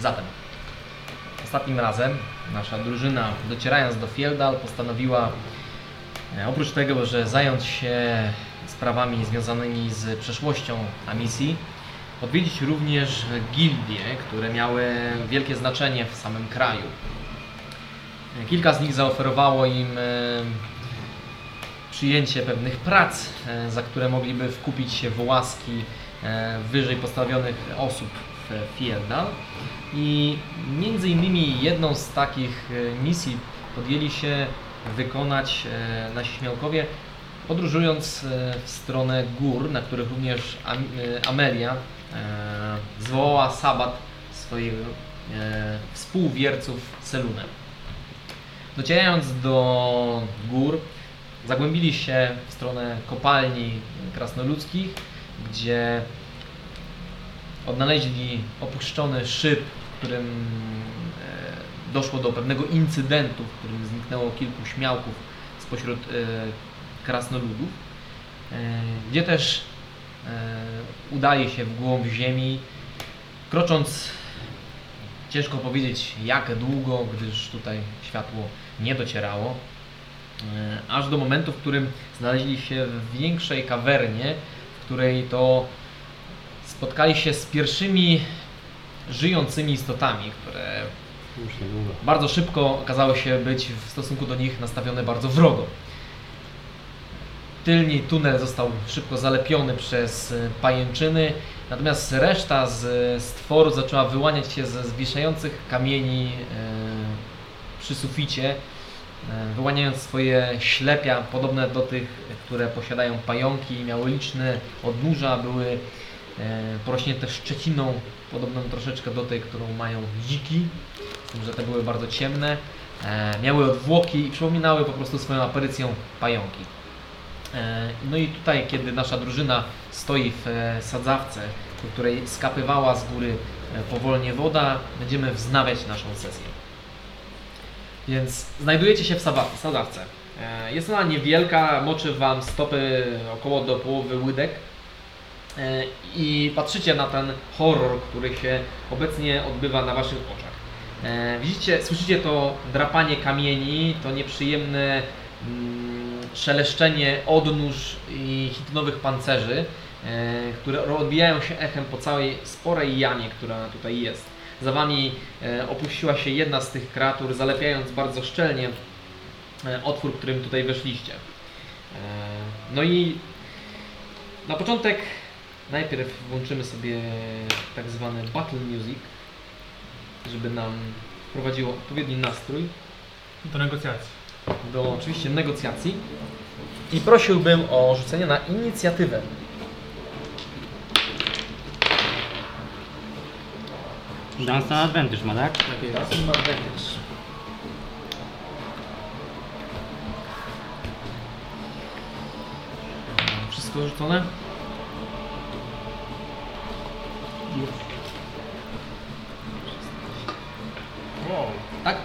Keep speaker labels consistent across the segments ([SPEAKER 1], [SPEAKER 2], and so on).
[SPEAKER 1] Zatem, ostatnim razem nasza drużyna, docierając do Fieldal, postanowiła e, oprócz tego, że zająć się sprawami związanymi z przeszłością Amisji, odwiedzić również gildie, które miały wielkie znaczenie w samym kraju. E, Kilka z nich zaoferowało im e, przyjęcie pewnych prac, e, za które mogliby wkupić się w łaski e, wyżej postawionych osób w Fieldal. I między innymi jedną z takich e, misji podjęli się wykonać e, nasi śmiałkowie, podróżując e, w stronę gór, na których również Am- e, Amelia e, zwołała sabat swoich e, współwierców Selunem. Docierając do gór, zagłębili się w stronę kopalni krasnoludzkich, gdzie odnaleźli opuszczony szyb, w którym e, doszło do pewnego incydentu, w którym zniknęło kilku śmiałków spośród e, krasnoludów, e, gdzie też e, udaje się w głąb ziemi, krocząc ciężko powiedzieć jak długo, gdyż tutaj światło nie docierało, E, aż do momentu, w którym znaleźli się w większej kawernie, w której to spotkali się z pierwszymi żyjącymi istotami, które
[SPEAKER 2] Już niedługo.
[SPEAKER 1] bardzo szybko okazały się być w stosunku do nich nastawione bardzo wrogo. Tylni tunel został szybko zalepiony przez e, pajęczyny, natomiast reszta z e, stworu zaczęła wyłaniać się ze zwisających kamieni e, przy suficie, e, wyłaniając swoje ślepia podobne do tych, które posiadają pająki, miały liczne odnóża, były e, porośnięte szczeciną, podobną troszeczkę do tej, którą mają dziki z tym, że te były bardzo ciemne, e, miały odwłoki i przypominały po prostu swoją aparycją pająki. E, no i tutaj, kiedy nasza drużyna stoi w e, sadzawce, do której skapywała z góry e, powolnie woda, będziemy wznawiać naszą sesję. Więc znajdujecie się w sawa- sadzawce. E, Jest ona niewielka, moczy Wam stopy około do połowy łydek. E, I patrzycie na ten horror, który się obecnie odbywa na Waszych oczach. E, Widzicie, słyszycie to drapanie kamieni, to nieprzyjemne mm, szeleszczenie odnóż i hitnowych pancerzy, e, które odbijają się echem po całej sporej jamie, która tutaj jest. Za wami e, opuściła się jedna z tych kreatur, zalepiając bardzo szczelnie e, otwór, którym tutaj weszliście. E, No i na początek najpierw włączymy sobie tak zwany battle music żeby nam wprowadziło odpowiedni nastrój
[SPEAKER 3] Do negocjacji.
[SPEAKER 1] do oczywiście negocjacji i prosiłbym o rzucenie na inicjatywę.
[SPEAKER 2] Dance na Advantage ma, tak?
[SPEAKER 1] Tak jest. Wszystko rzucone?
[SPEAKER 3] Wow.
[SPEAKER 1] Tak?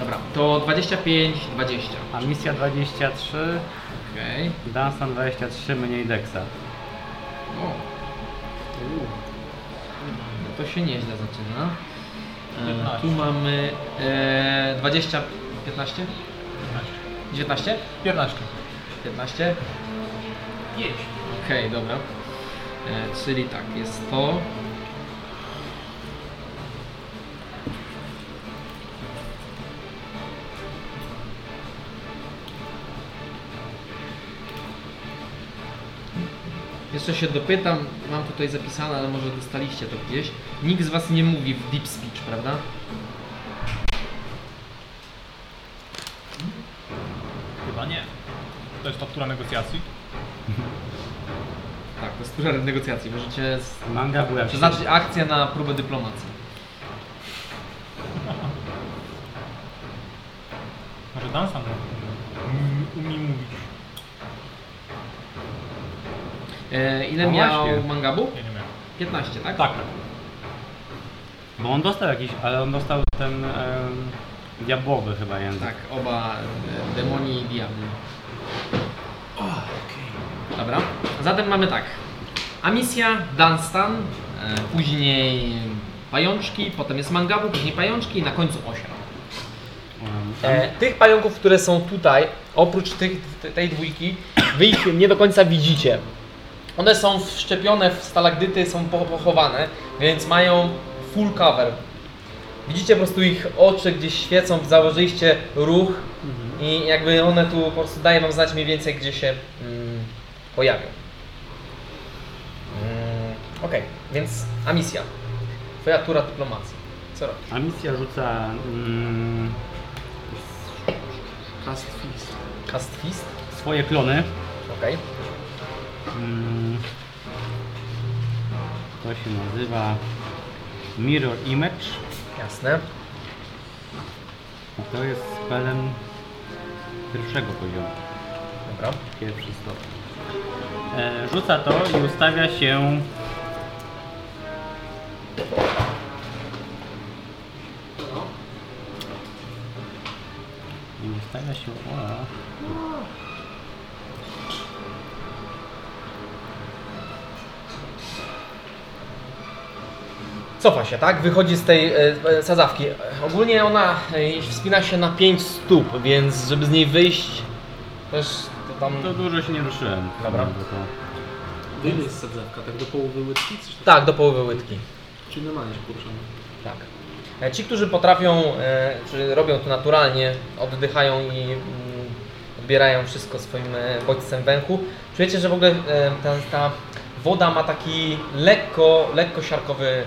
[SPEAKER 1] Dobra, to 25, 20.
[SPEAKER 2] A misja 23,
[SPEAKER 1] Okej.
[SPEAKER 2] Dance na 23 mniej Dexa.
[SPEAKER 1] O. No to się nieźle zaczyna. E,
[SPEAKER 3] 15.
[SPEAKER 1] tu mamy e, 20, 15? 19?
[SPEAKER 3] 15.
[SPEAKER 1] 15?
[SPEAKER 3] Jedź.
[SPEAKER 1] Okej, dobra. E, czyli tak, jest to. Jeszcze się dopytam, mam tutaj zapisane, ale może dostaliście to gdzieś. Nikt z Was nie mówi w deep speech, prawda?
[SPEAKER 3] Chyba nie. To jest faktura negocjacji.
[SPEAKER 1] Tak, to jest tura negocjacji. Możecie z-
[SPEAKER 2] Manga w łeb.
[SPEAKER 1] przeznaczyć akcję na próbę dyplomacji.
[SPEAKER 3] Może dansa umie mówić.
[SPEAKER 1] E, ile
[SPEAKER 2] No
[SPEAKER 1] miał
[SPEAKER 2] właśnie.
[SPEAKER 1] mangabu?
[SPEAKER 3] Ja nie wiem.
[SPEAKER 1] 15, tak?
[SPEAKER 3] Tak, tak.
[SPEAKER 2] Bo on dostał jakiś, ale on dostał ten em, diabłowy chyba język.
[SPEAKER 1] Tak, oba e, demoni i diabli. Dobra, zatem mamy tak. Amisja, Dunstan, e, później pajączki, potem jest mangabu, później pajączki i na końcu osia.
[SPEAKER 2] Um, tam-
[SPEAKER 1] E, tych pająków, które są tutaj, oprócz tych, te- tej dwójki, wy ich nie do końca widzicie. One są wszczepione w stalagdyty, są po- pochowane, więc mają full cover. Widzicie po prostu ich oczy gdzieś świecą, założyliście ruch
[SPEAKER 2] Mhm.
[SPEAKER 1] i jakby one tu po prostu dają wam znać mniej więcej, gdzie się mm, pojawią. Mm, Okej, więc a misja. Twoja tura dyplomacji. Co robisz?
[SPEAKER 2] A misja rzuca... Mm,
[SPEAKER 1] Cast fist?
[SPEAKER 2] swoje klony.
[SPEAKER 1] Okej.
[SPEAKER 2] Mm, to się nazywa Mirror Image.
[SPEAKER 1] Jasne.
[SPEAKER 2] A to jest spelem pierwszego poziomu.
[SPEAKER 1] Dobra.
[SPEAKER 2] Pierwszy stopień. E, rzuca to i ustawia się. I ustawia się. O.
[SPEAKER 1] Cofa się, tak? Wychodzi z tej e, e, sadzawki. E, Ogólnie ona e, wspina się na 5 stóp, więc żeby z niej wyjść, też to tam...
[SPEAKER 2] To dużo się nie ruszyłem.
[SPEAKER 1] Dobra.
[SPEAKER 2] Bo To,
[SPEAKER 4] Dymy jest sadzawka, tak do połowy łydki? Coś tak.
[SPEAKER 1] Tak, do połowy łydki.
[SPEAKER 4] Czyli normalnie się poruszamy.
[SPEAKER 1] Tak. E, Ci, którzy potrafią, e, czy robią to naturalnie, oddychają i mm, odbierają wszystko swoim e, bodźcem węchu, czujecie, że w ogóle e, ta, ta woda ma taki lekko, lekko siarkowy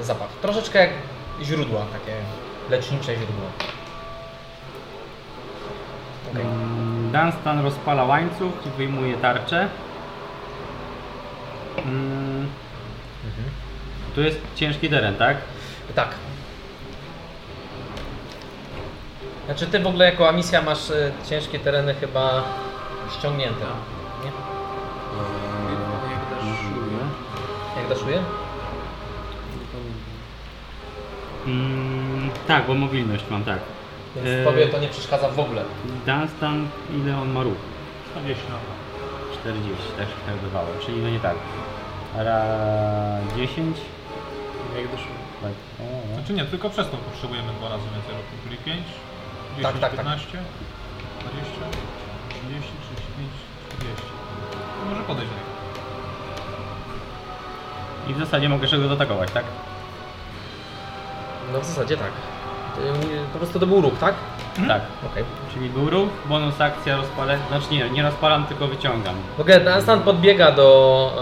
[SPEAKER 1] e, zapach. Troszeczkę jak źródła, takie lecznicze źródła. Okej.
[SPEAKER 2] Mm, Dunstan rozpala łańcuch i wyjmuje tarczę. Mm,
[SPEAKER 1] Mhm.
[SPEAKER 2] tu jest ciężki teren, tak?
[SPEAKER 1] Tak. Znaczy ty w ogóle jako Amisja masz e, ciężkie tereny chyba ściągnięte, nie? Eee.
[SPEAKER 4] Jak dasz
[SPEAKER 2] Możliwe.
[SPEAKER 1] Jak daszuję?
[SPEAKER 2] Mm, tak, bo mobilność mam, tak.
[SPEAKER 1] Więc
[SPEAKER 2] Eee.
[SPEAKER 1] tobie to nie przeszkadza w ogóle.
[SPEAKER 2] Dunstan, ile on ma ruch?
[SPEAKER 3] 40 na
[SPEAKER 2] 40, tak się kalkulowałem, czyli no nie tak. Ra 10?
[SPEAKER 4] Jak dasz
[SPEAKER 2] Tak. O, no.
[SPEAKER 3] Znaczy nie, tylko przez to potrzebujemy dwa razy więcej roku. Czyli 5, 10,
[SPEAKER 1] Tak, tak, tak.
[SPEAKER 3] 15, 20, 30, 35, 40. To może podejść do niego.
[SPEAKER 2] I w zasadzie mogę czegoś zaatakować, tak?
[SPEAKER 1] No w zasadzie tak. Ty- Po prostu to był ruch, tak?
[SPEAKER 2] Tak.
[SPEAKER 1] Okej.
[SPEAKER 2] Czyli był ruch, bonus akcja rozpalę. Znaczy nie, nie rozpalam, tylko wyciągam.
[SPEAKER 1] W ogóle Dunstan podbiega do...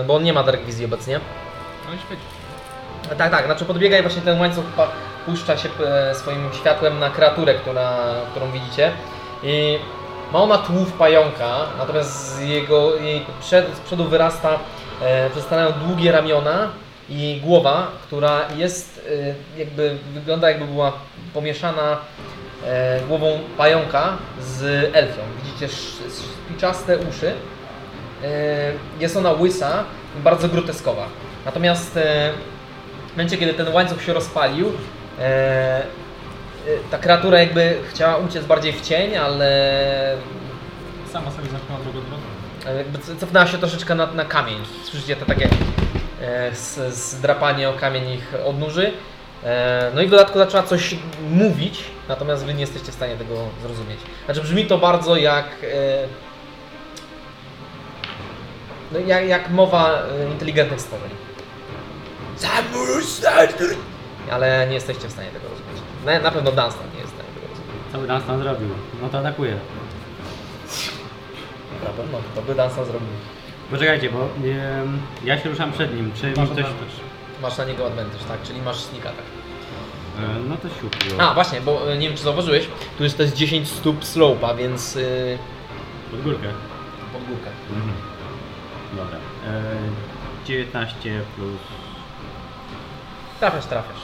[SPEAKER 1] e, bo on nie ma Dark Wizji obecnie.
[SPEAKER 3] No i świeci.
[SPEAKER 1] E, Tak, tak, znaczy podbiega i właśnie ten łańcuch pa- puszcza się e, swoim światłem na kreaturę, która, którą widzicie. I ma ona tułów pająka, natomiast z jego, jej przed, z przodu wyrasta, e, przestanają długie ramiona i głowa, która jest e, jakby, wygląda jakby była pomieszana e, głową pająka z elfią. Widzicie sz- spiczaste uszy. E, Jest ona łysa i bardzo groteskowa. Natomiast e, w momencie, kiedy ten łańcuch się rozpalił, e, e, ta kreatura jakby chciała uciec bardziej w cień, ale
[SPEAKER 3] Sama sobie zamknęła drogę odwrotną.
[SPEAKER 1] e, jakby c- cofnęła się troszeczkę na, na kamień. Słyszycie to takie e, s- zdrapanie o kamień ich odnóży. E, no i w dodatku zaczęła coś mówić, natomiast wy nie jesteście w stanie tego zrozumieć. Znaczy brzmi to bardzo jak... E, no, jak, jak mowa e, inteligentnych stworzeń. Ale nie jesteście w stanie tego rozumieć. Na, na pewno Dunstan nie jest w stanie tego rozumieć.
[SPEAKER 2] Co by Dunstan zrobił? No to atakuje.
[SPEAKER 1] Na pewno, to by Dunstan zrobił.
[SPEAKER 2] Poczekajcie, bo em, ja się ruszam przed nim. Czy mi
[SPEAKER 3] Masz
[SPEAKER 2] coś...
[SPEAKER 3] advantage.
[SPEAKER 1] Masz na niego advantage, tak? Czyli masz sneak attack.
[SPEAKER 2] E, No to siupło.
[SPEAKER 1] A, właśnie, bo e, nie wiem czy zauważyłeś, tu jest też 10 stóp slope'a, więc yy,
[SPEAKER 2] Pod górkę.
[SPEAKER 1] pod górkę.
[SPEAKER 2] Mhm. Dobra. E, 19 plus,
[SPEAKER 1] Trafiasz, trafiasz.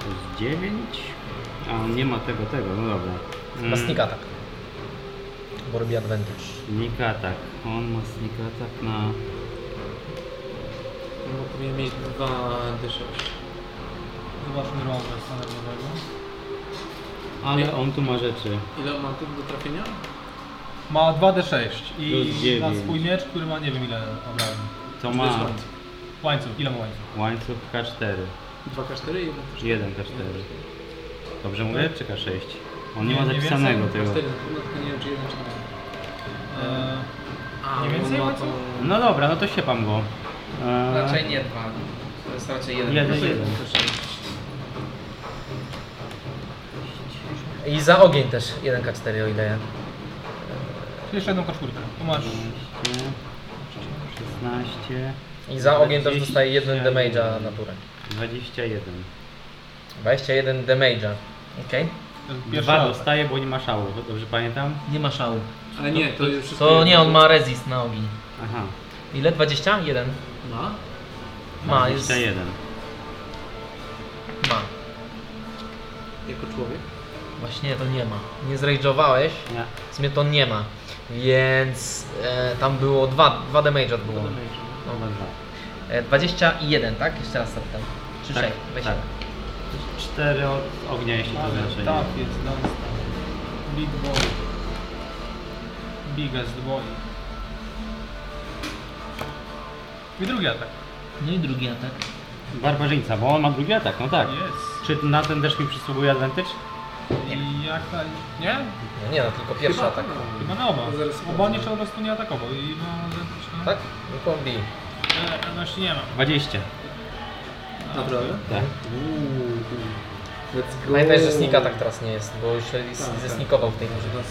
[SPEAKER 2] plus 9. A on nie ma tego, tego, no dobra.
[SPEAKER 1] Ma sneak attack. Bo robi advantage.
[SPEAKER 2] Sneak attack. tak. On ma sneak attack na...
[SPEAKER 4] No, Bo powinien mieć dwa dysze.
[SPEAKER 3] Zobaczmy rąbę standardowego.
[SPEAKER 2] Ale on tu ma rzeczy.
[SPEAKER 4] Ile mam tu do trafienia?
[SPEAKER 3] Ma 2d6
[SPEAKER 2] Plus
[SPEAKER 3] i
[SPEAKER 2] dziewięć.
[SPEAKER 3] na swój miecz, który ma nie wiem ile obrażeń.
[SPEAKER 2] To ma...
[SPEAKER 3] Łańcuch, ile ma łańcuch?
[SPEAKER 2] Łańcuch K4.
[SPEAKER 4] 2K4 i 1K4.
[SPEAKER 2] 1K4. Dobrze mówię? Czy K6? On nie,
[SPEAKER 3] Nie,
[SPEAKER 2] ma
[SPEAKER 3] nie
[SPEAKER 2] zapisanego
[SPEAKER 3] więcej.
[SPEAKER 2] tego.
[SPEAKER 4] K4 na pewno, no, tylko nie wiem czy 1 czy 2.
[SPEAKER 3] Eee,
[SPEAKER 4] A,
[SPEAKER 3] Nie
[SPEAKER 4] bo
[SPEAKER 3] więcej
[SPEAKER 4] ma
[SPEAKER 3] macie?
[SPEAKER 4] tą...
[SPEAKER 2] No dobra, no to siępam go. Eee,
[SPEAKER 5] Raczej nie dwa. To jest raczej jeden.
[SPEAKER 2] Jeden,
[SPEAKER 5] Proszę,
[SPEAKER 2] jeden.
[SPEAKER 5] proszę.
[SPEAKER 1] I za ogień też 1K4 o ile ja.
[SPEAKER 3] jeszcze jedną kaczkurkę. Tu masz...
[SPEAKER 2] 16,
[SPEAKER 1] I za ogień też
[SPEAKER 2] 20.
[SPEAKER 1] dostaje 1 damage'a na turę.
[SPEAKER 2] 21.
[SPEAKER 1] 21 damage'a. Okej.
[SPEAKER 3] to jest Pierwszy
[SPEAKER 2] Dwa
[SPEAKER 3] atak.
[SPEAKER 2] dostaje, bo nie ma szału, dobrze pamiętam?
[SPEAKER 1] Nie ma szału.
[SPEAKER 4] Ale nie, to już wszystko...
[SPEAKER 1] No To nie, on ma resist na ogień.
[SPEAKER 2] Aha,
[SPEAKER 1] Ile? 21?
[SPEAKER 4] Ma?
[SPEAKER 1] Ma, jest.
[SPEAKER 2] 21.
[SPEAKER 1] Ma.
[SPEAKER 4] Jako człowiek?
[SPEAKER 1] Właśnie to nie ma. Nie zrajdżowałeś,
[SPEAKER 2] Nie.
[SPEAKER 1] w sumie to nie ma. Więc e, tam było 2 dwa damage'a było.
[SPEAKER 2] Dobra, dwa.
[SPEAKER 1] E, 21, tak? Jeszcze raz zapytam. Czy
[SPEAKER 2] Tak,
[SPEAKER 1] 6? Weź
[SPEAKER 2] tak. 4 od ognia, jeśli to
[SPEAKER 3] Ale
[SPEAKER 2] znaczy.
[SPEAKER 3] tak jest, Dunstan. Big boy. Biggest boy. I drugi atak.
[SPEAKER 1] No i drugi atak.
[SPEAKER 2] Barbarzyńca, bo on ma drugi atak, no tak.
[SPEAKER 3] Jest.
[SPEAKER 2] Czy na ten też mi przysługuje advantage?
[SPEAKER 3] I jak naj... Nie?
[SPEAKER 1] No nie, no tylko pierwszy atak.
[SPEAKER 3] Chyba na oba.
[SPEAKER 4] To zaraz-
[SPEAKER 3] Oba on jeszcze po prostu nie atakował i ma nie?
[SPEAKER 1] Tak? No to bij.
[SPEAKER 3] E, właśnie nie ma.
[SPEAKER 2] 20.
[SPEAKER 4] Naprawdę?
[SPEAKER 2] Tak.
[SPEAKER 4] Uuu. Let's go.
[SPEAKER 1] Pamiętaj, że sneak atak teraz nie jest, bo już się
[SPEAKER 4] Tak, tak.
[SPEAKER 1] zesnikował w tej grze.
[SPEAKER 4] Teraz...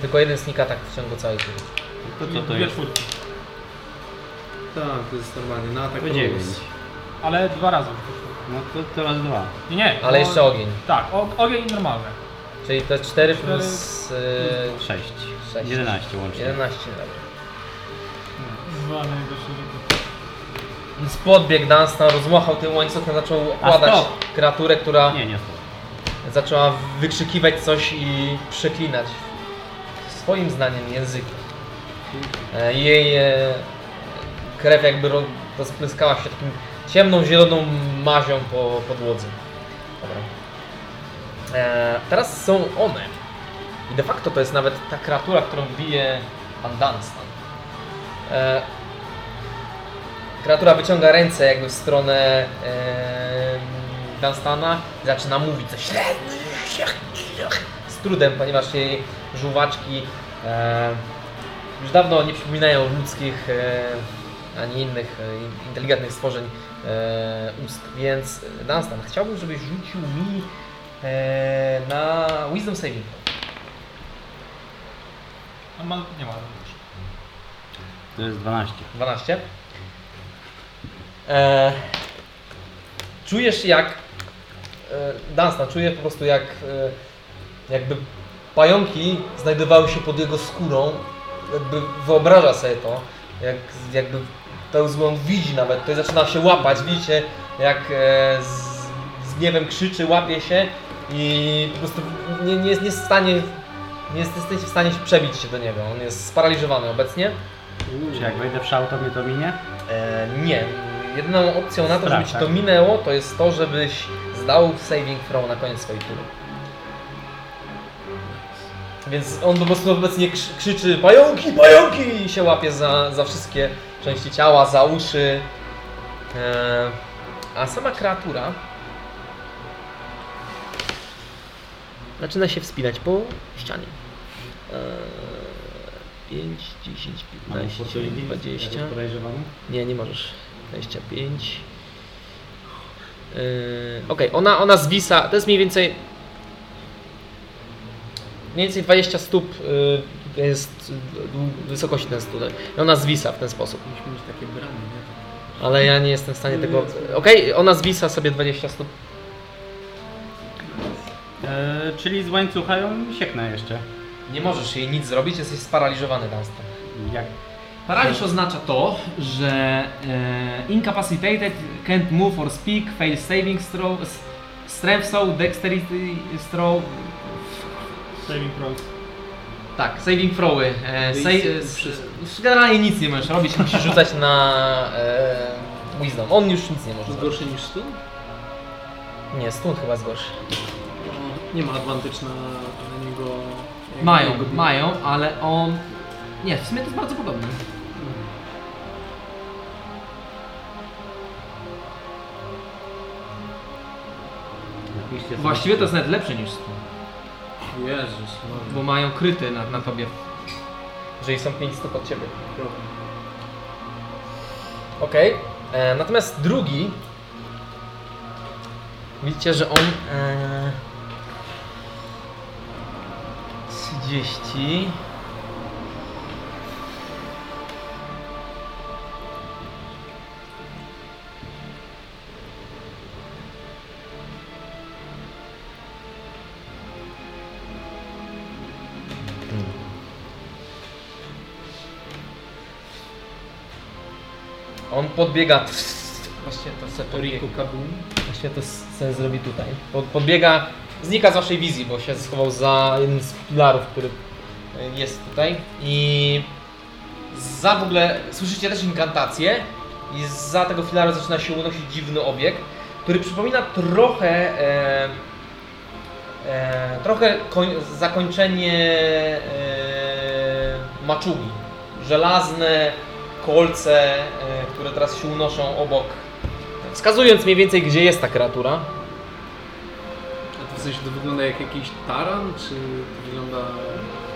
[SPEAKER 1] Tylko jeden sneak atak w ciągu całej gry.
[SPEAKER 2] To co to
[SPEAKER 3] Dwie
[SPEAKER 2] jest?
[SPEAKER 3] czwórki.
[SPEAKER 4] Tak, to jest normalnie, na atak
[SPEAKER 2] To
[SPEAKER 4] plus.
[SPEAKER 2] 9.
[SPEAKER 3] Ale dwa razy.
[SPEAKER 2] No to teraz dwa.
[SPEAKER 3] Nie, nie.
[SPEAKER 1] Ale
[SPEAKER 3] bo-
[SPEAKER 1] jeszcze ogień.
[SPEAKER 3] Tak, o, ogień i normalne.
[SPEAKER 1] Czyli to 4
[SPEAKER 3] Cztery
[SPEAKER 1] plus e,
[SPEAKER 2] Sześć.
[SPEAKER 1] Sześć.
[SPEAKER 2] 11 łącznie.
[SPEAKER 1] 11 dobra.
[SPEAKER 3] Dwa najgorsze rzeczy.
[SPEAKER 1] Więc podbiegł Dunstan, rozmachał tym łańcuchem, zaczął okładać
[SPEAKER 2] stop!
[SPEAKER 1] kreaturę, która
[SPEAKER 2] Nie, nie stop.
[SPEAKER 1] zaczęła wykrzykiwać coś i przeklinać swoim zdaniem językiem. E, Jej e, krew jakby ro- rozplyskała się takim ciemną, zieloną mazią po podłodze. Dobra. E, teraz są one. I de facto to jest nawet ta kreatura, którą bije pan Dunstan. E, Kreatura wyciąga ręce jakby w stronę em, Dunstana i zaczyna mówić coś. Z trudem, ponieważ jej żuwaczki e, już dawno nie przypominają ludzkich e, ani innych e, inteligentnych stworzeń e, ust. Więc e, Dunstan, chciałbym, żebyś rzucił mi e, na Wisdom Saving.
[SPEAKER 3] On ma... nie ma.
[SPEAKER 2] To jest 12.
[SPEAKER 1] 12. E, czujesz jak. E, Dunstan czuje po prostu jak. E, jakby pająki znajdowały się pod jego skórą. Jakby wyobraża sobie to. Jak, jakby pełzły on widzi nawet. To zaczyna się łapać. Widzicie jak e, z, z gniewem krzyczy, łapie się i po prostu nie, nie, jest, nie jest w stanie. Nie jesteś w stanie przebić się do niego. On jest sparaliżowany obecnie.
[SPEAKER 4] Uuu.
[SPEAKER 2] Czy jak wejdę w szał, to mnie to minie?
[SPEAKER 1] E, nie. Jedyną opcją na to, żeby
[SPEAKER 2] Strach,
[SPEAKER 1] ci
[SPEAKER 2] tak?
[SPEAKER 1] to minęło, to jest to, żebyś zdał saving throw na koniec swojej tury. Więc on po prostu obecnie krz- krzyczy pająki, pająki i się łapie za, za wszystkie części ciała, za uszy. E, a sama kreatura zaczyna się wspinać po ścianie. E, 5, 10,
[SPEAKER 2] Mam
[SPEAKER 1] 15,
[SPEAKER 2] opportunity,
[SPEAKER 1] 20.
[SPEAKER 2] jako podejrzewany?
[SPEAKER 1] Nie, nie możesz. 25. Yy, Okej, ona, ona zwisa. To jest mniej więcej. Mniej więcej 20 stóp yy, to jest dłu- wysokości ten studek. I ona zwisa w ten sposób.
[SPEAKER 4] Musimy mieć takie bramy, nie? Yy.
[SPEAKER 1] Ale ja nie jestem w stanie tego. Okej, ona zwisa sobie 20 stóp.
[SPEAKER 2] Eee, czyli z łańcucha ją sieknę jeszcze.
[SPEAKER 1] Nie możesz jej nic zrobić, jesteś sparaliżowany Dunstan.
[SPEAKER 2] Jak?
[SPEAKER 5] Paraliż oznacza to, że e, incapacitated, can't move or speak, fail saving throw, s- strength throw, dexterity throw,
[SPEAKER 3] Saving throws.
[SPEAKER 5] tak, saving throwy. E,
[SPEAKER 4] Czyli
[SPEAKER 5] sa-
[SPEAKER 4] s-
[SPEAKER 5] e, s- generalnie nic nie możesz robić, musisz rzucać. e,
[SPEAKER 1] Rzucać na yy, Wisdom. On już nic nie może
[SPEAKER 4] To jest
[SPEAKER 1] zrobić.
[SPEAKER 4] gorsze niż stun?
[SPEAKER 1] Nie, stun chyba zgorszy.
[SPEAKER 4] No, Nie ma advantage na, na niego... jak na
[SPEAKER 5] Mają,
[SPEAKER 4] niego-
[SPEAKER 5] mają, ale on... Nie, w sumie to jest bardzo podobne.
[SPEAKER 2] 40. jest
[SPEAKER 6] Właściwie to jest
[SPEAKER 2] oczywiście.
[SPEAKER 6] nawet lepsze niż 100,
[SPEAKER 4] Jezus, no. Maria.
[SPEAKER 6] bo mają kryty na, na tobie. Jeżeli są 500 pod ciebie.
[SPEAKER 1] Okej. E, Natomiast drugi. Widzicie, że on. E, 30. On podbiega. Właśnie to se podbiega. Właśnie to se zrobi tutaj. Pod- Podbiega, znika z waszej wizji, bo się schował za jeden z pilarów, który y, jest tutaj. I za w ogóle słyszycie też inkantację. I za tego filaru zaczyna się unosić dziwny obiekt, który przypomina trochę. E, e, trochę koń, zakończenie e, maczugi. Żelazne kolce, e, które teraz się unoszą obok Wskazując mniej więcej, gdzie jest ta kreatura.
[SPEAKER 4] A to w sensie to wygląda jak jakiś taran, czy to wygląda...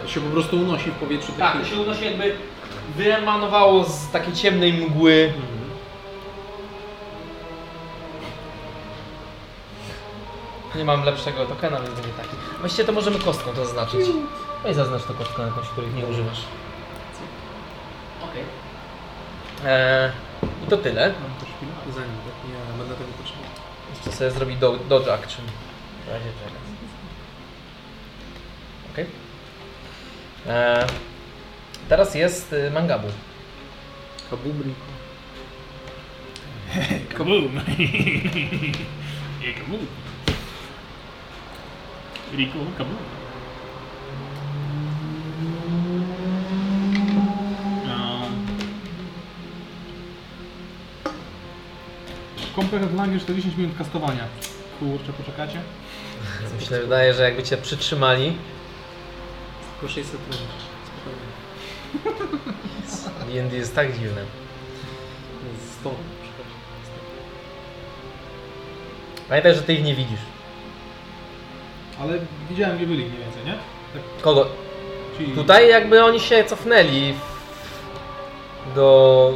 [SPEAKER 4] To się po prostu unosi w powietrzu
[SPEAKER 1] Tak, to
[SPEAKER 4] taki-
[SPEAKER 1] się unosi jakby wyemanowało z takiej ciemnej mgły.
[SPEAKER 4] Mhm.
[SPEAKER 1] Nie mam lepszego tokena, więc będzie taki. Właściwie to możemy kostką to zaznaczyć. No i zaznacz to kostką jakąś, których nie używasz.
[SPEAKER 6] Okej.
[SPEAKER 1] Eee, I to tyle.
[SPEAKER 4] Mam też chwilę? Zanim, tak? Nie, będę tego potrzebował.
[SPEAKER 1] Jeszcze sobie zrobi do, dodge action. W razie czego. Okej. Eee, teraz jest y, mangabu.
[SPEAKER 4] Kabubri.
[SPEAKER 2] Kabum! Nie, kabum! Riku, kabum! No.
[SPEAKER 3] Comprehend Language to 10 minut kastowania. Kurczę, poczekacie?
[SPEAKER 1] Myślę, że wydaje, że jakby cię przytrzymali,
[SPEAKER 4] Po 600 metrów. Spokojnie.
[SPEAKER 1] D&D jest tak dziwne.
[SPEAKER 4] 100. przepraszam.
[SPEAKER 1] Pamiętaj, że ty ich nie widzisz.
[SPEAKER 3] Ale widziałem, gdzie byli mniej więcej, nie?
[SPEAKER 1] Kogo?
[SPEAKER 3] Czyli
[SPEAKER 1] Tutaj jakby oni się cofnęli w- do,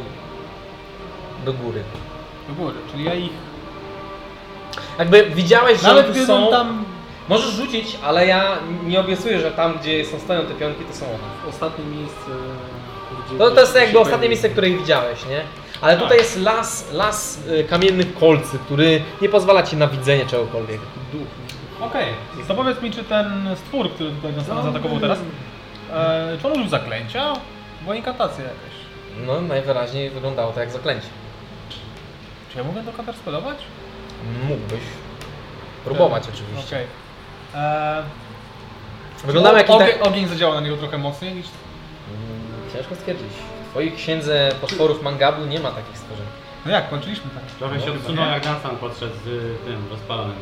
[SPEAKER 1] do góry.
[SPEAKER 3] Do góry, czyli ja ich...
[SPEAKER 1] Jakby widziałeś, że
[SPEAKER 3] Nawet
[SPEAKER 1] oni tu
[SPEAKER 3] gdybym
[SPEAKER 1] są.
[SPEAKER 3] tam...
[SPEAKER 1] Możesz rzucić, ale ja nie obiecuję, że tam gdzie są stoją te pionki, to są one.
[SPEAKER 4] Ostatnie miejsce, e, gdzie...
[SPEAKER 1] No To, to jest
[SPEAKER 4] gdzie się
[SPEAKER 1] jakby ostatnie
[SPEAKER 4] pojawił.
[SPEAKER 1] miejsce, które ich widziałeś, nie? Ale tutaj jest las, las y, kamiennych kolcy, który nie pozwala ci na widzenie czegokolwiek.
[SPEAKER 4] Duch.
[SPEAKER 3] Okej, to powiedz mi, czy ten stwór, który tutaj nas
[SPEAKER 4] No,
[SPEAKER 3] zaatakował teraz, e, czy on użył zaklęcia? Bo inkantacje jakieś.
[SPEAKER 1] No, najwyraźniej wyglądało to jak zaklęcie.
[SPEAKER 3] Czy ja mogę to counterspelować?
[SPEAKER 1] Mógłbyś próbować
[SPEAKER 6] Tak.
[SPEAKER 1] oczywiście.
[SPEAKER 3] Okej. Okay.
[SPEAKER 1] Wyglądamy jak
[SPEAKER 3] ogień,
[SPEAKER 1] inter-
[SPEAKER 3] ogień zadziałał na niego trochę mocniej niż...
[SPEAKER 1] Mm, Ciężko stwierdzić. W twojej księdze potworów mangabu nie ma takich stworzeń.
[SPEAKER 3] No jak, kończyliśmy tak.
[SPEAKER 2] Trochę się odsunął jak Nathan podszedł z y, tym rozpalonym.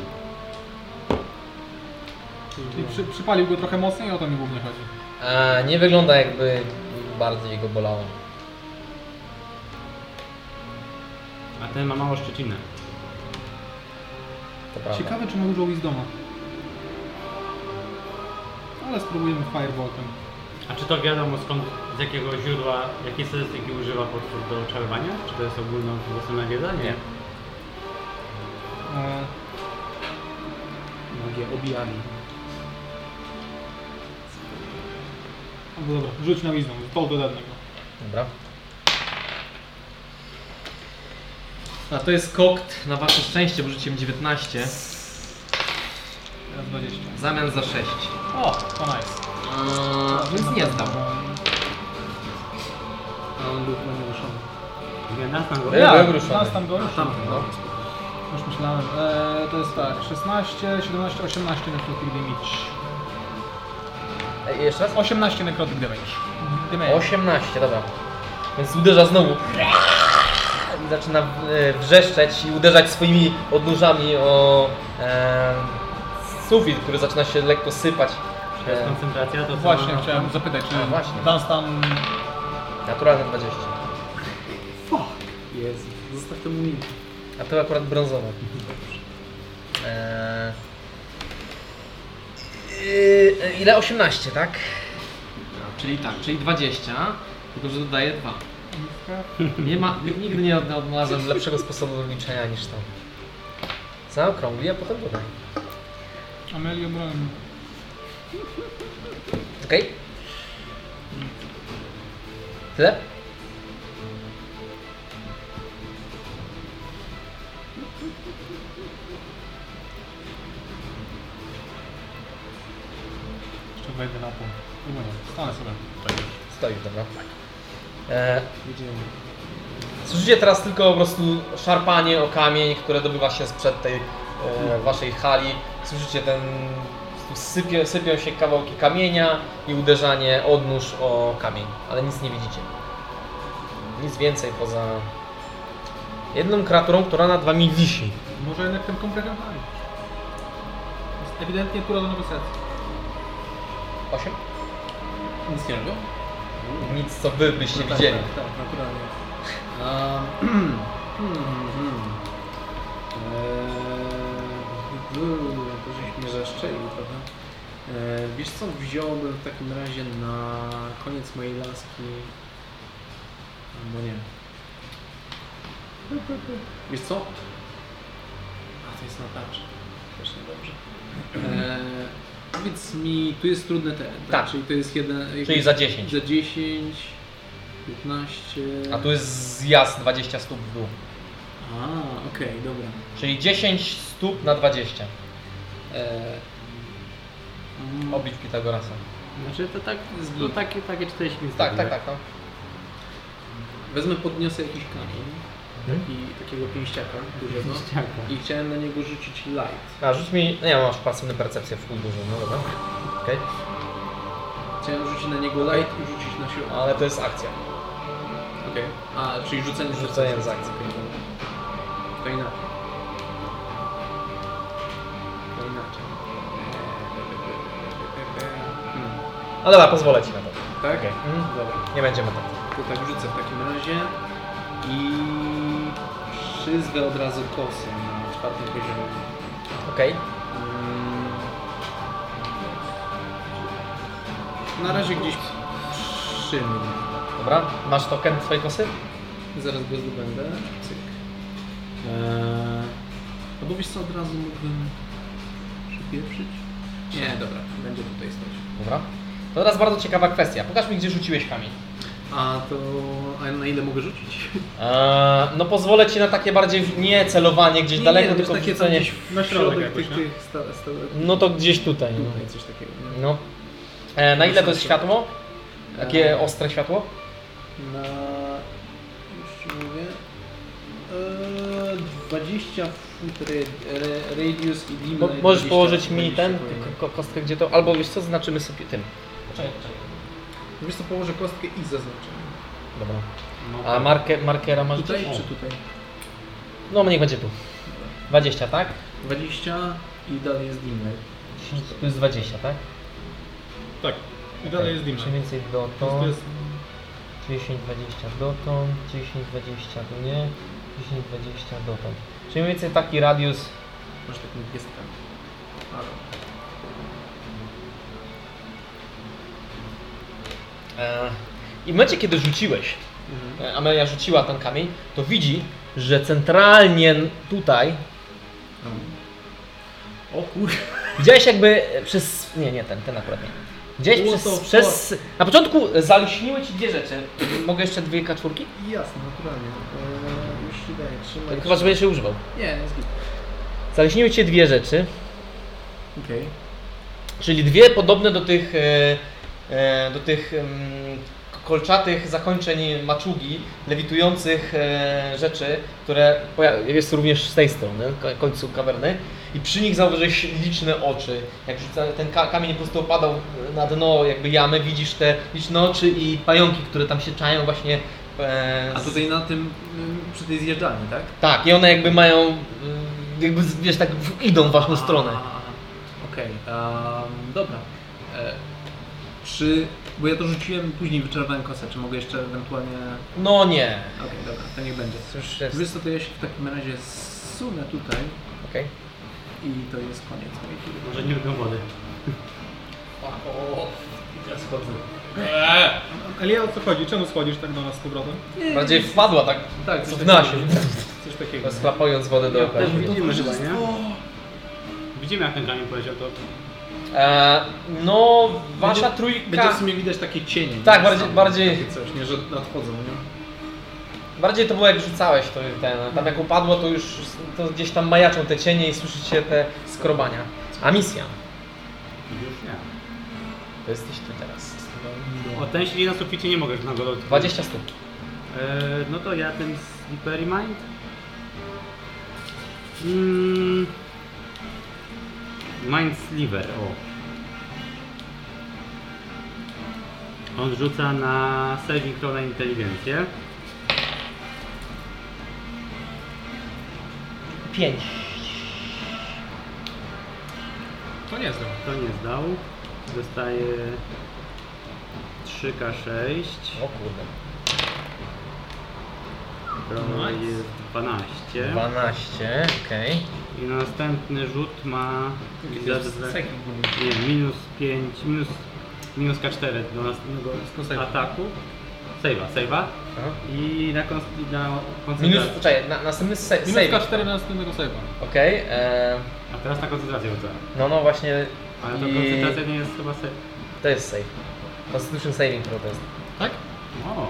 [SPEAKER 3] Czyli przy, przypalił go trochę mocniej, o to mi głównie chodzi.
[SPEAKER 1] A nie wygląda jakby bardziej go bolało.
[SPEAKER 2] A ten ma mało szczecinę.
[SPEAKER 1] To prawda.
[SPEAKER 3] Ciekawe, czy ma dużo Wisdoma. Ale spróbujemy Fireboltem.
[SPEAKER 2] A czy to wiadomo skąd, z jakiego źródła, jakiej statystyki używa potwór do oczarowania? Czy to jest ogólnowłosna wiedza? Nie.
[SPEAKER 3] E,
[SPEAKER 4] Magię obijali.
[SPEAKER 3] no dobra, rzuć na Wisdom, to do jednego.
[SPEAKER 1] Dobra.
[SPEAKER 6] A to jest kokt na wasze szczęście, bo rzuciłem 19
[SPEAKER 3] Teraz 20.
[SPEAKER 6] w zamian za 6.
[SPEAKER 3] O, to
[SPEAKER 6] Eee,
[SPEAKER 3] nice.
[SPEAKER 6] więc nie zdał.
[SPEAKER 4] A on był chyba nieruszony.
[SPEAKER 2] Nie, Nathan go...
[SPEAKER 1] Ja.
[SPEAKER 3] Ja,
[SPEAKER 1] byłem ruszony.
[SPEAKER 3] nas tam Tak, go
[SPEAKER 4] A
[SPEAKER 3] ruszył.
[SPEAKER 4] tam, no.
[SPEAKER 3] Już myślałem. E, to jest tak, 16, 17, 18 necrotic damage.
[SPEAKER 1] Ej, jeszcze raz?
[SPEAKER 3] 18 necrotic damage.
[SPEAKER 6] Mhm.
[SPEAKER 3] damage.
[SPEAKER 1] 18, dobra. Więc uderza znowu. I zaczyna e, wrzeszczeć i uderzać swoimi odnóżami o e, sufit, który zaczyna się lekko sypać.
[SPEAKER 2] Czy to jest
[SPEAKER 1] E,
[SPEAKER 2] koncentracja? To co
[SPEAKER 3] Właśnie
[SPEAKER 2] ma-
[SPEAKER 6] Mhm.
[SPEAKER 3] chciałem zapytać, czy
[SPEAKER 1] A, właśnie.
[SPEAKER 3] Dunstan...
[SPEAKER 1] naturalne 20.
[SPEAKER 4] Jezu, zostaw temu minutę.
[SPEAKER 1] A to akurat brązowe. E, Yy, ile? 18, tak?
[SPEAKER 7] Czyli tak, czyli
[SPEAKER 1] 20, tylko że dodaję 2.
[SPEAKER 3] Lówka.
[SPEAKER 1] Nie ma, nigdy nie odnalazłem lepszego sposobu wyliczenia niż to. Zaokrągli, a potem dodaj.
[SPEAKER 3] Amelio Brown.
[SPEAKER 1] Okej? Tyle?
[SPEAKER 3] Jeszcze wejdę na pół. Chyba nie. Stanę sobie. Tak już.
[SPEAKER 1] Stoisz, dobra. E, słyszycie teraz tylko po prostu szarpanie o kamień, które dobywa się sprzed tej e, waszej hali. Słyszycie ten... po prostu Sypie, sypią się kawałki kamienia i uderzanie odnóż o kamień, ale nic nie widzicie. Nic więcej poza jedną kreaturą, która nad wami wisi.
[SPEAKER 3] Może jednak ten kompresor walić. Jest ewidentnie kura do negocjacji.
[SPEAKER 1] Osiem?
[SPEAKER 4] Nic nie robią?
[SPEAKER 1] Nic, co wy byście
[SPEAKER 4] tak,
[SPEAKER 1] widzieli.
[SPEAKER 4] Tak, tak, naturalnie. A, hmm, hmm. Eee, był, to żeśmy zaszczeli trochę. Eee, wiesz co, wziąłbym w takim razie na koniec mojej laski. Albo nie. Wiesz co? A to jest na tarczy. Też niedobrze. Eee, powiedz mi, tu jest trudny teren, tak?
[SPEAKER 1] Tak.
[SPEAKER 4] Czyli to jest jeden...
[SPEAKER 1] Czyli za 10.
[SPEAKER 4] Za 10, 15.
[SPEAKER 1] A tu jest zjazd 20 stóp w dół.
[SPEAKER 4] A, okej, dobra.
[SPEAKER 1] Czyli 10 stóp na 20.
[SPEAKER 4] E, mm,
[SPEAKER 1] Oblicz Pitagorasa.
[SPEAKER 2] Znaczy to tak, no takie, takie 40 minut.
[SPEAKER 1] Mm. Tak, tak, tak. No.
[SPEAKER 4] Wezmę, podniosę jakiś kamień,
[SPEAKER 1] Mhm.
[SPEAKER 4] taki, takiego pięściaka dużego
[SPEAKER 2] Ściaka.
[SPEAKER 4] i chciałem na niego rzucić light.
[SPEAKER 1] A rzuć mi. No ja masz pasywny percepcję w chuj dużo, no dobra. Okej.
[SPEAKER 4] Chciałem rzucić na niego light i rzucić na siłę.
[SPEAKER 1] Ale to jest akcja.
[SPEAKER 4] Okej. A, czyli rzucenie
[SPEAKER 1] Rzucenie z akcji.
[SPEAKER 4] Okej, dobra. To inaczej. To inaczej. Hmm.
[SPEAKER 1] No dobra, pozwolę ci na to.
[SPEAKER 4] Tak?
[SPEAKER 1] Okej. Mhm.
[SPEAKER 4] Dobra.
[SPEAKER 1] Nie będziemy tak.
[SPEAKER 4] To tak rzucę w takim razie i przyzwę od razu kosę na czwartym poziomie.
[SPEAKER 1] Okej.
[SPEAKER 4] Mm. Na razie gdzieś przy mnie.
[SPEAKER 1] Dobra. Masz token swojej kosy?
[SPEAKER 4] Zaraz go zdobędę. Cyk. Eee, albo wiesz co, od razu mógłbym przypieprzyć? Nie, dobra, będzie tutaj stać.
[SPEAKER 1] Dobra. To teraz bardzo ciekawa kwestia. Pokaż mi, gdzie rzuciłeś kamień.
[SPEAKER 4] A to... a na ile mogę rzucić?
[SPEAKER 1] Eee, no pozwolę ci na takie bardziej w- nie celowanie gdzieś daleko,
[SPEAKER 4] to jest
[SPEAKER 1] tylko
[SPEAKER 4] takie tam
[SPEAKER 1] wrzucenie.
[SPEAKER 4] gdzieś w
[SPEAKER 2] Na środek
[SPEAKER 4] środek
[SPEAKER 2] jakoś,
[SPEAKER 4] tych,
[SPEAKER 2] nie?
[SPEAKER 4] tych sta, sta,
[SPEAKER 1] No to gdzieś tutaj. no.
[SPEAKER 4] tutaj coś takiego. nie?
[SPEAKER 1] No. E, na ile to jest
[SPEAKER 4] Wystarczy.
[SPEAKER 1] światło? Takie
[SPEAKER 4] Eee.
[SPEAKER 1] ostre światło?
[SPEAKER 4] Na... już ci mówię... Eee, 20 foot ra- ra- radius i dim
[SPEAKER 1] Mo-
[SPEAKER 4] na
[SPEAKER 1] możesz
[SPEAKER 4] 20,
[SPEAKER 1] położyć mi
[SPEAKER 4] 20
[SPEAKER 1] ten
[SPEAKER 4] powinien.
[SPEAKER 1] ko- kostkę, gdzie to. Albo wiesz co, znaczymy sobie tym.
[SPEAKER 4] Wiesz co, położę kostkę i zaznaczę.
[SPEAKER 1] Dobra.
[SPEAKER 2] No,
[SPEAKER 1] A marke, markera masz
[SPEAKER 4] Tutaj
[SPEAKER 1] gdzieś?
[SPEAKER 4] czy tutaj?
[SPEAKER 1] No niech będzie tu. 20, tak?
[SPEAKER 4] 20 i dalej jest dim light.
[SPEAKER 1] Tu jest 20, tak?
[SPEAKER 3] Tak. I dalej jest dim.
[SPEAKER 1] Mniej więcej
[SPEAKER 3] To
[SPEAKER 1] dotąd.
[SPEAKER 3] jest
[SPEAKER 1] 10, 20 dotąd. 10, 20 tu nie. 10, 20 dotąd. Czyli mniej więcej taki radius.
[SPEAKER 4] Masz taką gwiazdkę. Ale
[SPEAKER 1] E, I w momencie, kiedy rzuciłeś, e, Amelia rzuciła ten kamień, to widzi, że centralnie tutaj
[SPEAKER 4] O kurwa.
[SPEAKER 1] Widziałeś jakby przez. Nie, nie, ten, ten akurat nie. Widziałeś
[SPEAKER 4] What
[SPEAKER 1] przez,
[SPEAKER 4] the
[SPEAKER 1] przez. Na początku zalśniły ci dwie rzeczy. Mogę jeszcze dwie kaczurki?
[SPEAKER 4] Jasne, naturalnie. Eee, już ci daję, trzymaj.
[SPEAKER 1] Chyba, że będziesz je używał.
[SPEAKER 4] Nie, jest git.
[SPEAKER 1] Zalśniły ci dwie rzeczy,
[SPEAKER 4] Okej.
[SPEAKER 1] czyli dwie podobne do tych. e, e, do tych. em, kolczatych zakończeń maczugi, lewitujących e, rzeczy, które poja- jest również z tej strony, ko- końcu kawerny. I przy nich zauważyłeś liczne oczy. Jak rzuca- ten ka- kamień po prostu opadał na dno jakby jamy, widzisz te liczne oczy i pająki, które tam się czają właśnie. E,
[SPEAKER 4] A
[SPEAKER 1] z-
[SPEAKER 4] tutaj na tym, ym, przy tej zjeżdżalni, tak?
[SPEAKER 1] Tak, i one jakby mają, y, jakby z- wiesz, tak w- idą w waszą
[SPEAKER 4] A,
[SPEAKER 1] stronę.
[SPEAKER 4] a, a, a. Okej, em, dobra. E, Czy... Bo ja to rzuciłem, później wyczerpałem kosę, czy mogę jeszcze ewentualnie...
[SPEAKER 1] No nie.
[SPEAKER 4] Okej, dobra, to niech będzie.
[SPEAKER 1] Już jest.
[SPEAKER 4] Wiesz co, to ja się w takim razie zsunę tutaj
[SPEAKER 1] Okej.
[SPEAKER 4] i to jest koniec mojej tury.
[SPEAKER 2] Może nie lubią wody.
[SPEAKER 4] Ja schodzę.
[SPEAKER 3] Elia, o co chodzi? Czemu schodzisz tak do nas z powrotem?
[SPEAKER 1] Bardziej wpadła tak,
[SPEAKER 4] Tak, coś
[SPEAKER 1] cofnęła się,
[SPEAKER 4] Coś takiego.
[SPEAKER 1] rozklapując wodę dookoła.
[SPEAKER 4] Też widzimy chyba, nie?
[SPEAKER 2] Widzimy jak ten kamień poleciał, to
[SPEAKER 1] E, no, wasza
[SPEAKER 4] Będzie
[SPEAKER 1] trójka,
[SPEAKER 4] w sumie widać takie cienie. nie?
[SPEAKER 1] Tak, bardziej- bardziej-
[SPEAKER 4] Takie coś, nie, że nadchodzą, nie?
[SPEAKER 1] bardziej to było jak rzucałeś to ten, a tam jak upadło to już to gdzieś tam majaczą te cienie i słyszycie te skrobania. A misja,
[SPEAKER 2] już nie.
[SPEAKER 1] to jesteś ty teraz.
[SPEAKER 2] O ten siedzi na suficie nie mogę już na go dotknąć.
[SPEAKER 1] 20 stóp.
[SPEAKER 2] E, no to ja ten Slippery Mind. Mm. Mind Sliver, o. On rzuca na saving throw na inteligencję.
[SPEAKER 1] 5.
[SPEAKER 3] To nie zdał.
[SPEAKER 2] To nie zdał. Dostaje 3k6.
[SPEAKER 1] O kurde.
[SPEAKER 2] To
[SPEAKER 3] nice.
[SPEAKER 2] jest 12.
[SPEAKER 1] 12, okej.
[SPEAKER 2] I na następny rzut ma...
[SPEAKER 4] Jakieś cechy były.
[SPEAKER 2] Nie, minus 5, minus, minus K4 do następnego
[SPEAKER 4] To sejwa.
[SPEAKER 2] ataku. Sejwa, sejwa.
[SPEAKER 1] Aha.
[SPEAKER 4] No.
[SPEAKER 2] I na, kon- i na
[SPEAKER 1] Minus,
[SPEAKER 2] koncentrację.
[SPEAKER 1] czekaj, na, następny se-
[SPEAKER 3] Minus
[SPEAKER 1] save.
[SPEAKER 3] K4 na następnego save'a.
[SPEAKER 1] Okej, e,
[SPEAKER 2] A teraz na koncentrację rzucę.
[SPEAKER 1] no no właśnie
[SPEAKER 2] Ale to
[SPEAKER 1] i
[SPEAKER 2] koncentracja nie jest chyba se...
[SPEAKER 1] to jest save. Constitution saving throw to jest.
[SPEAKER 3] Tak?
[SPEAKER 2] O,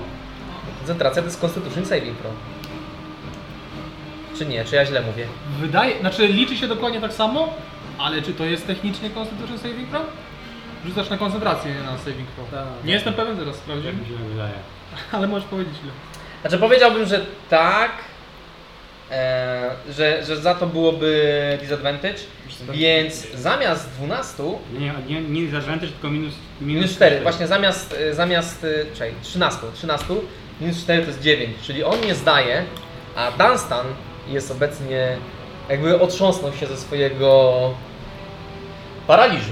[SPEAKER 1] Koncentracja to jest Constitution saving throw. Czy nie, czy ja źle mówię?
[SPEAKER 3] Wydaje, znaczy liczy się dokładnie tak samo, ale czy to jest technicznie Constitution Saving Throw? Rzucasz na koncentrację, nie na Saving Throw.
[SPEAKER 4] Tak. Mhm.
[SPEAKER 3] Nie jestem pewien, teraz sprawdzimy,
[SPEAKER 2] jak mi się tak wydaje.
[SPEAKER 3] ale możesz powiedzieć ile.
[SPEAKER 1] Znaczy powiedziałbym, że tak, e, że, że za to byłoby disadvantage, więc zamiast 12
[SPEAKER 2] Nie, nie, nie disadvantage, tylko minus...
[SPEAKER 1] minus 4, właśnie zamiast, e, zamiast e, czekaj, 13, 13 minus 4 to jest 9, czyli on nie zdaje, a Dunstan jest obecnie jakby otrząsnął się ze swojego paraliżu.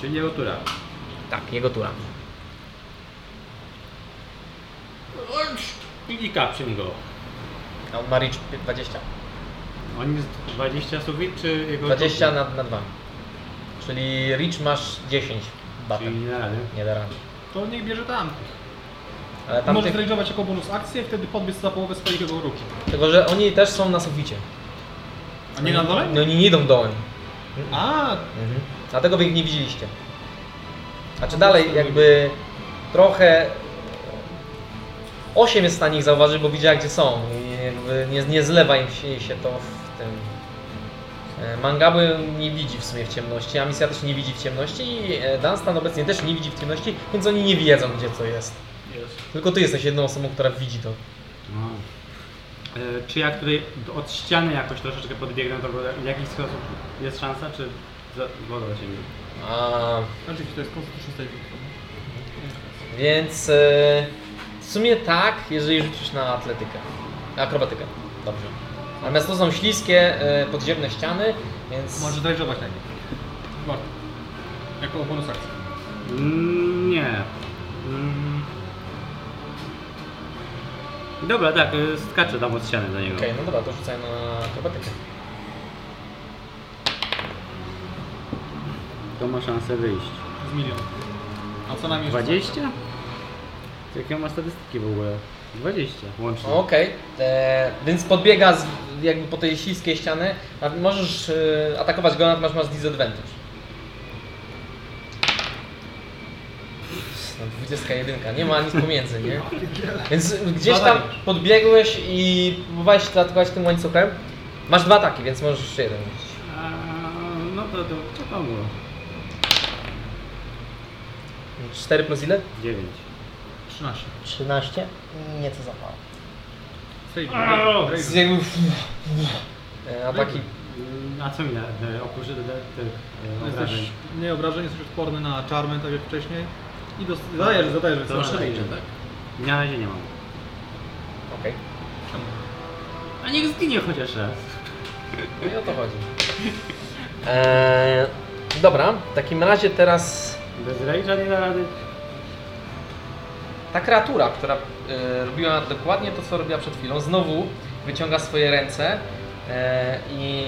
[SPEAKER 2] Czyli jego tura.
[SPEAKER 1] Tak, jego tura.
[SPEAKER 2] I kapciem go.
[SPEAKER 1] A on ma reach 20.
[SPEAKER 2] On jest 20 sufit, czy jego...
[SPEAKER 1] 20 na, na 2. Czyli reach masz 10
[SPEAKER 2] Czyli
[SPEAKER 1] batem.
[SPEAKER 2] nie da rady.
[SPEAKER 1] Nie da rady.
[SPEAKER 3] To niech bierze tamtych.
[SPEAKER 1] Ale
[SPEAKER 3] Możesz
[SPEAKER 1] tamtych,
[SPEAKER 3] zrealizować jako bonus akcję, wtedy podbiec za połowę swojego ruchu.
[SPEAKER 1] tylko, że oni też są na suficie.
[SPEAKER 3] A
[SPEAKER 4] Mhm.
[SPEAKER 3] nie na dole?
[SPEAKER 1] No oni nie idą dołem.
[SPEAKER 3] A,
[SPEAKER 1] Mhm. Dlatego wy ich nie widzieliście.
[SPEAKER 3] No
[SPEAKER 1] Znaczy dalej jakby trochę... 8 jest w stanie ich zauważyć, bo widziała gdzie są i jakby nie, nie zlewa im się, się to w tym... E, Mangaby nie widzi w sumie w ciemności, a misja też nie widzi w ciemności i e, Dunstan obecnie też nie widzi w ciemności, więc oni nie wiedzą gdzie co jest. Tylko ty jesteś jedną osobą, która widzi to.
[SPEAKER 2] No. E, Czy jak tutaj od ściany jakoś troszeczkę podbiegnę, to w jakiś sposób jest szansa, czy za- woda do ciebie?
[SPEAKER 1] A...
[SPEAKER 3] znaczy to jest Constitution Saving Throw.
[SPEAKER 1] Więc e, w sumie tak, jeżeli rzucisz na atletykę. Akrobatykę. Dobrze. Natomiast to są śliskie, e, podziemne ściany, więc.
[SPEAKER 3] Możesz zrealizować na nie. Warto. Jako bonus akcji.
[SPEAKER 2] Mm, Nie. Mm. Dobra, tak, e, skaczę tam od ściany do niego.
[SPEAKER 1] Okej, no dobra, to rzucaj na akrobatykę.
[SPEAKER 2] To ma szansę wyjść.
[SPEAKER 3] Z milion. A co nam jest?
[SPEAKER 2] 20? Jakie on ma statystyki w ogóle? 20 łącznie.
[SPEAKER 1] Okej, e, więc podbiega z, jakby po tej śliskiej ściany. A możesz e, atakować go, natomiast masz disadvantage. No, 21, nie ma nic pomiędzy, nie? Więc gdzieś tam podbiegłeś i próbowałeś atakować tym łańcuchem. Masz dwa ataki, więc możesz jeszcze jeden rzucić.
[SPEAKER 2] A, no to to, to pomogło.
[SPEAKER 1] 4 plus ile?
[SPEAKER 2] 9.
[SPEAKER 3] 13.
[SPEAKER 1] 13? Nieco za mało.
[SPEAKER 3] Saving.
[SPEAKER 1] Więc jakby... E, Ataki
[SPEAKER 2] A co mi na na- oprócz te- tych e, obrażeń?
[SPEAKER 3] Jesteś nie obrażeń, jesteś odporny na czarmy, tak jak wcześniej. I dost- zadajesz, zadajesz.
[SPEAKER 2] To
[SPEAKER 3] zadajesz.
[SPEAKER 2] na razie. Na razie nie mam.
[SPEAKER 1] Okej.
[SPEAKER 2] A niech zginie chociaż raz.
[SPEAKER 1] No i o to chodzi. Eee, dobra, w takim razie teraz
[SPEAKER 2] Bez rage'a nie da rady.
[SPEAKER 1] ta kreatura, która e, robiła dokładnie to, co robiła przed chwilą, znowu wyciąga swoje ręce e, i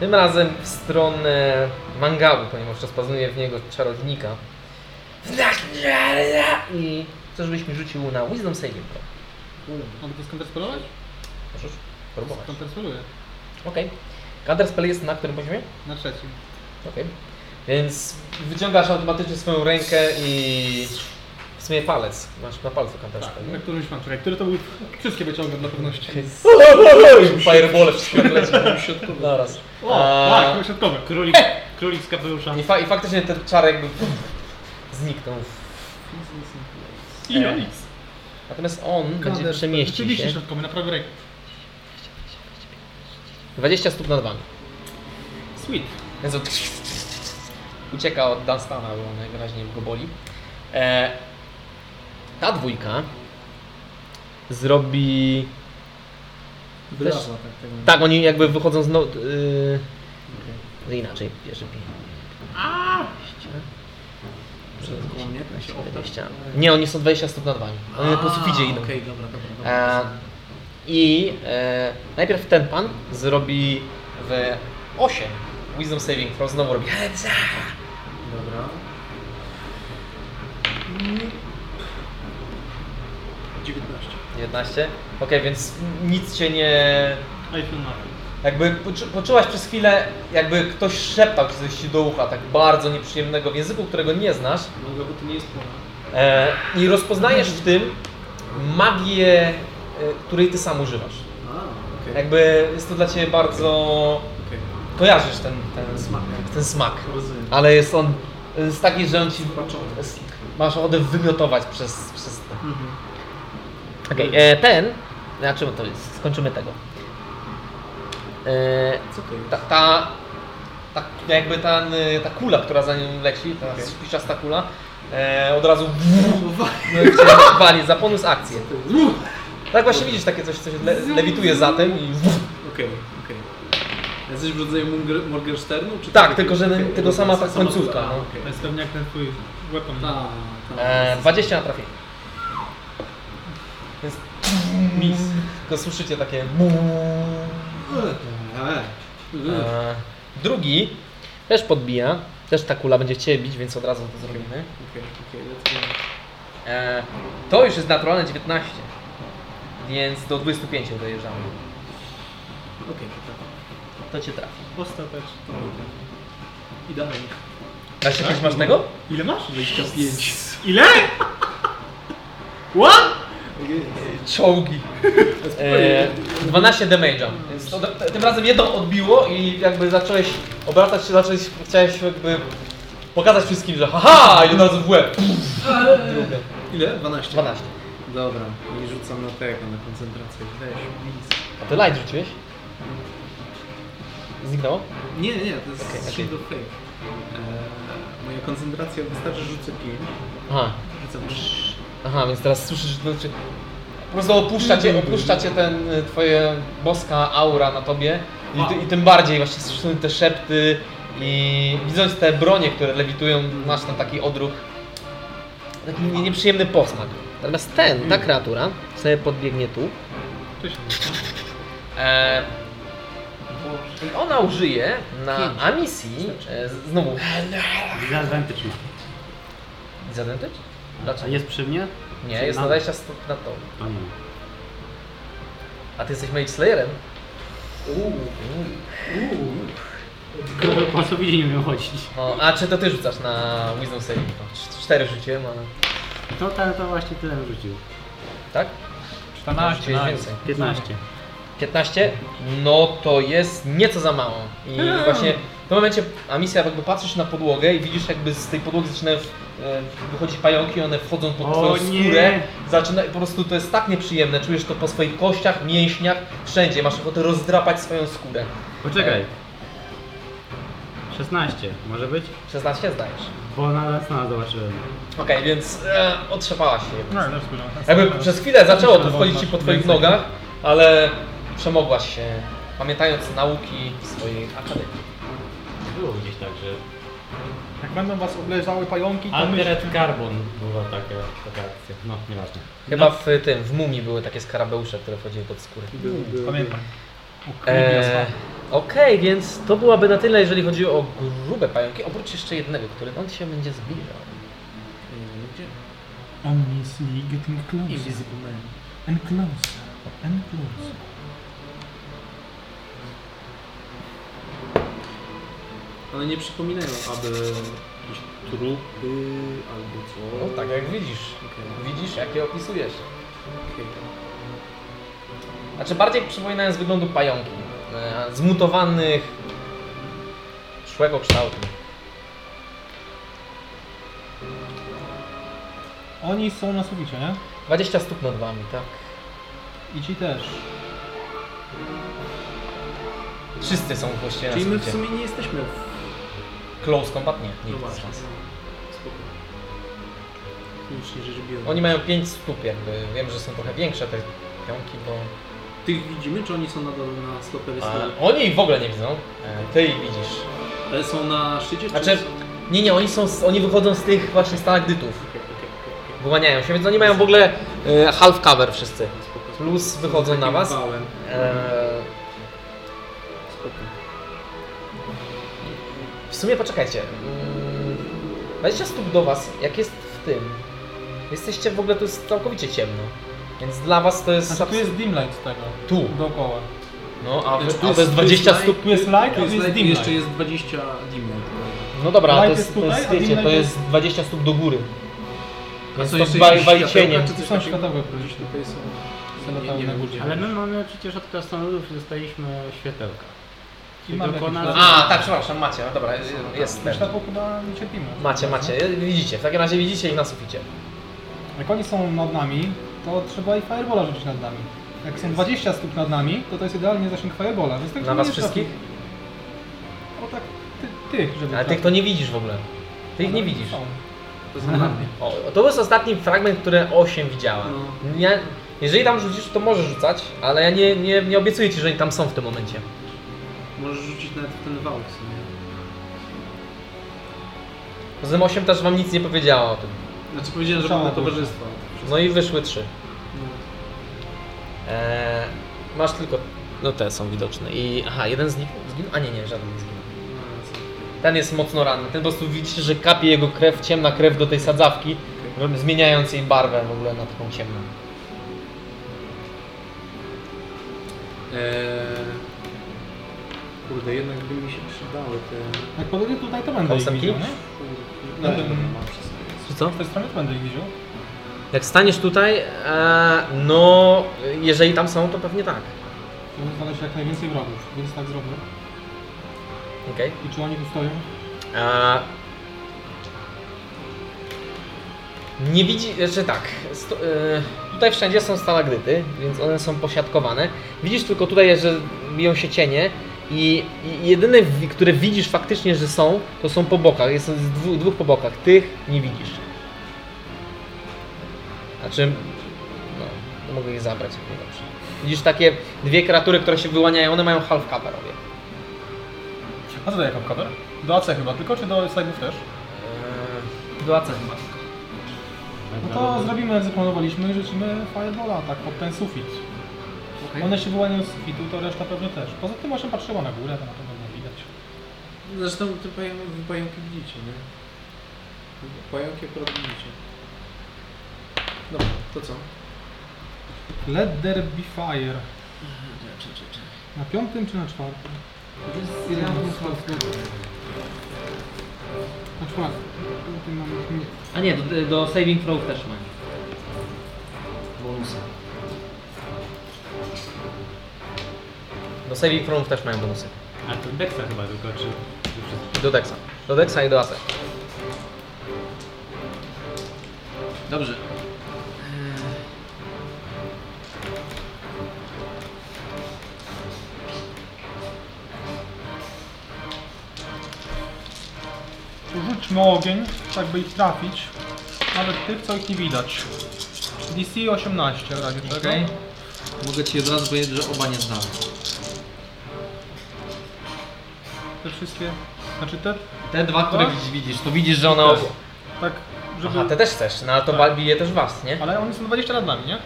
[SPEAKER 1] Tym razem w stronę mangabu, ponieważ rozpoznaję w niego czarownika. I chcę, żebyś mi rzucił na Wisdom Saving Pro.
[SPEAKER 3] Mogę to skonterspelować?
[SPEAKER 1] Możesz próbować.
[SPEAKER 3] Skonterspeluję.
[SPEAKER 1] Okej. Okay. Counter spell jest na którym poziomie?
[SPEAKER 3] Na trzecim.
[SPEAKER 1] Okej. Więc wyciągasz automatycznie swoją rękę i w sumie palec. Masz na palcu counter
[SPEAKER 3] Tak,
[SPEAKER 1] spell.
[SPEAKER 3] na którymś mam. Czekaj, który to był? Wszystkie wyciągam dla pewności.
[SPEAKER 1] Tak. Fireball No wszystko jak leci. Zaraz.
[SPEAKER 3] O,
[SPEAKER 1] A-
[SPEAKER 3] tak, środkowy.
[SPEAKER 8] Królik, królik z kapelusza.
[SPEAKER 1] I, fa- I faktycznie ten czar jakby zniknął.
[SPEAKER 3] I Onyx.
[SPEAKER 1] Natomiast on będzie przemieścił
[SPEAKER 3] Rzeczywiście
[SPEAKER 1] się
[SPEAKER 3] środkowy, na prawej ręku.
[SPEAKER 1] 20 stóp nad wami.
[SPEAKER 8] Sweet.
[SPEAKER 1] Więc on ucieka od Dunstana, bo on najwyraźniej go boli. E, ta dwójka zrobi...
[SPEAKER 4] Wylazła tak tego.
[SPEAKER 1] Tak, oni jakby wychodzą z... No, y, że Inaczej, pierwszy pi.
[SPEAKER 4] Przed koło mnie, tak się obtarł.
[SPEAKER 1] 20. Nie, oni są 20 stóp nad wami. Oni E, po suficie idą.
[SPEAKER 4] Okej, dobra, dobra,
[SPEAKER 1] E,
[SPEAKER 4] dobra.
[SPEAKER 1] I e, najpierw ten pan zrobi w 8 Wisdom Saving Throw, znowu robi
[SPEAKER 4] Dobra. Mm. 19.
[SPEAKER 1] 11. Okej, więc nic cię nie...
[SPEAKER 8] I feel nothing.
[SPEAKER 1] Jakby poczu- poczułaś przez chwilę, jakby ktoś szeptał ci coś do ucha, tak bardzo nieprzyjemnego w języku, którego nie znasz.
[SPEAKER 4] Mogę, No, bo to nie jest pora.
[SPEAKER 1] E, I rozpoznajesz w tym magię, e, której ty sam używasz.
[SPEAKER 4] A, okej.
[SPEAKER 1] Jakby jest to dla ciebie bardzo...
[SPEAKER 4] okej.
[SPEAKER 1] Kojarzysz ten, ten,
[SPEAKER 4] Smak. tak.
[SPEAKER 1] ten smak.
[SPEAKER 4] Rozumiem.
[SPEAKER 1] Ale jest on jest taki, że on ci...
[SPEAKER 4] Zobaczony.
[SPEAKER 1] jest- Masz ochotę wymiotować przez, przez to.
[SPEAKER 4] Mhm.
[SPEAKER 1] Okej, e, ten... Znaczy, to jest, skończymy tego. E,
[SPEAKER 4] Co to jest? Tak.
[SPEAKER 1] ta, ta, ta jakby ta, ta kula, która za nią leci, ta
[SPEAKER 4] Okej.
[SPEAKER 1] okay. spiczasta kula, e, od razu No
[SPEAKER 4] Uwa-
[SPEAKER 1] wali za bonus akcję. Tak właśnie widzisz takie coś, co się le, lewituje za tym i
[SPEAKER 4] Okej, okej. Okay. Jesteś w rodzaju Munger- Morgensternu? Czy
[SPEAKER 1] Tak,
[SPEAKER 4] to-
[SPEAKER 1] tylko że
[SPEAKER 4] okej,
[SPEAKER 1] tylko sama ta końcówka,
[SPEAKER 4] A,
[SPEAKER 1] no.
[SPEAKER 4] okej.
[SPEAKER 8] To jest pewnie jak ten twój weapon.
[SPEAKER 3] Tak.
[SPEAKER 4] Ta, ta.
[SPEAKER 1] e, 20 na trafienie. Więc mis. Tylko słyszycie takie
[SPEAKER 4] E, e.
[SPEAKER 1] e, Drugi też podbija, też ta kula będzie w Ciebie bić, więc od razu to zrobimy.
[SPEAKER 4] Okej, okej, lecimy.
[SPEAKER 1] E, to już jest naturalne 19, więc do 25 dojeżdżamy.
[SPEAKER 4] Okej, to tak.
[SPEAKER 1] To Cię trafi.
[SPEAKER 8] Ostatecznie.
[SPEAKER 4] Idealnie.
[SPEAKER 1] A się masz tego?
[SPEAKER 8] Ile masz?
[SPEAKER 4] 25.
[SPEAKER 8] Ile? What?
[SPEAKER 1] Czołgi. E, 12 damage'a. Więc to, t- tym razem jedno odbiło i jakby zacząłeś obracać się, zacząłeś, chciałeś jakby pokazać wszystkim, że haha i od razu w łeb. Drugie.
[SPEAKER 4] Ile? 12.
[SPEAKER 1] 12.
[SPEAKER 4] Dobra, i rzucam na tego, na koncentrację. Weź, blisko.
[SPEAKER 1] A ty light rzuciłeś? Zniknęło?
[SPEAKER 4] Nie, nie, to jest
[SPEAKER 1] Okej,
[SPEAKER 4] okay, Shield of Faith. Eee, moja koncentracja wystarczy, że rzucę 5.
[SPEAKER 1] Aha.
[SPEAKER 4] Rzucam
[SPEAKER 1] Aha, więc teraz słyszysz, że znaczy, po prostu opuszcza cię, opuszcza cię ten, y, twoje boska aura na tobie i, ty- i tym bardziej właśnie słyszą te szepty i widząc te bronie, które lewitują, masz tam taki odruch, taki nie- nieprzyjemny posmak. Natomiast ten, ta
[SPEAKER 8] Hmm.
[SPEAKER 1] kreatura sobie podbiegnie tu
[SPEAKER 8] Cześć.
[SPEAKER 1] e, i ona użyje na amisji, e, z- znowu,
[SPEAKER 8] Disadvantage ma.
[SPEAKER 1] disadvantage?
[SPEAKER 8] A
[SPEAKER 1] Dlaczego?
[SPEAKER 8] jest przy mnie?
[SPEAKER 1] Nie, jest na 20 stóp na to.
[SPEAKER 8] To nie.
[SPEAKER 1] A ty jesteś Mage Slayerem?
[SPEAKER 8] Tylko Po co widzi nie miał chodzić.
[SPEAKER 1] No, a czy to ty rzucasz na Wisdom Saving? No, cz- cztery rzuciłem, ale...
[SPEAKER 8] To ten to właśnie tyle rzucił.
[SPEAKER 1] Tak?
[SPEAKER 9] 14,
[SPEAKER 1] Rzuciłeś
[SPEAKER 9] nice.
[SPEAKER 1] więcej.
[SPEAKER 8] 15.
[SPEAKER 1] 15? No to jest nieco za mało. I właśnie w tym momencie Amicia jakby patrzysz na podłogę i widzisz jakby z tej podłogi zaczynają e, wychodzić pająki, one wchodzą pod
[SPEAKER 8] O
[SPEAKER 1] twoją
[SPEAKER 8] nie!
[SPEAKER 1] skórę. Zaczyna, po prostu to jest tak nieprzyjemne, czujesz to po swoich kościach, mięśniach, wszędzie. Masz ochotę rozdrapać swoją skórę.
[SPEAKER 8] Poczekaj. 16 może być?
[SPEAKER 1] 16 zdajesz.
[SPEAKER 8] Bo na raz na zobaczyłem.
[SPEAKER 1] Okej, więc e, otrzepałaś się.
[SPEAKER 3] No, ale spójrzmy.
[SPEAKER 1] Jakby przez chwilę zaczęło to wchodzić ci po twoich nogach, ale przemogłaś się, pamiętając nauki w swojej akademii.
[SPEAKER 2] Było gdzieś tak, że
[SPEAKER 3] Tak, Jak będą was obleżały pająki, to myśl...
[SPEAKER 2] Altered Carbon była taka, taka akcja. No, nieważne.
[SPEAKER 1] Chyba w tym, w mumii były takie skarabeusze, które wchodziły pod skórę.
[SPEAKER 4] Był, był,
[SPEAKER 3] Pamiętam.
[SPEAKER 1] Eee, Okej, więc to byłaby na tyle, jeżeli chodzi o grube pająki. Oprócz jeszcze jednego, który on się będzie zbliżał.
[SPEAKER 4] e, Gdzie?
[SPEAKER 9] Omnisly getting closer
[SPEAKER 4] Invisible Man.
[SPEAKER 9] and closer and closer.
[SPEAKER 4] One nie przypominają, aby jakieś trupy albo co.
[SPEAKER 1] No tak, jak widzisz.
[SPEAKER 4] Okej,
[SPEAKER 1] Widzisz, jakie opisujesz.
[SPEAKER 4] okej.
[SPEAKER 1] Znaczy bardziej przypominają z wyglądu pająki. e, Zmutowanych, szłego kształtu.
[SPEAKER 3] Oni są na suficie, nie?
[SPEAKER 1] 20 stóp nad wami, tak?
[SPEAKER 3] I ci też.
[SPEAKER 1] Wszyscy są właściwie
[SPEAKER 4] Czyli
[SPEAKER 1] na
[SPEAKER 4] my w
[SPEAKER 1] suficie.
[SPEAKER 4] sumie nie jesteśmy w...
[SPEAKER 1] Close combat? Nie,
[SPEAKER 4] No
[SPEAKER 1] nikt z
[SPEAKER 4] właśnie.
[SPEAKER 1] was.
[SPEAKER 4] Spoko. Technicznie rzecz biorąc.
[SPEAKER 1] Oni mają 5 stóp jakby. Wiem, że są trochę większe te pionki, bo...
[SPEAKER 4] Tych widzimy, czy oni są nadal na stopery
[SPEAKER 1] A, oni ich w ogóle nie widzą. E, Ty ich widzisz.
[SPEAKER 4] Ale są na szczycie,
[SPEAKER 1] Znaczy-
[SPEAKER 4] czy są...
[SPEAKER 1] Nie, nie, oni, są, z- oni wychodzą z tych właśnie stalagdytów.
[SPEAKER 4] Okej, okej, okej, okej.
[SPEAKER 1] Wyłaniają się, więc oni mają w ogóle e, half cover wszyscy.
[SPEAKER 4] Spoko, spoko.
[SPEAKER 1] Plus wychodzą na
[SPEAKER 4] Takim
[SPEAKER 1] was.
[SPEAKER 4] wałem.
[SPEAKER 1] E,
[SPEAKER 4] Spoko.
[SPEAKER 1] W sumie poczekajcie. Mm, 20 stóp do was, jak jest w tym. Jesteście w ogóle, to jest całkowicie ciemno. Więc dla was to jest...
[SPEAKER 3] Znaczy tu
[SPEAKER 1] abs-
[SPEAKER 3] jest dim light tego.
[SPEAKER 1] tu.
[SPEAKER 3] Dookoła.
[SPEAKER 1] No, a,
[SPEAKER 4] Znaczy, tu
[SPEAKER 1] wy, a
[SPEAKER 4] jest-
[SPEAKER 1] to jest
[SPEAKER 4] tu
[SPEAKER 1] 20
[SPEAKER 4] jest
[SPEAKER 1] stóp.
[SPEAKER 3] Tu jest light, a tu
[SPEAKER 4] Tu jest,
[SPEAKER 3] jest
[SPEAKER 4] light,
[SPEAKER 3] dim
[SPEAKER 4] jeszcze
[SPEAKER 3] light.
[SPEAKER 4] jest 20 dimów.
[SPEAKER 1] No dobra,
[SPEAKER 3] Light
[SPEAKER 1] to jest,
[SPEAKER 3] jest
[SPEAKER 1] to jest,
[SPEAKER 3] tutaj, a
[SPEAKER 1] wiecie,
[SPEAKER 3] dim
[SPEAKER 1] to
[SPEAKER 3] light
[SPEAKER 1] jest 20 stóp do góry.
[SPEAKER 4] A
[SPEAKER 1] Więc
[SPEAKER 4] są
[SPEAKER 1] to
[SPEAKER 4] jeszcze
[SPEAKER 1] dwa,
[SPEAKER 4] jakieś
[SPEAKER 1] dwa
[SPEAKER 4] światełka,
[SPEAKER 1] cienie.
[SPEAKER 4] czy
[SPEAKER 3] Tu są
[SPEAKER 4] coś takiego?
[SPEAKER 3] światełe
[SPEAKER 4] Gdzieś
[SPEAKER 3] projekty.
[SPEAKER 4] tutaj są...
[SPEAKER 3] Są
[SPEAKER 4] Nie, nie
[SPEAKER 3] na
[SPEAKER 4] wiem,
[SPEAKER 3] górze.
[SPEAKER 4] gdzie.
[SPEAKER 2] Ale my mamy przecież od krasnoludów i dostaliśmy światełka. Czyli
[SPEAKER 3] mamy
[SPEAKER 2] tylko
[SPEAKER 3] jakieś
[SPEAKER 2] nas...
[SPEAKER 3] latarki.
[SPEAKER 1] A, tak, przepraszam, macie, no dobra, jest- jest
[SPEAKER 3] Też
[SPEAKER 1] też.
[SPEAKER 3] taką chyba nie cierpimy.
[SPEAKER 1] Macie, macie, widzicie, w takim razie widzicie ich na suficie.
[SPEAKER 3] Jak oni są nad nami, to trzeba i firebola rzucić nad nami. Jak są 20 stóp nad nami, to to jest idealnie zasięg firebola. Więc tak
[SPEAKER 1] Na
[SPEAKER 3] żeby
[SPEAKER 1] was
[SPEAKER 3] nie trafił.
[SPEAKER 1] wszystkich?
[SPEAKER 3] O tak, ty, tych, żeby
[SPEAKER 1] Ale tych
[SPEAKER 3] trafił.
[SPEAKER 1] to nie widzisz w ogóle. Ty
[SPEAKER 4] No.
[SPEAKER 1] ich nie
[SPEAKER 3] Ale
[SPEAKER 1] widzisz.
[SPEAKER 3] są.
[SPEAKER 4] To są lampy.
[SPEAKER 1] O, to był ostatni fragment, który 8 widziała.
[SPEAKER 4] No.
[SPEAKER 1] Ja, jeżeli tam rzucisz, to możesz rzucać, ale ja nie, nie, nie obiecuję ci, że oni tam są w tym momencie.
[SPEAKER 4] Możesz rzucić nawet w ten wał w sumie.
[SPEAKER 1] Poza tym 8 też wam nic nie powiedziała o tym.
[SPEAKER 4] Znaczy powiedziałem, że mam na towarzystwo.
[SPEAKER 1] No i wyszły 3.
[SPEAKER 4] No.
[SPEAKER 1] Eee, masz tylko. No te są widoczne. I. Aha, jeden z nich zginął. A nie, nie, żaden nie zginął.
[SPEAKER 4] no,
[SPEAKER 1] Ten jest mocno ranny. Ten po prostu widzicie, że kapie jego krew, ciemna krew do tej sadzawki, zmieniając jej barwę w ogóle na taką ciemną.
[SPEAKER 4] Eee, kurde, jednak by mi się przydały te...
[SPEAKER 3] Jak podejdę tutaj, to będę ich
[SPEAKER 1] Konstantin?
[SPEAKER 3] widział, nie?
[SPEAKER 4] No,
[SPEAKER 3] Na
[SPEAKER 4] dobra,
[SPEAKER 3] tym-
[SPEAKER 4] mam przy sobie.
[SPEAKER 1] Czy co?
[SPEAKER 3] Z tej strony to będę ich widział.
[SPEAKER 1] Jak staniesz tutaj, eee, no jeżeli tam są, to pewnie tak.
[SPEAKER 3] Żeby znaleźć jak najwięcej wrogów, więc tak zrobię.
[SPEAKER 1] Okej.
[SPEAKER 3] I czy oni tu stoją?
[SPEAKER 1] Eee, nie widzi, znaczy tak, sto, eee, tutaj wszędzie są stalagdyty, więc one są posiadkowane. Widzisz tylko tutaj, że biją się cienie i, i jedyne, wi- które widzisz faktycznie, że są, to są po bokach, jest z dwóch, dwóch po bokach, tych nie widzisz. Znaczy, no, to mogę je zabrać, jak nie dobrze. Widzisz takie dwie kreatury, które się wyłaniają, one mają half cover obie.
[SPEAKER 3] A co to jako cover? Do AC chyba tylko, czy do slajdów też?
[SPEAKER 10] Do AC chyba.
[SPEAKER 3] No to zrobimy jak zaplanowaliśmy i rzucimy firebola, tak, pod ten sufit. One się wyłaniają z sufitu, to reszta pewnie też. Poza tym właśnie patrzyła na górę, to na pewno nie widać.
[SPEAKER 4] Zresztą te pająki, wy pająki widzicie, nie? Pająki akurat widzicie. Dobra, to co?
[SPEAKER 3] Let there be fire. Na piątym czy na czwartym? Na czwartym. Na piątym mamy już mniej.
[SPEAKER 9] A nie, do, do saving throw też mają.
[SPEAKER 10] Bonusy.
[SPEAKER 1] Do saving throwów też mają bonusy.
[SPEAKER 2] A to Dexa chyba tylko, czy... czy wszystko?
[SPEAKER 1] Do Dexa. Do Dexa i do Ace.
[SPEAKER 10] Dobrze.
[SPEAKER 3] Rzućmy ogień, tak by ich trafić. Nawet tych, co ich nie widać. DC 18 w razie czego.
[SPEAKER 10] Okej. Mogę ci od razu powiedzieć, że oba nie znamy.
[SPEAKER 3] Te wszystkie, znaczy te,
[SPEAKER 10] Te dwa, które widzisz, widzisz, to widzisz, że one
[SPEAKER 1] Też.
[SPEAKER 10] obu.
[SPEAKER 3] tak, żeby...
[SPEAKER 1] No. Aha, te też chcesz, no ale to
[SPEAKER 3] Tak.
[SPEAKER 1] tak. bije też was, nie?
[SPEAKER 3] Ale oni są 20 lat nami, nie?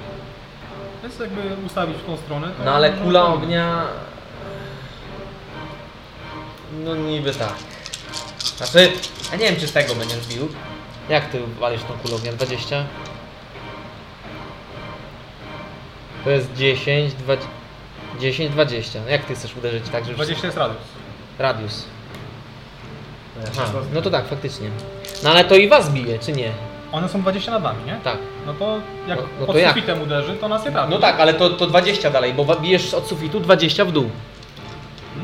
[SPEAKER 3] Więc jakby ustawić w tą stronę. to
[SPEAKER 1] No ale
[SPEAKER 3] może
[SPEAKER 1] kula
[SPEAKER 3] to-
[SPEAKER 1] ognia... No niby tak. Znaczy, ja nie wiem czy tego będziesz bił. Jak ty walisz tą kulą ognia? 20? To jest 10, 20, 10, 20. No Jak ty chcesz uderzyć tak, żeby...
[SPEAKER 8] 20 jest radius.
[SPEAKER 1] Radius. Aha, no to tak, faktycznie. No ale to i was bije, czy nie?
[SPEAKER 3] One są 20 nad nami, nie?
[SPEAKER 1] Tak.
[SPEAKER 3] No to jak
[SPEAKER 1] No- no
[SPEAKER 3] pod
[SPEAKER 1] to jak?
[SPEAKER 3] sufitem uderzy, to nas nie trafi.
[SPEAKER 1] No tak, ale to, to 20 dalej, bo wa- bijesz od sufitu 20 w dół.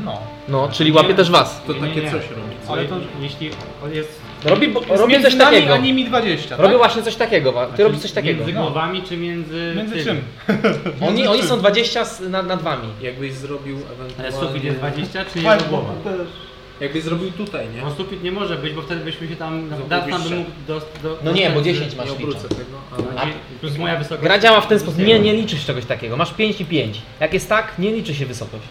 [SPEAKER 3] No.
[SPEAKER 1] No, czyli łapie też was.
[SPEAKER 4] To
[SPEAKER 8] Nie,
[SPEAKER 4] takie
[SPEAKER 8] nie, nie.
[SPEAKER 4] coś robi. co?
[SPEAKER 8] Ale to jeśli on jest
[SPEAKER 1] Robi, bo, robi
[SPEAKER 3] Między
[SPEAKER 1] No, coś
[SPEAKER 3] nami
[SPEAKER 1] takiego.
[SPEAKER 3] a nimi 20, tak?
[SPEAKER 1] Robię właśnie coś takiego, wa- ty robisz coś takiego.
[SPEAKER 8] między głowami, czy między...
[SPEAKER 3] No. Między
[SPEAKER 8] tym?
[SPEAKER 3] czym?
[SPEAKER 1] Oni, oni są 20 z, nad, nad wami.
[SPEAKER 4] Jakbyś zrobił
[SPEAKER 8] Ale sufit
[SPEAKER 4] ewentualnie...
[SPEAKER 8] jest 20, czy jego głowa?
[SPEAKER 4] Jakbyś zrobił tutaj, nie?
[SPEAKER 8] No sufit nie może być, bo wtedy byśmy No, się tam...
[SPEAKER 4] Zobacz,
[SPEAKER 8] Datna by
[SPEAKER 4] wyższe.
[SPEAKER 8] mógł do, do,
[SPEAKER 1] No nie, bo
[SPEAKER 8] do-
[SPEAKER 1] 10 masz
[SPEAKER 4] Nie
[SPEAKER 1] licza.
[SPEAKER 4] obrócę tego, ale...
[SPEAKER 8] A, plus moja wysokość.
[SPEAKER 1] Gra działa w ten sposób, nie, nie liczysz czegoś takiego, masz 5 i 5. Jak jest tak, nie liczy się wysokość.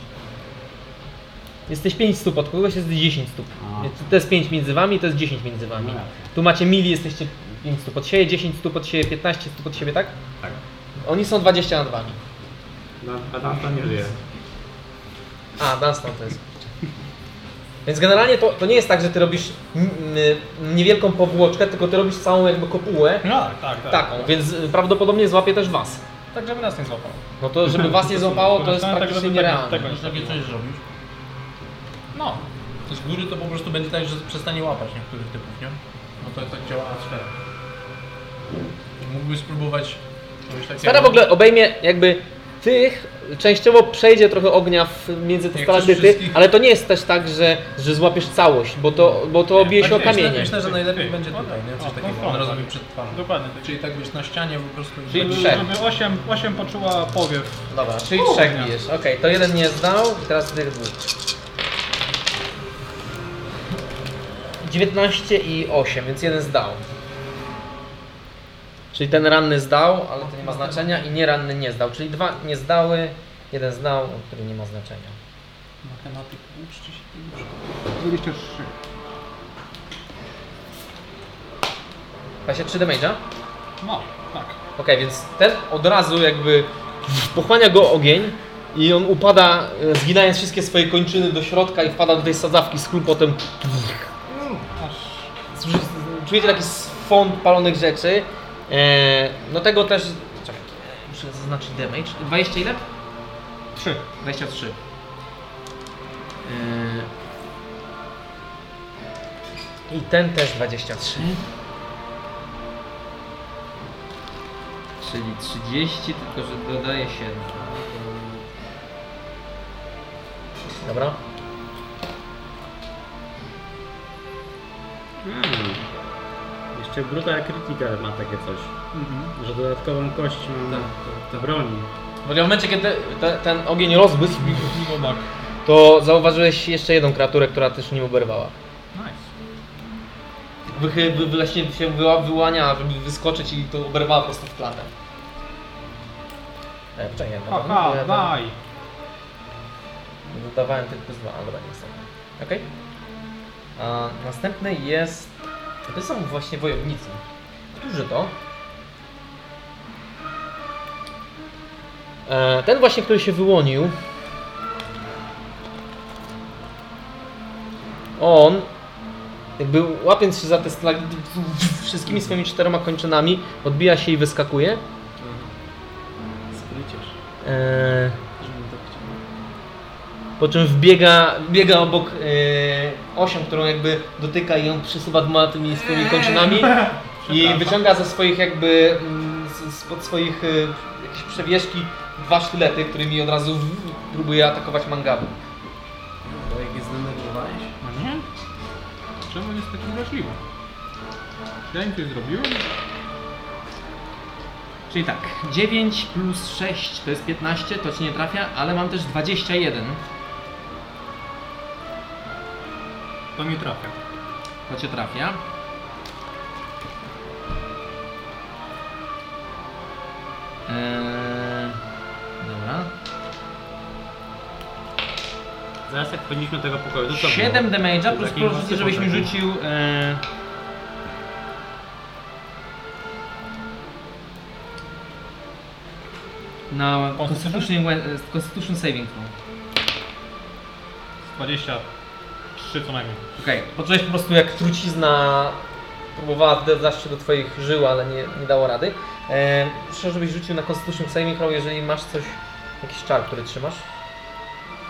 [SPEAKER 1] Jesteś 5 stóp, od kogoś jest 10 stóp.
[SPEAKER 8] A.
[SPEAKER 1] Więc To jest 5 między wami, to jest 10 między wami.
[SPEAKER 8] No tak.
[SPEAKER 1] Tu macie mili, jesteście 5 stóp od siebie, 10 stóp od siebie, 15 stóp od siebie, tak?
[SPEAKER 8] Tak.
[SPEAKER 1] Oni są 20 nad wami.
[SPEAKER 8] No, A tam to nie żyje.
[SPEAKER 1] A, Dunstan to jest. Więc generalnie to, to nie jest tak, że ty robisz mm, mm, niewielką powłoczkę, tylko ty robisz całą jakby kopułę
[SPEAKER 3] No, tak, tak. tak.
[SPEAKER 1] taką, więc y, prawdopodobnie złapie też was.
[SPEAKER 3] Tak, żeby nas nie złapał.
[SPEAKER 1] No to żeby was nie złapało, to jest
[SPEAKER 3] Tak, tak,
[SPEAKER 1] praktycznie
[SPEAKER 3] żeby
[SPEAKER 1] nierealne.
[SPEAKER 3] Tego nie
[SPEAKER 11] Możesz takie coś zrobić.
[SPEAKER 3] No.
[SPEAKER 11] Z góry to po prostu będzie tak, że przestanie łapać niektórych typów, nie? No to tak działa sfera. Mógłbyś spróbować czegoś takiego.
[SPEAKER 1] Sfera w ogóle obejmie jakby tych, częściowo przejdzie trochę ognia w, między te
[SPEAKER 11] Jak
[SPEAKER 1] stalaktyty,
[SPEAKER 11] chcesz wszystkich-
[SPEAKER 1] ale to nie jest też tak, że, że złapiesz całość, bo to, bo to bije
[SPEAKER 3] tak
[SPEAKER 1] się o
[SPEAKER 11] myślę,
[SPEAKER 1] kamienie.
[SPEAKER 11] Myślę, że najlepiej będzie tutaj, nie?
[SPEAKER 3] O,
[SPEAKER 4] no
[SPEAKER 11] Coś takiego.
[SPEAKER 3] kontrola.
[SPEAKER 11] Od razu mi przed twarzą.
[SPEAKER 3] Dokładnie.
[SPEAKER 11] Czyli tak byś na ścianie po prostu...
[SPEAKER 1] Czyli
[SPEAKER 11] Żeby-
[SPEAKER 1] trzech.
[SPEAKER 3] Żeby 8, 8 poczuła powiew.
[SPEAKER 1] Dobra, czyli trzech bijesz. Okej, to jeden nie zdał, teraz tych dwóch. 19 i 8, więc jeden zdał. Czyli ten ranny zdał, ale to nie ma znaczenia i nieranny nie zdał. Czyli dwa nie zdały, jeden zdał, który nie ma znaczenia.
[SPEAKER 3] Matematyk, uczcie się. 23.
[SPEAKER 1] Właśnie 3 damage'a?
[SPEAKER 3] No, tak.
[SPEAKER 1] Okej, więc ten od razu jakby pochłania go ogień i on upada, e, zginając wszystkie swoje kończyny do środka i wpada do tej sadzawki z klupotem. Słyszy- Czujecie taki swąd palonych rzeczy. E, no tego też... Czekaj, muszę zaznaczyć damage. 20 ile?
[SPEAKER 3] 3.
[SPEAKER 1] 23. Yy... I ten też 23.
[SPEAKER 10] Czyli 30, tylko że dodaje 7.
[SPEAKER 1] Dobra.
[SPEAKER 8] Hmm. Jeszcze Brutal Critical ma takie coś,
[SPEAKER 3] Mhm.
[SPEAKER 8] że dodatkową kość ma
[SPEAKER 3] Tak,
[SPEAKER 8] do broni.
[SPEAKER 1] Bo w momencie, kiedy te, ten ogień rozbłysł,
[SPEAKER 3] Mimo tak.
[SPEAKER 1] to zauważyłeś jeszcze jedną kreaturę, która też nim oberwała.
[SPEAKER 3] Nice.
[SPEAKER 1] Wychy, wy, właśnie się wyła, wyłania, żeby wyskoczyć i to oberwała po prostu w klatę. E, Czekaj, no,
[SPEAKER 3] Aha,
[SPEAKER 1] ja tam
[SPEAKER 3] daj.
[SPEAKER 1] dodawałem tylko plus dwa, a dobra, nie są. Okej. A Następny jest... To są właśnie wojownicy. Którzy to? E, ten właśnie, który się wyłonił. On jakby łapiąc się za te stalagmity wszystkimi swoimi czteroma kończynami, odbija się i wyskakuje.
[SPEAKER 4] Spryciarz,
[SPEAKER 1] Eee,
[SPEAKER 4] żebym tak chciał.
[SPEAKER 1] po czym wbiega, biega obok eee, osią, którą jakby dotyka i ją przysuwa dwoma tymi swoimi kończynami i wyciąga ze swoich jakby, mm, z- spod swoich e, jakieś przewieszki dwa sztylety, którymi od razu w- próbuje atakować mangabu.
[SPEAKER 4] Bo jak je zdenerwowałeś,
[SPEAKER 3] No nie? Czemu on jest taki wrażliwy? Ja im coś zrobiłem?
[SPEAKER 9] Czyli tak, 9 plus 6 to jest 15, to ci nie trafia, ale mam też 21.
[SPEAKER 3] To mi trafia.
[SPEAKER 9] To cię trafia. Eee, dobra.
[SPEAKER 8] Zaraz jak wchodziliśmy do tego pokoju, to co
[SPEAKER 9] 7 damage'a plus
[SPEAKER 8] Taki
[SPEAKER 9] proszę,
[SPEAKER 8] mocny
[SPEAKER 9] żebyś mi
[SPEAKER 8] podatek.
[SPEAKER 9] rzucił. E... Na
[SPEAKER 3] Constitution?
[SPEAKER 9] Constitution, we- e, Constitution Saving Throw.
[SPEAKER 3] 20. trzy co najmniej.
[SPEAKER 1] Okej, poczułeś po prostu jak trucizna próbowała wdrażać się do twoich żył, ale nie, nie dało rady. E, proszę, żebyś rzucił na Constitution Saving Throw, jeżeli masz coś, jakiś czar, który trzymasz.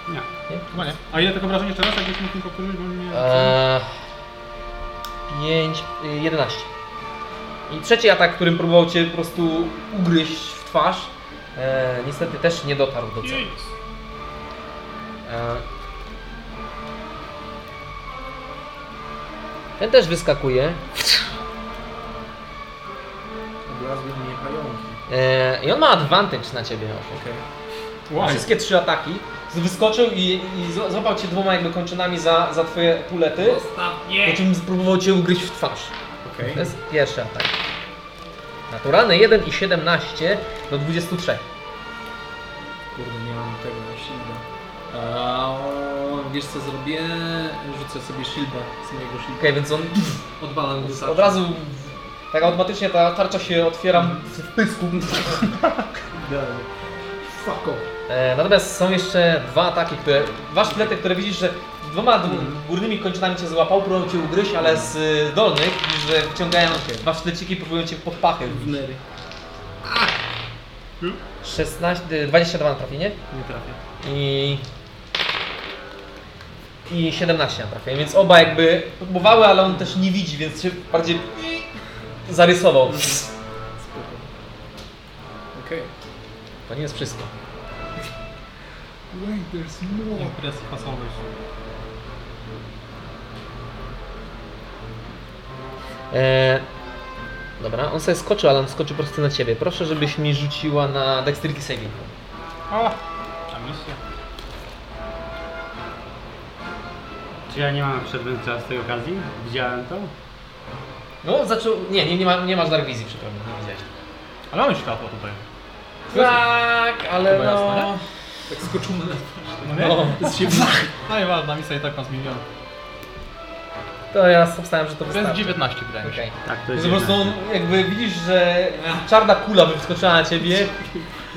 [SPEAKER 8] Nie.
[SPEAKER 1] Nie?
[SPEAKER 3] Chyba nie. A ile tych obrażeń jeszcze raz, jakbyś mógł mi powtórzyć, bo mnie...
[SPEAKER 1] E, 5, 11. y, I trzeci atak, którym próbował cię po prostu ugryźć w twarz, e, niestety też nie dotarł do celu. E, ten też wyskakuje.
[SPEAKER 4] Odlazły mnie pająki.
[SPEAKER 1] E, I on ma advantage na ciebie.
[SPEAKER 3] Wow.
[SPEAKER 1] Wszystkie trzy ataki. Z- Wyskoczył i, i zła- złapał cię dwoma jakby kończynami za, za twoje pulety. Po czym spróbował cię ugryźć w twarz.
[SPEAKER 4] Okej.
[SPEAKER 1] To jest pierwszy atak. Naturalny 1 i 17 do 23.
[SPEAKER 4] Kurde, nie mam tego shielda. Eee, wiesz co zrobię? Rzucę sobie shielda z mojego shielda.
[SPEAKER 1] Okej, więc on
[SPEAKER 4] Odwalam go
[SPEAKER 1] od razu tak automatycznie ta tarcza się otwiera w w pysku.
[SPEAKER 4] Idealnie. Fuck off.
[SPEAKER 1] E, natomiast są jeszcze dwa ataki, które. Dwa sztylety, które widzisz, że dwoma d- górnymi kończynami cię złapał, próbował cię ugryźć, ale z y, dolnych widzisz, że wyciągają dwa sztyleciki próbują cię pod pachy.
[SPEAKER 4] W nery.
[SPEAKER 1] 16, y, 22 na trafienie
[SPEAKER 4] Nie trafię.
[SPEAKER 1] i. I 17 na trafienie, więc oba jakby próbowały, ale on też nie widzi, więc się bardziej zarysował.
[SPEAKER 4] Spoko. Okej.
[SPEAKER 1] To nie jest wszystko.
[SPEAKER 4] Wait, there's more.
[SPEAKER 3] Impresy pasowość.
[SPEAKER 1] E, dobra, on sobie skoczył, ale on skoczy prosto na ciebie. Proszę, żebyś mi rzuciła na Dexterity Saving.
[SPEAKER 3] A, a misja.
[SPEAKER 8] Czy ja nie mam przedmiotu z tej okazji? Widziałem to?
[SPEAKER 1] No, zaczął. Nie, nie, nie, ma, nie masz dark wizji, przepraszam, nie widziałeś.
[SPEAKER 3] Ale mamy światło tutaj.
[SPEAKER 1] Tak, ale
[SPEAKER 3] Chyba
[SPEAKER 1] no.
[SPEAKER 3] jasne,
[SPEAKER 4] Tak skoczymy na
[SPEAKER 3] No
[SPEAKER 1] no.
[SPEAKER 3] No i ważna misja i tak nas milion.
[SPEAKER 1] To ja obstawiam, że to
[SPEAKER 3] To jest
[SPEAKER 1] wystarczy.
[SPEAKER 3] 19 wydaje mi się.
[SPEAKER 1] Okej.
[SPEAKER 8] Tak, to
[SPEAKER 1] No Po
[SPEAKER 8] jest
[SPEAKER 1] prostu
[SPEAKER 8] jedna.
[SPEAKER 1] on jakby widzisz, że czarna kula wyskoczyła na ciebie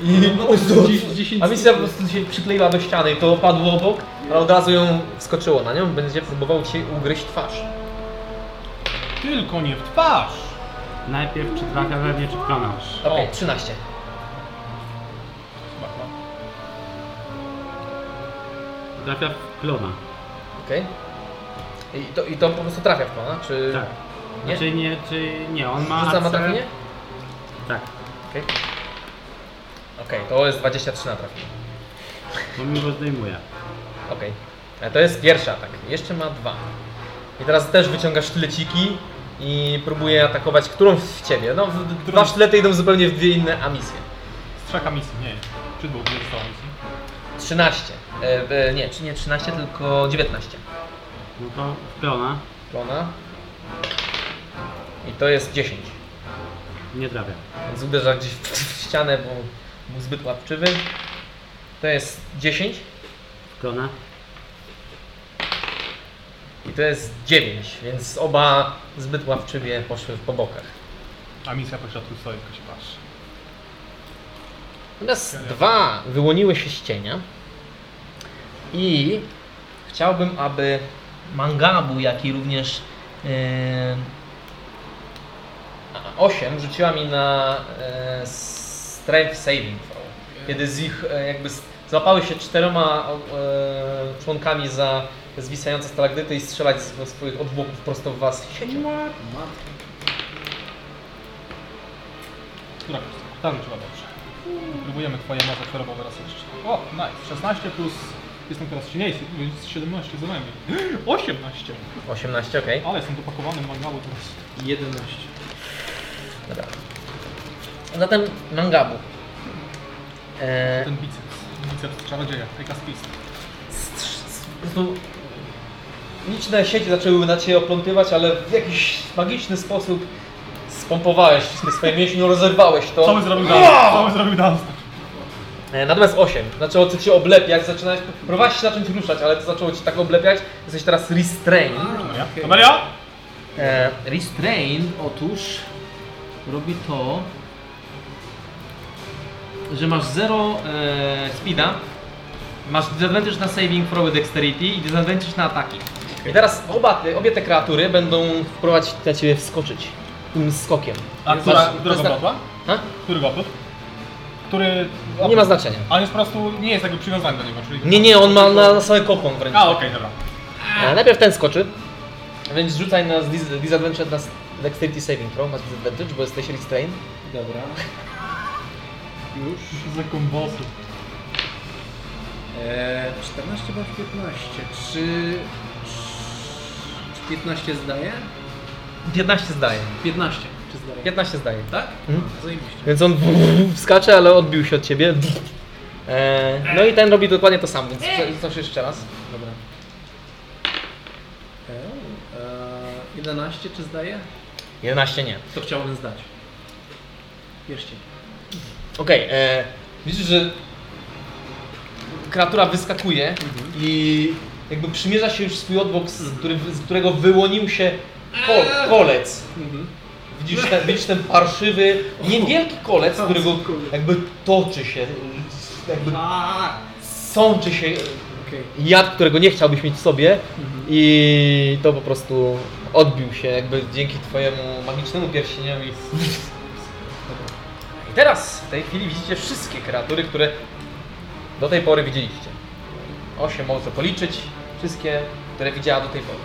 [SPEAKER 8] No
[SPEAKER 1] i o,
[SPEAKER 4] Dziesięć- dziesięć
[SPEAKER 1] a misja po prostu się przykleiła do ściany i to opadło obok, ale od razu ją wskoczyło na nią, będzie próbował ci ugryźć twarz.
[SPEAKER 3] Tylko nie w twarz!
[SPEAKER 8] Najpierw czy trafia we mnie, czy klonasz?
[SPEAKER 1] Okej, 13.
[SPEAKER 8] Trafia w klona.
[SPEAKER 1] Okej. I, to, I to po prostu trafia w pana, czy...
[SPEAKER 8] Tak.
[SPEAKER 1] Nie?
[SPEAKER 8] Czy nie, czy nie, on ma
[SPEAKER 1] Rzuca na
[SPEAKER 8] AC.
[SPEAKER 1] trafienie?
[SPEAKER 8] Tak.
[SPEAKER 1] Okej. Okej, to jest 23 na trafienie.
[SPEAKER 8] Bo mi go zdejmuje.
[SPEAKER 1] Okej. E, To jest pierwszy atak. Jeszcze ma dwa. I teraz też wyciągasz sztyleciki i próbuje atakować którą w ciebie. No, w, dwa sztylety idą zupełnie w dwie inne amisje.
[SPEAKER 3] Z trzech misji, nie. Czy dwóch nie zostało misji?
[SPEAKER 1] 13. E, e, nie, czy nie 13, tylko 19.
[SPEAKER 8] No to w klona
[SPEAKER 1] Klona. I to jest 10.
[SPEAKER 8] nie trafia.
[SPEAKER 1] Więc uderza gdzieś w, w ścianę, bo był zbyt łapczywy. To jest 10
[SPEAKER 8] W klona
[SPEAKER 1] i to jest 9, więc oba zbyt łapczywie poszły po bokach.
[SPEAKER 3] A misja po środku stoi, tylko się patrzy.
[SPEAKER 1] Natomiast dwa wyłoniły się z cienia i chciałbym, aby Mangabu, jak i również yy, 8 rzuciła mi na yy, Strength Saving Throw. Kiedy z ich e, jakby z- złapały się czterema o- e, członkami za zwisające stalagdyty i strzelać ze swoich odwłoków prosto w was siecią.
[SPEAKER 3] Która ta rzuciła dobrze. Próbujemy twoje moce chorobowe raz jeszcze. O, nice. 16 plus... Jestem teraz silniejszy, więc 17 za nami. 18!
[SPEAKER 1] 18, okej.
[SPEAKER 3] Ale jestem dopakowany mangalu teraz.
[SPEAKER 4] 11.
[SPEAKER 1] Dobra. Zatem Mangabu. E,
[SPEAKER 3] Ten biceps. Biceps czarodzieja. Take a fist.
[SPEAKER 1] po prostu No, liczne sieci zaczęły na Ciebie oplątywać, ale w jakiś magiczny sposób spompowałeś wszystkie swoje mięśnie, no rozerwałeś to.
[SPEAKER 3] Co by zrobił Dunstan? Co by zrobił Dunstan?
[SPEAKER 1] E, Natomiast 8. Zaczęło to cię oblepiać, zaczynałeś, próbowałeś się zacząć ruszać, ale to zaczęło cię tak oblepiać. Jesteś teraz restrained.
[SPEAKER 3] Amelia?
[SPEAKER 1] E,
[SPEAKER 9] Restrain otóż robi to, że masz 0 e, speeda, masz disadvantage na saving throwy dexterity i disadvantage na ataki.
[SPEAKER 1] I teraz oba, obie te kreatury będą wprowadzić na ciebie wskoczyć. Tym skokiem.
[SPEAKER 3] A
[SPEAKER 1] Masz-
[SPEAKER 3] która,
[SPEAKER 1] to
[SPEAKER 3] którego
[SPEAKER 1] zna-
[SPEAKER 3] gotła?
[SPEAKER 1] A?
[SPEAKER 3] Którego opór? Który...
[SPEAKER 1] Nie ma znaczenia.
[SPEAKER 3] A on jest po prostu, nie jest jakby przywiązany do niego, czyli...
[SPEAKER 1] Nie, nie, on ma na, na sobie kopą wręcz.
[SPEAKER 3] A, okej, dobra.
[SPEAKER 1] E, najpierw ten skoczy. Więc rzucaj na dis- disadvantage na s- dexterity saving throw. Masz disadvantage, bo jesteś restrained.
[SPEAKER 4] Dobra. Już.
[SPEAKER 3] Za kombosy.
[SPEAKER 4] Eee, 14 bądź 15. Czy... Czy 15 zdaje?
[SPEAKER 1] 15 zdaje.
[SPEAKER 4] 15. Czy zdaje?
[SPEAKER 1] 15 zdaje.
[SPEAKER 4] Tak?
[SPEAKER 1] Mhm.
[SPEAKER 4] Zajebiście.
[SPEAKER 1] Więc on wskacze, ale odbił się od ciebie. E, no i ten robi dokładnie to samo, więc prze- rzucasz jeszcze raz. Dobra.
[SPEAKER 4] Okej. Eee, 11 czy zdaje?
[SPEAKER 1] 11 nie.
[SPEAKER 4] To chciałbym zdać. Pierścień.
[SPEAKER 1] Okej, e, widzisz, że kreatura wyskakuje i jakby przymierza się już swój odbok, z, który, z którego wyłonił się kol, kolec. Widzisz ten, widzisz ten parszywy, niewielki kolec, którego jakby toczy się, jakby sączy się
[SPEAKER 4] Okej.
[SPEAKER 1] jad, którego nie chciałbyś mieć w sobie i to po prostu odbił się jakby dzięki twojemu magicznemu pierścieniowi. I teraz w tej chwili widzicie wszystkie kreatury, które do tej pory widzieliście. Osiem można policzyć, wszystkie, które widziała do tej pory.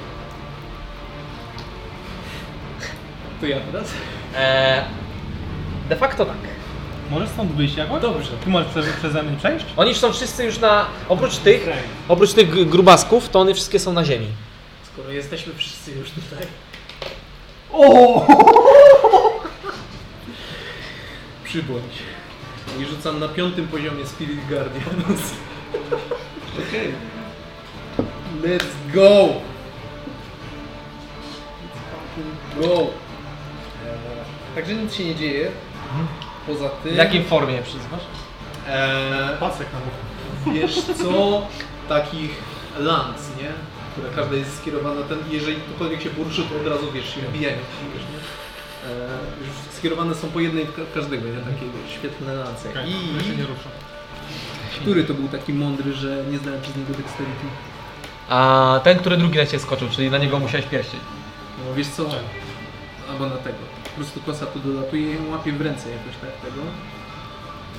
[SPEAKER 4] To ja teraz?
[SPEAKER 1] Eee, de facto tak.
[SPEAKER 3] Możesz stąd wyjść jakoś? Dobrze. Ty możesz prze, przeze mnie przejść?
[SPEAKER 1] Oni są wszyscy już na, oprócz tych, oprócz tych gr- grubasków, to one wszystkie są na ziemi.
[SPEAKER 4] Skoro jesteśmy wszyscy już tutaj. O! Przybądź. I rzucam na piątym poziomie Spirit Guardians. Okej. Let's go! Let's fucking go! Eee, Także nic się nie dzieje. Poza tym...
[SPEAKER 10] W jakiej formie przyzwasz?
[SPEAKER 4] Eee,
[SPEAKER 3] Pasek na
[SPEAKER 4] wiesz co, takich lans, nie? Która każda jest skierowana ten, jeżeli ktokolwiek się poruszy, to od razu wiesz, się wbijają ci, wiesz, nie? Eee, już skierowane są po jednej w ka- każdego, nie? Takie wiesz, świetne lance.
[SPEAKER 1] Tak.
[SPEAKER 3] Okej, ja się
[SPEAKER 4] I
[SPEAKER 3] nie ruszę.
[SPEAKER 4] który to był taki mądry, że nie znałem przez niego dexterity?
[SPEAKER 1] A ten, który drugi na ciebie skoczył, czyli na niego musiałeś pierścić.
[SPEAKER 4] No wiesz co, albo na tego. Po prostu kosa tu dolatuje i łapie w ręce jakoś tak tego.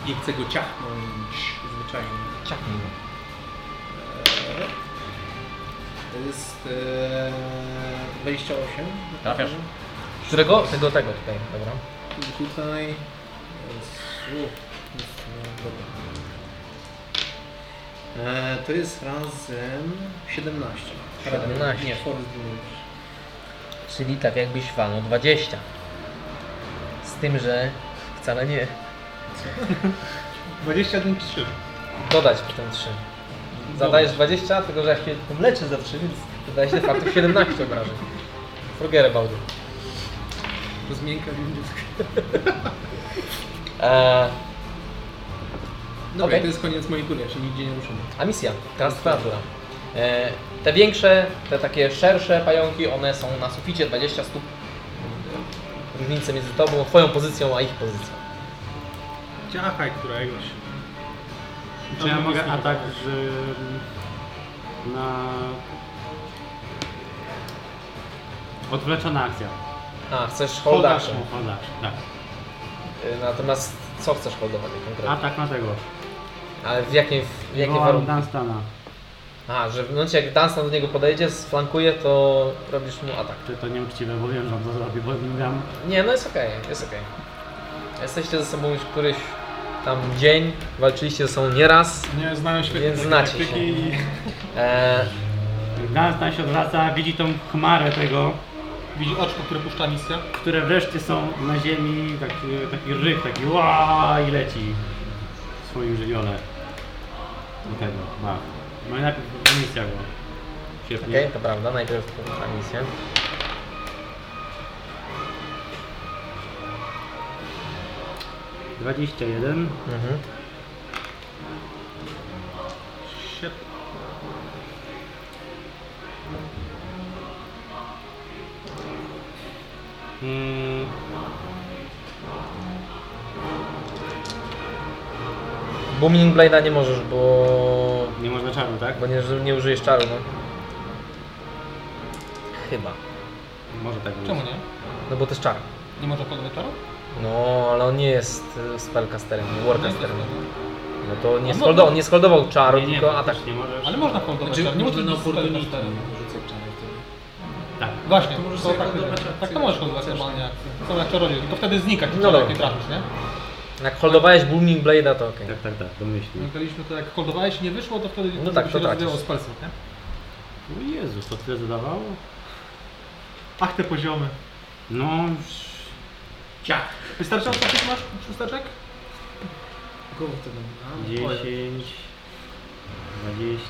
[SPEAKER 4] I chce go ciachnąć zwyczajnie.
[SPEAKER 1] Ciachnij go.
[SPEAKER 4] To jest eee, 28.
[SPEAKER 1] Trafiasz. Którego? Tego, tego tutaj, dobra.
[SPEAKER 4] I tutaj. Jest, u, jest, no, dobra. Eee, to jest razem 17.
[SPEAKER 1] 17.
[SPEAKER 4] Nie, Forest Gump.
[SPEAKER 1] Czyli tak jakbyś walnął 20. Z tym, że wcale nie.
[SPEAKER 3] 21 3.
[SPEAKER 1] Dodać ten 3. Zadajesz 20, tylko że ja się tym leczę za 3, więc dodaje się de facto 17 obrażeń. Forget about it.
[SPEAKER 4] Rozmiękka będzie.
[SPEAKER 1] Eee,
[SPEAKER 4] Dobra,
[SPEAKER 1] Okej.
[SPEAKER 4] to jest koniec mojej tury, ja się nigdzie nie ruszam.
[SPEAKER 1] a misja, teraz twoja tura. Eee, te większe, te takie szersze pająki, one są na suficie 20 stóp e, różnicy między tobą, twoją pozycją, a ich pozycją.
[SPEAKER 3] Ciachaj któregoś.
[SPEAKER 8] Czy ja mogę atak z... na... Odwleczona akcja.
[SPEAKER 1] A, chcesz
[SPEAKER 8] Hold
[SPEAKER 1] hold action.
[SPEAKER 8] action, Hold action, tak.
[SPEAKER 1] E, Natomiast co chcesz holdować konkretnie?
[SPEAKER 8] Atak na tego.
[SPEAKER 1] Ale w jakiej, w jakiej
[SPEAKER 8] Wołam
[SPEAKER 1] warunki?
[SPEAKER 8] Dunstana.
[SPEAKER 1] A, że w momencie jak Dunstan do niego podejdzie, sflankuje, to robisz mu atak.
[SPEAKER 8] Czy to nieuczciwe, bo wiem, że on to zrobi, bo miałem...
[SPEAKER 1] Nie, no jest okej, jest okej. Jesteście ze sobą już któryś tam dzień, walczyliście ze sobą nieraz.
[SPEAKER 3] Nie, znają świetnie.
[SPEAKER 1] Więc
[SPEAKER 3] takie
[SPEAKER 1] znacie
[SPEAKER 3] taktyki
[SPEAKER 1] się.
[SPEAKER 3] i-
[SPEAKER 1] E,
[SPEAKER 8] Dunstan się odwraca, widzi tą chmarę tego,
[SPEAKER 3] Widzi oczko, które puszcza misja.
[SPEAKER 8] które wreszcie są na ziemi, taki, taki ryk, taki ła i leci w swoim żywiole. Do tego, ma. No i najpierw misja go. Świetnie.
[SPEAKER 1] Okej, to prawda, najpierw porusza misję.
[SPEAKER 8] Dwadzieścia 21,
[SPEAKER 1] Mhm.
[SPEAKER 8] Mm.
[SPEAKER 1] Booming Blade'a nie możesz, bo...
[SPEAKER 8] nie można czaru, tak?
[SPEAKER 1] bo nie, nie użyjesz czaru, no. Chyba.
[SPEAKER 2] Może tak być.
[SPEAKER 3] Czemu nie?
[SPEAKER 1] No bo to jest czar.
[SPEAKER 3] Nie może kogoś czaru?
[SPEAKER 1] No, ale on nie jest y, spellcasterem, nie warcasterem. No to nie
[SPEAKER 3] A mo-
[SPEAKER 1] skoldował, on nie skoldował czaru,
[SPEAKER 2] Nie, nie,
[SPEAKER 1] tylko atak.
[SPEAKER 2] faktycznie możesz.
[SPEAKER 3] Ale można koldować czar, Znaczy, nie
[SPEAKER 12] Znaczy, można
[SPEAKER 3] musi
[SPEAKER 12] na
[SPEAKER 3] być
[SPEAKER 12] oportunistę
[SPEAKER 3] spellcasterem.
[SPEAKER 12] rzucać czarny wtedy.
[SPEAKER 2] Tak.
[SPEAKER 3] Właśnie,
[SPEAKER 12] To możesz
[SPEAKER 3] to
[SPEAKER 12] sobie
[SPEAKER 3] tak,
[SPEAKER 12] koldować akcję.
[SPEAKER 3] tak to możesz koldować normalnie akcję. Są jak czarodziej, tylko wtedy znika ci
[SPEAKER 1] No
[SPEAKER 3] no jak
[SPEAKER 1] dobra.
[SPEAKER 3] nie trafisz, nie?
[SPEAKER 1] Jak holdowałeś Booming Blade'a, to okej.
[SPEAKER 2] Tak, tak, tak, domyślnie.
[SPEAKER 3] Mówiliśmy to jak holdowałeś i nie wyszło, to wtedy
[SPEAKER 1] No tak,
[SPEAKER 3] się
[SPEAKER 1] to tracisz.
[SPEAKER 3] rozwijało z palców, nie?
[SPEAKER 2] O Jezus, to tyle zadawało?
[SPEAKER 3] Ach, te poziomy.
[SPEAKER 2] No, już- ciach.
[SPEAKER 3] Wystarczająco tych masz szósteczek?
[SPEAKER 4] Kogo wtedy? A, twoje.
[SPEAKER 2] 10, 20,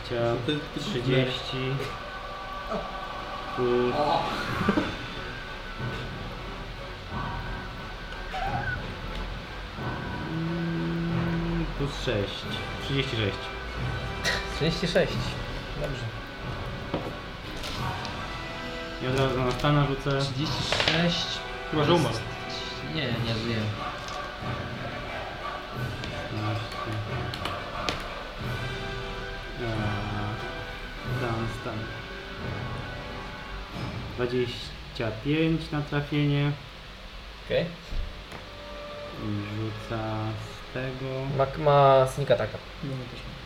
[SPEAKER 4] Ty- ty-
[SPEAKER 2] 30, plus
[SPEAKER 4] O,
[SPEAKER 2] Mm, 6, 36.
[SPEAKER 1] 36. Dobrze.
[SPEAKER 2] I od razu na stana rzucę.
[SPEAKER 13] 36.
[SPEAKER 3] Chyba, że umarł.
[SPEAKER 13] Nie, nie żyję.
[SPEAKER 2] 15. Eee, Dam stan. 25 na trafienie.
[SPEAKER 1] Okej.
[SPEAKER 2] I rzuca z tego.
[SPEAKER 1] Ma, ma sneak ataka.
[SPEAKER 4] no my też mamy.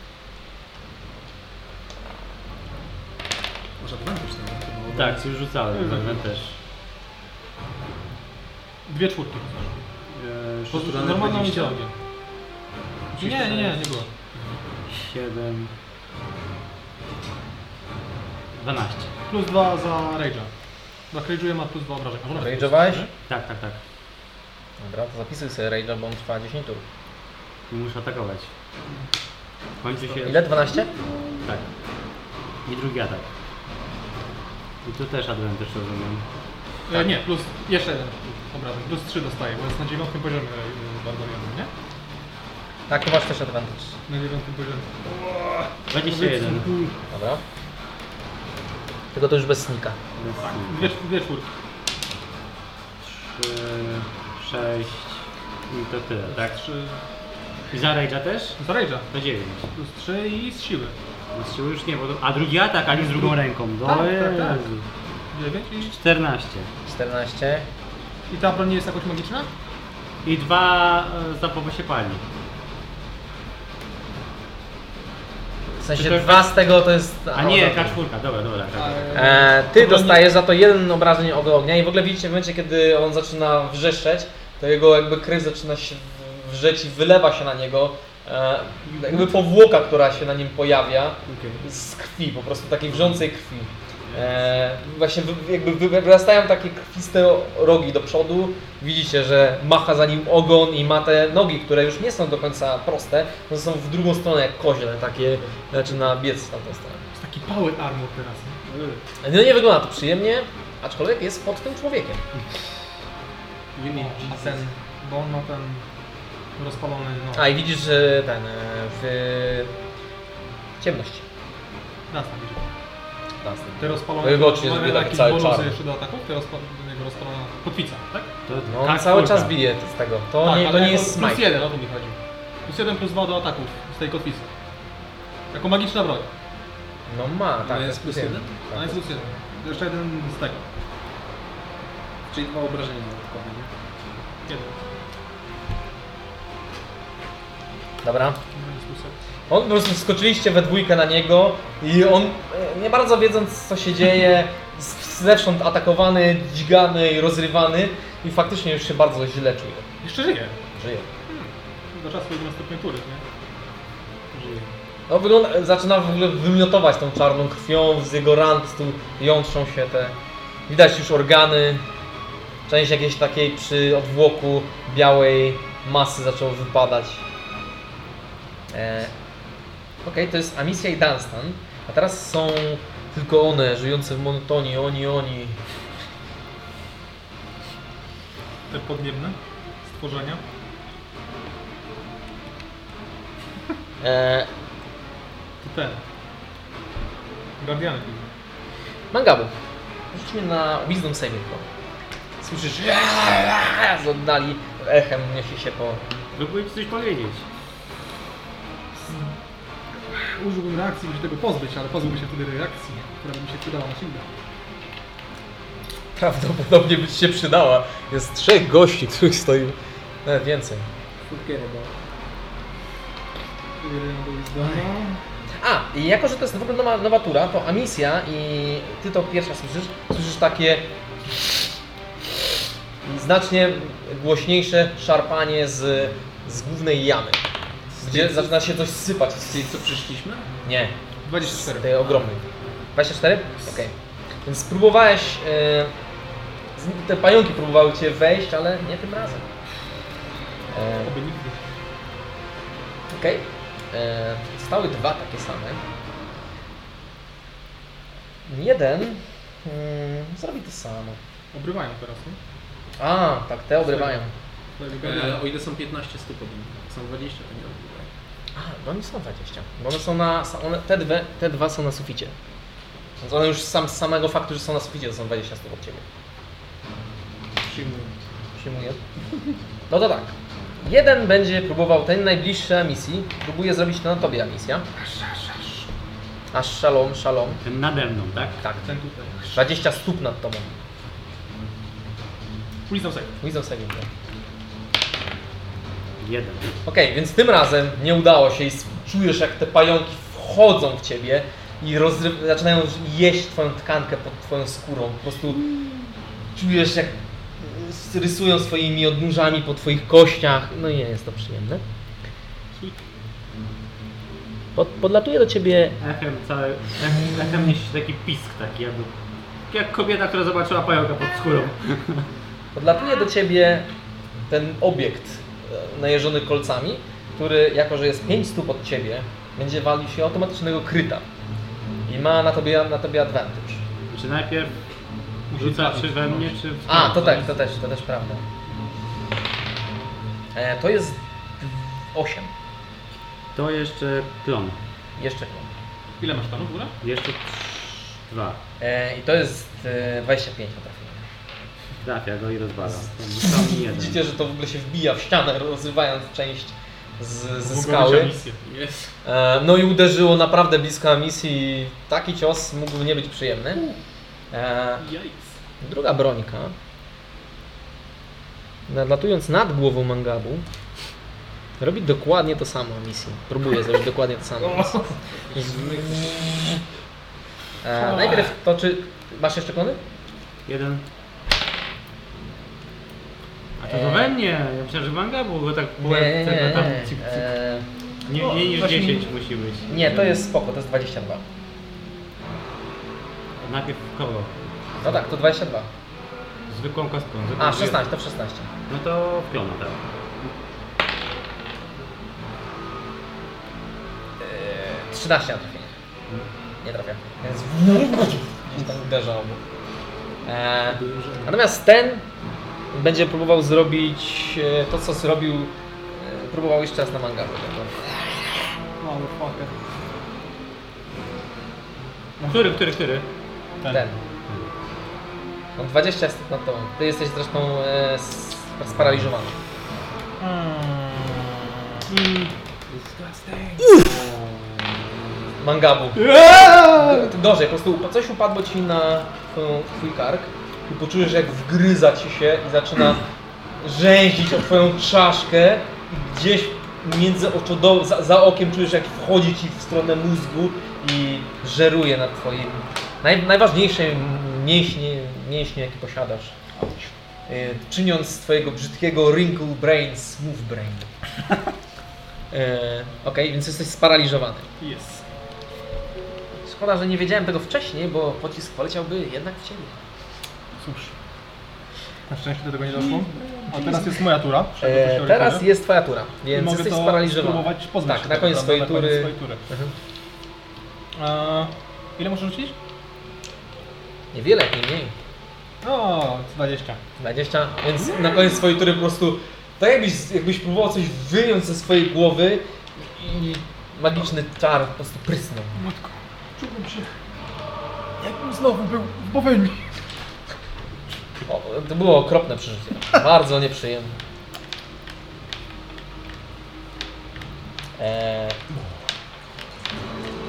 [SPEAKER 4] Może advantage nawet chyba. od razu.
[SPEAKER 2] Tak, już rzucałem, ale też.
[SPEAKER 3] Dwie czwórki.
[SPEAKER 2] Eee,
[SPEAKER 3] Po-
[SPEAKER 4] Rzucone
[SPEAKER 3] Normalną
[SPEAKER 4] 20.
[SPEAKER 3] ideologię. Nie, nie, nie, nie było.
[SPEAKER 2] 7. 12.
[SPEAKER 3] Plus dwa za Rage'a. Dla Rage'uje ma plus dwa obrażenia. Może nawet
[SPEAKER 1] Rage'owałeś?
[SPEAKER 3] plus,
[SPEAKER 2] Tak, tak, tak.
[SPEAKER 1] Dobra, to zapisuj sobie Rage'a, bo on trwa 10 tur.
[SPEAKER 2] Nie muszę atakować. Kończy się.
[SPEAKER 1] Ile? 12?
[SPEAKER 2] Tak. I drugi atak. I tu też advantage rozumiem.
[SPEAKER 3] nie? E, nie, plus jeszcze jeden obrażeń. Plus trzy dostaje, bo jest na dziewiątym poziomie e, barbarianem, nie?
[SPEAKER 1] Tak, to masz też advantage.
[SPEAKER 3] Na dziewiątym poziomie.
[SPEAKER 2] 21.
[SPEAKER 1] Dobra. Tylko to już bez snika.
[SPEAKER 3] Dwie, dwie czwórki.
[SPEAKER 2] 3, 6 i to tyle, tak?
[SPEAKER 3] Trzy.
[SPEAKER 2] I za rage'a też?
[SPEAKER 3] Za Rage'a.
[SPEAKER 2] To 9.
[SPEAKER 3] Plus trzy i z siły.
[SPEAKER 2] Znaczy już nie, bo to... A drugi atak, a nie z drugą ręką. Do
[SPEAKER 3] Tak, tak, tak.
[SPEAKER 2] Jezu.
[SPEAKER 3] Dziewięć i...
[SPEAKER 2] 14.
[SPEAKER 1] 14.
[SPEAKER 3] I ta broń nie jest jakoś magiczna?
[SPEAKER 2] I dwa e, zapowy się pali.
[SPEAKER 1] W sensie dwa z tego to jest...
[SPEAKER 2] A nie,
[SPEAKER 1] dobra.
[SPEAKER 2] kaczkurka, dobra, dobra. tak.
[SPEAKER 1] E, ty dostajesz za to jeden obrażeń od ognia i w ogóle widzicie w momencie, kiedy on zaczyna wrzeszczeć, to jego jakby krew zaczyna się w- wrzeć i wylewa się na niego. E, jakby powłoka, która się na nim pojawia z krwi, po prostu takiej wrzącej krwi. E, właśnie wy, jakby wy- wyrastają takie krwiste rogi do przodu. Widzicie, że macha za nim ogon i ma te nogi, które już nie są do końca proste, one są w drugą stronę jak koźle, takie zaczyna biec w tamtą stronę.
[SPEAKER 3] To jest taki power armor teraz, nie?
[SPEAKER 1] No nie wygląda to przyjemnie, aczkolwiek jest pod tym człowiekiem.
[SPEAKER 3] A ten, bo on ma ten rozpalony, no.
[SPEAKER 1] A i widzisz, że ten e, w ciemności.
[SPEAKER 3] Nas tam idzie. Te
[SPEAKER 1] Bo
[SPEAKER 3] rozpalone...
[SPEAKER 1] jego oczy jest
[SPEAKER 3] mamy
[SPEAKER 1] bieda,
[SPEAKER 3] jakieś
[SPEAKER 1] cały
[SPEAKER 3] bonusy
[SPEAKER 1] czarny.
[SPEAKER 3] jeszcze do ataków? Te rozpa- jego rozpalona kotwica, tak?
[SPEAKER 2] To
[SPEAKER 1] No on
[SPEAKER 2] kaczkurka.
[SPEAKER 1] cały czas bije z tego. To
[SPEAKER 3] tak,
[SPEAKER 1] nie, to
[SPEAKER 3] ale
[SPEAKER 1] nie
[SPEAKER 3] jako
[SPEAKER 1] jest
[SPEAKER 3] Plus
[SPEAKER 1] smite.
[SPEAKER 3] jeden, o to mi chodzi. Plus jeden, plus dwa do ataków z tej kotwicy. Jako magiczna broń.
[SPEAKER 1] No ma, tak.
[SPEAKER 4] No jest plus jeden?
[SPEAKER 1] Tak.
[SPEAKER 3] A jest plus jeden. Jeszcze jeden z tego.
[SPEAKER 4] Czyli dwa obrażenia dodatkowe, nie?
[SPEAKER 3] Jeden.
[SPEAKER 1] Dobra.
[SPEAKER 3] No jest plus jeden.
[SPEAKER 1] On po prostu skoczyliście we dwójkę na niego i on, e, nie bardzo wiedząc co się dzieje, z- zewsząd atakowany, dźgany i rozrywany i faktycznie już się bardzo źle czuje.
[SPEAKER 3] Jeszcze żyje.
[SPEAKER 1] Żyje.
[SPEAKER 3] Do czasu jego następnej tury, nie? Żyje.
[SPEAKER 1] No wygląda, zaczyna w ogóle wymiotować tą czarną krwią, z jego ran po prostu jątrzą się te, widać już organy, część jakiejś takiej przy odwłoku białej masy zaczęło wypadać. E, Okej, to jest Amicia i Dunstan, a teraz są tylko one żyjące w monotonii, oni, oni.
[SPEAKER 3] Te podniebne stworzenia.
[SPEAKER 1] E,
[SPEAKER 3] To ten. Guardiany. były.
[SPEAKER 1] Mangabu, rzuć mi na Wisdom Saving Throw. Słyszysz, z oddali echem niesie się po
[SPEAKER 2] Próbuję ci coś powiedzieć.
[SPEAKER 3] Użyłbym reakcji, by się tego pozbyć, ale pozbyłbym się wtedy reakcji, która by mi się przydała na shielda.
[SPEAKER 1] prawdopodobnie by ci się przydała. Jest trzech gości, których stoi. Nawet więcej.
[SPEAKER 4] Furkiera, bo...
[SPEAKER 1] A, i jako że to jest w ogóle nowa, nowa tura, to Amisja i ty to pierwsza słyszysz, słyszysz takie znacznie głośniejsze szarpanie z, z głównej jamy. Gdzie zaczyna się coś sypać.
[SPEAKER 4] Z tej co przyszliśmy?
[SPEAKER 1] Nie,
[SPEAKER 10] 24.
[SPEAKER 1] tej ogromnej. 24? Okej. Więc spróbowałeś. E, z- te pająki próbowały cię wejść, ale nie tym razem. E,
[SPEAKER 3] Oby nigdy.
[SPEAKER 1] Okej. E, Zostały dwa takie same. Jeden mm, zrobi to samo.
[SPEAKER 3] Obrywają teraz, nie?
[SPEAKER 1] A, tak, te obrywają.
[SPEAKER 4] E, o ile są 15 stóp od nich. Są 20, to nie tak? odbywa.
[SPEAKER 1] A, no oni są 20. Bo one są na. są One, te, dwie, te dwa są na suficie. Więc one już sam, z samego faktu, że są na suficie, to są 20 stóp od ciebie.
[SPEAKER 4] Przyjmuję.
[SPEAKER 1] Przyjmuję. No to tak. Jeden będzie próbował ten najbliższy emisji. Próbuje zrobić to na tobie emisja. Aż szalom, szalom.
[SPEAKER 8] Ten nade mną, tak?
[SPEAKER 1] Tak, ten tutaj. 20 stóp nad tobą.
[SPEAKER 3] Ulicą sobie.
[SPEAKER 1] Wisdom saving. throw.
[SPEAKER 8] Jeden.
[SPEAKER 1] Okej, więc tym razem nie udało się i s- czujesz jak te pająki wchodzą w ciebie i rozry- zaczynają jeść twoją tkankę pod twoją skórą. Po prostu czujesz jak s- rysują swoimi odnóżami po twoich kościach. No i nie jest to przyjemne. Pod, podlatuje do ciebie
[SPEAKER 8] Echem cały, echem, echem niesie taki pisk taki jakby. Jak kobieta, która zobaczyła pająka pod skórą.
[SPEAKER 1] Podlatuje do ciebie ten obiekt e, najeżony kolcami, który jako, że jest 5 stóp od ciebie, będzie walił się automatycznego kryta. I ma na tobie, na tobie advantage.
[SPEAKER 8] Czy najpierw rzuca czy we mnie, czy w
[SPEAKER 1] A, to tak, to też, to też prawda. E, to jest 8.
[SPEAKER 8] To jeszcze plon.
[SPEAKER 1] Jeszcze nie.
[SPEAKER 3] Ile masz tam w ogóle?
[SPEAKER 8] Jeszcze trz- dwa.
[SPEAKER 1] E, I to jest e, 25 na trafienie.
[SPEAKER 8] Trafia go i rozwala. Tam jeden.
[SPEAKER 1] Widzicie, że to w ogóle się wbija w ścianę, rozrywając część z, ze
[SPEAKER 3] Mogę mieć
[SPEAKER 1] skały.
[SPEAKER 3] ambicje.
[SPEAKER 4] Jest.
[SPEAKER 1] E, No i uderzyło naprawdę blisko misji i taki cios mógłby nie być przyjemny. E,
[SPEAKER 4] Jajc.
[SPEAKER 1] Druga brońka, nadlatując nad głową mangabu, robi dokładnie to samo misji. Próbuje zrobić dokładnie to samo. misji. E, najpierw to czy... Masz jeszcze kony?
[SPEAKER 8] Jeden. A to, to we mnie! Ja myślałem, że manga, bo go tak byłem.
[SPEAKER 1] nie, nie, nie,
[SPEAKER 8] tam,
[SPEAKER 1] nie.
[SPEAKER 8] cyk, cyk.
[SPEAKER 1] E,
[SPEAKER 8] nie, mniej niż 10 musi być.
[SPEAKER 1] nie, to jest spoko, to jest 22.
[SPEAKER 8] Najpierw kogo?
[SPEAKER 1] No tak, to 22.
[SPEAKER 8] Zwykłą kostką. Zwykłą
[SPEAKER 1] A, 16, to 16.
[SPEAKER 8] No to w plona, tak.
[SPEAKER 1] Eee, 13 na trafienie. Nie trafia. Więc gdzieś tam uderza obok. Eee, natomiast ten będzie próbował zrobić e, to, co zrobił. e, Próbował jeszcze raz na no mangabu.
[SPEAKER 3] Motherfucker.
[SPEAKER 8] Który, który, który?
[SPEAKER 1] Ten. ten. On 20 jest nad tobą. Ty jesteś zresztą e, s- sparaliżowany. Mangabu. G- Gorzej, po prostu upa- coś upadło ci na twoją, twój kark i poczujesz jak wgryza ci się i zaczyna rzęzić o twoją czaszkę i gdzieś między oczodo, za, za okiem czujesz jak wchodzi ci w stronę mózgu i żeruje na twoim naj, najważniejszym mięśnie, mięśnie jaki posiadasz. Y, Czyniąc z twojego brzydkiego wrinkle brain smooth brain. E, Okej, więc jesteś sparaliżowany.
[SPEAKER 3] Yes.
[SPEAKER 1] Szkoda, że nie wiedziałem tego wcześniej, bo pocisk poleciałby jednak w ciebie.
[SPEAKER 3] Cóż. Na szczęście do tego nie doszło. A teraz jest moja tura. Przejdę
[SPEAKER 1] E,
[SPEAKER 3] coś
[SPEAKER 1] teraz
[SPEAKER 3] do
[SPEAKER 1] jest twoja tura,
[SPEAKER 3] I
[SPEAKER 1] więc
[SPEAKER 3] mogę
[SPEAKER 1] jesteś
[SPEAKER 3] to
[SPEAKER 1] sparaliżowany.
[SPEAKER 3] spróbować pozbyć
[SPEAKER 1] Tak,
[SPEAKER 3] się
[SPEAKER 1] na
[SPEAKER 3] tego,
[SPEAKER 1] koniec
[SPEAKER 3] prawda?
[SPEAKER 1] swojej tury.
[SPEAKER 3] swojej tury.
[SPEAKER 1] Mhm.
[SPEAKER 3] A, ile muszę rzucić?
[SPEAKER 1] Niewiele, nie mniej.
[SPEAKER 3] O, 20.
[SPEAKER 1] 20, więc na koniec swojej tury po prostu tak jakbyś, jakbyś próbował coś wyjąć ze swojej głowy i magiczny czar po prostu prysnął.
[SPEAKER 4] Czułem się. Jakbym znowu był w Bowenii.
[SPEAKER 1] O, to było okropne przeżycie. Bardzo nieprzyjemne. Eee, E,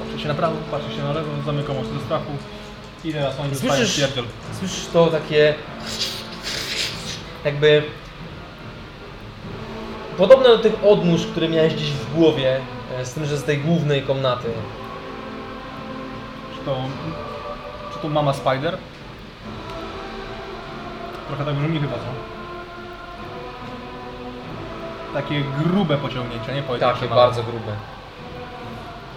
[SPEAKER 3] Patrzę się na prawo, patrzę się na lewo, zamykam oczy do strachu. I teraz oni dostają
[SPEAKER 1] Słyszysz?
[SPEAKER 3] pierdol.
[SPEAKER 1] Słyszysz to takie jakby podobne do tych odnóż, które miałeś gdzieś w głowie, e, z tym, że z tej głównej komnaty.
[SPEAKER 3] Czy to, czy to mama Spider? Trochę tak brzmi chyba, co? Takie grube pociągnięcia, nie pojedyncze.
[SPEAKER 1] Takie
[SPEAKER 3] małe.
[SPEAKER 1] bardzo grube.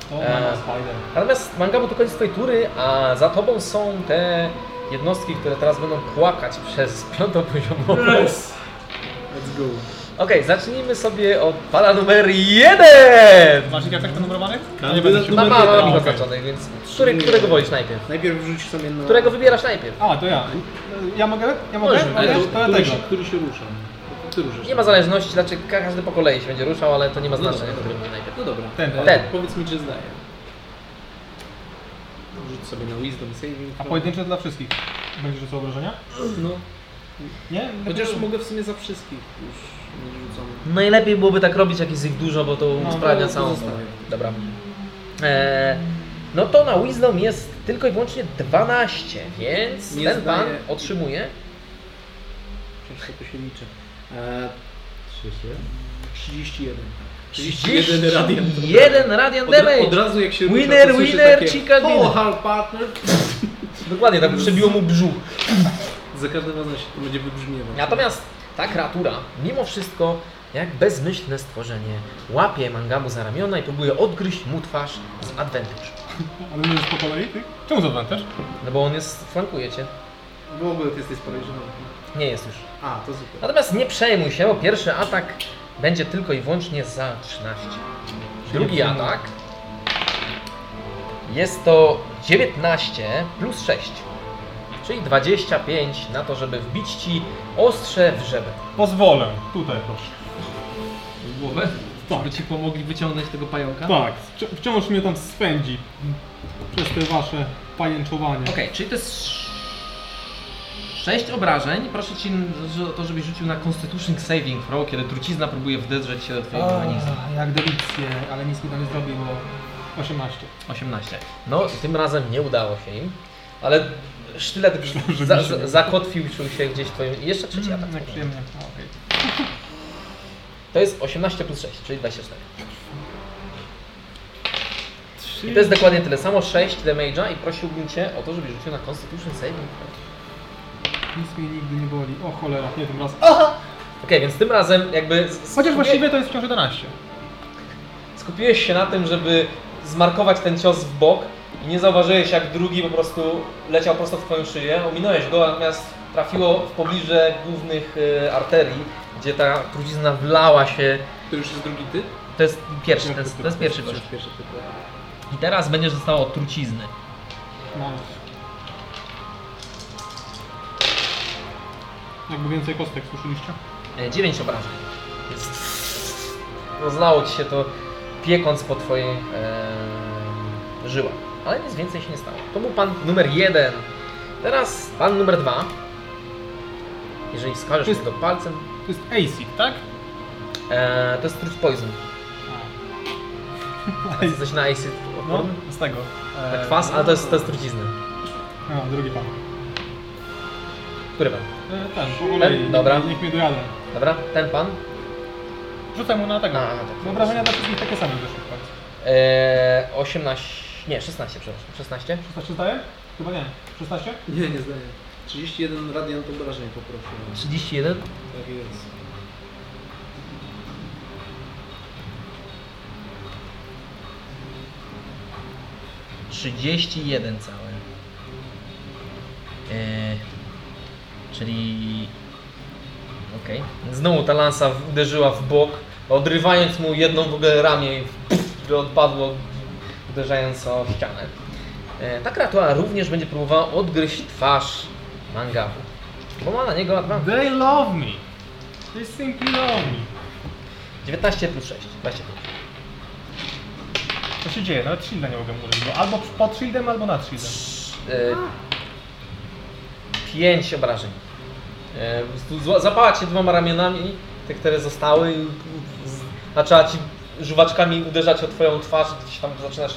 [SPEAKER 3] To
[SPEAKER 1] E.
[SPEAKER 3] mama Spider.
[SPEAKER 1] Natomiast Mangabu to koniec twojej tury, a za tobą są te jednostki, które teraz będą płakać przez piątopoziomową. Yes.
[SPEAKER 4] Let's go.
[SPEAKER 1] Okej, zacznijmy sobie od pana numer jeden!
[SPEAKER 3] Masz ich efekty numerowanych?
[SPEAKER 4] Kandydat
[SPEAKER 1] Ma,
[SPEAKER 4] numer
[SPEAKER 1] ma,
[SPEAKER 4] jeden.
[SPEAKER 1] ma
[SPEAKER 3] okej.
[SPEAKER 1] oznaczonych, więc który, którego wolisz najpierw?
[SPEAKER 4] Najpierw rzuć sobie na...
[SPEAKER 1] Którego wybierasz najpierw?
[SPEAKER 3] A, to ja. Ja mogę? Ja mogę?
[SPEAKER 1] Możesz,
[SPEAKER 3] Mogę?
[SPEAKER 4] Ale to,
[SPEAKER 3] To ja
[SPEAKER 4] który,
[SPEAKER 3] tego.
[SPEAKER 4] się, który się rusza? Ty ruszasz.
[SPEAKER 1] Nie ma zależności, znaczy ka- każdy po kolei się będzie ruszał, ale to nie ma
[SPEAKER 4] No dobra,
[SPEAKER 1] znaczenia,
[SPEAKER 4] dobra.
[SPEAKER 1] który będzie najpierw.
[SPEAKER 4] No dobra.
[SPEAKER 3] Ten,
[SPEAKER 4] E,
[SPEAKER 1] ten.
[SPEAKER 4] Powiedz mi, czy zdaje. Rzuć sobie na wisdom saving.
[SPEAKER 3] A pojedyncze dla wszystkich. Będziesz rzucał obrażenia?
[SPEAKER 4] No.
[SPEAKER 3] Nie?
[SPEAKER 4] Chociaż
[SPEAKER 3] Lepiej-
[SPEAKER 4] mogę w sumie za wszystkich już nie rzucam.
[SPEAKER 1] Najlepiej byłoby tak robić, jak jest ich dużo, bo to
[SPEAKER 3] to-
[SPEAKER 1] usprawnia
[SPEAKER 4] to
[SPEAKER 1] całą
[SPEAKER 4] zostawię.
[SPEAKER 1] Dobra. E, no to na Wisdom jest tylko i wyłącznie 12, więc
[SPEAKER 4] Nie
[SPEAKER 1] ten pan
[SPEAKER 4] zdaje.
[SPEAKER 1] otrzymuje.
[SPEAKER 4] Przecież to się liczy. E, 31.
[SPEAKER 1] 31
[SPEAKER 4] 31 radian.
[SPEAKER 1] Jeden radian damage!
[SPEAKER 4] Od, od razu jak się rusza,
[SPEAKER 1] Winner,
[SPEAKER 4] to słyszę
[SPEAKER 1] winner,
[SPEAKER 4] takie,
[SPEAKER 1] chicken
[SPEAKER 4] "Oh,
[SPEAKER 1] dinner."
[SPEAKER 4] hard partner.
[SPEAKER 1] Dokładnie, tak przebiło mu brzuch.
[SPEAKER 4] Za każdym razem się to będzie wybrzmiewać.
[SPEAKER 1] Natomiast ta kreatura, mimo wszystko, jak bezmyślne stworzenie, łapie Mangamu za ramiona i próbuje odgryźć mu twarz z advantage.
[SPEAKER 3] Ale nie jest po kolei, ty? Czemu za też?
[SPEAKER 1] No bo on jest, flankuje cię.
[SPEAKER 4] W ogóle ty jesteś podejrzany.
[SPEAKER 1] Nie jest już.
[SPEAKER 4] A, to super.
[SPEAKER 1] Natomiast nie przejmuj się, bo pierwszy atak będzie tylko i wyłącznie za 13. Drugi atak jest to 19 plus 6, czyli 25 na to, żeby wbić ci ostrze w żebę.
[SPEAKER 3] Pozwolę. Tutaj proszę.
[SPEAKER 10] w głowę, żeby ci pomogli wyciągnąć tego pająka.
[SPEAKER 3] Tak, wci- wciąż mnie tam spędzi. Przez te wasze pajęczowanie.
[SPEAKER 10] Okej, czyli to jest 6 obrażeń. Proszę cię o to, żebyś rzucił na Constitution Saving Throw, kiedy trucizna próbuje wdedrzeć się do twojego organizmu.
[SPEAKER 3] A, jak delicję, ale nic mi to nie zrobiło. 18.
[SPEAKER 10] 18.
[SPEAKER 1] No, tym razem nie udało się im, ale sztylet
[SPEAKER 3] że
[SPEAKER 1] za,
[SPEAKER 3] mi
[SPEAKER 1] za,
[SPEAKER 3] się-
[SPEAKER 1] zakotwił się gdzieś w twoim... I jeszcze trzeci atak.
[SPEAKER 3] Mm, jak przyjemnie. A, okej.
[SPEAKER 1] To jest 18 plus 6, czyli 24. I to jest dokładnie tyle samo, 6 damage'a i prosiłbym Cię o to, żebyś rzucił na Constitution Saving. throw.
[SPEAKER 3] Nic mnie nigdy nie boli. O cholera, nie tym razem.
[SPEAKER 1] Okej, więc tym razem jakby... z-
[SPEAKER 3] Chociaż
[SPEAKER 1] skupi-
[SPEAKER 3] właściwie to jest wciąż 11.
[SPEAKER 1] Skupiłeś się na tym, żeby zmarkować ten cios w bok i nie zauważyłeś jak drugi po prostu leciał prosto w Twoją szyję, ominąłeś go, natomiast trafiło w pobliże głównych y, arterii, gdzie ta trucizna wlała się.
[SPEAKER 4] To już jest drugi ty?
[SPEAKER 1] To jest pierwszy, to jest, to jest pierwszy
[SPEAKER 4] To
[SPEAKER 1] cios.
[SPEAKER 4] już pierwszy tak. ty.
[SPEAKER 10] I teraz będziesz zostało od trucizny.
[SPEAKER 3] No. Jakby więcej kostek słyszeliście?
[SPEAKER 1] E, 9 obrażeń. Więc Rozlało ci się to piekąc po twojej e, żyłach. Ale nic więcej się nie stało. To był pan numer jeden. Teraz pan numer dwa. Jeżeli wskażesz
[SPEAKER 3] Jest-
[SPEAKER 1] mi to palcem,
[SPEAKER 3] To jest ASIC, tak?
[SPEAKER 1] e, to jest truć poison. A jest coś na acid
[SPEAKER 3] No,
[SPEAKER 1] odporny?
[SPEAKER 3] z tego.
[SPEAKER 1] Tak kwas, ale to jest, to jest trucizny.
[SPEAKER 3] A, drugi pan.
[SPEAKER 1] Który pan?
[SPEAKER 3] E, Ten, w ogóle
[SPEAKER 1] Ten? Dobra.
[SPEAKER 3] niech mnie dojadą.
[SPEAKER 1] Dobra, ten pan.
[SPEAKER 3] Rzucę mu na tego.
[SPEAKER 1] Na atak.
[SPEAKER 3] Wyobrażenia dla wszystkich takie same wyszły w końcu.
[SPEAKER 1] E, 18, nie 16 przepraszam, 16.
[SPEAKER 3] 16 zdaje? Chyba nie. 16?
[SPEAKER 4] Nie, nie zdaję. 31 radian to obrażeń poprosiłem.
[SPEAKER 1] 31.
[SPEAKER 4] Tak jest.
[SPEAKER 10] jeden cały. E, czyli
[SPEAKER 1] Okej. Znowu ta lansa uderzyła w bok, odrywając mu jedną w ogóle ramię i pff, odpadło, uderzając o ścianę. E, Ta kreatura również będzie próbowała odgryźć twarz Mangabu, bo ma na niego advantage.
[SPEAKER 3] They love me. They simply love me.
[SPEAKER 1] 19 plus 6, 25.
[SPEAKER 3] Co się dzieje? Nawet shielda nie mogę mu użyć, bo albo pod shieldem, albo nad shieldem.
[SPEAKER 1] 5 E, obrażeń. E, po prostu zła- Zapała cię dwoma ramionami, te które zostały, i z- zaczęła ci żuwaczkami uderzać o twoją twarz, gdzieś tam zaczynasz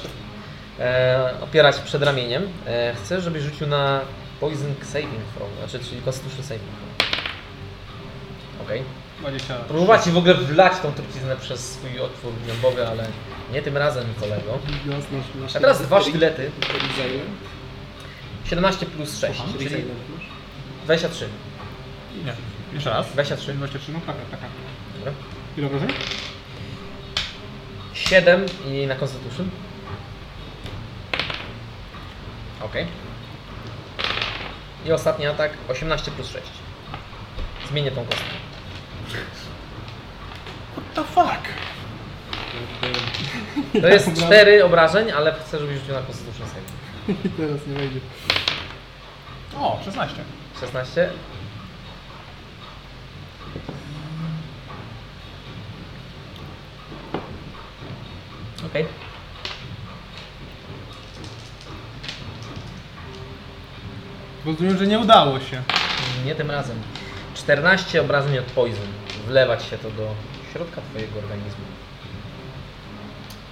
[SPEAKER 1] e, opierać przed ramieniem. E, chcę, żebyś rzucił na Poison Saving Throw, znaczy, czyli Constitution Saving Throw. Okej.
[SPEAKER 3] 20.
[SPEAKER 1] Próbować w ogóle wlać tą truciznę przez swój otwór gębowy, ale nie tym razem, kolego. A teraz dwa sztylety. 17 plus 6, czyli 23.
[SPEAKER 11] Nie.
[SPEAKER 3] Jeszcze raz.
[SPEAKER 1] 23.
[SPEAKER 3] 23, no tak, tak, tak.
[SPEAKER 1] Dobra.
[SPEAKER 3] Ile obrażeń?
[SPEAKER 1] 7 i na Constitution. Ok. I ostatni atak 18 plus 6. Zmienię tą kostkę. What the fuck? To jest 4 obrażeń, ale chcę, żebyś rzucił na Constitution save.
[SPEAKER 4] Teraz nie wejdzie.
[SPEAKER 3] O, 16.
[SPEAKER 1] 16. Okej.
[SPEAKER 3] Rozumiem, że nie udało się.
[SPEAKER 1] Nie tym razem. 14 obrażeń od poison. Wlewać się to do środka twojego organizmu.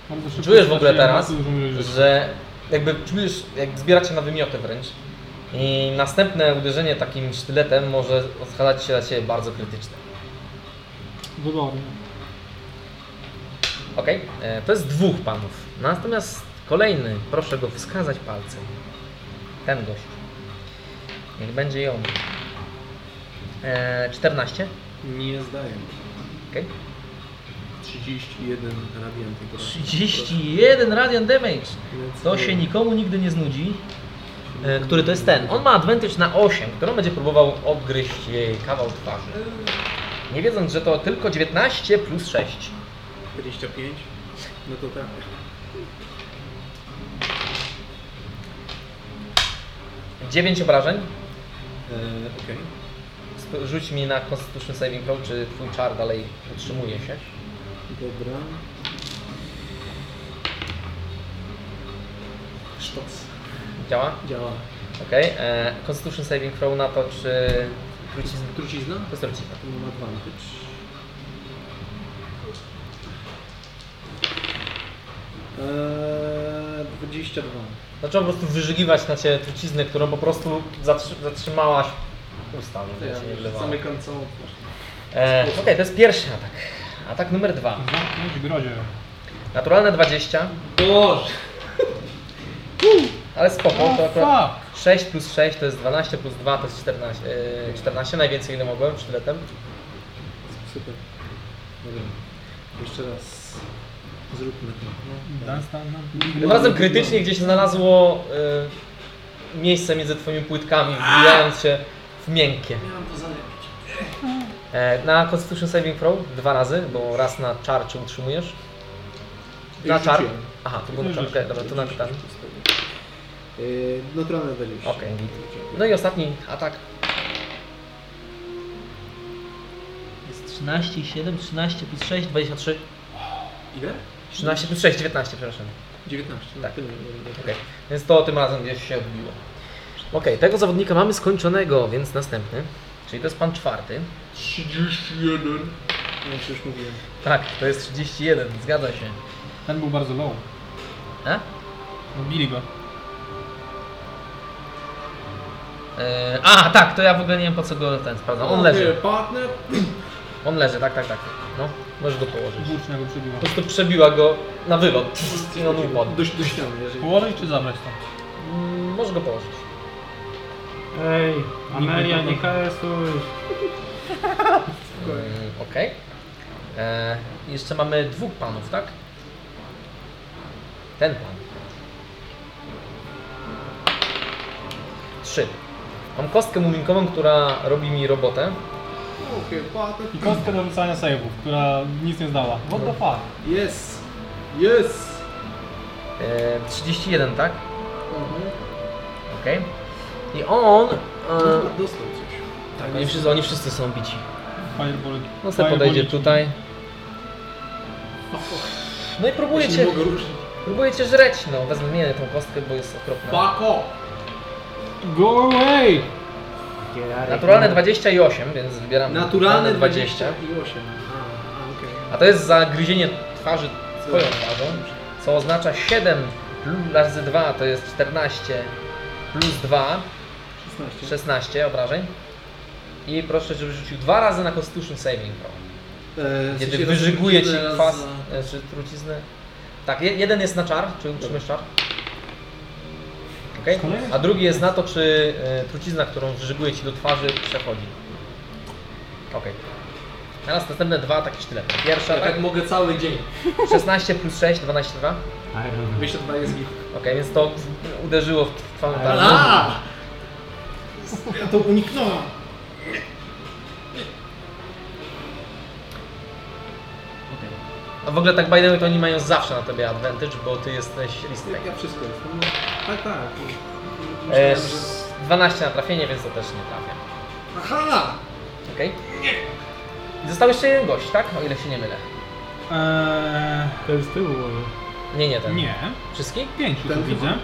[SPEAKER 3] Bardzo szybko
[SPEAKER 1] Czujesz w ogóle
[SPEAKER 3] straciłem
[SPEAKER 1] teraz,
[SPEAKER 3] bardzo dużo rzeczy.
[SPEAKER 1] że jakby czujesz, jak zbiera cię na wymioty wręcz. I następne uderzenie takim sztyletem może odchylać się dla ciebie bardzo krytyczne.
[SPEAKER 3] Wybornie.
[SPEAKER 1] Okej, e, to jest dwóch panów. Natomiast kolejny, proszę go wskazać palcem. Ten gość. Niech będzie ją. E, 14.
[SPEAKER 4] Nie zdaję.
[SPEAKER 1] Okej.
[SPEAKER 4] 31 radian tego.
[SPEAKER 1] 31 radian damage. To się nikomu nigdy nie znudzi. E, który to jest ten. On ma advantage na 8, którą będzie próbował odgryźć jej kawał twarzy. Nie wiedząc, że to tylko 19 plus 6.
[SPEAKER 4] 25? No to tak.
[SPEAKER 1] Dziewięć obrażeń.
[SPEAKER 4] Eee, Okej.
[SPEAKER 1] Sp- Rzuć mi na Constitution Saving Throw, czy twój czar dalej utrzymuje się.
[SPEAKER 4] Dobra. Sztos.
[SPEAKER 1] Działa?
[SPEAKER 4] Działa.
[SPEAKER 1] Okej. e, Constitution Saving Throw na to, czy... Trucizna.
[SPEAKER 4] Trucizna?
[SPEAKER 1] To jest trucizna.
[SPEAKER 4] To mam advantage. Eee, 22.
[SPEAKER 1] Zaczęła po prostu wyżygiwać na Ciebie truciznę, którą po prostu zatrzy- zatrzymałaś usta,
[SPEAKER 4] To
[SPEAKER 1] żeby
[SPEAKER 4] ja
[SPEAKER 1] Cię nie wlewała.
[SPEAKER 4] zamykam całą twarz.
[SPEAKER 1] E, Okej, to jest pierwszy atak. Atak numer dwa.
[SPEAKER 3] Zamknąć w grozie.
[SPEAKER 1] Naturalne 20,
[SPEAKER 4] Boże!
[SPEAKER 1] ale spoko, to akurat
[SPEAKER 3] Fuck!
[SPEAKER 1] 6 plus 6 to jest 12, plus 2 to jest 14, e, 14 najwięcej ile mogłem sztyletem.
[SPEAKER 4] Super. Dobra. Jeszcze raz. Zróbmy to.
[SPEAKER 3] Dance tam, no.
[SPEAKER 1] Tym razem krytycznie gdzieś znalazło e, miejsce między Twoimi płytkami, wbijając się w miękkie.
[SPEAKER 4] Miałem to zalepić.
[SPEAKER 1] E, na Constitution Saving Throw dwa razy, bo raz na czar czy utrzymujesz. Na
[SPEAKER 4] Już
[SPEAKER 1] czar?
[SPEAKER 4] rzuciłem.
[SPEAKER 1] Aha, to było na czar. Okej, dobra, to na czar.
[SPEAKER 4] Eee, Naturalne 20.
[SPEAKER 1] Okej, git. No i ostatni atak. Jest 13 i 7, 13 plus 6, 23.
[SPEAKER 4] Ile?
[SPEAKER 1] 13 plus 6, 19, no przepraszam.
[SPEAKER 4] 19. no,
[SPEAKER 1] Tak.
[SPEAKER 4] tyle, dobra.
[SPEAKER 1] Okej, więc to tym razem gdzieś się odbiło. Okej, tego zawodnika mamy skończonego, więc następny. Czyli to jest pan czwarty.
[SPEAKER 4] 31. No już, już mówiłem.
[SPEAKER 1] Tak, to jest 31, zgadza się.
[SPEAKER 3] Ten był bardzo low.
[SPEAKER 1] E?
[SPEAKER 3] Odbili go.
[SPEAKER 1] E, a, tak, to ja w ogóle nie wiem po co go ten sprawdzam. No,
[SPEAKER 4] No,
[SPEAKER 1] On leży.
[SPEAKER 4] Okej, Partner.
[SPEAKER 1] On leży, tak, tak, tak. No, możesz go położyć.
[SPEAKER 3] Włócznia go przebiła.
[SPEAKER 1] Po prostu przebiła go na wylot i on upadł.
[SPEAKER 4] Do, do ściany, jeżeli...
[SPEAKER 3] Położyć czy zabrać tam?
[SPEAKER 1] Mm, Możesz go położyć.
[SPEAKER 8] Ej, Amelia,
[SPEAKER 3] Nigdy
[SPEAKER 8] nie
[SPEAKER 3] tego-
[SPEAKER 8] karesuj.
[SPEAKER 1] Mm, Okej. E, Jeszcze mamy dwóch panów, tak? Ten pan. Trzy. Mam kostkę muminkową, która robi mi robotę.
[SPEAKER 4] Okej, partner.
[SPEAKER 3] I kostkę do rzucania save'ów, która nic nie zdała. What the fuck?
[SPEAKER 4] Yes. Yes.
[SPEAKER 1] E, 31, tak?
[SPEAKER 4] Mhm.
[SPEAKER 1] Okej. I on... E,
[SPEAKER 4] Chyba Dostał coś.
[SPEAKER 1] tak, oni wszyscy, oni wszyscy są bici.
[SPEAKER 3] Fireball.
[SPEAKER 1] No se podejdzie tutaj. No i
[SPEAKER 4] Ja się
[SPEAKER 1] próbujecie,
[SPEAKER 4] nie mogę ruszyć.
[SPEAKER 1] próbujecie żreć, no. Wezmę zmienię tą kostkę, bo jest okropna.
[SPEAKER 4] Bako!
[SPEAKER 3] Go away!
[SPEAKER 8] no.
[SPEAKER 1] Naturalne 28, więc wybieram
[SPEAKER 4] Naturalne 20 i 8. A, a okej.
[SPEAKER 1] A to jest zagryzienie twarzy twoją twarzą, co oznacza 7 plu- razy 2 to jest 14 plus 2,
[SPEAKER 4] 16.
[SPEAKER 1] 16 obrażeń. I proszę, żeby rzucił dwa razy na Constitution Saving Throw.
[SPEAKER 4] E, w
[SPEAKER 1] Kiedy
[SPEAKER 4] sensie
[SPEAKER 1] wyżyguje ci
[SPEAKER 4] rozdzielone raz
[SPEAKER 1] kwas,
[SPEAKER 4] na-
[SPEAKER 1] e, czy truciznę. Tak, je- jeden jest na czar, czy utrzymasz czar. Okay.
[SPEAKER 3] Kolejny?
[SPEAKER 1] A drugi jest na to, czy e, trucizna, którą wyżyguje ci do twarzy, przechodzi. Okej. Teraz następne dwa ataki sztylet. Pierwsza
[SPEAKER 4] Ja
[SPEAKER 1] atak,
[SPEAKER 4] tak mogę cały dzień.
[SPEAKER 1] 16 plus 6, 12, 2.
[SPEAKER 4] Myślę, że to jest git.
[SPEAKER 1] Okej, więc to uderzyło w twoją tarczę.
[SPEAKER 4] Ala!
[SPEAKER 3] Ja to uniknąłem.
[SPEAKER 1] A w ogóle tak by the way, to oni mają zawsze na tobie advantage, bo ty jesteś listek.
[SPEAKER 4] Jak ja wszystko jestem. No, tak, tak.
[SPEAKER 1] E,
[SPEAKER 4] Myślałem, że...
[SPEAKER 1] 12 na trafienie, więc to też nie trafia.
[SPEAKER 4] Aha!
[SPEAKER 1] Okej. I Został jeszcze jeden gość, tak? O ile się nie mylę.
[SPEAKER 3] Eee,
[SPEAKER 2] To jest tył. bo-
[SPEAKER 1] Nie, nie ten.
[SPEAKER 3] nie.
[SPEAKER 1] Wszystkich?
[SPEAKER 3] Pięciu
[SPEAKER 4] Ten
[SPEAKER 3] tu
[SPEAKER 4] chyba.
[SPEAKER 3] widzę.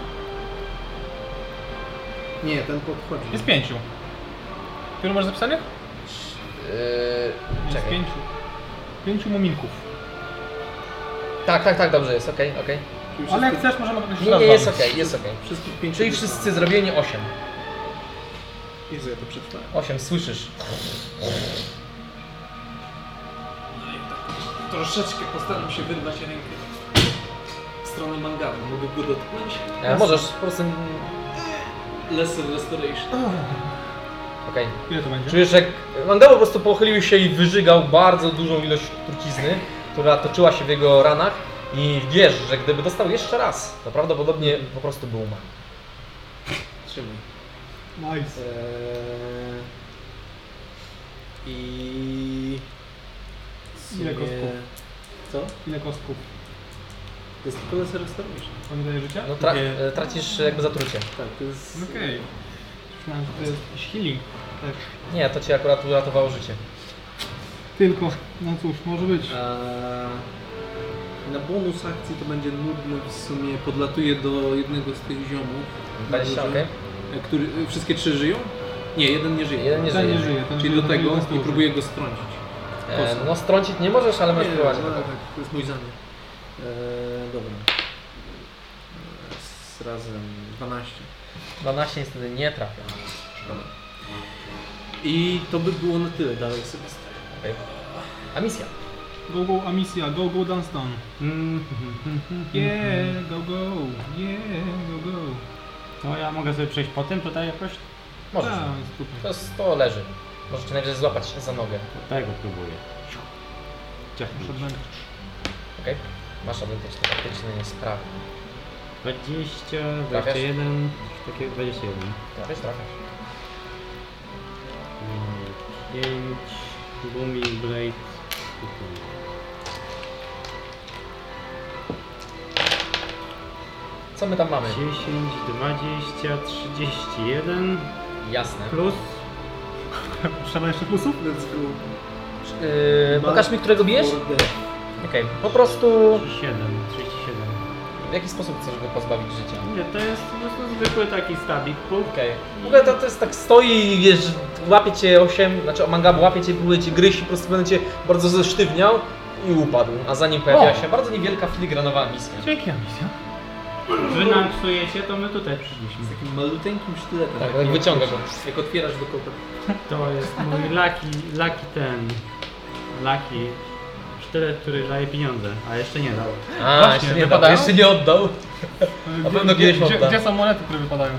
[SPEAKER 4] Nie, ten podchodzi.
[SPEAKER 3] Jest pięciu. Tylu masz zapisanych?
[SPEAKER 1] Yy,
[SPEAKER 3] Jest
[SPEAKER 1] czekaj.
[SPEAKER 3] pięciu. Pięciu muminków.
[SPEAKER 1] Tak, tak, tak, dobrze jest, okej, okej.
[SPEAKER 4] Czyli
[SPEAKER 3] Ale jak
[SPEAKER 4] wszystko-
[SPEAKER 3] chcesz, możemy kogoś
[SPEAKER 1] Nie,
[SPEAKER 3] raz
[SPEAKER 1] nie, jest
[SPEAKER 3] bawić.
[SPEAKER 1] okej, jest okej.
[SPEAKER 4] Wszystkich pięciu.
[SPEAKER 1] Czyli wszyscy zrobieni 8.
[SPEAKER 4] Jezu, ja to przeczytałem.
[SPEAKER 1] 8, słyszysz.
[SPEAKER 4] Troszeczkę postaram się wyrwać rękę w stronę mangabu. Mogę go dotknąć.
[SPEAKER 1] E, możesz, po prostu... mm,
[SPEAKER 4] Lesson Restoration.
[SPEAKER 1] Okej.
[SPEAKER 3] Ile to będzie?
[SPEAKER 1] Czujesz, jak Mangabo po prostu pochylił się i wyżygał bardzo dużą ilość trucizny, która toczyła się w jego ranach i wiesz, że gdyby dostał jeszcze raz, to prawdopodobnie po prostu był umarł.
[SPEAKER 4] Trzymaj. E,
[SPEAKER 3] Nice.
[SPEAKER 4] Eee... I... w
[SPEAKER 3] Ile
[SPEAKER 4] sumie-
[SPEAKER 3] kostków?
[SPEAKER 4] Co?
[SPEAKER 3] Ile kostków?
[SPEAKER 4] To jest tylko Lesson Restoration.
[SPEAKER 3] To mi daje życie?
[SPEAKER 1] No tra
[SPEAKER 3] Nie.
[SPEAKER 1] e, tracisz jakby zatrucie.
[SPEAKER 4] Tak, to jest...
[SPEAKER 3] Okej. Myślałem, że to jest jakiś healing. Też.
[SPEAKER 1] Nie, to ci akurat uratowało życie.
[SPEAKER 3] Tylko, no cóż, może być.
[SPEAKER 4] Eee, Na bonus akcji to będzie nudne w sumie. Podlatuję do jednego z tych ziomów.
[SPEAKER 1] 20, okej?
[SPEAKER 4] E, Który, e, wszystkie trzy żyją? Nie, jeden nie żyje.
[SPEAKER 1] Jeden nie
[SPEAKER 3] Ten
[SPEAKER 1] żyje.
[SPEAKER 3] nie żyje. Ten
[SPEAKER 4] Czyli
[SPEAKER 3] żyje,
[SPEAKER 4] do
[SPEAKER 3] ten
[SPEAKER 4] tego
[SPEAKER 3] jeden
[SPEAKER 4] i
[SPEAKER 3] służy.
[SPEAKER 4] próbuję go strącić.
[SPEAKER 1] E,
[SPEAKER 4] Kosą.
[SPEAKER 1] no strącić nie możesz, ale masz
[SPEAKER 4] Nie,
[SPEAKER 1] próbowanie.
[SPEAKER 4] no, tak, to jest mój zamiar. Eee, dobra. Eee, Z razem 12.
[SPEAKER 1] 12 No, niestety nie trafia.
[SPEAKER 4] Dobra. I to by było na tyle dalej sobie staję.
[SPEAKER 1] Okej. A misja.
[SPEAKER 3] Go, go, Amicia, go, go, dance down.
[SPEAKER 2] Mm,
[SPEAKER 3] Yeah, go, go, yeah, go, go.
[SPEAKER 2] To ja mogę sobie przejść po tym tutaj jakoś?
[SPEAKER 1] Możesz.
[SPEAKER 3] Tak, jest super.
[SPEAKER 1] To, jest- to leży. Możesz cię najwyżej złapać za nogę.
[SPEAKER 2] Od tego próbuję.
[SPEAKER 3] Muszę odmęczyć.
[SPEAKER 1] Okej? Masz autentyczny, faktyczny nie sprawy.
[SPEAKER 2] 20,
[SPEAKER 1] Tak
[SPEAKER 2] 21, takie 21.
[SPEAKER 1] Trafisz, trafisz.
[SPEAKER 2] 5, Booming Blade.
[SPEAKER 1] Co my tam mamy?
[SPEAKER 2] 10, 20, 31
[SPEAKER 1] Jasne.
[SPEAKER 2] plus. Trzeba jeszcze plusów?
[SPEAKER 4] Let's go.
[SPEAKER 1] Yy, pokaż mi, którego bijesz?
[SPEAKER 4] Kurde.
[SPEAKER 1] Okej, po prostu
[SPEAKER 2] 37, 37.
[SPEAKER 1] w jaki sposób chcesz go pozbawić życia?
[SPEAKER 2] Nie, to jest po prostu zwykły taki stabik. Puk.
[SPEAKER 1] Okej. W ogóle to, to jest tak stoi, wiesz, łapie cię 8, znaczy mangabu łapie cię, próbuje cię gryźć i po prostu będzie cię bardzo zesztywniał i upadł. A za nim pojawiła się bardzo niewielka filigranowa miska.
[SPEAKER 3] Dzięki, Amicia.
[SPEAKER 2] Wy nam psujecie, to my tutaj przyszliśmy.
[SPEAKER 4] Z takim maluteńkim sztyletem.
[SPEAKER 1] Tak,
[SPEAKER 4] jak
[SPEAKER 1] jak
[SPEAKER 4] nie-
[SPEAKER 1] wyciąga go.
[SPEAKER 4] Jak otwierasz do kopy.
[SPEAKER 2] To jest mój laki, laki ten. Laki. Sztylet, który daje pieniądze, a jeszcze nie dał.
[SPEAKER 1] A,
[SPEAKER 3] Właśnie,
[SPEAKER 1] jeszcze nie
[SPEAKER 3] wypadają?
[SPEAKER 1] dał, jeszcze nie oddał. Na pewno kiedyś
[SPEAKER 3] E, gdzie,
[SPEAKER 1] odda.
[SPEAKER 3] gdzie są monety, które wypadają?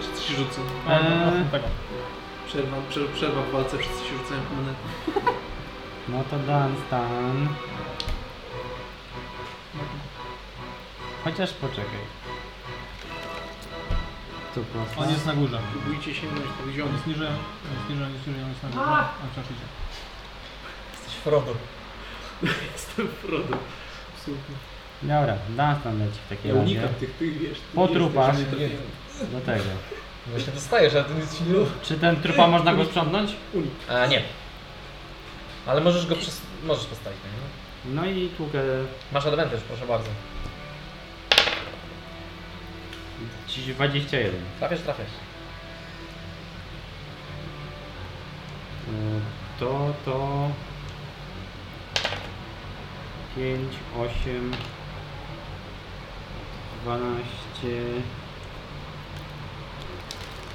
[SPEAKER 4] Wszyscy się rzucą.
[SPEAKER 2] Eee.
[SPEAKER 3] Eee. Tego.
[SPEAKER 4] Przerwa, przer- przerwa w walce, wszyscy się rzucają monety.
[SPEAKER 2] No to Dunstan. Chociaż poczekaj. Tu prosto.
[SPEAKER 3] On jest na górze.
[SPEAKER 4] Próbujcie sięgnąć tych
[SPEAKER 3] On
[SPEAKER 4] ziomów.
[SPEAKER 3] jest niżej, on jest niżej, on jest niżej, on jest na górze. A przecież idzie.
[SPEAKER 1] Jesteś Frodo.
[SPEAKER 4] Jestem Frodo. Absolutnie.
[SPEAKER 2] Dobra, Dunstan leci w takiej
[SPEAKER 4] Ja
[SPEAKER 2] razie.
[SPEAKER 4] unikam tych, tych wiesz. ty
[SPEAKER 2] Po
[SPEAKER 4] jesteś,
[SPEAKER 2] trupach.
[SPEAKER 4] że nie trafiłem.
[SPEAKER 2] Do tego.
[SPEAKER 1] Właśnie dostajesz, ale ty nic się nie rób.
[SPEAKER 2] Czy ten trupa można go sprzątnąć?
[SPEAKER 1] A, nie. Ale możesz go przez... możesz postawić, no nie?
[SPEAKER 2] No i tłukę
[SPEAKER 1] Masz advantage, proszę bardzo.
[SPEAKER 2] 21.
[SPEAKER 1] Trafiasz, trafiasz.
[SPEAKER 2] Y, To, to... 5, 8... 12...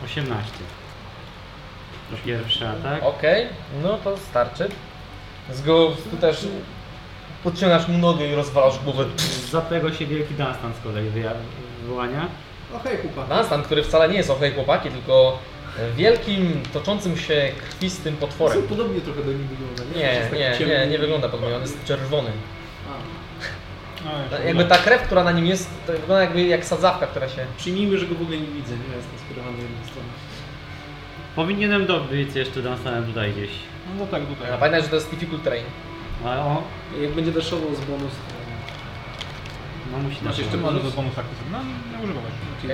[SPEAKER 2] 18. To tak? pierwszy atak.
[SPEAKER 1] Okej, no to starczy. Z go tu też podciągasz mu nogę i rozwalasz głowę.
[SPEAKER 2] Za tego się wielki Dunstan z kolei wyja- wyłania.
[SPEAKER 4] Okej, chłopak.
[SPEAKER 1] Dunstan, który wcale nie jest ochrej chłopaki, tylko wielkim, toczącym się krwistym potworem.
[SPEAKER 4] Są podobnie trochę do nich wygląda, nie?
[SPEAKER 1] Nie,
[SPEAKER 4] Jest taki
[SPEAKER 1] nie,
[SPEAKER 4] ciemny.
[SPEAKER 1] nie, nie wygląda podobnie, on jest czerwony.
[SPEAKER 4] A,
[SPEAKER 3] A, jeszcze
[SPEAKER 1] No, Jakby tak- ta krew, która na nim jest, to wygląda jakby jak sadzawka, która się...
[SPEAKER 4] Przyjmijmy, że go w ogóle nie widzę, nie jestem skierowany do jednej strony.
[SPEAKER 2] Powinienem dobić jeszcze Dunstanem tutaj gdzieś.
[SPEAKER 3] No tak, tutaj.
[SPEAKER 1] Pamiętaj, że to jest difficult terrain.
[SPEAKER 2] Ale on...
[SPEAKER 4] Jak będzie daszował z bonus, to...
[SPEAKER 2] No musi
[SPEAKER 4] Masz
[SPEAKER 2] na-
[SPEAKER 4] jeszcze
[SPEAKER 3] Może do
[SPEAKER 4] bonus?
[SPEAKER 3] bonus akcji. No, nie używałeś.
[SPEAKER 4] Czyli-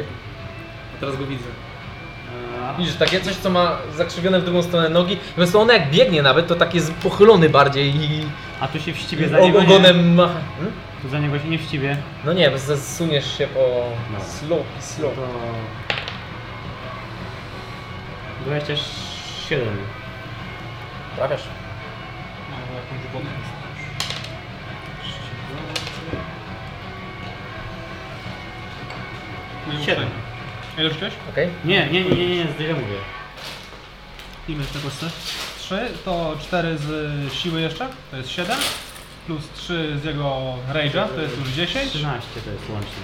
[SPEAKER 4] A teraz go widzę.
[SPEAKER 2] Eee,
[SPEAKER 1] Widzisz, takie coś, co ma zakrzywione w drugą stronę nogi, więc ona jak biegnie nawet, to tak jest pochylony bardziej i
[SPEAKER 2] A tu się wścibie za
[SPEAKER 1] og-
[SPEAKER 2] niego nie.
[SPEAKER 1] ogonem macha. Hmm?
[SPEAKER 2] Tu za niego się nie wścibie.
[SPEAKER 1] No nie, bo zesuniesz się po
[SPEAKER 2] No.
[SPEAKER 1] slope i
[SPEAKER 2] To...
[SPEAKER 1] slope.
[SPEAKER 2] 27.
[SPEAKER 1] Trafiasz.
[SPEAKER 3] No, jakąś wodę. Nie
[SPEAKER 2] Siedem.
[SPEAKER 3] uprzejmy. Ile rzuciłeś?
[SPEAKER 1] Okej.
[SPEAKER 2] Nie, nie, nie, nie, nie, źle mówię.
[SPEAKER 3] Ile w tej kostce? 3 to 4 z y, siły jeszcze, to jest 7. Plus 3 z jego rage'a, to jest już 10.
[SPEAKER 2] 13 to jest łącznie.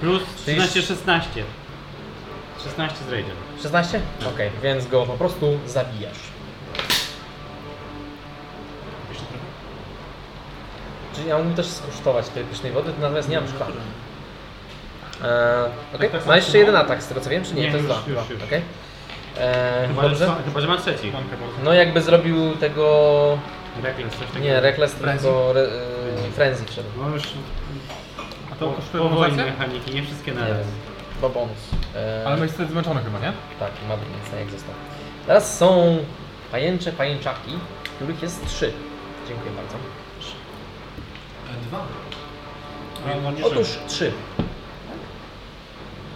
[SPEAKER 2] Plus
[SPEAKER 1] Czyli
[SPEAKER 2] 13, 16. 16 z raidem.
[SPEAKER 1] 16? Okej, więc go po prostu zabijasz. Czyli ja mógł też skosztować tej pysznej wody, natomiast nie mam szkła. Eee, okej,
[SPEAKER 3] Tak, tak,
[SPEAKER 1] ma
[SPEAKER 3] tak.
[SPEAKER 1] jeszcze jeden atak z tego co wiem, czy nie?
[SPEAKER 2] Nie,
[SPEAKER 1] to jest
[SPEAKER 2] już,
[SPEAKER 1] dwa.
[SPEAKER 2] już,
[SPEAKER 1] Dwa,
[SPEAKER 2] już.
[SPEAKER 1] okej. Eee,
[SPEAKER 2] Chyba,
[SPEAKER 1] dobrze.
[SPEAKER 2] Że, chyba, że ma trzeci.
[SPEAKER 3] Klamkę po prostu.
[SPEAKER 1] No jakby zrobił tego...
[SPEAKER 2] Reckless, coś takiego.
[SPEAKER 1] Nie, Reckless,
[SPEAKER 4] Frenzy?
[SPEAKER 1] tylko re, e, Frenzy wszedł.
[SPEAKER 2] No już
[SPEAKER 3] A to
[SPEAKER 2] po,
[SPEAKER 3] kosztuje
[SPEAKER 2] powoli
[SPEAKER 3] bonusację?
[SPEAKER 2] mechaniki, nie wszystkie naraz.
[SPEAKER 1] Bo bonus. Eee,
[SPEAKER 3] Ale my jesteś zmęczony chyba, nie?
[SPEAKER 1] Tak, ma drugi nic jak został. Teraz są pajęcze, pajęczaki, których jest trzy. Dziękuję bardzo.
[SPEAKER 4] E, Dwa.
[SPEAKER 3] No
[SPEAKER 1] Otóż trzy.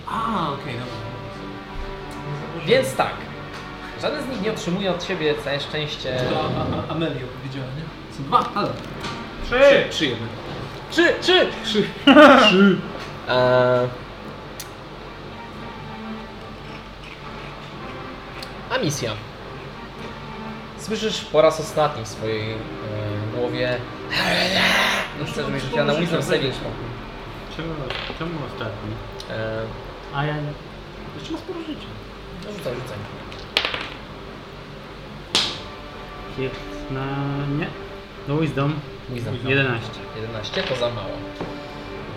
[SPEAKER 4] A, okej, dobra.
[SPEAKER 1] Więc tak. Żaden z nich nie otrzymuje od siebie całe szczęście.
[SPEAKER 4] To a, a, a, Amelio widziała, nie? Są dwa, ale...
[SPEAKER 3] Trzy!
[SPEAKER 4] Trzy jednak.
[SPEAKER 1] Trzy, trzy!
[SPEAKER 4] Trzy.
[SPEAKER 1] Eee... A misja. Słyszysz po raz ostatni w swojej e, głowie. Nie chcę, żebyś rzuciła na Wisdom Saving Throw.
[SPEAKER 2] Czemu, czemu ostatni?
[SPEAKER 1] Eee,
[SPEAKER 2] A ja nie.
[SPEAKER 4] Jeszcze ma sporo życia.
[SPEAKER 1] no rzucaj, rzucaj.
[SPEAKER 2] 15. Nie. No wisdom.
[SPEAKER 1] Wisdom.
[SPEAKER 2] 11.
[SPEAKER 1] 11 to za mało.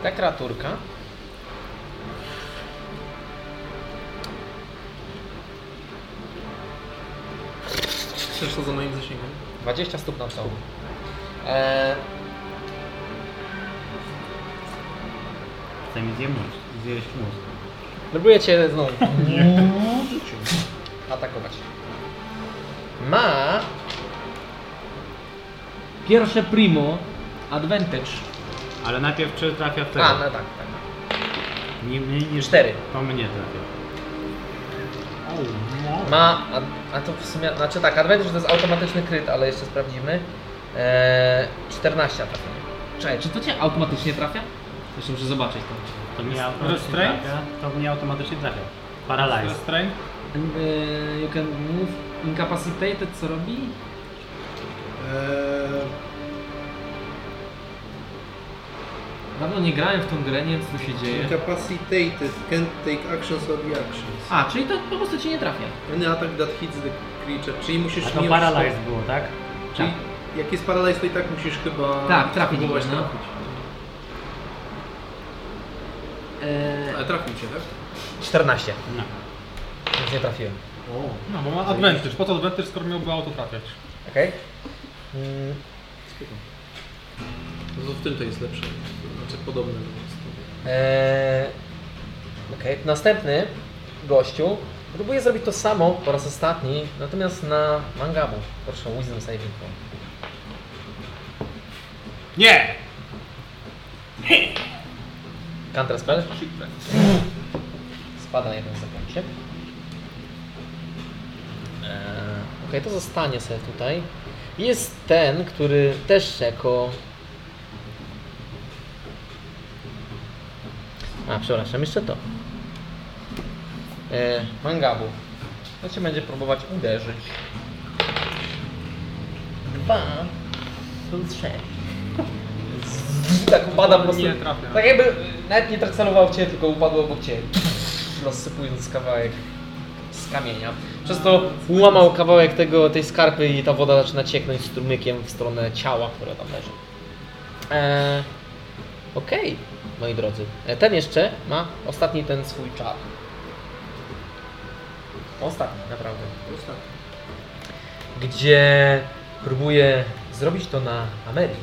[SPEAKER 1] Ta kreaturka.
[SPEAKER 4] Przecież to za moim zasięgiem.
[SPEAKER 1] 20 stóp na całą. Eee,
[SPEAKER 2] Chce mi zjeść mózg. Zjeść mózg.
[SPEAKER 1] próbuję cię znowu atakować. Ma pierwsze primo advantage.
[SPEAKER 2] Ale najpierw czy trafia
[SPEAKER 1] A,
[SPEAKER 2] w tego?
[SPEAKER 1] no tak, tak.
[SPEAKER 2] Nie mniej niż
[SPEAKER 1] Cztery.
[SPEAKER 2] To mnie trafia.
[SPEAKER 1] Ma, a, a to w sumie, znaczy tak, advantage to jest automatyczny kryt, ale jeszcze sprawdzimy. Eee, 14 atakuje.
[SPEAKER 9] Czekaj, czy to cię automatycznie trafia? Jeszcze muszę zobaczyć to.
[SPEAKER 2] To mnie automatycznie
[SPEAKER 3] restraint?
[SPEAKER 2] trafia. To mnie automatycznie trafia.
[SPEAKER 3] To
[SPEAKER 2] Paralyze.
[SPEAKER 3] jest train.
[SPEAKER 9] Eee, you can move incapacitated, co robi?
[SPEAKER 4] Eee,
[SPEAKER 9] Dawno nie grałem w tą grę, nie wiem co tu się dzieje.
[SPEAKER 4] incapacitated, can't take actions or reactions.
[SPEAKER 9] A, czyli to po prostu cię nie trafia.
[SPEAKER 4] Any attack that hits the creature, czyli musisz...
[SPEAKER 2] A to
[SPEAKER 4] nie-
[SPEAKER 2] paralyze było, tak?
[SPEAKER 4] Czyli jak jest paraliz, to i tak musisz chyba...
[SPEAKER 9] Tak, trafić
[SPEAKER 4] spróbować
[SPEAKER 9] go, no.
[SPEAKER 4] trafić.
[SPEAKER 9] Eee,
[SPEAKER 4] Ale trafił cię, tak?
[SPEAKER 1] 14,
[SPEAKER 2] No.
[SPEAKER 1] więc nie trafiłem.
[SPEAKER 4] O.
[SPEAKER 3] No bo ma advantage. Po co advantage, skoro miałby auto trafiać?
[SPEAKER 1] Okej? Mm,
[SPEAKER 4] No to w tym to jest lepsze. Znaczy podobne. jest.
[SPEAKER 1] Eee, Okej, następny gościu próbuje zrobić to samo po raz ostatni, natomiast na mangabu. Proszę, Wisdom Saving Throw.
[SPEAKER 2] Nie!
[SPEAKER 1] Counter spell? Spada na jeden zaklęcie. Eee, Okej, to zostanie sobie tutaj. Jest ten, który też jako... A, przepraszam, jeszcze to. E, mangabu. To cię będzie próbować uderzyć. Dwa plus sześć. Tak upada po prostu.
[SPEAKER 3] Nie trafia.
[SPEAKER 1] Tak jakby e, nawet nie tak celował w ciebie, tylko upadło obok ciebie. Rozsypując kawałek z kamienia. Przez to łamał kawałek tego, tej skarpy i ta woda zaczyna cieknąć strumykiem w stronę ciała, które tam leży. E, Okej, moi drodzy. E, Ten jeszcze ma ostatni ten swój czar. Ostatni, naprawdę. Ostatni. Gdzie próbuje zrobić to na Ameryki.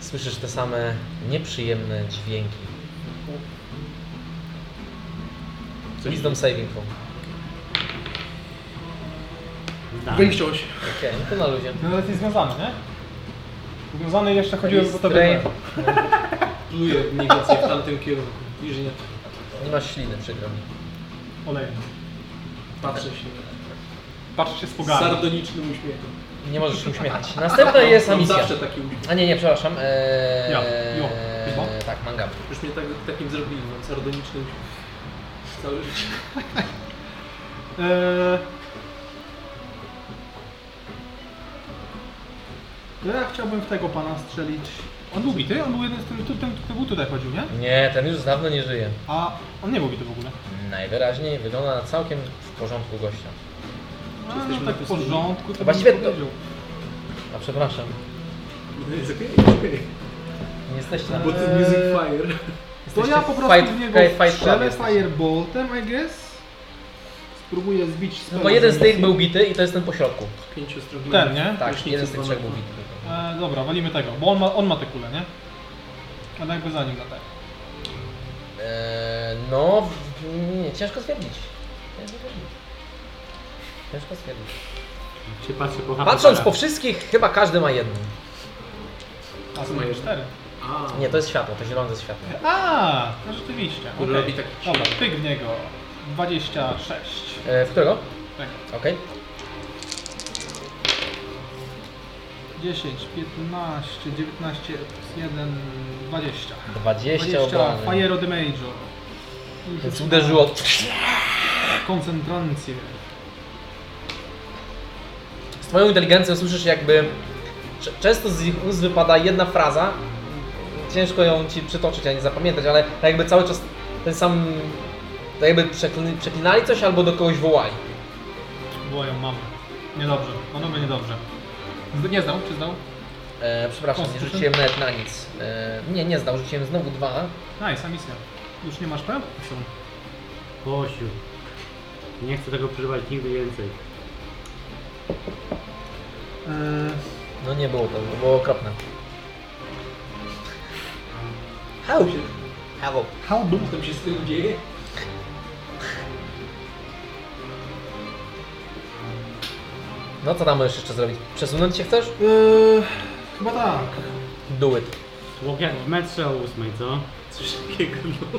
[SPEAKER 1] Słyszysz te same nieprzyjemne dźwięki. Wisdom saving throw.
[SPEAKER 4] Wyjścioś.
[SPEAKER 1] Okej, no to na luzie.
[SPEAKER 3] No ale jesteś związany, nie? Związany jeszcze chodziłem po tobie.
[SPEAKER 1] Restraint.
[SPEAKER 4] Pluję mniej więcej w tamtym kierunku. Bliżej nie
[SPEAKER 1] Nie masz śliny, przykro mi.
[SPEAKER 3] Olejem.
[SPEAKER 4] patrzę się.
[SPEAKER 3] Patrz się z
[SPEAKER 4] Z
[SPEAKER 3] pogardą.
[SPEAKER 4] sardonicznym uśmiechem.
[SPEAKER 1] Nie możesz się uśmiechać. Następna jest
[SPEAKER 4] Mam
[SPEAKER 1] Amicia.
[SPEAKER 4] zawsze taki uśmiech.
[SPEAKER 1] A nie, nie, przepraszam. Eee,
[SPEAKER 3] Ja, jo, chyba.
[SPEAKER 1] tak, manga.
[SPEAKER 4] Już mnie tak, takim zrobili, mam sardoniczny uśmiech. Całe życie.
[SPEAKER 3] Eee... Ja chciałbym w tego pana strzelić. On był bity? On był jeden z tym, tu- ten, ten był tutaj chodził, nie?
[SPEAKER 1] Nie, ten już dawno nie żyje.
[SPEAKER 3] A on nie był bity w ogóle.
[SPEAKER 1] Najwyraźniej wygląda na całkiem w porządku gościa.
[SPEAKER 3] A, no tak w porządku, to
[SPEAKER 1] Właściwie
[SPEAKER 3] bym
[SPEAKER 1] to-
[SPEAKER 3] powiedział.
[SPEAKER 1] A przepraszam,
[SPEAKER 4] No jest okej, jest okej.
[SPEAKER 1] nie jesteście na...
[SPEAKER 4] Bo to music fire.
[SPEAKER 3] To ja po prostu
[SPEAKER 1] Fight-
[SPEAKER 3] w niego
[SPEAKER 1] fight- fight
[SPEAKER 3] strzelę
[SPEAKER 1] club jesteś.
[SPEAKER 3] fireboltem, I guess. Spróbuję zbić
[SPEAKER 1] No
[SPEAKER 3] spell
[SPEAKER 1] bo jeden z
[SPEAKER 3] ability.
[SPEAKER 1] tych był bity i to jest ten po środku.
[SPEAKER 4] Pięciu stron.
[SPEAKER 3] Ten, nie?
[SPEAKER 1] Tak,
[SPEAKER 4] Prysznicy
[SPEAKER 1] jeden z tych
[SPEAKER 4] z
[SPEAKER 1] trzech był
[SPEAKER 4] bananem.
[SPEAKER 1] bity.
[SPEAKER 3] E, dobra, walimy tego, bo on ma, on ma te kule, nie? Ale jakby za nim na tak.
[SPEAKER 1] Eee, no, w- nie, ciężko stwierdzić. Ciężko stwierdzić. Ciężko stwierdzić.
[SPEAKER 2] Czy patrzę po HP?
[SPEAKER 1] Patrząc po wszystkich, chyba każdy ma jedną.
[SPEAKER 3] A są jeszcze cztery.
[SPEAKER 4] A,
[SPEAKER 1] Nie, to jest światło, to zielone jest światło.
[SPEAKER 3] A, no rzeczywiście.
[SPEAKER 4] Który
[SPEAKER 3] okej.
[SPEAKER 4] robi taki-
[SPEAKER 3] Dobra, pyk w niego. 26.
[SPEAKER 1] Eee, w którego?
[SPEAKER 3] Tak.
[SPEAKER 1] Okej.
[SPEAKER 3] 10, 15, 19, 1, 20.
[SPEAKER 1] 20 obranych.
[SPEAKER 3] Fire Damage'u.
[SPEAKER 1] Więc uderzyło
[SPEAKER 3] Koncentrację.
[SPEAKER 1] Z twoją inteligencją słyszysz jakby... cze- Często z ich ust wypada jedna fraza. Ciężko ją ci przytoczyć, a nie zapamiętać, ale tak jakby cały czas ten sam... Tak jakby przeklin- przeklinali coś albo do kogoś wołali.
[SPEAKER 3] Wołają mamę. Niedobrze, panowie niedobrze. Z- Nie znał, czy znał?
[SPEAKER 1] E, przepraszam, nie
[SPEAKER 3] Constitution?
[SPEAKER 1] rzuciłem nawet na nic. E, nie, nie zdał, rzuciłem znowu dwa.
[SPEAKER 3] Nice, misja. Już nie masz peł? Są.
[SPEAKER 2] Posiu. Nie chcę tego przeżywać nigdy więcej.
[SPEAKER 3] Eee,
[SPEAKER 1] No nie było to, to było okropne. How? How?
[SPEAKER 3] how do
[SPEAKER 4] Co tam się z tym dzieje?
[SPEAKER 1] No co tam możesz jeszcze zrobić? Przesunąć się chcesz?
[SPEAKER 2] Yy.
[SPEAKER 3] Eee, chyba tak.
[SPEAKER 1] Do it.
[SPEAKER 2] Łok jak w metrze o ósmej, co?
[SPEAKER 4] Coś takiego, no.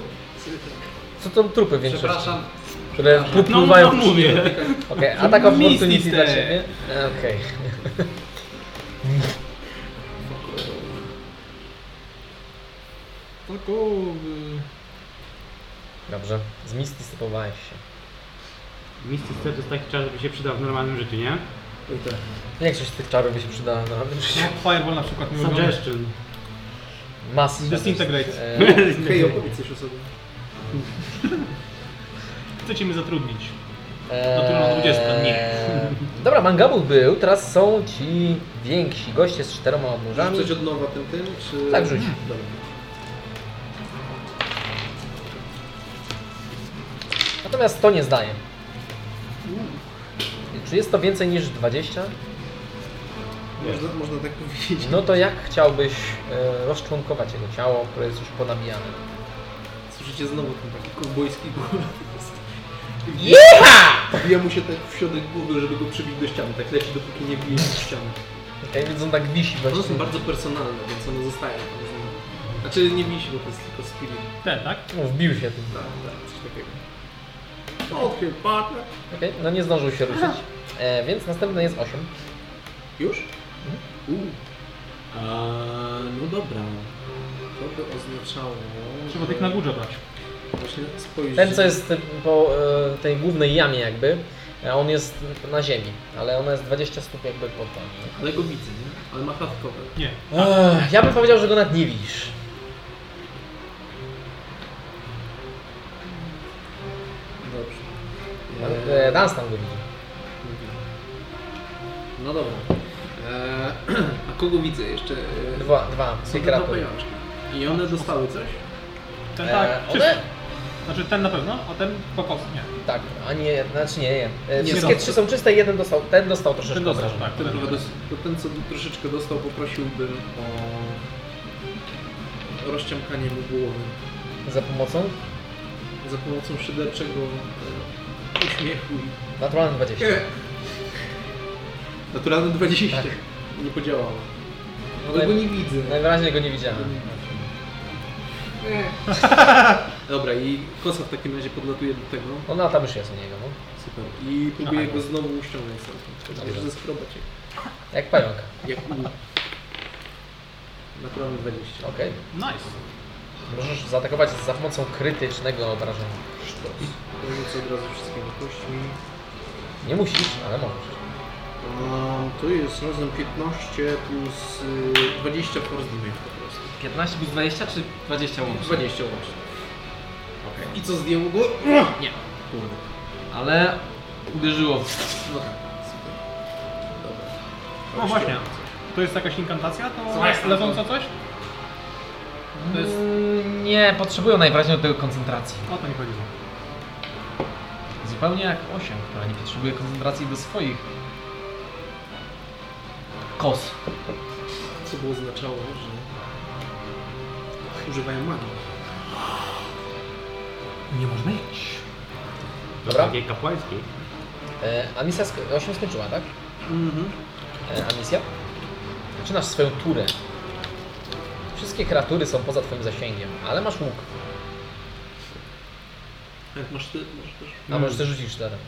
[SPEAKER 1] Co to trupy w większości?
[SPEAKER 4] Przepraszam.
[SPEAKER 1] Które
[SPEAKER 2] No,
[SPEAKER 1] popływają
[SPEAKER 2] no mówię.
[SPEAKER 1] Okej, atak opportunity
[SPEAKER 3] Misty.
[SPEAKER 1] dla ciebie. E, Okej.
[SPEAKER 3] Takowy.
[SPEAKER 1] Dobrze, z misty stypowałeś się.
[SPEAKER 2] Misty Step to jest taki czar, żeby się przydał w normalnym życiu, nie?
[SPEAKER 1] Większość z tych czarów by się przydała na razie.
[SPEAKER 3] Fireball na przykład miał
[SPEAKER 2] Suggestion.
[SPEAKER 1] Masy.
[SPEAKER 3] Disintegrate.
[SPEAKER 1] E,
[SPEAKER 4] Hej, opowiedz coś o sobie.
[SPEAKER 3] Chcecie mnie zatrudnić.
[SPEAKER 1] Eee,
[SPEAKER 3] Naturalna 20, nie.
[SPEAKER 1] Dobra, mangabu był, teraz są ci więksi goście z czteroma odnóżami.
[SPEAKER 4] Rzucać od nowa tym tym, czy...
[SPEAKER 1] Tak, rzuć.
[SPEAKER 4] Dobra.
[SPEAKER 1] Natomiast to nie zdaje. Czy jest to więcej niż 20?
[SPEAKER 4] Można, można tak powiedzieć.
[SPEAKER 1] No to jak chciałbyś e, rozczłonkować jego ciało, które jest już ponabijane?
[SPEAKER 4] Słyszycie znowu ten taki kowbojski głos.
[SPEAKER 1] Jecha!
[SPEAKER 4] Wbija mu się tak w środek głowy, żeby go przybić do ściany. Tak leci, dopóki nie bije się w ścianę.
[SPEAKER 1] Okej, więc on tak wisi
[SPEAKER 4] One
[SPEAKER 1] właśnie.
[SPEAKER 4] są bardzo personalne, więc one zostają. tam z nimi. Znaczy nie bije się, bo to jest tylko spirit.
[SPEAKER 3] Ten, tak?
[SPEAKER 1] No, wbił się tym.
[SPEAKER 4] Tak, tak, coś takiego. No, tak. Odchyl partner.
[SPEAKER 1] Okej, no nie zdążył się ruszyć. E, więc następne jest 8.
[SPEAKER 4] Mhm. Już? U. A, no dobra. to by oznaczało...
[SPEAKER 3] Trzeba
[SPEAKER 4] że
[SPEAKER 3] tych na górze brać.
[SPEAKER 4] Właśnie spojrzeć...
[SPEAKER 1] Ten, co jest po e, tej głównej jamie jakby, e, on jest na ziemi, ale ona jest 20 stóp jakby pod tam.
[SPEAKER 4] Ale go widzę, nie? Ale ma klatkowe.
[SPEAKER 3] Nie.
[SPEAKER 1] Ech, ja bym powiedział, że go nawet nie widzisz.
[SPEAKER 4] Dobrze. E,
[SPEAKER 1] E, Dans tam go widzi.
[SPEAKER 4] No dobra. E, a kogo widzę jeszcze? E,
[SPEAKER 1] Dwa, dwa,
[SPEAKER 4] są
[SPEAKER 1] dwie
[SPEAKER 4] te dwa
[SPEAKER 1] kreatury.
[SPEAKER 4] pajączki. I one dostały coś?
[SPEAKER 3] Ten tak,
[SPEAKER 1] E,
[SPEAKER 3] wszystko.
[SPEAKER 1] one,
[SPEAKER 3] Znaczy ten na pewno, a ten po prostu nie.
[SPEAKER 1] tak, a nie, znaczy nie, nie. E,
[SPEAKER 4] Nie
[SPEAKER 1] Wszystkie
[SPEAKER 4] są.
[SPEAKER 1] trzy są czyste, jeden dostał, ten dostał troszeczkę.
[SPEAKER 3] Ten dostał,
[SPEAKER 1] obrażeń.
[SPEAKER 3] tak.
[SPEAKER 4] Ten, chyba dos- to ten, co troszeczkę dostał, poprosiłbym o rozciąkanie mu głowy
[SPEAKER 1] Za pomocą?
[SPEAKER 4] za pomocą szyderczego e, uśmiechu i...
[SPEAKER 1] Naturalny 20.
[SPEAKER 3] E.
[SPEAKER 4] Naturalne 20.
[SPEAKER 1] Tak.
[SPEAKER 4] Nie podziałało.
[SPEAKER 1] No
[SPEAKER 4] Ale go
[SPEAKER 1] naj,
[SPEAKER 4] nie widzę.
[SPEAKER 1] najwyraźniej go nie widziałem.
[SPEAKER 4] Dobra, i kosa w takim razie podlatuje do tego.
[SPEAKER 1] Ona tam już jest u niego, no.
[SPEAKER 4] Super. I próbuje go znowu uściągnąć stamtąd.
[SPEAKER 1] Dobrze.
[SPEAKER 4] Może zeskrobać jak,
[SPEAKER 1] Jak pająka.
[SPEAKER 4] jak u... Naturalne 20.
[SPEAKER 1] Okej.
[SPEAKER 3] Nice.
[SPEAKER 1] Możesz zaatakować za pomocą krytycznego obrażenia.
[SPEAKER 4] Rzucę od razu wszystkimi kośćmi.
[SPEAKER 1] Nie musisz, ale możesz.
[SPEAKER 4] Um, to jest razem 15 plus y, 20 force damage po prostu.
[SPEAKER 10] 15 plus 20 czy 20 łącznie?
[SPEAKER 4] 20 łącznie. I co zdjęło go?
[SPEAKER 10] Nie.
[SPEAKER 4] Kurde.
[SPEAKER 10] Ale uderzyło w...
[SPEAKER 4] No tak, super. Dobra.
[SPEAKER 3] No właśnie. To jest jakaś inkantacja? To
[SPEAKER 10] Słuchaj,
[SPEAKER 3] jest leżące coś?
[SPEAKER 10] To jest... Mm, Nie, potrzebują najwyraźniej do tego koncentracji.
[SPEAKER 3] O to mi chodziło.
[SPEAKER 10] Zupełnie jak 8, która nie potrzebuje koncentracji do swoich kos.
[SPEAKER 4] Co by oznaczało, że używają magii.
[SPEAKER 10] Nie można iść.
[SPEAKER 1] Dobra.
[SPEAKER 2] Takiej kapłańskiej.
[SPEAKER 1] E, a misja sk- 8 skończyła, tak?
[SPEAKER 4] Mhm.
[SPEAKER 1] E, a misja? Zaczynasz swoją turę. Wszystkie kreatury są poza twoim zasięgiem, ale masz łuk.
[SPEAKER 4] Jak masz ty, masz też.
[SPEAKER 1] A możesz też rzucić Mhm. czterem.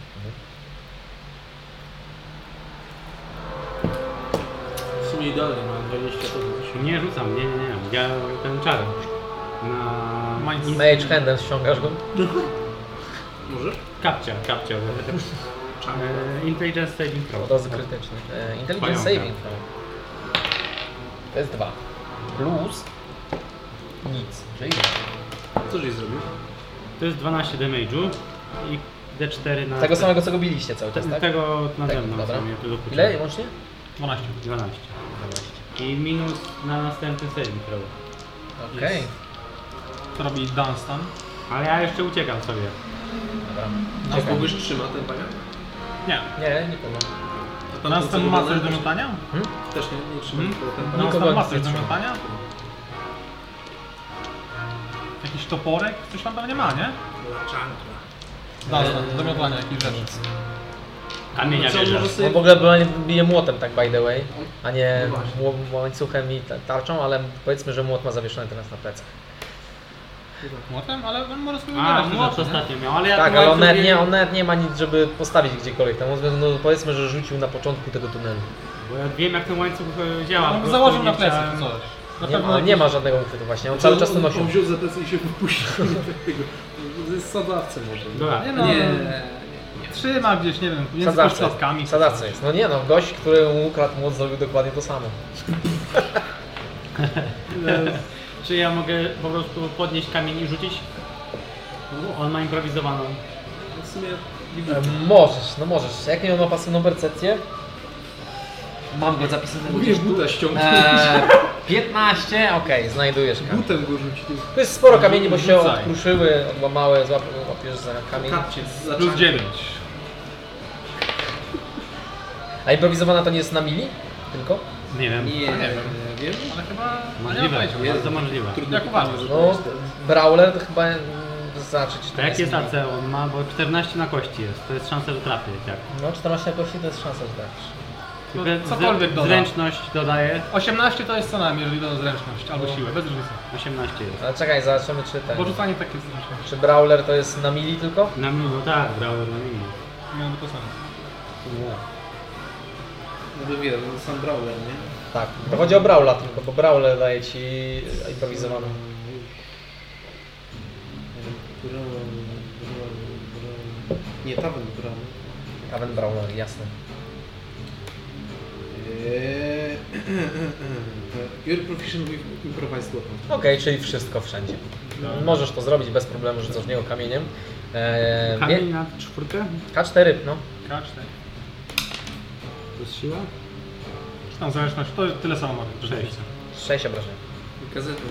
[SPEAKER 4] W sumie idealnie mam 20 podnosi.
[SPEAKER 2] Nie rzucam, nie, nie, nie. Ja ten czar. Na...
[SPEAKER 3] Mind-
[SPEAKER 1] Mage handem ściągasz go.
[SPEAKER 4] Możesz?
[SPEAKER 2] Kapcia, kapcia. E, Intelligence saving throw.
[SPEAKER 1] Od razu krytyczny. E, intelligence
[SPEAKER 2] Pająka.
[SPEAKER 1] saving throw. To jest 2. Plus... Nic. Czyli
[SPEAKER 4] Co żeś zrobił?
[SPEAKER 2] To jest 12 damage'u i D4 na...
[SPEAKER 1] Tego samego co go biliście cały
[SPEAKER 2] Tak, Te,
[SPEAKER 1] czas, tak?
[SPEAKER 2] Tego nade
[SPEAKER 1] Tak,
[SPEAKER 2] mną.
[SPEAKER 1] dobra.
[SPEAKER 2] sobie tu dokuczyłem.
[SPEAKER 1] Ile łącznie?
[SPEAKER 3] 12.
[SPEAKER 2] 12. I minus na następny saving throw.
[SPEAKER 1] Okej.
[SPEAKER 3] To robi Dunstan.
[SPEAKER 2] Ale ja jeszcze uciekam sobie.
[SPEAKER 1] Dobra.
[SPEAKER 4] A kogoś trzyma ten paniak?
[SPEAKER 3] Nie.
[SPEAKER 1] Nie, nikogo.
[SPEAKER 4] A tamten, co Hmm?
[SPEAKER 3] Dunstan ma
[SPEAKER 4] wygląda,
[SPEAKER 3] coś do tak? miotania? Hmm?
[SPEAKER 4] Też nie, nie trzyma,
[SPEAKER 2] Mhm.
[SPEAKER 4] tylko ten paniak.
[SPEAKER 1] Nikogo
[SPEAKER 3] Dunstan ma
[SPEAKER 1] nie
[SPEAKER 3] coś do
[SPEAKER 1] trzyma.
[SPEAKER 3] miotania? Jakiś toporek? Coś tam pewnie ma, nie? Dunstan, do miotania jakichś rzeczy. No
[SPEAKER 2] Kamienia
[SPEAKER 4] Co on może
[SPEAKER 2] bierze.
[SPEAKER 1] On
[SPEAKER 4] sobie...
[SPEAKER 1] w ogóle była- bije młotem, tak by the way, a nie
[SPEAKER 4] No właśnie.
[SPEAKER 1] ło- łańcuchem i ta- tarczą, ale powiedzmy, że młot ma zawieszony teraz na plecach.
[SPEAKER 3] Młotem? Ale on może sobie
[SPEAKER 2] A, no
[SPEAKER 3] wybierać te
[SPEAKER 2] młot
[SPEAKER 3] rzeczy, nie?
[SPEAKER 2] ostatnio miał, ale ja
[SPEAKER 1] Tak,
[SPEAKER 2] tu
[SPEAKER 1] ale on
[SPEAKER 2] łańcuch
[SPEAKER 1] nawet, nie,
[SPEAKER 2] biegam,
[SPEAKER 1] on nawet nie ma nic, żeby postawić gdziekolwiek tam. On, no, powiedzmy, że rzucił na początku tego tunelu.
[SPEAKER 2] Bo ja wiem jak ten łańcuch e, działa. po
[SPEAKER 3] On
[SPEAKER 2] prostu
[SPEAKER 3] No, założył na
[SPEAKER 2] nie
[SPEAKER 3] plecach
[SPEAKER 2] chciałem-
[SPEAKER 3] coś. Na
[SPEAKER 1] Nie
[SPEAKER 3] pewno
[SPEAKER 1] ma, nie ma żadnego uchwytu właśnie, on cały czas to
[SPEAKER 4] on,
[SPEAKER 1] nosił.
[SPEAKER 4] Znaczy, on wziął za plecy i się wypuścił. Tego. To jest sadawca może.
[SPEAKER 2] Dobra.
[SPEAKER 3] Nie
[SPEAKER 4] Nie,
[SPEAKER 3] no,
[SPEAKER 4] nie,
[SPEAKER 3] nie.
[SPEAKER 4] nie.
[SPEAKER 3] Trzyma gdzieś, nie wiem, między
[SPEAKER 1] Sadawca
[SPEAKER 3] kosztowkami.
[SPEAKER 1] jest. Sadawca jest. No nie no, gość, który mu ukradł młot zrobił dokładnie to samo.
[SPEAKER 2] Czy ja mogę po prostu podnieść kamień i rzucić? On ma improwizowaną.
[SPEAKER 4] W sumie nie
[SPEAKER 1] E,
[SPEAKER 4] widzę.
[SPEAKER 1] Możesz, no możesz. Jak nie on ma pasywną percepcję?
[SPEAKER 10] Mam go zapisanego
[SPEAKER 4] Mówisz
[SPEAKER 10] gdzieś tu.
[SPEAKER 4] buta ściągnąć.
[SPEAKER 10] Eee, 15,
[SPEAKER 1] E, Okej, znajdujesz kamień.
[SPEAKER 4] Butem go rzucił.
[SPEAKER 1] To jest sporo kamieni, bo się
[SPEAKER 3] Rzucaj.
[SPEAKER 1] odkruszyły, odłamały, złap- łapiesz za kamień.
[SPEAKER 4] Kapcie za
[SPEAKER 3] Plus
[SPEAKER 4] czank.
[SPEAKER 3] 9.
[SPEAKER 1] A improwizowana to nie jest na mili? Tylko?
[SPEAKER 2] Nie wiem.
[SPEAKER 4] Nie, nie wiem. Wiem?
[SPEAKER 3] Ale chyba...
[SPEAKER 2] Możliwe, bardzo możliwe.
[SPEAKER 4] Trudno
[SPEAKER 3] Jak uważasz?
[SPEAKER 1] No, Brawler to chyba mm, zaznaczyć.
[SPEAKER 2] A jakie jest AC on ma? Bo 14 na kości jest. To jest szansa, że trafię. Tak.
[SPEAKER 1] No, 14 kości to jest szansa, że tak. trafisz.
[SPEAKER 3] No,
[SPEAKER 2] Zre-
[SPEAKER 3] cokolwiek
[SPEAKER 2] zre-
[SPEAKER 3] doda.
[SPEAKER 2] Zręczność dodaje.
[SPEAKER 3] 18 to jest co najmniej, jeżeli do zręczność albo
[SPEAKER 4] No.
[SPEAKER 3] siłę, bez różnicy.
[SPEAKER 2] 18 jest.
[SPEAKER 1] Ale czekaj, zobaczymy czy ten.
[SPEAKER 3] Bo rzucanie takie jest zręczność.
[SPEAKER 1] Czy Brawler to jest na mili tylko?
[SPEAKER 2] Na minus, no tak, brały na minus.
[SPEAKER 3] Miałoby to sens.
[SPEAKER 4] No to wiem, no sam Brawler, nie?
[SPEAKER 1] Tak, to chodzi o Brawla tylko, bo Brawle daje ci improwizowaną.
[SPEAKER 4] Nie, Tawen Brown.
[SPEAKER 1] Kawen Brawla, jasne.
[SPEAKER 4] Eee, You're proficient with improvised weapon.
[SPEAKER 1] Okej, czyli wszystko wszędzie. Możesz to zrobić bez problemu, rzucasz w niego kamieniem. Eee,
[SPEAKER 2] Kamień na czwórkę?
[SPEAKER 1] mie- K4, no.
[SPEAKER 3] K4.
[SPEAKER 2] To jest siła?
[SPEAKER 3] Czy tam zależność, to tyle samo ma być.
[SPEAKER 2] Sześć.
[SPEAKER 1] 6 obrażeń.
[SPEAKER 4] Gazetę.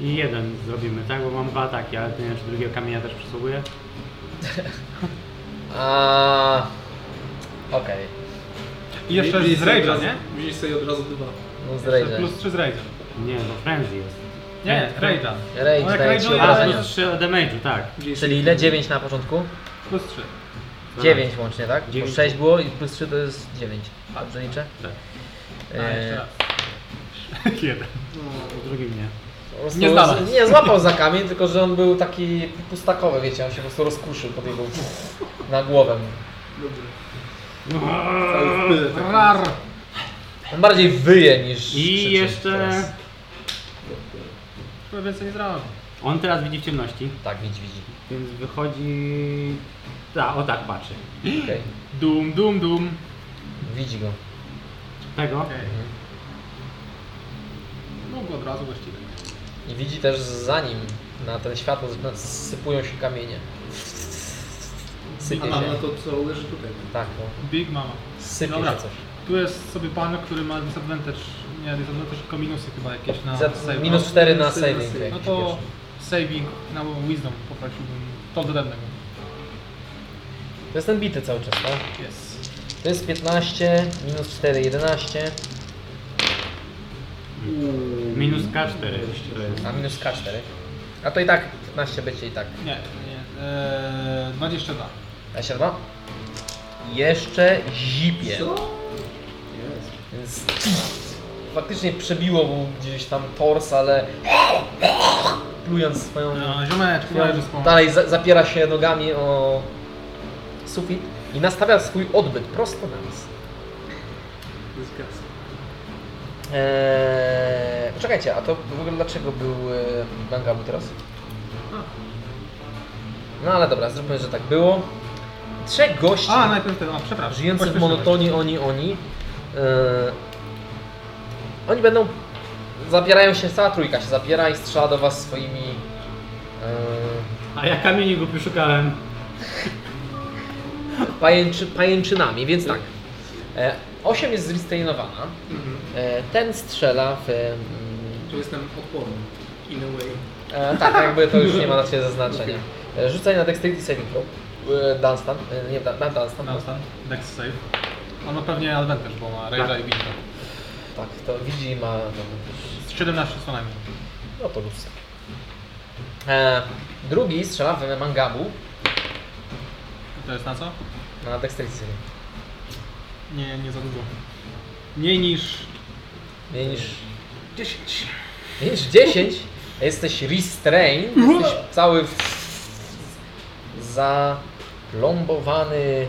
[SPEAKER 2] I jeden zrobimy, tak? Bo mam dwa ataki, ale to nie wiem, czy drugiego kamienia też przysługuje.
[SPEAKER 1] A, Okej,
[SPEAKER 3] I jeszcze
[SPEAKER 4] Widzisz
[SPEAKER 3] z
[SPEAKER 4] sobie od
[SPEAKER 3] Rage'a,
[SPEAKER 4] razu-
[SPEAKER 3] nie?
[SPEAKER 4] Widzisz sobie od razu dwa.
[SPEAKER 1] no z
[SPEAKER 3] Jeszcze
[SPEAKER 1] Rage'a.
[SPEAKER 3] plus 3 z Rage'a.
[SPEAKER 2] Nie, bo frenzy jest.
[SPEAKER 3] Nie, Rage'a.
[SPEAKER 1] Rage
[SPEAKER 3] No jak
[SPEAKER 1] daje
[SPEAKER 3] Rage
[SPEAKER 1] ci
[SPEAKER 3] daje-
[SPEAKER 2] A,
[SPEAKER 1] obrażenia.
[SPEAKER 2] plus trzy damage'u, tak.
[SPEAKER 4] Widzisz-
[SPEAKER 1] Czyli ile? 9 na początku?
[SPEAKER 3] Plus 3.
[SPEAKER 1] 9 łącznie, tak? Bo
[SPEAKER 2] Dziewięć.
[SPEAKER 1] 6 było i plus 3 to jest 9. Dobrze liczę? Eee,
[SPEAKER 2] Tak.
[SPEAKER 3] A, jeszcze raz. Jeden.
[SPEAKER 2] W drugim No, nie.
[SPEAKER 1] Po prostu
[SPEAKER 10] Nie znalazł.
[SPEAKER 1] z- nie złapał za kamień, tylko że on był taki pustakowy, wiecie, on się po prostu rozkuszył pod jego na głowę.
[SPEAKER 4] Cały wpyl taki.
[SPEAKER 3] Rar.
[SPEAKER 1] On bardziej wyje niż krzyczy
[SPEAKER 2] I jeszcze...
[SPEAKER 1] teraz.
[SPEAKER 3] Chyba więcej nie zrobię.
[SPEAKER 2] On teraz widzi w ciemności,
[SPEAKER 1] Tak, widzi, widzi.
[SPEAKER 2] więc wychodzi... Tak, o tak patrzy.
[SPEAKER 1] Okej.
[SPEAKER 3] Dum, dum, dum.
[SPEAKER 1] Widzi go.
[SPEAKER 2] Tego?
[SPEAKER 3] Okej. Mógł od razu właściwie.
[SPEAKER 1] I widzi też za nim, na ten światło, zaczyna- sypują się kamienie.
[SPEAKER 4] A
[SPEAKER 1] Sypie
[SPEAKER 4] mam na
[SPEAKER 1] się.
[SPEAKER 4] no to co leży tutaj.
[SPEAKER 1] Tak, no.
[SPEAKER 3] Big Mama.
[SPEAKER 1] Sypie
[SPEAKER 3] Dobra.
[SPEAKER 1] się coś.
[SPEAKER 3] Tu jest sobie pan, który ma disadvantage. Nie, disadvantage tylko minusy chyba jakieś na
[SPEAKER 1] Za,
[SPEAKER 3] save.
[SPEAKER 1] minus 4 na
[SPEAKER 4] Minus cztery na
[SPEAKER 1] saving.
[SPEAKER 4] saving.
[SPEAKER 1] jak
[SPEAKER 3] No
[SPEAKER 1] się
[SPEAKER 3] to
[SPEAKER 1] bierze.
[SPEAKER 3] saving na wisdom poprosiłbym. To od drewnego.
[SPEAKER 1] To jest ten bity cały czas, tak?
[SPEAKER 3] Yes.
[SPEAKER 1] To jest 15, minus 4, 11,
[SPEAKER 2] Minus K4 to jest.
[SPEAKER 1] a minus K4. A to i tak 15 będzie i tak.
[SPEAKER 3] Nie, nie. Eee, 22.
[SPEAKER 1] 22. Jeszcze zipie.
[SPEAKER 4] Jest.
[SPEAKER 1] Więc faktycznie przebiło mu gdzieś tam tors, ale plując swoją...
[SPEAKER 3] No, ziomeczku, leży z pomocą.
[SPEAKER 1] Dalej za, zapiera się nogami o sufit i nastawia swój odbyt prosto na nas.
[SPEAKER 4] Zgadza.
[SPEAKER 1] Eee, czekajcie, a to w ogóle dlaczego był e, Bangabu teraz? No ale dobra, zróbmy, że tak było. Trzech gości
[SPEAKER 3] A, no najpierw ten, o, przepraszam.
[SPEAKER 1] żyjących w
[SPEAKER 3] Pośpieszyłeś.
[SPEAKER 1] monotonii, oni, oni. Eee, oni będą. Zapierają się, cała trójka się zapiera i strzela do was swoimi. Eee,
[SPEAKER 2] A ja kamieni go poszukałem.
[SPEAKER 1] pajęczy, pajęczynami, więc tak. E, osiem jest zrestainowana. E, ten strzela w. mm,
[SPEAKER 4] Tu jestem odporny. In a way.
[SPEAKER 1] E, tak, jakby to już nie ma na ciebie zaznaczenia. E, Rzucaj na Dexterity Saving Throw. E, Dunstan, e, nie, Dan- Dan- Dunstan.
[SPEAKER 3] No, stan. Dex save. On ma pewnie advantage, bo ma rage'a i bingo.
[SPEAKER 1] Tak, to widzi i ma... no,
[SPEAKER 3] Z 17 co najmniej.
[SPEAKER 1] No to luz. E, drugi strzela w Mangabu
[SPEAKER 3] To jest na co?
[SPEAKER 1] na Dexterity Saving.
[SPEAKER 3] Nie, nie za dużo. Mniej niż...
[SPEAKER 1] Mniej niż... 10. Mniej niż 10? Jesteś restrained, jesteś cały... w- Zaplombowany...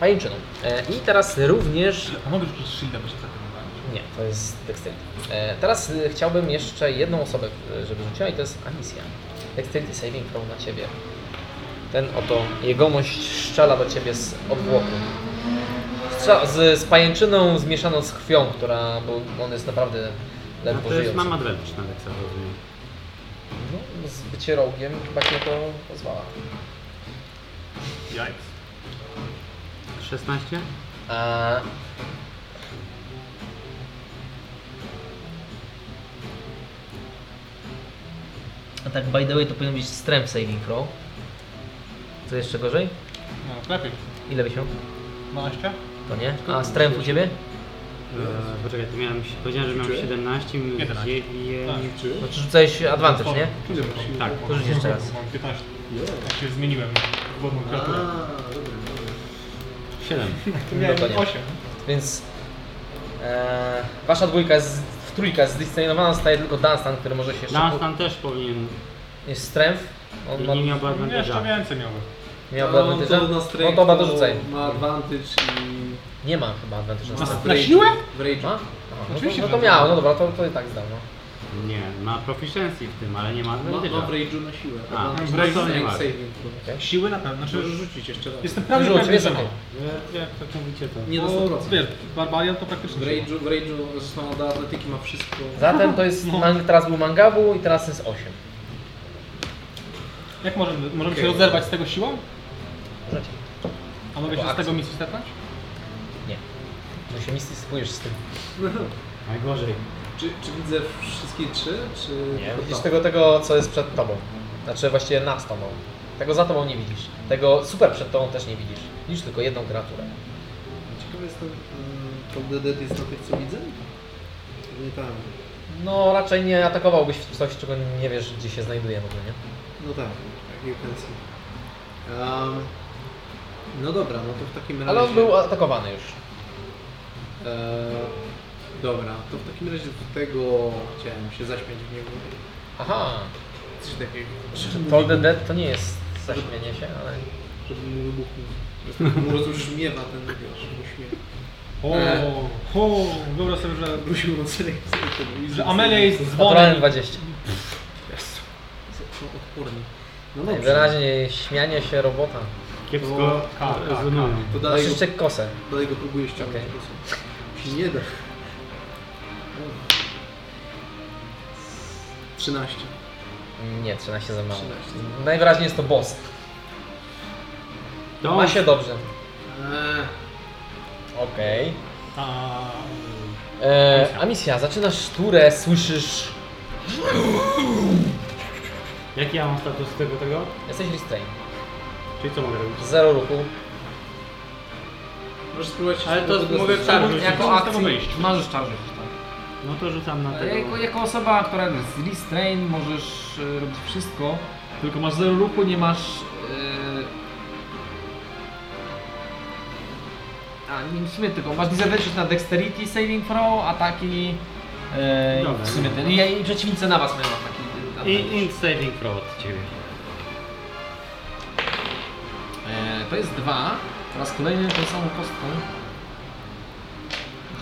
[SPEAKER 1] Pajęczyną. E, I teraz również
[SPEAKER 3] A mogę rzucić shielda, bo się zatrzymywałem.
[SPEAKER 1] Nie, to jest dexterity. E, teraz y, chciałbym jeszcze jedną osobę, y, żeby rzuciła i to jest Amicia. Dexterity saving throw na ciebie. Ten oto jegomość strzela do ciebie z odwłoku. Strzela, z, z pajęczyną zmieszaną z krwią, która, bo on jest naprawdę
[SPEAKER 2] No
[SPEAKER 1] ledwo
[SPEAKER 2] to jest tak
[SPEAKER 1] żyjący.
[SPEAKER 2] mam advantage na Dexa, rozumiem.
[SPEAKER 1] No, z bycie rogiem chyba cię to pozwala.
[SPEAKER 3] Yikes.
[SPEAKER 2] 16?
[SPEAKER 1] E, A tak by the way to powinien być strength saving throw. Co jeszcze gorzej?
[SPEAKER 3] No, lepiej.
[SPEAKER 1] Ile byś miał?
[SPEAKER 3] 12?
[SPEAKER 1] To nie? A strength u ciebie?
[SPEAKER 3] No.
[SPEAKER 2] Eee, poczekaj, to miałem, powiedziałem, że miałem 17 minus
[SPEAKER 3] 11.
[SPEAKER 2] 9.
[SPEAKER 1] No czy rzucałeś advantage, nie?
[SPEAKER 2] Tak.
[SPEAKER 1] To rzuć jeszcze raz.
[SPEAKER 3] Mam 15. Tak się zmieniłem. Bo mam
[SPEAKER 4] A,
[SPEAKER 3] kalkulę.
[SPEAKER 4] dobra.
[SPEAKER 3] Tak.
[SPEAKER 2] 7.
[SPEAKER 1] No to nie.
[SPEAKER 3] 8.
[SPEAKER 1] Więc e, wasza dwójka jest, w trójka jest zdyscyplinowana, zostaje tylko Dunstan, który może się jeszcze...
[SPEAKER 2] Dunstan też powinien.
[SPEAKER 1] Jest strength. On
[SPEAKER 2] I
[SPEAKER 1] ma,
[SPEAKER 2] nie miałby
[SPEAKER 3] Jeszcze
[SPEAKER 2] advantage'a.
[SPEAKER 3] więcej miałbym.
[SPEAKER 1] miał
[SPEAKER 4] No,
[SPEAKER 1] advantage.
[SPEAKER 4] to na
[SPEAKER 1] No
[SPEAKER 4] strength
[SPEAKER 1] to oba dorzucaj.
[SPEAKER 4] Ma advantage i
[SPEAKER 1] Nie ma chyba advantage na
[SPEAKER 4] Ma
[SPEAKER 1] stres.
[SPEAKER 4] w rage'u.
[SPEAKER 3] siłę?
[SPEAKER 4] W rage'u.
[SPEAKER 1] Ma? Aha, no,
[SPEAKER 3] Oczywiście,
[SPEAKER 1] to, no to
[SPEAKER 3] że
[SPEAKER 1] miał, no dobra, to, to i tak zdał. No.
[SPEAKER 2] Nie, ma proficiency w tym, ale nie ma
[SPEAKER 4] Ma, ma No, w
[SPEAKER 2] advantage'a.
[SPEAKER 4] rage'u na siłę.
[SPEAKER 2] A,
[SPEAKER 4] Advantage
[SPEAKER 2] w
[SPEAKER 4] na
[SPEAKER 2] rage'u nie
[SPEAKER 4] strength
[SPEAKER 2] ma.
[SPEAKER 4] saving throw.
[SPEAKER 3] Siły na pewno. Znaczy,
[SPEAKER 4] Możesz rzucić jeszcze raz.
[SPEAKER 3] jestem prawie
[SPEAKER 1] Rzuć, no
[SPEAKER 3] pewien,
[SPEAKER 1] jest
[SPEAKER 3] że
[SPEAKER 1] okej.
[SPEAKER 3] ma.
[SPEAKER 2] Nie, E, Jak to mówicie to?
[SPEAKER 4] Nie na
[SPEAKER 3] Bo,
[SPEAKER 4] 100%.
[SPEAKER 3] Wiesz, Barbarian to praktycznie
[SPEAKER 4] W
[SPEAKER 3] siła.
[SPEAKER 4] rage'u, w rage'u zresztą do atletyki ma wszystko.
[SPEAKER 1] Zatem to jest,
[SPEAKER 3] No.
[SPEAKER 1] man- teraz był mangabu i teraz jest 8.
[SPEAKER 3] Jak możemy, możemy
[SPEAKER 1] Okej.
[SPEAKER 3] się rozerwać z tego siłą?
[SPEAKER 1] Możecie.
[SPEAKER 3] A mogę
[SPEAKER 1] Albo
[SPEAKER 3] się z
[SPEAKER 1] akcja.
[SPEAKER 3] tego misji stepnąć?
[SPEAKER 1] No się mistyfikujesz z tym.
[SPEAKER 2] Najgorzej.
[SPEAKER 4] Czy, czy widzę wszystkie trzy? Czy
[SPEAKER 1] Nie,
[SPEAKER 4] tylko
[SPEAKER 1] widzisz
[SPEAKER 4] dwa?
[SPEAKER 1] tego, tego, co jest przed tobą. Znaczy właściwie nad tobą. Tego za tobą nie widzisz. Tego super przed tobą też nie widzisz. Widzisz tylko jedną kreaturę.
[SPEAKER 4] Ciekawe jest to, mm, to DD jest na tych, co widzę? Nie tam.
[SPEAKER 1] No raczej nie atakowałbyś w coś, czego nie wiesz, gdzie się znajduje w ogóle, nie?
[SPEAKER 4] No tak, tak, you can see. Em, no dobra, no to w takim razie...
[SPEAKER 1] Ale on był atakowany już.
[SPEAKER 4] E, dobra, to w takim razie do tego chciałem się zaśmiać w niego.
[SPEAKER 1] Aha.
[SPEAKER 4] Coś takiego.
[SPEAKER 1] To the Dead to nie jest zaśmienie się, ale...
[SPEAKER 4] Żeby mu wybuchnął. Żeby mu rozbrzmiewa ten, wiesz, uśmiech.
[SPEAKER 3] O,
[SPEAKER 4] E.
[SPEAKER 3] o, wyobraź sobie, że,
[SPEAKER 4] Wrócił Rocelek z tego.
[SPEAKER 3] że Amelia jest
[SPEAKER 1] Naturalnie
[SPEAKER 3] dzwonem.
[SPEAKER 1] 20.
[SPEAKER 4] Są odporni. No dobrze,
[SPEAKER 1] Wyraźnie śmianie się robota.
[SPEAKER 2] Kiepsko rezonują.
[SPEAKER 4] No, to
[SPEAKER 1] No
[SPEAKER 4] dalej go,
[SPEAKER 1] jeszcze kosę.
[SPEAKER 4] dalej go próbuję ściągnąć.
[SPEAKER 1] Okej.
[SPEAKER 4] po prostu. Się nie da. 13.
[SPEAKER 1] Nie, 13 za mało.
[SPEAKER 4] 13
[SPEAKER 1] Najwyraźniej jest to boss.
[SPEAKER 2] To
[SPEAKER 1] Ma się dobrze.
[SPEAKER 4] Eee,
[SPEAKER 1] Okej.
[SPEAKER 3] A,
[SPEAKER 1] E, a misja, zaczynasz turę, słyszysz.
[SPEAKER 2] Jaki ja mam status tego tego?
[SPEAKER 1] Jesteś restrain.
[SPEAKER 2] Czyli co mogę robić?
[SPEAKER 1] Zero ruchu.
[SPEAKER 4] możesz spróbować...
[SPEAKER 11] Ale to
[SPEAKER 4] spróbować
[SPEAKER 11] mówię w czarnym.
[SPEAKER 9] Jako
[SPEAKER 3] Możesz z tego
[SPEAKER 9] akcji
[SPEAKER 3] wyjść.
[SPEAKER 9] możesz czarżyć,
[SPEAKER 2] No to rzucam na
[SPEAKER 9] tak. Jako,
[SPEAKER 2] tego.
[SPEAKER 9] jako osoba, która jest restrain, możesz e, robić wszystko, tylko masz zero ruchu, nie masz... e, A, nie, w sumie tylko, masz disadvantage na dexterity saving throw, ataki... e,
[SPEAKER 2] Dobra.
[SPEAKER 9] w sumie ten, i, I przeciwnicy na was mają ataki. e,
[SPEAKER 2] I
[SPEAKER 9] ataki.
[SPEAKER 2] int saving throw od ciebie.
[SPEAKER 10] E, to jest dwa. Po raz kolejny tą samą kostką.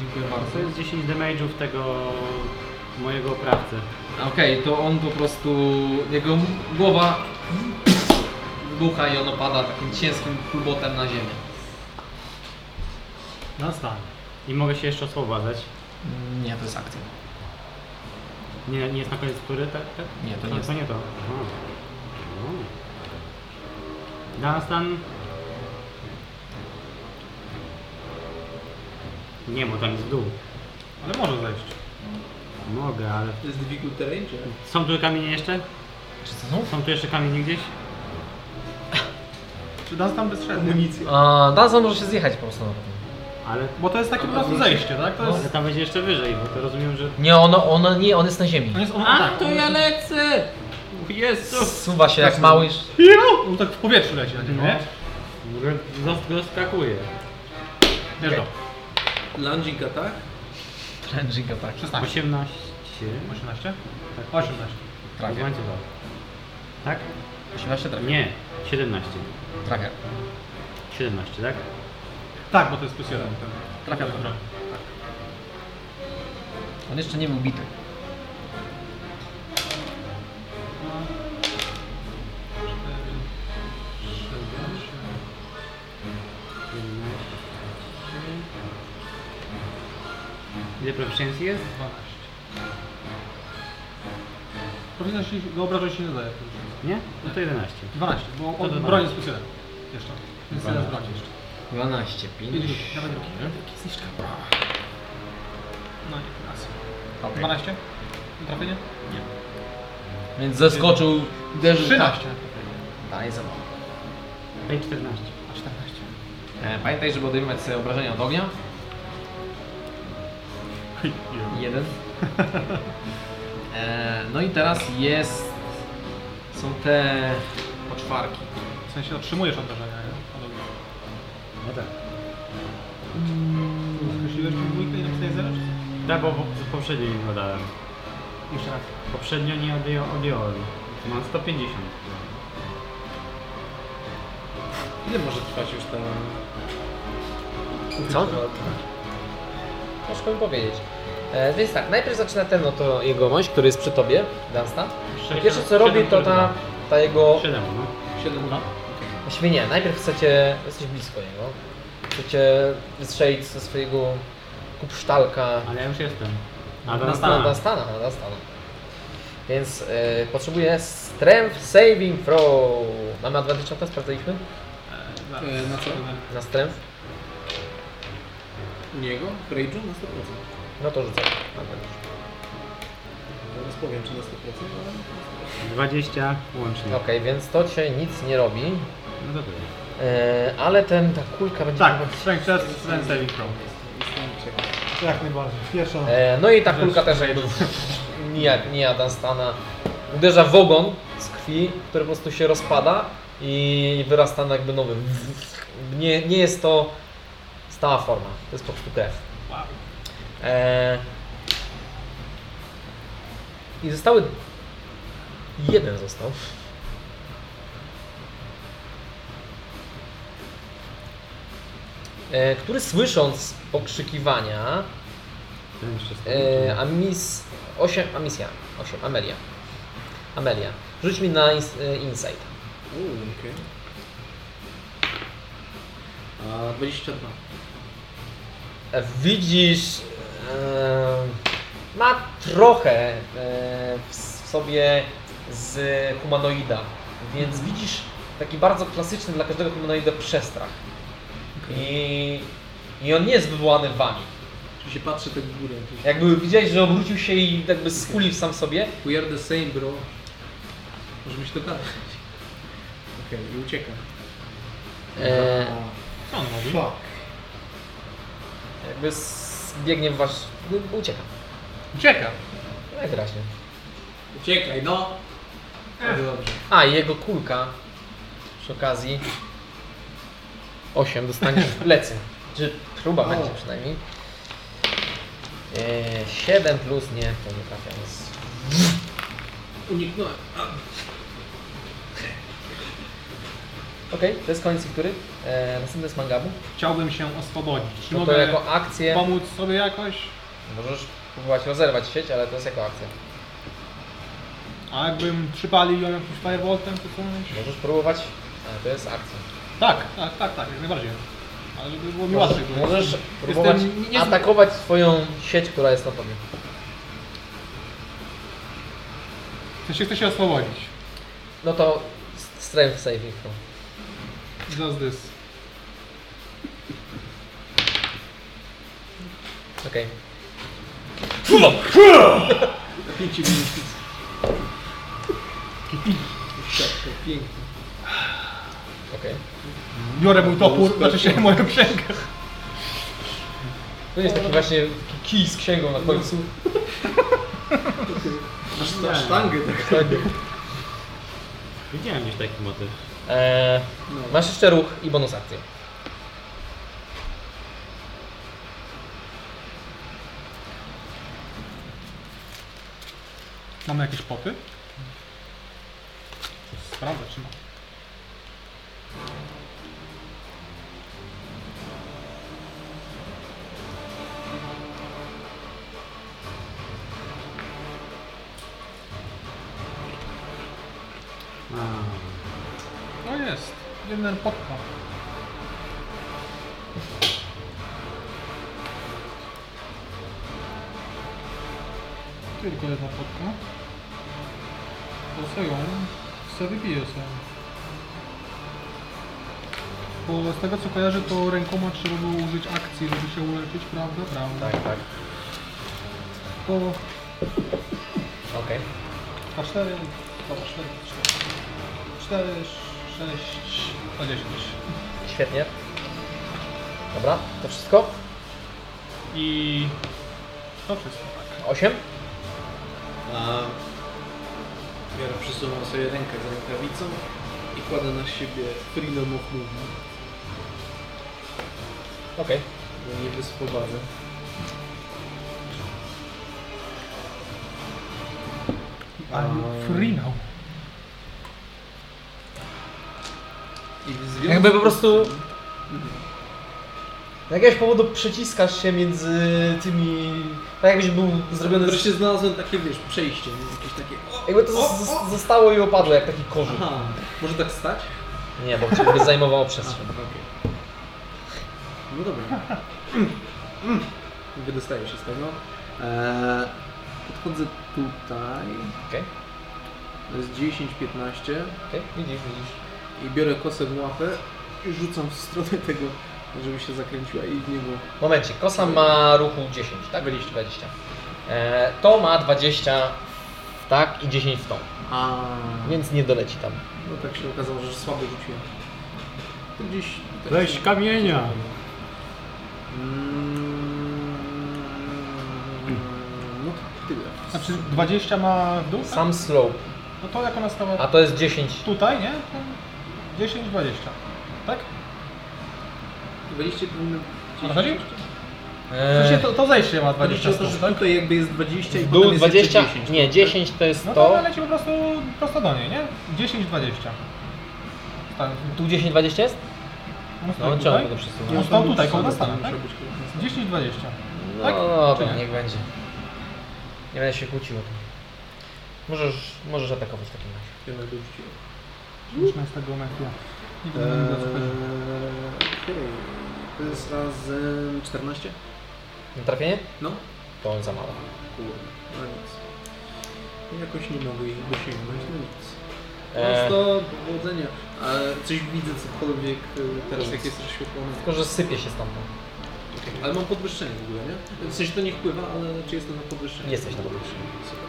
[SPEAKER 10] Dziękuję
[SPEAKER 2] To
[SPEAKER 10] bardzo.
[SPEAKER 2] jest 10 damage'ów tego mojego oprawcy.
[SPEAKER 10] Okej, to on po prostu, jego m- głowa wybucha i on opada takim ciężkim kulbotem na ziemię.
[SPEAKER 2] No stan. I mogę się jeszcze osłobadzać.
[SPEAKER 10] Mm, Nie, to jest akcja.
[SPEAKER 2] Nie, nie jest na koniec tury, tak? tak?
[SPEAKER 10] Nie, to nie
[SPEAKER 2] No,
[SPEAKER 10] jest.
[SPEAKER 2] To nie to. Aha. No. Dan stan. Nie, bo tam jest w dół.
[SPEAKER 3] ale może zejść.
[SPEAKER 2] Mogę, ale...
[SPEAKER 4] To jest difficult terrain, czy?
[SPEAKER 2] Są tu kamienie jeszcze?
[SPEAKER 10] Czy co są?
[SPEAKER 2] Są tu jeszcze kamienie gdzieś?
[SPEAKER 3] Czy nas tam bezszedł?
[SPEAKER 1] A Danza może się zjechać po prostu. na pewno.
[SPEAKER 2] Ale...
[SPEAKER 3] Bo to jest takie po prostu zejście, tak? To
[SPEAKER 2] Ale
[SPEAKER 1] No.
[SPEAKER 3] jest...
[SPEAKER 2] tam będzie jeszcze wyżej, bo to rozumiem, że...
[SPEAKER 1] Nie, ono, ono, nie, on jest na ziemi.
[SPEAKER 3] On jest on,
[SPEAKER 11] A,
[SPEAKER 3] tak,
[SPEAKER 11] to
[SPEAKER 3] on-
[SPEAKER 11] ja lecę! Jezu!
[SPEAKER 1] Suwa się jak mały.
[SPEAKER 3] On tak w powietrzu leci na
[SPEAKER 1] No.
[SPEAKER 3] ciebie, nie?
[SPEAKER 2] Zost go skakuje.
[SPEAKER 3] Wiesz
[SPEAKER 1] Okej.
[SPEAKER 3] to.
[SPEAKER 4] Lunging attack.
[SPEAKER 1] Trendżing
[SPEAKER 10] tak.
[SPEAKER 1] atak.
[SPEAKER 3] 16.
[SPEAKER 2] 18.
[SPEAKER 3] 18? Tak, 18.
[SPEAKER 2] Trafię. Tak?
[SPEAKER 10] 18 trafia.
[SPEAKER 2] Nie, 17.
[SPEAKER 10] Trafia.
[SPEAKER 2] 17, tak?
[SPEAKER 3] Tak, bo to jest plus 1.
[SPEAKER 10] Trafia to. On jeszcze nie był bity.
[SPEAKER 2] Ile proficiency jest?
[SPEAKER 3] 12. Powinno się, go obrażać się nie daje.
[SPEAKER 2] Nie? No to 11.
[SPEAKER 3] 12, bo
[SPEAKER 2] To
[SPEAKER 3] on
[SPEAKER 2] 12.
[SPEAKER 3] broni jest plus 1. Jeszcze. Więc jeden z broni jeszcze.
[SPEAKER 10] 12, 5.
[SPEAKER 3] Idź, Dawaj drugi. No i teraz. 12? Trafienie?
[SPEAKER 10] Więc zeskoczył, uderzył.
[SPEAKER 3] 13.
[SPEAKER 10] Daj za mało.
[SPEAKER 2] Daj 14.
[SPEAKER 3] A 14.
[SPEAKER 10] E, Pamiętaj, żeby odejmować sobie obrażenia od ognia. Jeden. E, no i teraz jest... Są te poczwarki.
[SPEAKER 3] W sensie otrzymujesz obrażenia, nie? Podobnie.
[SPEAKER 2] No tak.
[SPEAKER 3] Skreśliłeś mi dwójkę i napisałeś 0?
[SPEAKER 2] Tak, bo po- poprzednio nie dodałem.
[SPEAKER 3] Jeszcze raz.
[SPEAKER 2] Poprzednio nie odjął- odjąłem. Mam 150.
[SPEAKER 4] Ile może trwać już ta...
[SPEAKER 1] Co? Ciężko mi powiedzieć. E, więc tak, najpierw zaczyna ten oto jegomość, który jest przy tobie, Dansta.
[SPEAKER 2] Sześć,
[SPEAKER 1] Pierwsze co robi to ta, ta jego...
[SPEAKER 2] tak, Siedem, no.
[SPEAKER 4] Siedem no.
[SPEAKER 1] Właściwie nie, najpierw chcecie, jesteś blisko niego, chcecie wystrzelić ze swojego kupsztalka
[SPEAKER 2] Ale ja już jestem. A
[SPEAKER 1] Dastana. Dastana, na Dastana. Więc y, potrzebuje strength saving throw. Mamy advantage, to sprawdzaliśmy?
[SPEAKER 4] E, na co?
[SPEAKER 1] Na strength?
[SPEAKER 4] Niego? Rage'u? Na 100%.
[SPEAKER 1] No to rzucę.
[SPEAKER 4] Teraz powiem, czy na 100%, ale...
[SPEAKER 2] 20 łącznie.
[SPEAKER 1] Okej, więc to cię nic nie robi,
[SPEAKER 2] No to tyle.
[SPEAKER 1] y, ale ten, ta kulka będzie...
[SPEAKER 8] Tak, strength test, strength saving throw.
[SPEAKER 3] Jak najbardziej. Pierwsza.
[SPEAKER 1] E, no i ta kulka też jakby mija, mija Dunstana. Uderza w ogon z krwi, który po prostu się rozpada i wyrasta na jakby nowy. Nie, nie jest to stała forma, to jest po prostu krew. E, I zostały... Jeden został. E, który słysząc pokrzykiwania,
[SPEAKER 2] Ten jeszcze stoi.
[SPEAKER 1] E, Amis 8, Amisja, 8, Amelia. Amelia, rzuć mi na ins, e, insight.
[SPEAKER 4] Uuu, okej. A 22.
[SPEAKER 1] E, Widzisz, e, ma trochę e, w s- w sobie z humanoida, więc widzisz taki bardzo klasyczny dla każdego humanoida przestrach. I, I on nie jest wywołany wami.
[SPEAKER 4] Czy się patrzy tak w górę? czy się-
[SPEAKER 1] Jakby widziałeś, że obrócił się i jakby skulił sam sobie,
[SPEAKER 4] We are the same, bro. Możemy się dogadać. Okej, i ucieka.
[SPEAKER 1] e,
[SPEAKER 4] Mhm.
[SPEAKER 3] Co on robi?
[SPEAKER 1] jakby zbiegnie w wasz... no, ucieka.
[SPEAKER 4] Ucieka!
[SPEAKER 1] Najwyraźniej.
[SPEAKER 4] Uciekaj, no! Bardzo dobrze.
[SPEAKER 1] A, i jego kulka przy okazji 8 dostanie w plecy. Czy próba
[SPEAKER 4] O.
[SPEAKER 1] będzie przynajmniej. Eee, 7 plus nie, to nie trafia. Więc...
[SPEAKER 4] Uniknąłem.
[SPEAKER 1] Okej, to jest koniec ich tury. Eee, następny jest Mangabu.
[SPEAKER 3] Chciałbym się oswobodzić. Czy
[SPEAKER 1] No to
[SPEAKER 3] mogę
[SPEAKER 1] jako akcję
[SPEAKER 3] pomóc sobie jakoś?
[SPEAKER 1] możesz próbować rozerwać sieć, ale to jest jako akcja.
[SPEAKER 3] A jakbym przypalił ją jakimś fireboltem, to coś?
[SPEAKER 1] Możesz próbować, ale to jest akcja.
[SPEAKER 3] Tak, tak, tak, tak, jak najbardziej. Ale żeby było mi łatwiej. bo-
[SPEAKER 1] Możesz próbować atakować swoją sieć, która jest na tobie.
[SPEAKER 3] W sensie chcę się oswobodzić.
[SPEAKER 1] No to strength saving throw.
[SPEAKER 3] Just this.
[SPEAKER 1] Okej.
[SPEAKER 4] Pięciu minut. Ucieka, pięknie.
[SPEAKER 1] Okej.
[SPEAKER 3] Biorę mój topór, znaczy się moją księgę.
[SPEAKER 1] To jest taki właśnie taki kij z księgą na końcu.
[SPEAKER 4] Aż na sztangę tak.
[SPEAKER 2] Widziałem gdzieś taki motyw.
[SPEAKER 1] Eee,
[SPEAKER 4] No.
[SPEAKER 1] masz jeszcze ruch i bonus akcję.
[SPEAKER 3] Mamy jakieś popy? Sprawdzę, czy ma. No jest. Jeden potka. Tylko jedna potka. To se ją, se wypije se. Bo z tego co kojarzę, to rękoma trzeba było użyć akcji, żeby się uleczyć, prawda? Prawda.
[SPEAKER 1] tak.
[SPEAKER 3] To
[SPEAKER 1] Okej.
[SPEAKER 3] 2, 4, 2, 4, 4, 6, 10.
[SPEAKER 1] Świetnie. Dobra, to wszystko?
[SPEAKER 3] I to wszystko, tak.
[SPEAKER 1] 8?
[SPEAKER 4] A ja przesuwam sobie rękę za rękawicą i kładę na siebie freedom of movement,
[SPEAKER 1] Okej.
[SPEAKER 4] bo No nie wyspowadzę. Eee,
[SPEAKER 3] Frinał.
[SPEAKER 4] I w związku
[SPEAKER 1] Jakby po prostu Z jakiegoś powodu przeciskasz się między tymi... Tak jakbyś był zrobiony... Z,
[SPEAKER 4] Wreszcie znalazłem takie, wiesz, przejście, nie? jakieś takie... O,
[SPEAKER 1] jakby to z, z, zostało i opadło, jak taki korzyk.
[SPEAKER 4] aha, może tak stać?
[SPEAKER 1] Nie, bo ciebie zajmowało
[SPEAKER 4] A,
[SPEAKER 1] przestrzeń.
[SPEAKER 4] okej. No dobra. Wydostaję się z tego. Eee, podchodzę tutaj.
[SPEAKER 1] Okej.
[SPEAKER 4] To jest 10, 15
[SPEAKER 1] Okej, widzisz, widzisz.
[SPEAKER 4] i biorę kosę w łapę i rzucam w stronę tego, żeby się zakręciła i w niego.
[SPEAKER 1] Momencik, kosa ma ruchu 10, tak? 20. 20. E, to ma 20 w tak i 10 w tą,
[SPEAKER 4] A
[SPEAKER 1] więc nie doleci tam.
[SPEAKER 4] no tak się okazało, że słabo rzuciłem. To gdzieś. tak
[SPEAKER 8] Weź
[SPEAKER 4] się-
[SPEAKER 8] kamienia!
[SPEAKER 4] Mm, No to tyle.
[SPEAKER 3] Znaczy 20 ma w dół? tak?
[SPEAKER 1] Sam slope,
[SPEAKER 3] No to jak ona stała
[SPEAKER 1] a to jest 10.
[SPEAKER 3] tutaj, nie? To 10, 20. Tak?
[SPEAKER 4] 20 powinno-
[SPEAKER 3] Ona chodzi? W sensie
[SPEAKER 1] E,
[SPEAKER 3] to, to zejście ma
[SPEAKER 4] Chodzi
[SPEAKER 3] 20
[SPEAKER 4] o to, że
[SPEAKER 3] stóp, tak?
[SPEAKER 4] tutaj jakby jest 20 i
[SPEAKER 1] w
[SPEAKER 4] potem
[SPEAKER 1] dół
[SPEAKER 4] jest
[SPEAKER 1] 20,
[SPEAKER 4] jeszcze 10.
[SPEAKER 1] nie, 10 to jest
[SPEAKER 3] No to
[SPEAKER 1] to.
[SPEAKER 3] ona leci po prostu prosto do niej, nie? 10, 20. Tak.
[SPEAKER 1] Tu 10, 20 jest?
[SPEAKER 3] On
[SPEAKER 1] No,
[SPEAKER 3] stoi
[SPEAKER 1] ciągle
[SPEAKER 3] Tak, tutaj.
[SPEAKER 1] to
[SPEAKER 3] On
[SPEAKER 1] przesunąłem.
[SPEAKER 3] stał tutaj, koło stanu, tak?
[SPEAKER 4] Muszę być koło nas.
[SPEAKER 3] 10, 20.
[SPEAKER 1] No
[SPEAKER 3] tak?
[SPEAKER 1] dobra,
[SPEAKER 3] Czy nie?
[SPEAKER 1] niech będzie. Nie będę się kłócił o tym. Możesz, możesz atakować w takim razie.
[SPEAKER 4] Ja będę rzuciłem.
[SPEAKER 3] Musimy z tego metra. Nie będę miał
[SPEAKER 4] Eee, okej. To jest razem 14?
[SPEAKER 1] Na trafienie?
[SPEAKER 4] No.
[SPEAKER 1] To on za mało.
[SPEAKER 4] Kurde, no nic. Ja Jakoś nie mogę ich dosięgnąć, no nic.
[SPEAKER 1] E,
[SPEAKER 4] Eee. to powodzenia. A coś widzę cokolwiek e, teraz,
[SPEAKER 1] Nic.
[SPEAKER 4] jak jest rozświetlone.
[SPEAKER 1] tylko, że sypie się stamtąd.
[SPEAKER 4] Ale mam podwyższenie w ogóle, nie? W sensie to nie wpływa, ale czy jestem na podwyższeniu?
[SPEAKER 1] Jesteś na podwyższeniu.
[SPEAKER 4] Super.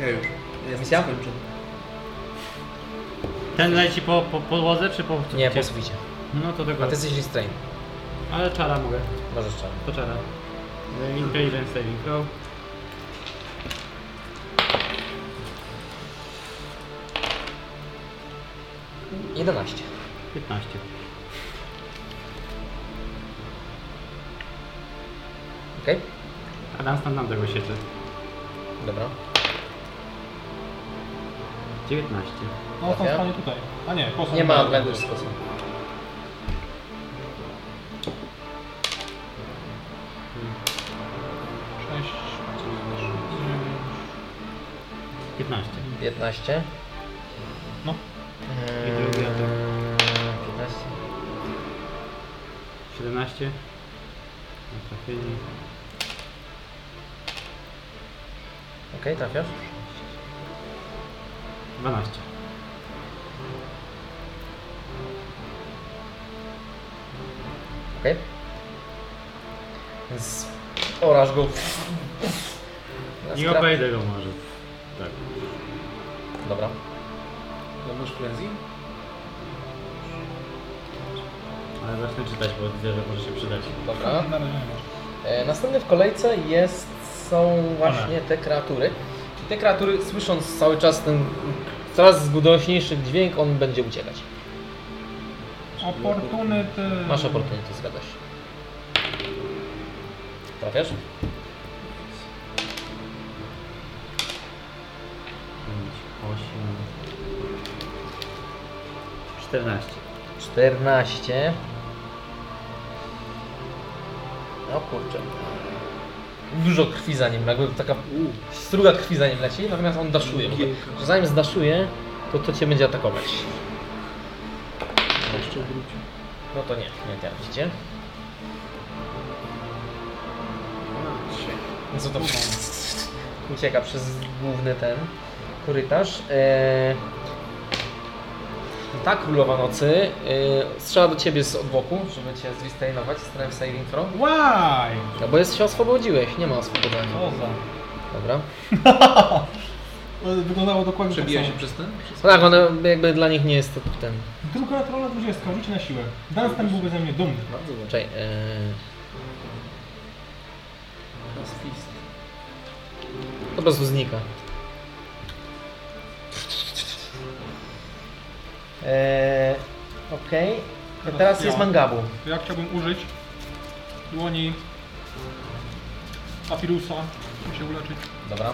[SPEAKER 4] Ja już. Ja jestem
[SPEAKER 1] Misja? Tak
[SPEAKER 4] skończony.
[SPEAKER 2] Ten leci po, po podłodze czy po
[SPEAKER 1] Nie, po suficie.
[SPEAKER 2] No to
[SPEAKER 1] A
[SPEAKER 2] tego.
[SPEAKER 1] ty jesteś restrained.
[SPEAKER 2] Ale czara mogę.
[SPEAKER 1] Możesz czarny.
[SPEAKER 2] To czara. E, Intelligence saving throw.
[SPEAKER 1] Jedenaście.
[SPEAKER 2] 15.
[SPEAKER 1] Okej?
[SPEAKER 2] A tam tam tego sieczy.
[SPEAKER 1] Dobra.
[SPEAKER 2] 19.
[SPEAKER 3] No to
[SPEAKER 1] Trafia?
[SPEAKER 3] stanie tutaj. A nie, posłuchaj.
[SPEAKER 1] Nie ma advantage sposób.
[SPEAKER 3] Sześć.
[SPEAKER 2] 15.
[SPEAKER 1] 15.
[SPEAKER 3] No.
[SPEAKER 1] Eee,
[SPEAKER 2] I drugi atak.
[SPEAKER 1] 15.
[SPEAKER 2] 17. Na trafienie.
[SPEAKER 1] Okej, trafiasz.
[SPEAKER 2] 12.
[SPEAKER 1] Okej. Więc orasz go.
[SPEAKER 2] Nie obejdę go może. Tak.
[SPEAKER 1] Dobra.
[SPEAKER 4] Ja masz frenzy?
[SPEAKER 2] Ale zacznę czytać, bo widzę, że może się przydać.
[SPEAKER 1] Dobra.
[SPEAKER 3] Na razie nie ma.
[SPEAKER 1] E, następny w kolejce jest, są właśnie te kreatury. Te kreatury, słysząc cały czas ten coraz głośniejszy dźwięk, on będzie uciekać.
[SPEAKER 3] Opportunity.
[SPEAKER 1] Masz oportunity, zgadza się. Trafiasz?
[SPEAKER 2] 5, 8. 14.
[SPEAKER 1] 14. No kurczę. Dużo krwi za nim, jakby taka struga krwi za nim leci, natomiast on daszuje. w ogóle. Że Zanim zdaszuje, to to cię będzie atakować.
[SPEAKER 4] Jeszcze wrócił.
[SPEAKER 1] No to nie, nie traficie. No co to Ucieka przez główny ten korytarz. Eee... Ta tak królowa nocy eee, strzela do ciebie z odboku, żeby cię zwistainować. Strength saving throw.
[SPEAKER 3] Why?
[SPEAKER 1] No bo jest, się oswobodziłeś, nie ma oswobodzenia.
[SPEAKER 3] Co za...
[SPEAKER 1] Dobra.
[SPEAKER 3] Wyglądało dokładnie
[SPEAKER 4] Przebija
[SPEAKER 3] tak
[SPEAKER 4] się
[SPEAKER 3] samo.
[SPEAKER 4] przez ten? Przez...
[SPEAKER 1] No tak, one jakby dla nich nie jest to ten.
[SPEAKER 3] Tylko naturalna 20, rzuć na siłę. Dan ten byłby ze mnie dumny.
[SPEAKER 4] Bardzo dobrze.
[SPEAKER 1] Czekaj, eee...
[SPEAKER 4] Teraz fist.
[SPEAKER 1] Po prostu znika. Eee, Okej.
[SPEAKER 3] Teraz
[SPEAKER 1] Teraz
[SPEAKER 3] ja.
[SPEAKER 1] jest mangabu.
[SPEAKER 3] To ja chciałbym użyć dłoni papirusa, żeby się uleczyć.
[SPEAKER 1] Dobra.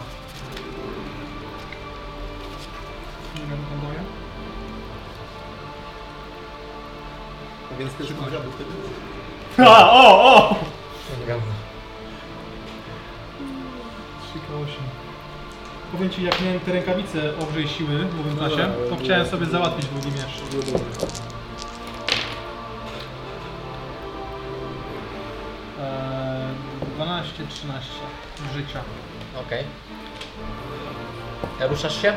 [SPEAKER 3] Nie wiem, co tam daje.
[SPEAKER 4] Więc też mam żadnych wtedy.
[SPEAKER 8] A, o, o!
[SPEAKER 3] Trzy, osiem. Powiem ci, jak miałem te rękawice obrzej siły w drugim klasie,
[SPEAKER 11] No,
[SPEAKER 3] to chciałem sobie załatwić długi miecz. Eee, 12, 13 życia.
[SPEAKER 1] Okej. Ruszasz się?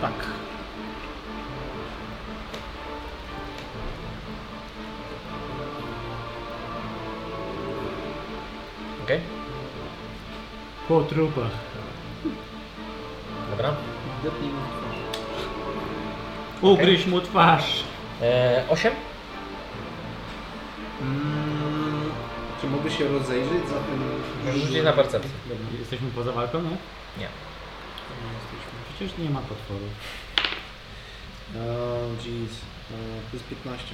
[SPEAKER 3] Tak.
[SPEAKER 1] Okej.
[SPEAKER 2] Po trupach.
[SPEAKER 1] Dobra.
[SPEAKER 4] Depnij mu w twarz.
[SPEAKER 2] Ugryź mu twarz.
[SPEAKER 1] E, 8?
[SPEAKER 4] Mm, Czy mogę się rozejrzeć za tym?
[SPEAKER 1] Rzuć na percepcję.
[SPEAKER 2] Jesteśmy poza walką, nie?
[SPEAKER 1] Nie.
[SPEAKER 2] Przecież nie ma potworów.
[SPEAKER 4] O, No, jeez. E, To jest 15.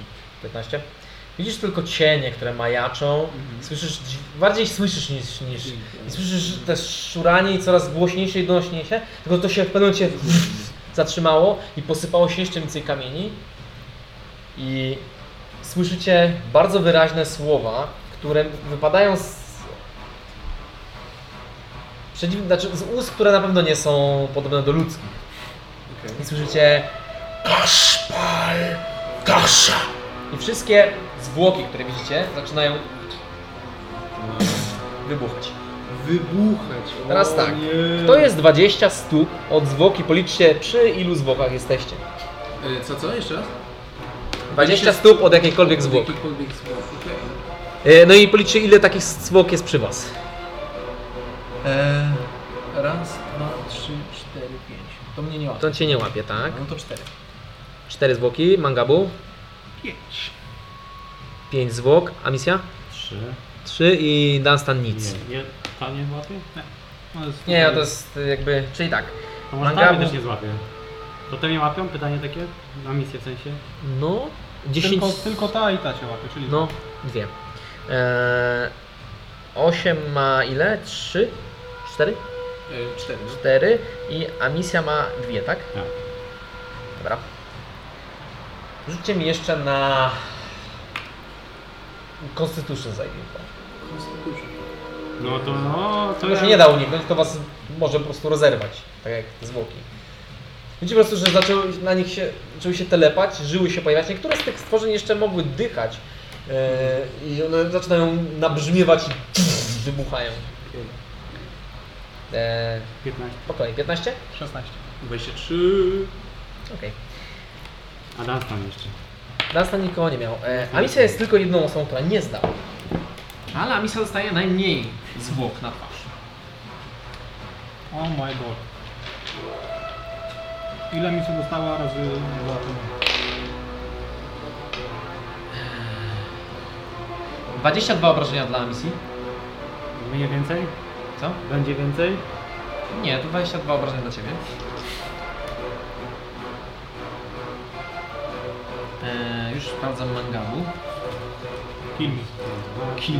[SPEAKER 1] 15. Widzisz tylko cienie, które majaczą. Słyszysz, dź- bardziej słyszysz niż, niż i słyszysz te szuranie i coraz głośniejsze i donośniejsze, tylko to się w pewnym momencie zatrzymało i posypało się jeszcze więcej kamieni. I słyszycie bardzo wyraźne słowa, które wypadają z przeciw, znaczy z ust, które na pewno nie są podobne do ludzkich. I słyszycie Kaszpal Kasza. I wszystkie zwłoki, które widzicie, zaczynają wybuchać.
[SPEAKER 4] Wybuchać. O,
[SPEAKER 1] Teraz tak.
[SPEAKER 4] nie.
[SPEAKER 1] To jest 20 stóp od zwłoki. Policzcie przy ilu zwłokach jesteście.
[SPEAKER 11] Eee,
[SPEAKER 4] E, Co, co? Jeszcze raz?
[SPEAKER 1] 20 stóp od jakiejkolwiek zwłoki.
[SPEAKER 4] Jakikolwiek zwłok. okej.
[SPEAKER 1] E, No i policzcie ile takich zwłok jest przy was.
[SPEAKER 11] Eee, raz, dwa, trzy, cztery, pięć. To mnie nie łapie.
[SPEAKER 1] To cię nie łapie, tak?
[SPEAKER 11] No to cztery.
[SPEAKER 1] 4 zwłoki, mangabu. 5. 5 zwłok, a misja?
[SPEAKER 2] Trzy.
[SPEAKER 1] 3 i Dunstan nic.
[SPEAKER 2] Nie, nie, ta nie złapie?
[SPEAKER 3] No, jest
[SPEAKER 1] Nie, to jest y, jakby. Czyli tak.
[SPEAKER 2] To może
[SPEAKER 1] Mangabu.
[SPEAKER 2] ta mnie też nie złapie. To te mnie łapią? Pytanie takie? Na misję w sensie?
[SPEAKER 1] No, 10.
[SPEAKER 3] tylko, tylko ta i ta cię łapie, czyli
[SPEAKER 1] No, dwie. Eee, 8 ma ile? 3? 4?
[SPEAKER 4] E, Cztery. no.
[SPEAKER 1] 4 i Amisja ma dwie, tak?
[SPEAKER 2] Tak.
[SPEAKER 1] Dobra. Rzućcie mi jeszcze na Constitution saving throw.
[SPEAKER 4] Constitution.
[SPEAKER 2] No to no, to
[SPEAKER 1] To już
[SPEAKER 2] ja-
[SPEAKER 1] nie da uniknąć, to was może po prostu rozerwać, tak jak zwłoki. Widzicie po prostu, że zaczęły na nich się, zaczęły się telepać, żyły się pojawiać. Niektóre z tych stworzeń jeszcze mogły dychać e, i one zaczynają nabrzmiewać i wybuchają. E,
[SPEAKER 2] 15.
[SPEAKER 1] po kolei, 15?
[SPEAKER 3] 16.
[SPEAKER 4] 23.
[SPEAKER 1] Okej.
[SPEAKER 2] A dan tam jeszcze.
[SPEAKER 1] Dunstan nikogo nie miał. E, Amicia jest tylko jedną osobą, która nie zdała.
[SPEAKER 9] Ale Amisa dostaje najmniej zwłok na twarz.
[SPEAKER 3] Oh my god. Ile mi się dostała razy dwa to
[SPEAKER 10] 22 obrażenia dla misji.
[SPEAKER 2] Będzie więcej?
[SPEAKER 10] Co?
[SPEAKER 2] Będzie więcej?
[SPEAKER 10] Nie, to 22 obrażenia dla ciebie. Eee, już sprawdzam mangabu.
[SPEAKER 3] Kill me.
[SPEAKER 2] Kimi.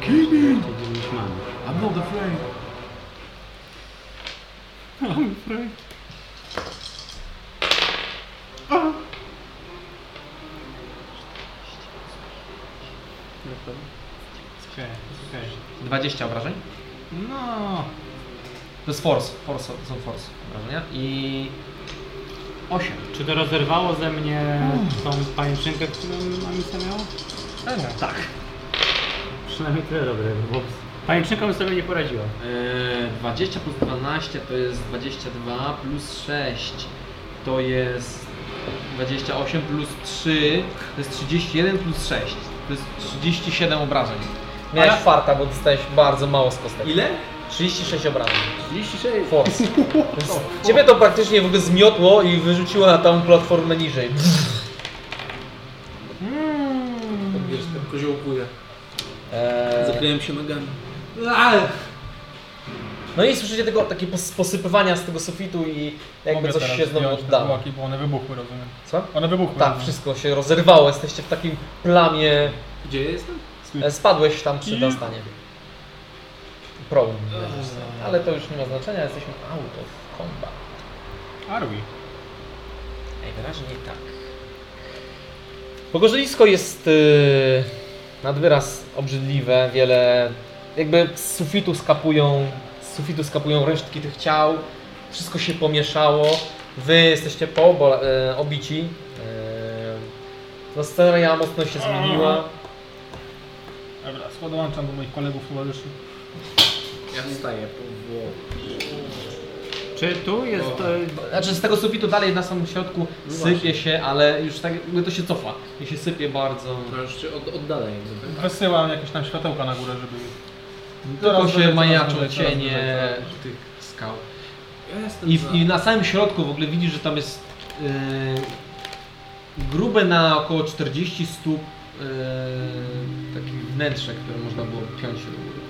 [SPEAKER 2] Kimi! mamy.
[SPEAKER 11] I'm not afraid.
[SPEAKER 3] Okej, okej.
[SPEAKER 10] 20 obrażeń.
[SPEAKER 3] No.
[SPEAKER 10] To jest force, force, są force obrażenia. I 8.
[SPEAKER 2] Czy to rozerwało ze mnie tą pajęczynkę, którą Amica miała?
[SPEAKER 10] Tak.
[SPEAKER 2] Przynajmniej tyle dobre, bo z pajęczynką sobie nie poradziła.
[SPEAKER 10] Eee, 20 plus 12 to jest 22 plus 6 to jest 28 plus 3 to jest 31 plus 6 to jest 37 obrażeń.
[SPEAKER 1] Miałeś farta, bo dostałeś bardzo mało z kostek.
[SPEAKER 4] Ile?
[SPEAKER 1] 36 obrażeń.
[SPEAKER 4] 36.
[SPEAKER 1] Force. Ciebie to praktycznie w ogóle zmiotło i wyrzuciło na tą platformę niżej.
[SPEAKER 10] Hmm.
[SPEAKER 4] Wiesz, tam koziołkuje.
[SPEAKER 1] Eee,
[SPEAKER 4] Zakleiłem się nogami. Ale!
[SPEAKER 1] no i słyszycie tylko takie pos- posypywania z tego sufitu i jakby
[SPEAKER 3] Mogę
[SPEAKER 1] coś
[SPEAKER 3] teraz
[SPEAKER 1] się znowu
[SPEAKER 3] zdjąć No. te
[SPEAKER 1] oddało.
[SPEAKER 3] bułaki, bo one wybuchły, rozumiem.
[SPEAKER 1] Co?
[SPEAKER 3] One wybuchły.
[SPEAKER 1] Tak,
[SPEAKER 3] rozumiem.
[SPEAKER 1] wszystko się rozerwało, jesteście w takim plamie,
[SPEAKER 4] Gdzie jestem?
[SPEAKER 1] e, spadłeś tam przy dostanie. Problem. Ale to już nie ma znaczenia, jesteśmy out of combat.
[SPEAKER 3] Are we?
[SPEAKER 1] Najwyraźniej tak.
[SPEAKER 14] Pogorzelisko jest yy, nad wyraz obrzydliwe, wiele jakby z sufitu skapują, z sufitu skapują resztki tych ciał, wszystko się pomieszało, wy jesteście po bo, e, obici. E, no scena mocno się zmieniła.
[SPEAKER 3] Dobra, skład dołączam do moich kolegów towarzyszy.
[SPEAKER 4] Ja wstaję powoli.
[SPEAKER 2] Czy tu jest...
[SPEAKER 4] O.
[SPEAKER 2] e,
[SPEAKER 1] Znaczy z tego sufitu dalej na samym
[SPEAKER 3] No
[SPEAKER 1] środku sypie się, ale już tak jakby to się cofa. I się sypie bardzo.
[SPEAKER 3] Tak.
[SPEAKER 4] No już się od, oddalaj. jakby, tak?
[SPEAKER 3] Wysyłam jakieś tam światełka na górę, żeby...
[SPEAKER 1] Tylko
[SPEAKER 3] Coraz
[SPEAKER 1] się
[SPEAKER 3] wyżej,
[SPEAKER 1] majaczą
[SPEAKER 3] coraz wyżej, coraz
[SPEAKER 1] cienie
[SPEAKER 3] wyżej, coraz
[SPEAKER 1] tych skał.
[SPEAKER 4] Ja jestem
[SPEAKER 1] I,
[SPEAKER 4] za.
[SPEAKER 1] w, I na samym środku w ogóle widzisz, że tam jest yy, grube na około 40 stóp yy, takich wnętrze, które można było piąć do góry.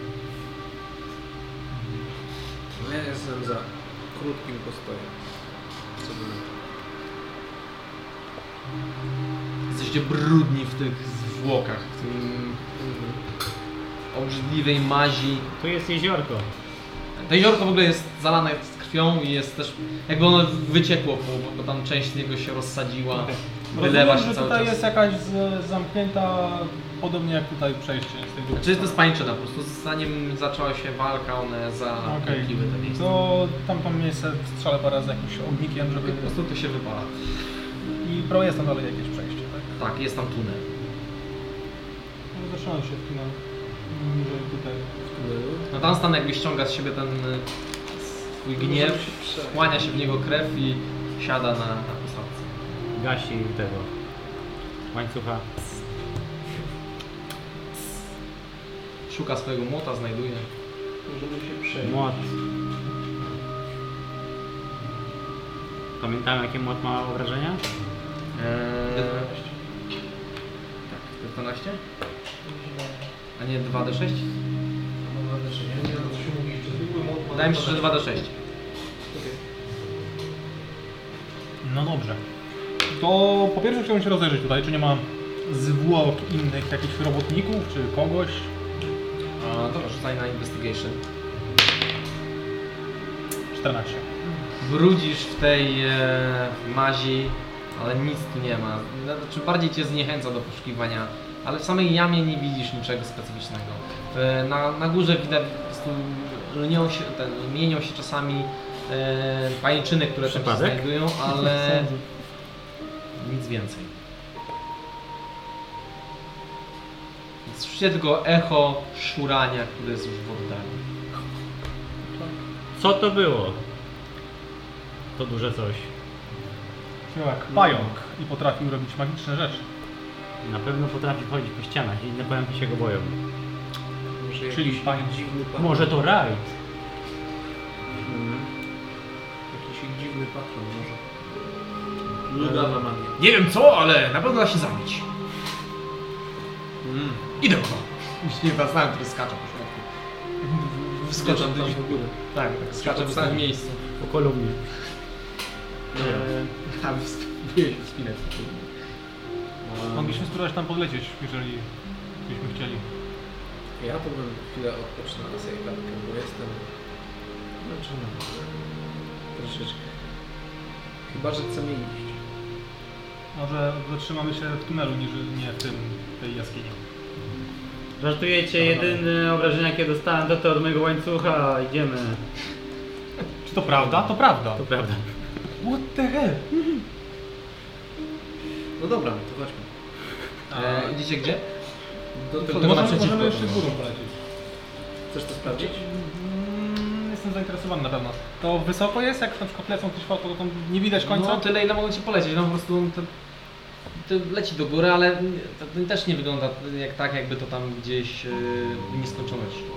[SPEAKER 4] Ja jestem za krótkim postojem. Co znaczy? by na
[SPEAKER 1] Jesteście brudni w tych zwłokach, w tym mm, obrzydliwej mazi.
[SPEAKER 2] Tu jest jeziorko.
[SPEAKER 1] To jeziorko w ogóle jest zalane z krwią i jest też, jakby ono wyciekło, bo, bo tam część z niego się rozsadziła, wylewa się
[SPEAKER 3] Rozumiem, że
[SPEAKER 1] cały
[SPEAKER 3] tutaj
[SPEAKER 1] czas.
[SPEAKER 3] jest jakaś z, zamknięta, podobnie jak tutaj przejście z tej dupy.
[SPEAKER 1] Czy to Znaczy, jest pańczyna po prostu, zanim zaczęła się walka, one
[SPEAKER 3] Okej.
[SPEAKER 1] zapliły te miejsce.
[SPEAKER 3] To tamto miejsce strzelę parę razy jakimś ognikiem, żeby...
[SPEAKER 1] Po prostu to się wypala.
[SPEAKER 3] I pro jest tam dalej jakieś przejście, tak?
[SPEAKER 1] Tak, jest tam tunel.
[SPEAKER 3] No, Zatrzymam się w kinę. Niżej tutaj.
[SPEAKER 4] tunelu?
[SPEAKER 1] No tam stan jakby ściąga z siebie ten y, swój gniew, wchłania się w niego krew i siada na, na posadzce.
[SPEAKER 2] Gasi tego. Łańcucha.
[SPEAKER 1] Szuka swojego młota, znajduje.
[SPEAKER 15] Możemy się przejść.
[SPEAKER 2] Młot. Pamiętam jakie młot ma obrażenia?
[SPEAKER 1] Eee, 12? A nie 2D6?
[SPEAKER 4] Znaczy,
[SPEAKER 1] Wydaje mi się, że 2D6.
[SPEAKER 3] No dobrze. To po pierwsze chciałbym się rozejrzeć tutaj, czy nie ma zwłok innych jakichś robotników, czy kogoś.
[SPEAKER 1] A, dobra, rzucaj na investigation.
[SPEAKER 3] 14.
[SPEAKER 1] Brudzisz w tej e, mazi, ale nic tu nie ma. Znaczy bardziej cię zniechęca do poszukiwania, ale w samej jamie nie widzisz niczego specyficznego. W, na, na górze widać po prostu lnią się, ten, mienią się czasami e, pajęczyny, które tam się
[SPEAKER 2] Przypadek?
[SPEAKER 1] znajdują, ale nic więcej. Słyszycie tylko echo szurania, które jest już w oddali.
[SPEAKER 2] Co to było? To duże coś.
[SPEAKER 3] Brzmiał
[SPEAKER 1] Tak.
[SPEAKER 3] jak pająk i potrafił robić magiczne rzeczy.
[SPEAKER 2] Na pewno potrafi chodzić po ścianach i inne pająki się go boją.
[SPEAKER 4] Może
[SPEAKER 3] Czyli
[SPEAKER 4] jakiś
[SPEAKER 3] pani-
[SPEAKER 4] dziwny patron.
[SPEAKER 2] Może to rajd.
[SPEAKER 4] Jakiś ich dziwny patron może. E, Ludawa magia.
[SPEAKER 1] Nie wiem co, ale na pewno da się zabić. Idę go. Hmm. Nie zaznałem, który skacze po środku.
[SPEAKER 4] Wskoczę tam w górę.
[SPEAKER 1] Tak, tak skacze w samym miejscu.
[SPEAKER 2] Po kolumnie.
[SPEAKER 1] A wspiję się spinać.
[SPEAKER 3] Mogliśmy spróbować tam podlecieć, jeżeli byśmy chcieli.
[SPEAKER 4] Ja powiem chwilę odpocznę na sobie klatkę, bo jestem zmęczony. Troszeczkę. Chyba, że chcemy iść.
[SPEAKER 3] Może zatrzymamy się w tunelu, niż nie w tym, tej jaskini.
[SPEAKER 2] Żartujecie, jedyne obrażenia jakie dostałem to te od mojego łańcucha. Idziemy.
[SPEAKER 3] Czy to prawda? To prawda.
[SPEAKER 2] To prawda.
[SPEAKER 3] What the
[SPEAKER 1] E,
[SPEAKER 3] hell?
[SPEAKER 4] No dobra, to chodźmy.
[SPEAKER 1] E, idziecie gdzie?
[SPEAKER 4] Do
[SPEAKER 1] To
[SPEAKER 4] tego
[SPEAKER 1] możemy-
[SPEAKER 4] naprzeciwko.
[SPEAKER 3] możemy jeszcze górą polecieć.
[SPEAKER 4] Chcesz to sprawdzić?
[SPEAKER 3] Mm, jestem zainteresowany na pewno. To wysoko jest, jak na przykład lecą te światło, to tam nie widać końca?
[SPEAKER 1] No tyle ile mogą ci polecieć, no po prostu to, to leci do góry, ale to, to też nie wygląda jak tak, jakby to tam gdzieś yy, w nieskończoność szło.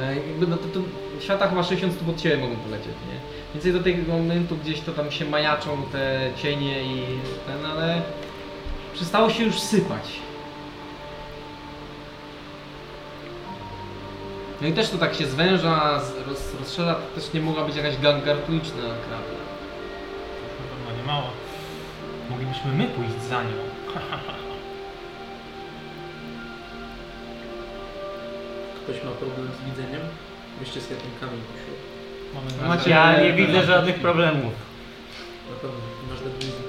[SPEAKER 1] E, Jakby no to, to świata chyba 60 stóp od ciebie mogą polecieć, nie? Więcej do tego momentu gdzieś to tam się majaczą te cienie i ten, ale przestało się już sypać. No i też to tak się zwęża, z- roz, rozszerza, to też nie mogła być jakaś gangartuniczna krapla.
[SPEAKER 3] Na pewno nie mało. Moglibyśmy my pójść za nią.
[SPEAKER 4] Ktoś ma problem z widzeniem? Wyście z jakinkami poszło.
[SPEAKER 3] Mamy
[SPEAKER 1] Macie-
[SPEAKER 2] Znaczy, Ja nie widzę żadnych problemów.
[SPEAKER 4] Na pewno. Masz decyzję.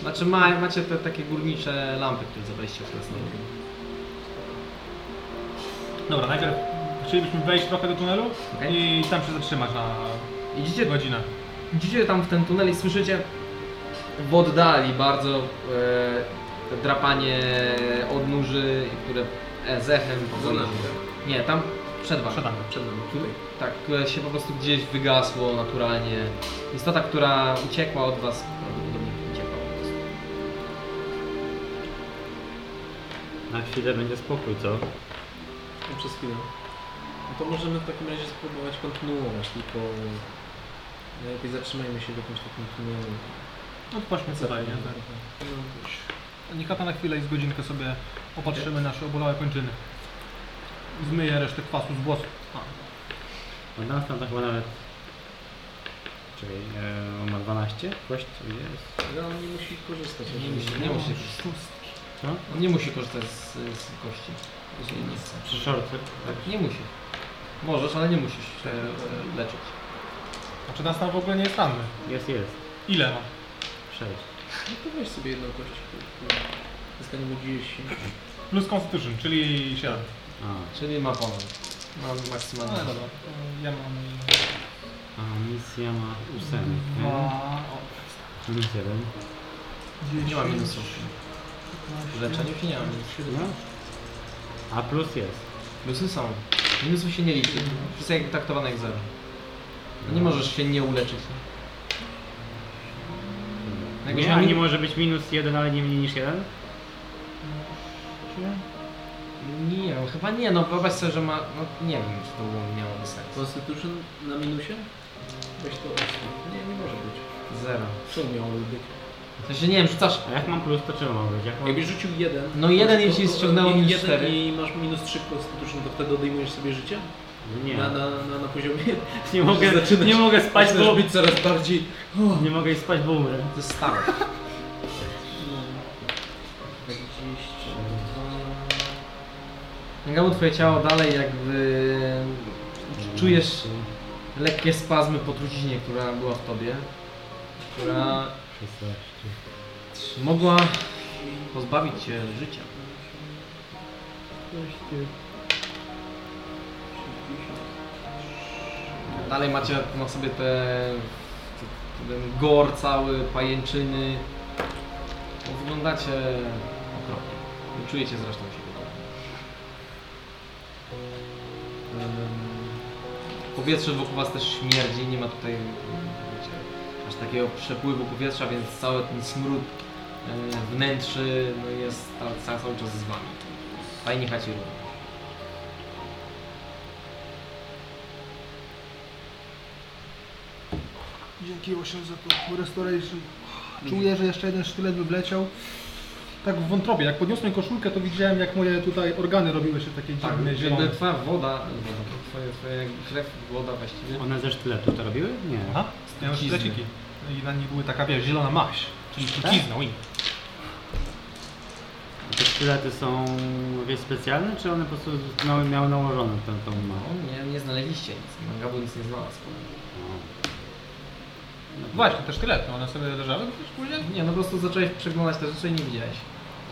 [SPEAKER 1] Znaczy ma, macie te takie górnicze lampy, które zabraliście od nas.
[SPEAKER 3] Dobra, najpierw chcielibyśmy wejść trochę do tunelu
[SPEAKER 1] Okej.
[SPEAKER 3] i tam się zatrzymać na
[SPEAKER 1] Idziecie
[SPEAKER 3] godzinę.
[SPEAKER 1] Idziecie tam w ten tunel i słyszycie w oddali bardzo e, te drapanie odnóży, które e, z echem
[SPEAKER 4] Za
[SPEAKER 1] powoli.
[SPEAKER 4] nami, tak?
[SPEAKER 1] Nie, tam przed wami.
[SPEAKER 3] Przed nami.
[SPEAKER 4] Przed nami, tutaj.
[SPEAKER 1] Tak, które się po prostu gdzieś wygasło naturalnie. Istota, która uciekła od was, prawdopodobnie uciekła po prostu.
[SPEAKER 2] Na chwilę będzie spokój, co?
[SPEAKER 4] No, Przez chwilę. No to możemy w takim razie spróbować kontynuować, tylko najlepiej zatrzymajmy się w jakimś takim tunelu.
[SPEAKER 3] No to patrzmy co daje. Nikata tak. na chwilę i z godzinkę sobie opatrzymy nasze obolałe kończyny. Zmyję resztę kwasu z włosów.
[SPEAKER 2] Bo nas tam tak chyba nawet... Czekaj, e, on ma 12? Kość jest...
[SPEAKER 4] Ale No, on nie musi korzystać.
[SPEAKER 1] Nie musi, nie musi korzystać.
[SPEAKER 2] Co?
[SPEAKER 1] On nie musi korzystać z, z kości, jeżeli nie chce.
[SPEAKER 2] Przy szorcy.
[SPEAKER 1] Tak, nie musi. Możesz, ale nie musisz się e, leczyć.
[SPEAKER 3] Znaczy nas tam w ogóle nie jest ranny.
[SPEAKER 2] Tak, Jest, jest.
[SPEAKER 3] Ile ma?
[SPEAKER 2] 6.
[SPEAKER 4] No to weź sobie jedną kość. Zyskanie mu 10.
[SPEAKER 3] Plus Constitution, czyli 7.
[SPEAKER 2] A,
[SPEAKER 1] Czyli ma ponad. Ma
[SPEAKER 3] No
[SPEAKER 1] maksymalnie.
[SPEAKER 3] dobra, to ja mam...
[SPEAKER 1] Mhm.
[SPEAKER 2] a misja ma 8.
[SPEAKER 3] Dwa,
[SPEAKER 2] Minus 1.
[SPEAKER 1] Nie ma minusów. W leczeniu się nie ma minusów.
[SPEAKER 2] No. A plus jest.
[SPEAKER 1] Minusy są. Minusów się nie liczy. Wszystko jak traktowane jak zero. No nie możesz się nie uleczyć. Jakbyś
[SPEAKER 2] Nie,
[SPEAKER 1] miał
[SPEAKER 2] a nie
[SPEAKER 1] min-
[SPEAKER 2] może być minus 1, ale nie mniej niż 1?
[SPEAKER 1] Nie, no chyba nie, no wyobraź sobie, że ma... No nie wiem, czy to było- miałoby sens.
[SPEAKER 4] Constitution na minusie? Weź to 8. Nie, nie może być.
[SPEAKER 1] Zero.
[SPEAKER 4] Co miałoby być?
[SPEAKER 1] W sensie nie wiem, rzucasz...
[SPEAKER 2] A jak mam plus, to czemu mam być? Jak mam...
[SPEAKER 4] Jakbyś rzucił jeden.
[SPEAKER 1] No jeden,
[SPEAKER 4] to-
[SPEAKER 1] jeśli
[SPEAKER 4] to- to-
[SPEAKER 1] ściągnęło
[SPEAKER 4] i
[SPEAKER 1] minus
[SPEAKER 4] jeden
[SPEAKER 1] cztery.
[SPEAKER 4] I masz minus 3 Constitution, to wtedy odejmujesz sobie życie?
[SPEAKER 2] Nie.
[SPEAKER 4] Na, na, na, na poziomie.
[SPEAKER 2] Nie mogę,
[SPEAKER 4] Zaczynasz-
[SPEAKER 2] nie mogę spać,
[SPEAKER 4] Zaczynasz
[SPEAKER 2] bo...
[SPEAKER 4] być coraz bardziej.
[SPEAKER 2] Nie mogę iść spać, bo umrę.
[SPEAKER 1] To jest stałe.
[SPEAKER 4] 22.
[SPEAKER 1] Gamu, twoje ciało dalej jakby... Czujesz lekkie spazmy po truciźnie, która była w tobie. Która
[SPEAKER 2] 16.
[SPEAKER 1] mogła pozbawić cię życia. Dalej macie na sobie te, ten gor cały, pajęczyny. No, Wyglądacie okropnie. Nie czujecie zresztą się podobnie. Ym, Powietrze wokół was też śmierdzi, nie ma tutaj wiecie, aż takiego przepływu powietrza, więc cały ten smród e, wnętrzy no jest ta- ca- cały czas z wami. Fajnie chacie również.
[SPEAKER 16] Dzięki 8 za to. Restoration. Czuję, że jeszcze jeden sztylet by wleciał.
[SPEAKER 3] Tak w wątrobie, jak podniosłem koszulkę, to widziałem jak moje tutaj organy robiły się takie
[SPEAKER 1] Tak,
[SPEAKER 3] dziwne,
[SPEAKER 1] jakby
[SPEAKER 3] zielone.
[SPEAKER 1] twoja woda, woda twoja, twoja krew, woda właściwie.
[SPEAKER 2] One ze sztyletu to robiły? Nie.
[SPEAKER 3] Aha, miałem
[SPEAKER 1] Trucizny.
[SPEAKER 3] sztyleciki. I na nich były taka, wiesz, zielona maś, czyli
[SPEAKER 1] Tak?
[SPEAKER 3] trucizną i...
[SPEAKER 2] A te sztylety są jakieś specjalne, czy one po prostu miały, miały nałożone tą, tą małą?
[SPEAKER 1] No, nie, nie znaleźliście nic. Mangabu nic nie znalazł.
[SPEAKER 2] No.
[SPEAKER 1] No
[SPEAKER 3] Właśnie, te sztylety, one sobie leżały gdzieś później?
[SPEAKER 1] Nie, no po prostu zacząłeś przeglądać te rzeczy i nie widziałeś.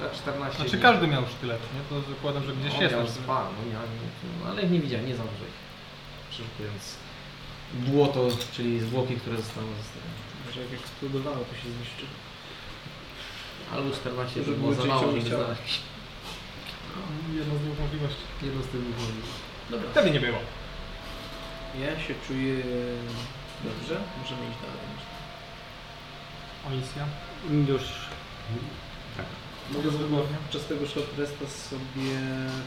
[SPEAKER 1] Za 14 Tak,
[SPEAKER 3] Znaczy
[SPEAKER 1] dni.
[SPEAKER 3] każdy miał sztylet, nie? To zakładam, że gdzieś
[SPEAKER 1] On
[SPEAKER 3] jest.
[SPEAKER 1] miał
[SPEAKER 3] nasz-
[SPEAKER 1] spa, no, ja, nie- no, ale ich nie widziałem, nie zauważyłeś. Przeszukując błoto, czyli zwłoki, które zostały zostawione.
[SPEAKER 4] Może jak eksplodowało, to się zniszczy.
[SPEAKER 1] Albo 14 to
[SPEAKER 4] Żeby
[SPEAKER 1] było za
[SPEAKER 4] ludzie
[SPEAKER 1] mało,
[SPEAKER 4] chcieli
[SPEAKER 1] żeby
[SPEAKER 4] ciała.
[SPEAKER 1] znaleźć.
[SPEAKER 3] Jedno z dwóch możliwości.
[SPEAKER 1] Jedno z tych dwóch możliwych.
[SPEAKER 4] Dobra.
[SPEAKER 3] Wtedy nie było.
[SPEAKER 4] Ja się czuję dobrze. Możemy iść dalej.
[SPEAKER 3] O misja.
[SPEAKER 2] Mm, Już.
[SPEAKER 4] Mogę sobie podczas tego short resta sobie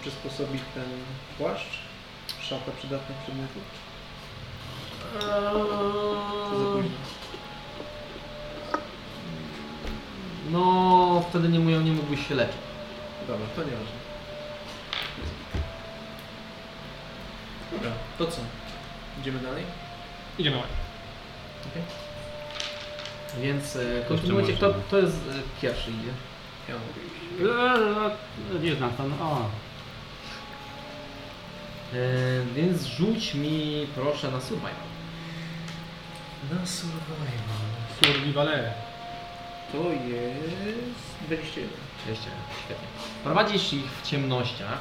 [SPEAKER 4] przysposobić ten płaszcz? Szata przydatnych przedmiotów? Czy za
[SPEAKER 1] Eee,
[SPEAKER 4] późno?
[SPEAKER 1] No, wtedy nie, mówią, nie mógłbyś się leczyć.
[SPEAKER 4] Dobra, to nieważne. Dobra, to co? Idziemy dalej?
[SPEAKER 3] Idziemy ładnie.
[SPEAKER 1] Więc e, kontynuujcie.
[SPEAKER 2] możemy.
[SPEAKER 1] Kto, kto jest e, pierwszy idzie?
[SPEAKER 4] Ja mogę iść.
[SPEAKER 2] Gdzie E, znam tam? O,
[SPEAKER 1] E, więc rzuć mi proszę na survival.
[SPEAKER 4] Na survival.
[SPEAKER 3] Survivale.
[SPEAKER 4] To jest 21.
[SPEAKER 1] 20, świetnie. Prowadzisz ich w ciemnościach.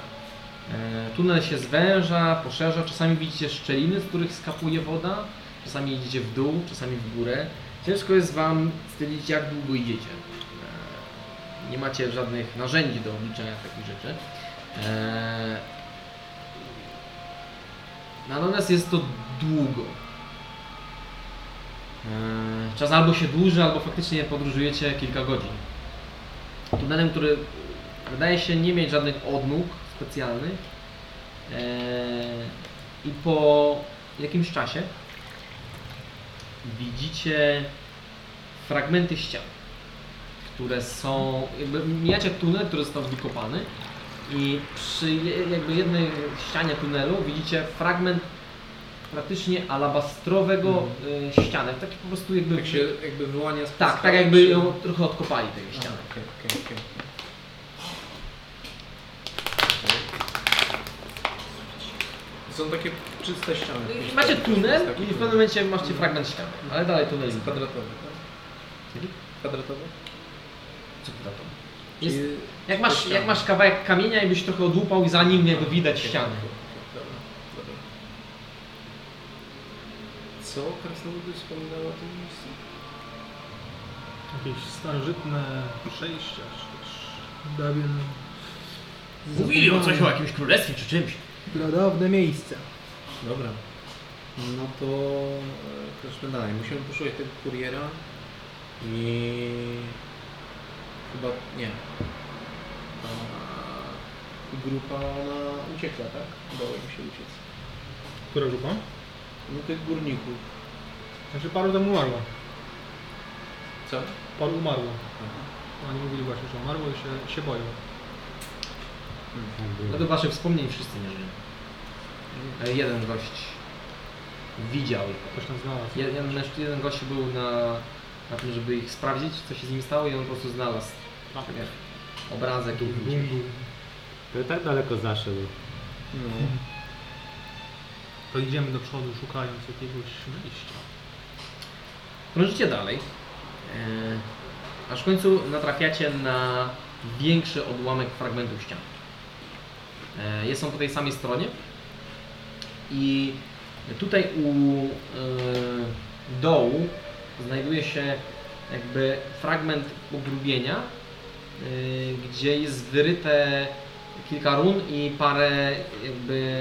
[SPEAKER 1] E, Tunel się zwęża, poszerza. Czasami widzicie szczeliny, z których skapuje woda. Czasami idziecie w dół, czasami w górę. Ciężko jest Wam stwierdzić, jak długo idziecie. E, Nie macie żadnych narzędzi do obliczenia takich rzeczy. E, Natomiast jest to długo. E, Czas albo się dłuży, albo faktycznie podróżujecie kilka godzin tunelem, który wydaje się nie mieć żadnych odnóg specjalnych. Eee, I po jakimś czasie widzicie fragmenty ścian, które są. Jakby mijacie tunel, który został wykopany. I przy je- jakby jednej ścianie tunelu widzicie fragment praktycznie alabastrowego e, ściany. Taki po prostu jakby.
[SPEAKER 4] Mhm. Tak się jakby wyłania z
[SPEAKER 1] tak, tak jakby ją trochę odkopali tej ściany.
[SPEAKER 4] Okej, okej, okej. Są takie czyste ściany.
[SPEAKER 1] No Macie tunel i w pewnym momencie macie fragment ściany, ale dalej tunel jest
[SPEAKER 4] Jest kwadratowy, tak?
[SPEAKER 1] Czyli?
[SPEAKER 4] Kwadratowy?
[SPEAKER 1] co to tam? Jest,
[SPEAKER 4] Czyli-
[SPEAKER 1] jak, masz,
[SPEAKER 4] ściana.
[SPEAKER 1] jak masz kawałek kamienia i byś trochę odłupał i za nim jakby widać ściany.
[SPEAKER 4] Dobra, dobra. Co Krasnoludy wspominała o tym miejscu?
[SPEAKER 3] Jakieś starożytne przejścia, czy też...
[SPEAKER 17] Dawien.
[SPEAKER 1] Mówili o coś o jakimś królestwie czy czymś.
[SPEAKER 17] Pradawne miejsce.
[SPEAKER 4] Dobra. No to e, chodźmy dalej. Musimy poszukać tego kuriera i chyba nie. A grupa ona uciekła, tak? Udało im się uciec.
[SPEAKER 3] Która grupa?
[SPEAKER 4] No tych górników.
[SPEAKER 3] Znaczy paru tam umarło.
[SPEAKER 4] Co?
[SPEAKER 3] Paru umarło. Oni mówili właśnie, że umarło i się, się boją.
[SPEAKER 1] Według waszych wspomnień wszyscy nie żyją. E, Jeden gość widział ich.
[SPEAKER 3] Ktoś tam znalazł.
[SPEAKER 1] Je- Jeden, mężczy- jeden gość był na, na tym, żeby ich sprawdzić, co się z nimi stało i on po prostu znalazł wiesz, obrazek i widział.
[SPEAKER 2] To tak daleko zaszedł.
[SPEAKER 4] No,
[SPEAKER 3] To idziemy do przodu szukając jakiegoś wyjścia.
[SPEAKER 1] Krążycie dalej, e, aż w końcu natrafiacie na większy odłamek fragmentów ścian. E, Jest on po tej samej stronie i tutaj u e, dołu znajduje się jakby fragment pogrubienia, e, gdzie jest wyryte kilka run i parę jakby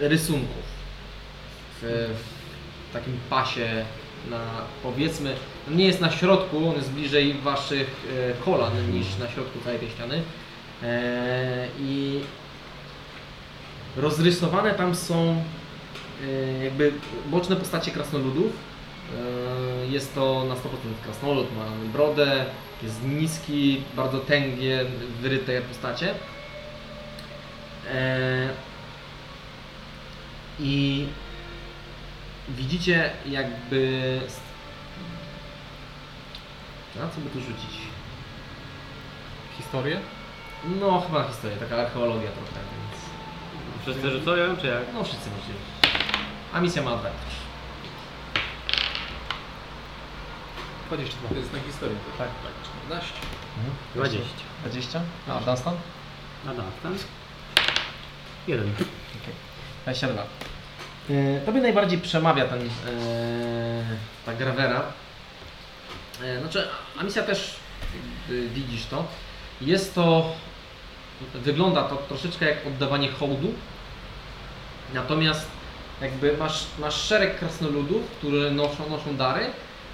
[SPEAKER 1] rysunków w, w takim pasie na powiedzmy, on nie jest na środku, on jest bliżej waszych e, kolan niż na środku całej tej ściany. E, I rozrysowane tam są e, jakby boczne postacie krasnoludów. E, Jest to na 100% krasnolud, ma brodę, jest niski, bardzo tęgie, wyryte postacie. E, I widzicie jakby... Na co by tu rzucić?
[SPEAKER 18] Historię?
[SPEAKER 1] No chyba historia, taka archeologia trochę, więc...
[SPEAKER 2] Wszyscy rzucają, czy jak?
[SPEAKER 1] No wszyscy możecie rzucić. A misja ma advantage.
[SPEAKER 18] 22.
[SPEAKER 4] To jest na historię. Tak, tak. 14.
[SPEAKER 2] 20.
[SPEAKER 1] 20? Mhm. A, Dunstan?
[SPEAKER 2] Na dach, ten? Jeden.
[SPEAKER 1] 22. E, Tobie najbardziej przemawia ten, e, ta grawera. E, Znaczy, a misja też jakby widzisz to. Jest to, wygląda to troszeczkę jak oddawanie hołdu. Natomiast jakby masz, masz szereg krasnoludów, którzy noszą, noszą dary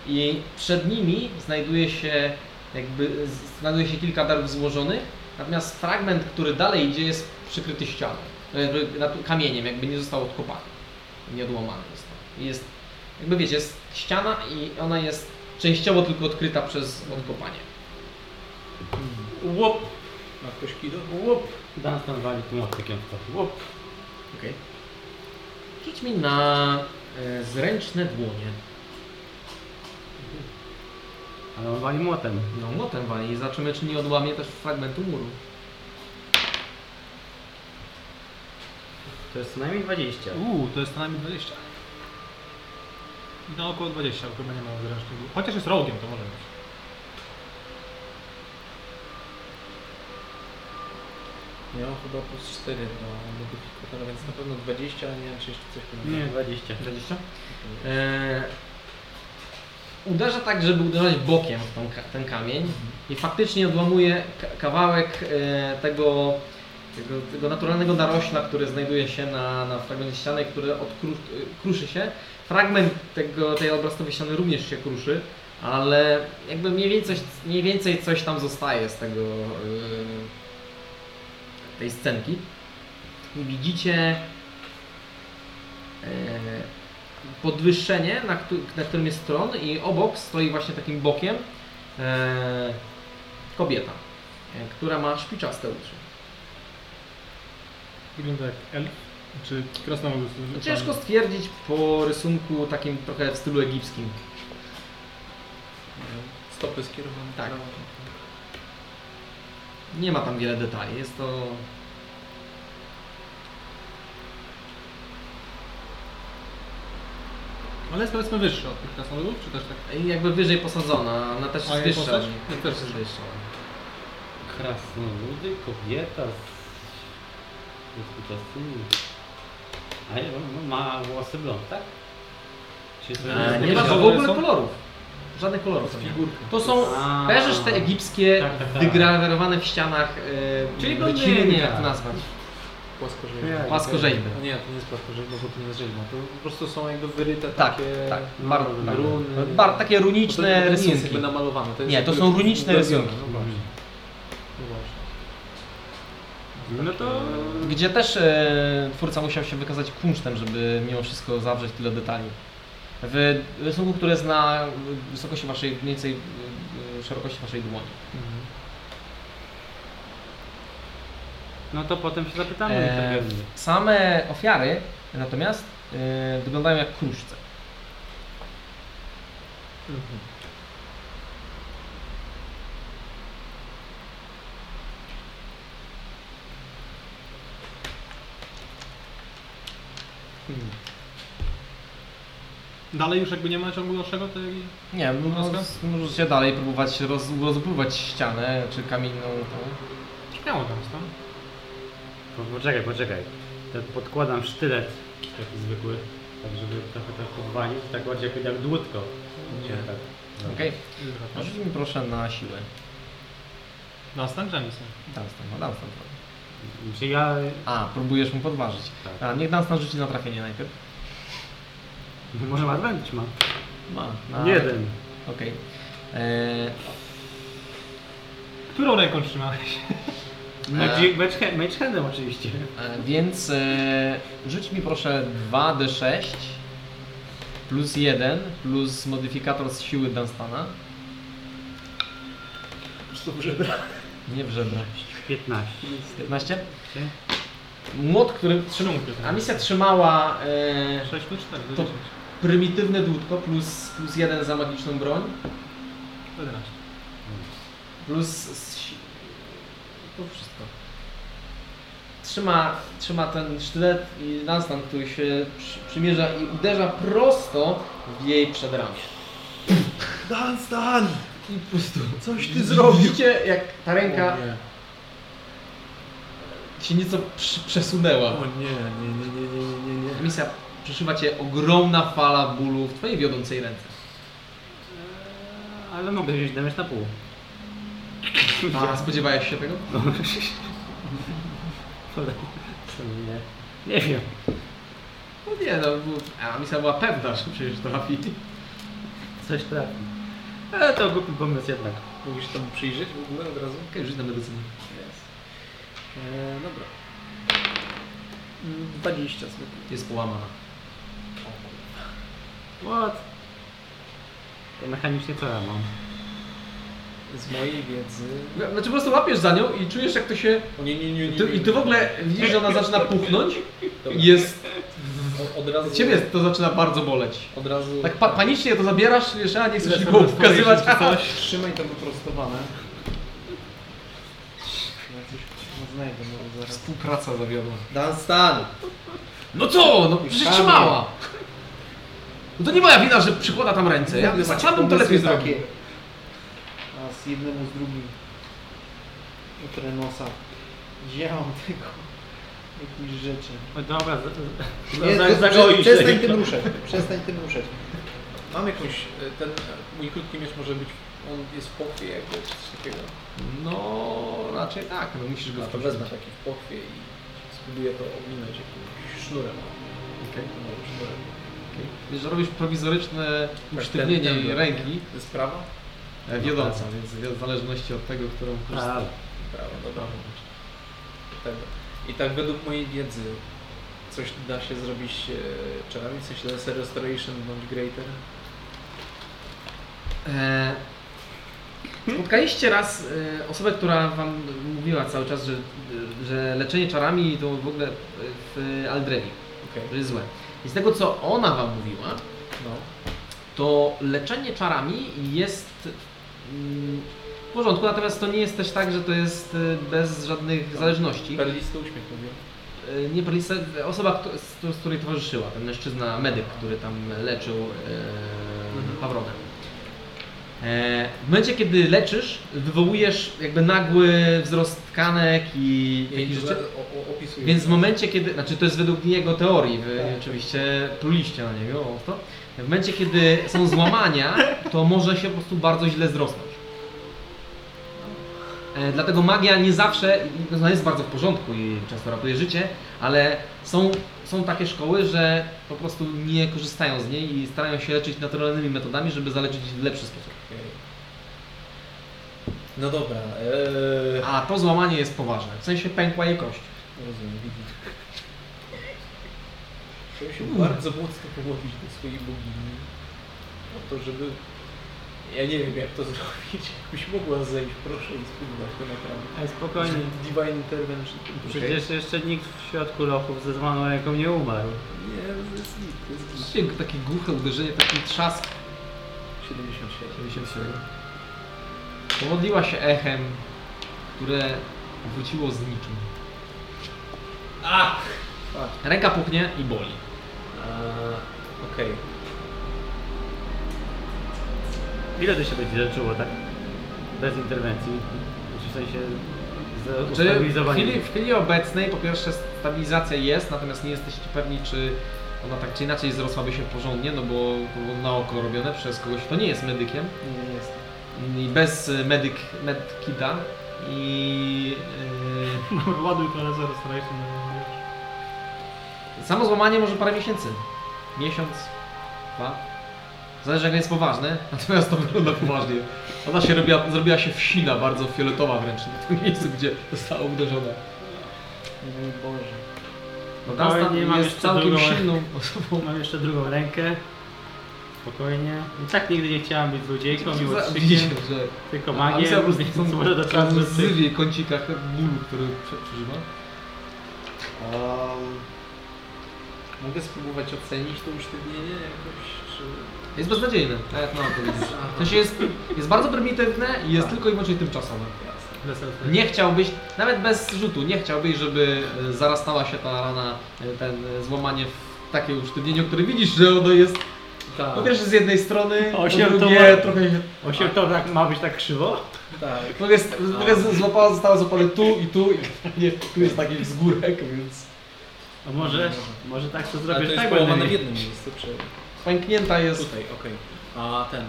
[SPEAKER 1] i przed nimi znajduje się jakby z- znajduje się kilka darów złożonych, natomiast fragment, który dalej idzie jest przykryty ścianą, No, jakby nad- kamieniem, jakby nie został odkopany, nie odłamany został. I Jest, jakby wiecie, jest ściana i ona jest częściowo tylko odkryta przez odkopanie.
[SPEAKER 2] Łop!
[SPEAKER 4] Ma ktoś kido?
[SPEAKER 2] Łop! Dunstan wali tym optykiem w to. Łop!
[SPEAKER 1] Okej. Rzuć mi na e, zręczne dłonie.
[SPEAKER 2] Ale on wali młotem.
[SPEAKER 1] No młotem wali i zobaczymy czy nie odłamie też fragmentu muru.
[SPEAKER 2] To jest co najmniej 20.
[SPEAKER 3] Uuu, to jest co najmniej 20. No około 20, chyba nie mam zręcznego. Chociaż jest rogiem, to może być.
[SPEAKER 4] Miał chyba plus 4 do modyfikatora, więc na pewno 20, ale nie wiem czy jeszcze coś
[SPEAKER 19] Nie,
[SPEAKER 4] powinno.
[SPEAKER 19] 20.
[SPEAKER 20] 20?
[SPEAKER 4] Nie.
[SPEAKER 1] E, uderza tak, żeby uderzać bokiem w tą, ka- ten kamień i faktycznie odłamuje k- kawałek e, tego, tego, tego naturalnego narośla, który znajduje się na, na fragmencie ściany, który odkru, e, kruszy się. Fragment tego, tej obrazowej ściany również się kruszy, ale jakby mniej więcej, mniej więcej coś tam zostaje z tego e, tej scenki. I widzicie e, podwyższenie, na, któ- na którym jest tron i obok stoi właśnie takim bokiem e, kobieta, e, która ma szpiczaste uszy.
[SPEAKER 3] Wygląda jak elf, czy krasnolud.
[SPEAKER 1] No, Ciężko stwierdzić po rysunku takim trochę w stylu egipskim.
[SPEAKER 4] Stopy skierowane.
[SPEAKER 1] Tak.
[SPEAKER 4] prawo.
[SPEAKER 1] Nie ma tam wiele detali, jest to...
[SPEAKER 3] Ale jest powiedzmy wyższy od tych krasnoludów, czy też tak?
[SPEAKER 1] jakby wyżej posadzona, ona też
[SPEAKER 3] A
[SPEAKER 1] jest
[SPEAKER 3] jej
[SPEAKER 1] wyższa.
[SPEAKER 3] postać?
[SPEAKER 1] Też jest wyższa.
[SPEAKER 2] Krasnoludy, kobieta z... z uczestnymi. A nie, ma, ma włosy blond, tak? Czy to
[SPEAKER 1] E,
[SPEAKER 2] jest-
[SPEAKER 1] nie ma
[SPEAKER 3] jakieś
[SPEAKER 1] w
[SPEAKER 3] kolory
[SPEAKER 1] ogóle
[SPEAKER 3] są?
[SPEAKER 1] kolorów. Żadnych kolorów to nie ma. To są,
[SPEAKER 2] A.
[SPEAKER 1] kojarzysz te egipskie,
[SPEAKER 2] Tak, tak, tak.
[SPEAKER 1] wygrawerowane w ścianach, e,
[SPEAKER 2] Czyli
[SPEAKER 1] wyciny, nie wiem, jak
[SPEAKER 2] blondynka.
[SPEAKER 1] to nazwać,
[SPEAKER 4] Płaskorzeźba.
[SPEAKER 1] płaskorzeźby.
[SPEAKER 4] A nie, to nie jest płaskorzeźba, bo to nie jest rzeźba. To po prostu są jakby wyryte
[SPEAKER 1] Tak,
[SPEAKER 4] takie
[SPEAKER 1] tak. Bar, tak.
[SPEAKER 4] runy.
[SPEAKER 1] Bar, takie
[SPEAKER 4] Bo to, to
[SPEAKER 1] runiczne
[SPEAKER 4] nie jest
[SPEAKER 1] rysunki.
[SPEAKER 4] jakby namalowane. To jest
[SPEAKER 1] Nie, to
[SPEAKER 4] jakby
[SPEAKER 1] są runiczne
[SPEAKER 4] ulepione,
[SPEAKER 1] rysunki.
[SPEAKER 4] No właśnie. No właśnie.
[SPEAKER 2] No to...
[SPEAKER 1] Gdzie też e, twórca musiał się wykazać kunsztem, żeby mimo wszystko zawrzeć tyle detali. W rysunku, który jest na wysokości waszej, mniej więcej e, szerokości waszej dłoni.
[SPEAKER 3] Mhm.
[SPEAKER 2] No to potem się zapytamy.
[SPEAKER 1] E,
[SPEAKER 2] pewnie.
[SPEAKER 1] same ofiary natomiast e, wyglądają jak kruszce.
[SPEAKER 3] Dalej już jakby nie ma ciągu dalszego tej...
[SPEAKER 1] Nie, no,
[SPEAKER 3] Kruszce?
[SPEAKER 1] s- możecie dalej próbować roz, rozpływać ścianę czy kamienną. tą.
[SPEAKER 3] Miało tam, tam.
[SPEAKER 2] Po- Poczekaj, poczekaj. To podkładam sztylet taki zwykły, tak żeby trochę tak podwalić, tak bardziej jak- jak dłutko. Nie. Tak. No.
[SPEAKER 1] Okej, rzuć mi proszę na siłę.
[SPEAKER 3] Dunstan czy Anderson?
[SPEAKER 1] Dunstan, no Dunstan. proszę.
[SPEAKER 2] Czy ja...
[SPEAKER 1] A, próbujesz mu podważyć.
[SPEAKER 2] Tak.
[SPEAKER 1] A, niech Dunstan rzuci na trafienie najpierw.
[SPEAKER 2] Może adwenć ma.
[SPEAKER 1] Ma.
[SPEAKER 2] Jeden.
[SPEAKER 1] Okej. Eee,
[SPEAKER 3] Którą ręką trzymałeś?
[SPEAKER 2] Magic- mage hand- Mage handem oczywiście.
[SPEAKER 1] e, więc e, rzuć mi proszę 2d6 plus 1 plus modyfikator z siły Dunstana. Nie w żebra.
[SPEAKER 2] 15.
[SPEAKER 1] 15? Młot, który trzyma... A misja trzymała e,
[SPEAKER 3] 6 plus 4,
[SPEAKER 1] To-
[SPEAKER 3] 10.
[SPEAKER 1] prymitywne dłutko plus, plus 1 za magiczną broń
[SPEAKER 3] 11.
[SPEAKER 2] E,
[SPEAKER 1] plus... Z, si- to wszystko. Trzyma, trzyma ten sztylet i Dunstan, który się przy, przymierza i uderza prosto w jej przedramię.
[SPEAKER 21] Dan, Stan!
[SPEAKER 1] I po prostu
[SPEAKER 21] Coś ty zrobił!
[SPEAKER 1] Widzicie, jak ta ręka
[SPEAKER 21] O nie.
[SPEAKER 1] się nieco przy- przesunęła.
[SPEAKER 21] O nie, nie, nie, nie, nie, nie, nie, nie.
[SPEAKER 1] Misja, przeszywa cię ogromna fala bólu w twojej wiodącej ręce.
[SPEAKER 2] Ale mogę wziąć damage na pół.
[SPEAKER 1] A spodziewałeś się tego?
[SPEAKER 2] Co nie? Nie wiem.
[SPEAKER 1] No nie, no, bo- a misja była pewna, że przecież trafi.
[SPEAKER 2] Coś trafi. Ale to głupi pomysł jednak.
[SPEAKER 4] Mógłbyś temu przyjrzeć w ogóle od razu?
[SPEAKER 1] Okej, rzuć na medycynę.
[SPEAKER 4] Yes. E, dobra. Mm, 20 zwykle.
[SPEAKER 1] Jest połamana.
[SPEAKER 2] What? To mechanicznie co ja mam?
[SPEAKER 4] Z mojej wiedzy...
[SPEAKER 1] No, Znaczy po prostu łapiesz za nią i czujesz jak to się...
[SPEAKER 4] O nie, nie, nie, nie,
[SPEAKER 1] Ty, I ty w ogóle widzisz, że ona zaczyna puchnąć.
[SPEAKER 4] Dobra.
[SPEAKER 1] Jest...
[SPEAKER 4] O- Od razu...
[SPEAKER 1] Ciebie to zaczyna bardzo boleć.
[SPEAKER 4] Od razu...
[SPEAKER 1] Tak pa panicznie to zabierasz, wiesz, a nie chcesz nikomu pokazywać.
[SPEAKER 4] Trzymaj to wyprostowane. Ja coś no, znajdę, no zaraz.
[SPEAKER 1] Współpraca zawiodła.
[SPEAKER 4] Dan Stan!
[SPEAKER 1] No co? No przecież trzymała!
[SPEAKER 22] No to nie moja wina, że przykłada tam ręce. Ja
[SPEAKER 23] Macie
[SPEAKER 22] sam bym to lepiej
[SPEAKER 23] pomysły
[SPEAKER 22] zrobił.
[SPEAKER 23] A z jednemu z drugim. Od Renosa. Działam tylko. Jakichś rzeczy.
[SPEAKER 2] No dobra, z- z-
[SPEAKER 4] No,
[SPEAKER 23] Nie,
[SPEAKER 2] za-
[SPEAKER 23] to-
[SPEAKER 2] zagoisz się.
[SPEAKER 23] przestań tym ruszać. Przestań tym ruszać.
[SPEAKER 4] Mam jakąś, e, ten e, mój krótki miecz może być, on jest w pochwie jakby, czy coś takiego.
[SPEAKER 22] No raczej tak, no musisz go
[SPEAKER 4] No to
[SPEAKER 22] wpuścić.
[SPEAKER 4] wezmę taki w pochwie i spróbuję to ominąć jakimś sznurem.
[SPEAKER 22] Okej.
[SPEAKER 4] No, sznurem.
[SPEAKER 22] Wiesz, że robisz prowizoryczne usztywnienie
[SPEAKER 4] Tak, ten,
[SPEAKER 22] jej
[SPEAKER 4] ten,
[SPEAKER 22] ręki
[SPEAKER 4] To jest prawa?
[SPEAKER 1] No
[SPEAKER 22] e, wiodąca,
[SPEAKER 1] tak.
[SPEAKER 22] więc w zależności od tego, którą korzystasz.
[SPEAKER 4] Prawa, dobra. Tego. I tak według mojej wiedzy coś da się zrobić e, czarami, w sensie lesser restoration bądź greater.
[SPEAKER 1] E, Spotkaliście raz e, osobę, która wam mówiła cały czas, że, że leczenie czarami to w ogóle e, w Aldrewi,
[SPEAKER 4] Okej.
[SPEAKER 1] że jest złe. I z tego co ona wam mówiła,
[SPEAKER 4] No.
[SPEAKER 1] to leczenie czarami jest mm, w porządku, natomiast to nie jest też tak, że to jest e, bez
[SPEAKER 22] No.
[SPEAKER 1] żadnych zależności.
[SPEAKER 4] Perlisty uśmiech mówię.
[SPEAKER 1] E, Nie Perlisa, osoba, kto- z- z której towarzyszyła, ten mężczyzna, medyk, który tam leczył e, Pawrona. E, w momencie, kiedy leczysz, wywołujesz jakby nagły wzrost tkanek i
[SPEAKER 4] Nie,
[SPEAKER 1] takich
[SPEAKER 4] nie,
[SPEAKER 1] rzeczy.
[SPEAKER 4] o- o- opisuję.
[SPEAKER 1] Więc w momencie, kiedy. Znaczy, to jest według jego teorii, wy
[SPEAKER 4] Tak.
[SPEAKER 1] oczywiście pluliście na niego o to. W momencie, kiedy są złamania, to może się po prostu bardzo źle zrosnąć. E, Dlatego magia nie zawsze, no ona jest bardzo w porządku i często ratuje życie, ale są, są takie szkoły, że po prostu nie korzystają z niej i starają się leczyć naturalnymi metodami, żeby zaleczyć w lepszy sposób.
[SPEAKER 4] Okej. No dobra, eee,
[SPEAKER 1] A to złamanie jest poważne, w sensie pękła jej kość.
[SPEAKER 4] rozumiem, widzisz. Chciałem się bardzo mocno pomodlić do swojej bogini o to, żeby... Ja nie wiem jak to zrobić, jakbyś mogła zejść, proszę i spróbować to naprawdę.
[SPEAKER 2] Ej, Spokojnie.
[SPEAKER 4] Divine Intervention.
[SPEAKER 2] Przecież jeszcze nikt w środku lochów ze zwaną ręką nie umarł.
[SPEAKER 4] Nie, to jest nic, to jest nic.
[SPEAKER 1] Czyli Takie głuche uderzenie, taki trzask
[SPEAKER 4] 77.
[SPEAKER 1] 57. Powodliła się echem, które wróciło z niczym. A! Ręka puchnie i boli.
[SPEAKER 4] Eee, Okej.
[SPEAKER 2] Ile to się będzie leczyło, tak? Bez interwencji. Znaczy w sensie z
[SPEAKER 1] Czy Znaczy, w,
[SPEAKER 2] ustabilizowaniem.
[SPEAKER 1] chwili, w chwili obecnej po pierwsze stabilizacja jest, natomiast nie jesteście pewni, czy ona tak czy inaczej zrosłaby się porządnie, no bo to było na oko robione przez kogoś, kto nie jest medykiem.
[SPEAKER 4] Nie, nie jestem.
[SPEAKER 1] I bez y, medyk, medkita i yy,
[SPEAKER 2] Ładuj to laser, staraj się.
[SPEAKER 1] Samo złamanie może parę miesięcy. Miesiąc, dwa. Zależy jak jest poważne, natomiast to wygląda poważnie. Ona się robiła, zrobiła się wsina, bardzo fioletowa wręcz na tym miejscu, gdzie została uderzona.
[SPEAKER 4] Mój Boże.
[SPEAKER 1] No
[SPEAKER 2] Ale
[SPEAKER 1] Dunstan
[SPEAKER 2] nie mam
[SPEAKER 1] jest
[SPEAKER 2] jeszcze
[SPEAKER 1] całkiem
[SPEAKER 2] drugą-
[SPEAKER 1] silną osobą.
[SPEAKER 2] Mam jeszcze drugą rękę. Spokojnie. I tak nigdy nie chciałam być złodziejką, miło
[SPEAKER 1] Widzicie, że
[SPEAKER 2] tylko
[SPEAKER 1] a
[SPEAKER 2] magię,
[SPEAKER 1] Amicia po prostu
[SPEAKER 2] więc
[SPEAKER 1] są
[SPEAKER 2] może do czasu
[SPEAKER 1] łzy w jej kącikach bólu, który prze- przeżywa.
[SPEAKER 4] Um, mogę spróbować ocenić to usztywnienie jakoś, czy...
[SPEAKER 1] Jest beznadziejne, tak jak mam powiedzieć. To się jest, Tak. jest bardzo prymitywne i jest tylko i wyłącznie tymczasowe. Nie chciałbyś, nawet bez rzutu, nie chciałbyś, żeby e, zarastała się ta rana, e, ten e, złamanie w takie usztywnieniu, które widzisz, że ono jest
[SPEAKER 4] Tak,
[SPEAKER 1] po pierwsze z jednej strony, po
[SPEAKER 2] Osiem to
[SPEAKER 1] drugie
[SPEAKER 2] ma-
[SPEAKER 1] trochę się...
[SPEAKER 2] Osiem to tak ma być tak krzywo?
[SPEAKER 4] tak.
[SPEAKER 1] Trochę, jest- trochę z- złapała, została złapane tu i tu i nie, tu jest taki wzgórek, więc...
[SPEAKER 2] A może, może tak to
[SPEAKER 4] Ale to
[SPEAKER 2] zrobisz
[SPEAKER 4] jest
[SPEAKER 2] tak
[SPEAKER 4] połowane
[SPEAKER 2] będę
[SPEAKER 4] w
[SPEAKER 2] mieć.
[SPEAKER 4] jednym miejscu, czy...
[SPEAKER 1] Pęknięta jest...
[SPEAKER 4] Tutaj, okej. A ten... e,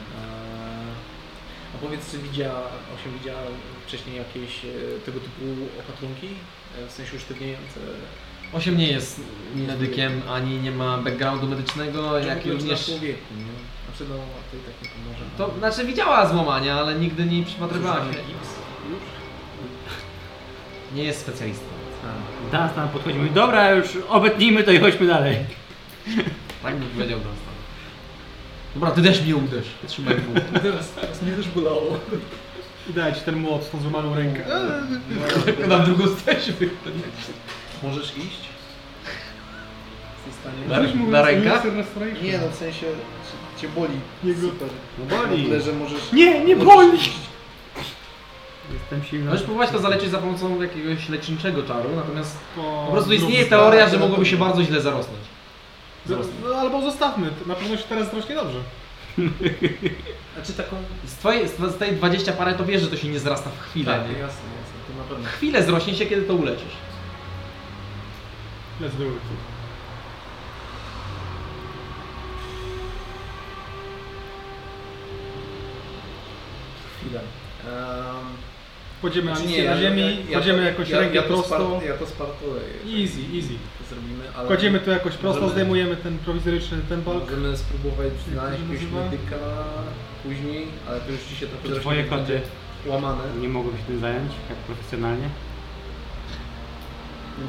[SPEAKER 4] A powiedz, czy widziała, osiem widziała wcześniej jakieś e, tego typu opatrunki? E, W sensie usztywniające?
[SPEAKER 1] Osiem nie jest medykiem, ani nie ma backgroundu medycznego, jak
[SPEAKER 4] Czy
[SPEAKER 1] również...
[SPEAKER 4] Na człowieku, nie? Znaczy no, a tutaj tak nie pomoże.
[SPEAKER 1] To znaczy widziała złamania, ale nigdy nie przypatrywała się.
[SPEAKER 4] Czy gips już?
[SPEAKER 1] Nie jest specjalistą.
[SPEAKER 2] Dunstan podchodzi i mówi, dobra już obetnijmy to i chodźmy dalej.
[SPEAKER 1] Tak bym powiedział Dunstan. Dobra, ty też mnie uderz. Trzymaj pół.
[SPEAKER 4] Teraz, teraz mnie też bolało.
[SPEAKER 3] I daję ci ten młot z tą złamaną rękę.
[SPEAKER 1] Na drugą stronę się
[SPEAKER 4] Możesz iść? Jesteś w stanie?
[SPEAKER 1] Na- na rękach?
[SPEAKER 4] Nie no, w sensie c- cię boli
[SPEAKER 3] Jego-
[SPEAKER 4] super.
[SPEAKER 2] No
[SPEAKER 4] Na
[SPEAKER 2] boli.
[SPEAKER 4] tyle, że możesz...
[SPEAKER 2] Nie, nie boli. Jestem silny.
[SPEAKER 1] Możesz próbować No to zaleczyć za pomocą jakiegoś leczniczego czaru, natomiast
[SPEAKER 3] Po
[SPEAKER 1] po prostu istnieje teoria, że mogłoby się bardzo źle zarosnąć.
[SPEAKER 3] No, no, albo zostawmy, to na pewno się teraz strasznie dobrze.
[SPEAKER 4] Znaczy taką...
[SPEAKER 1] Z, twojej, z tej 20 parę to wiesz, że to się nie zrasta w chwilę.
[SPEAKER 4] Tak,
[SPEAKER 1] nie?
[SPEAKER 4] jasne, jasne, to na pewno.
[SPEAKER 1] Chwilę zrośnie się, kiedy to uleczysz.
[SPEAKER 3] Let's do it.
[SPEAKER 4] Chwilę. Ehm,
[SPEAKER 3] Kładziemy
[SPEAKER 4] znaczy
[SPEAKER 3] Alicję na ziemi, kładziemy jakoś
[SPEAKER 4] ja,
[SPEAKER 3] rękę
[SPEAKER 4] ja to
[SPEAKER 3] prosto.
[SPEAKER 4] spar- Ja to spartuję. jeżeli
[SPEAKER 3] Easy, easy.
[SPEAKER 4] to Zrobimy, ale...
[SPEAKER 3] Kładziemy to jakoś prosto,
[SPEAKER 4] Możemy-
[SPEAKER 3] zdejmujemy ten prowizoryczny ten balk.
[SPEAKER 4] Możemy spróbować znaleźć
[SPEAKER 3] to się
[SPEAKER 4] jakiegoś
[SPEAKER 3] nazywa?
[SPEAKER 4] medyka później, ale to już ci się trochę
[SPEAKER 2] Czy
[SPEAKER 4] zacznie
[SPEAKER 2] twoje koty
[SPEAKER 4] łamane.
[SPEAKER 2] nie mogłyby się tym zająć tak profesjonalnie?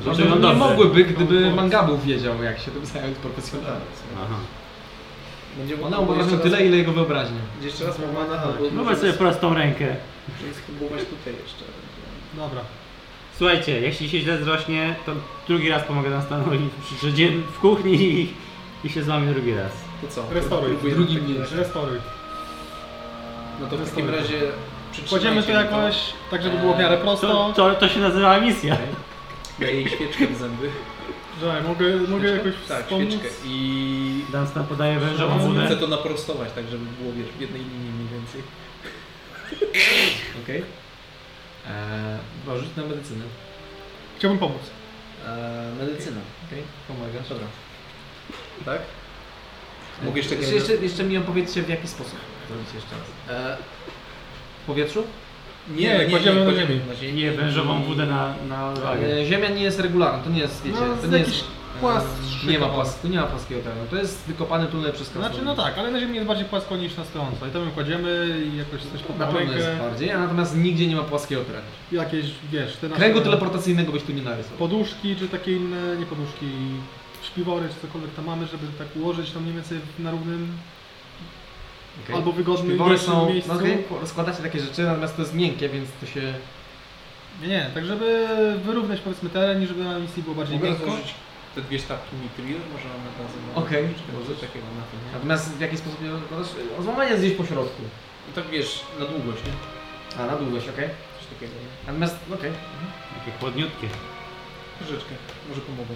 [SPEAKER 1] Znaczy,
[SPEAKER 2] no
[SPEAKER 1] nie
[SPEAKER 2] dobrze.
[SPEAKER 1] mogłyby, gdyby Mangabu wiedział, jak się tym zająć profesjonalnie.
[SPEAKER 2] Aha.
[SPEAKER 4] Będzie
[SPEAKER 1] Ona
[SPEAKER 4] mogła
[SPEAKER 1] uważa
[SPEAKER 4] Tak. jeszcze raz-
[SPEAKER 1] tyle, ile jego wyobraźnia.
[SPEAKER 4] będzie Jeszcze raz
[SPEAKER 3] Tak.
[SPEAKER 4] łamane albo...
[SPEAKER 2] Wyobraź sobie prostą rękę.
[SPEAKER 4] Możemy spróbować tutaj jeszcze. ewentualnie.
[SPEAKER 3] Dobra.
[SPEAKER 2] Słuchajcie, jeśli się źle zrośnie, to drugi raz pomogę nam stanąć przyjdzie w kuchni i, i się złamie drugi raz.
[SPEAKER 4] To co?
[SPEAKER 3] Restoruj.
[SPEAKER 4] Próbujemy
[SPEAKER 1] Drugi
[SPEAKER 4] w takim
[SPEAKER 1] miecz.
[SPEAKER 4] razie-
[SPEAKER 3] Restoruj.
[SPEAKER 4] No to w takim razie
[SPEAKER 3] Kładziemy to
[SPEAKER 4] przytrzymajcie mi Eee,
[SPEAKER 3] jakoś, tak żeby było w miarę
[SPEAKER 2] To,
[SPEAKER 3] prosto.
[SPEAKER 2] to, to się nazywa misja.
[SPEAKER 4] Daję jej świeczkę w zęby.
[SPEAKER 3] Że, mogę, mogę jakoś
[SPEAKER 4] Tak,
[SPEAKER 3] wspomóc?
[SPEAKER 4] świeczkę. I
[SPEAKER 2] Dunstan podaje wężową
[SPEAKER 4] chcę
[SPEAKER 2] wódę.
[SPEAKER 4] to naprostować, tak żeby było wiesz, w jednej linii mniej więcej.
[SPEAKER 1] Okej. Eee, Dobra, rzuć na medycynę.
[SPEAKER 3] Chciałbym pomóc.
[SPEAKER 4] Eee, medycyna,
[SPEAKER 1] Okej, pomagasz. Dobra.
[SPEAKER 4] tak? Mogę jeszcze...
[SPEAKER 1] jeszcze, jeszcze, jeszcze mi opowiedzcie w jaki sposób zrobić jeszcze raz.
[SPEAKER 4] Eee,
[SPEAKER 1] W powietrzu?
[SPEAKER 3] Nie, kładziemy na
[SPEAKER 4] kładziemy
[SPEAKER 3] ziemi.
[SPEAKER 4] na ziemi.
[SPEAKER 2] Nie, wężową wódę na, na wagę.
[SPEAKER 1] Eee, Ziemia nie jest regularna, to nie jest, wiecie,
[SPEAKER 3] No,
[SPEAKER 1] to
[SPEAKER 3] z
[SPEAKER 1] nie jest...
[SPEAKER 3] jakiś
[SPEAKER 1] eee,
[SPEAKER 3] płaszcz
[SPEAKER 1] Nie ma, płas, tu nie ma płaskiego terenu, to jest wykopany tunel przez krasnolud.
[SPEAKER 3] Znaczy, no tak, ale na ziemi jest bardziej płasko niż na stojąco. I to my kładziemy i jakoś coś pod
[SPEAKER 1] Na pewno jest
[SPEAKER 3] rękę.
[SPEAKER 1] bardziej, a natomiast nigdzie nie ma płaskiego terenu.
[SPEAKER 3] Jakieś, wiesz, te nasze
[SPEAKER 1] Kręgu teleportacyjnego byś tu nie narysował.
[SPEAKER 3] poduszki, czy takie inne, nie poduszki, śpiwory, czy cokolwiek tam mamy, żeby tak ułożyć tam mniej więcej na równym
[SPEAKER 1] Okej.
[SPEAKER 3] albo wygodnym
[SPEAKER 1] Wybory
[SPEAKER 3] mniejszym
[SPEAKER 1] są,
[SPEAKER 3] miejscu.
[SPEAKER 1] no okej, składacie takie rzeczy, natomiast to jest miękkie, więc to się...
[SPEAKER 3] Nie, nie, tak żeby wyrównać powiedzmy teren i żeby na misji było bardziej
[SPEAKER 4] Mogę
[SPEAKER 3] miękko.
[SPEAKER 4] rozłożyć te dwie sztabki mitril, może one nazywa.
[SPEAKER 1] Okej,
[SPEAKER 4] Może takiego na tym.
[SPEAKER 1] Natomiast w jaki sposób je rozkładasz? Złamanie jest gdzieś po środku.
[SPEAKER 4] I tak wiesz, na długość, nie?
[SPEAKER 1] A, na długość, okej.
[SPEAKER 4] Coś takiego, nie?
[SPEAKER 1] Natomiast, okej.
[SPEAKER 2] Takie chłodniutkie.
[SPEAKER 4] Troszeczkę, może pomogą.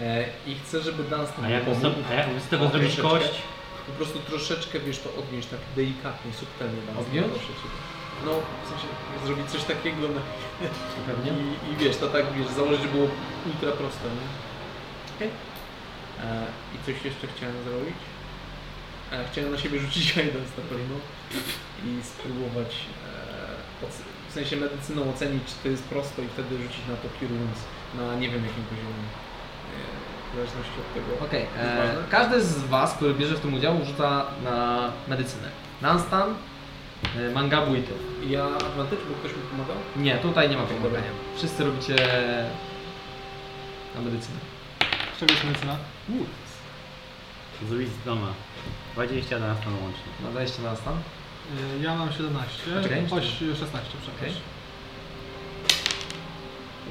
[SPEAKER 4] E, I chcę, żeby Dunstan
[SPEAKER 2] A jak
[SPEAKER 4] pomógł.
[SPEAKER 2] z- a jak z tego
[SPEAKER 4] O,
[SPEAKER 2] zrobić
[SPEAKER 4] troszeczkę.
[SPEAKER 2] kość?
[SPEAKER 4] Po prostu troszeczkę, wiesz, to odgiąć tak delikatnie, subtelnie. Dunstan,
[SPEAKER 1] Odgiąć?
[SPEAKER 4] proszę cię. No, w sensie zrobić coś takiego na
[SPEAKER 1] Pewnie.
[SPEAKER 4] I, I wiesz, to tak wiesz, założyć było ultra proste, nie?
[SPEAKER 1] Okej.
[SPEAKER 4] E, I coś jeszcze chciałem zrobić. E, chciałem na siebie rzucić guidance na pewno i spróbować e, oce- w sensie medycyną ocenić, czy to jest prosto i wtedy rzucić na to Cure Wounds na nie wiem jakim poziomie. E, w zależności od tego.
[SPEAKER 1] Okej, e,
[SPEAKER 4] Ważne?
[SPEAKER 1] każdy z Was, który bierze w tym udział, rzuca na medycynę. Nanstan, e, Mangabu i Ty.
[SPEAKER 4] Ja advantage, bo ktoś mi pomagał?
[SPEAKER 1] Nie, tutaj nie ma pomagania. Wszyscy robicie na medycynę.
[SPEAKER 3] Z czego jest medycyna?
[SPEAKER 2] Zrobić z doma. 20 na nas tam łącznie.
[SPEAKER 1] Na wejście na Nanstan.
[SPEAKER 3] Y, Ja mam 17,
[SPEAKER 1] Poczekaj,
[SPEAKER 3] choć 16, przepraszam.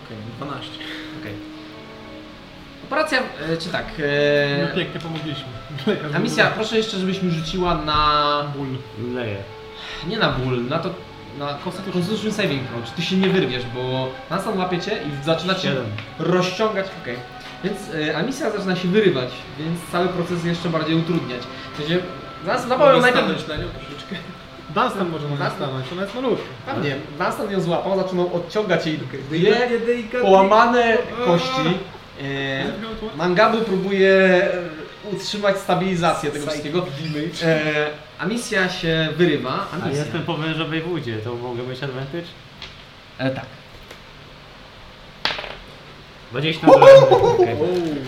[SPEAKER 4] Okej, 12.
[SPEAKER 1] Okej. Operacja, e, czy tak,
[SPEAKER 3] No
[SPEAKER 1] e,
[SPEAKER 3] pięknie pomogliśmy. Lekarz
[SPEAKER 1] ta misja, proszę jeszcze, żebyś mi rzuciła na,
[SPEAKER 3] Ból.
[SPEAKER 2] Leje.
[SPEAKER 1] nie na ból, na to, na Constitution Saving Throw, czy Ty się nie wyrwiesz, bo Nanstan łapiecie i
[SPEAKER 24] Znaczy,
[SPEAKER 1] zaczynacie
[SPEAKER 2] 7.
[SPEAKER 1] rozciągać, okej. Więc y, Amicia zaczyna się wyrywać, więc cały proces jeszcze bardziej utrudniać. W sensie, nas nabawią
[SPEAKER 4] Mogę
[SPEAKER 1] No najpierw...
[SPEAKER 4] stanąć na nią troszeczkę.
[SPEAKER 3] Dunstan może na nas
[SPEAKER 1] Dunstan.
[SPEAKER 3] stanąć, ona jest malutka.
[SPEAKER 1] Pewnie, Dunstan ją złapał, zaczynał odciągać jej dwie połamane kości. E, Mangabu próbuje e, utrzymać stabilizację tego wszystkiego. E, Amicia się wyrywa.
[SPEAKER 2] A
[SPEAKER 1] Amicia.
[SPEAKER 2] jestem po wężowej wódzie, to mogę mieć advantage?
[SPEAKER 1] E, tak.
[SPEAKER 2] 20 na dwa. Okej.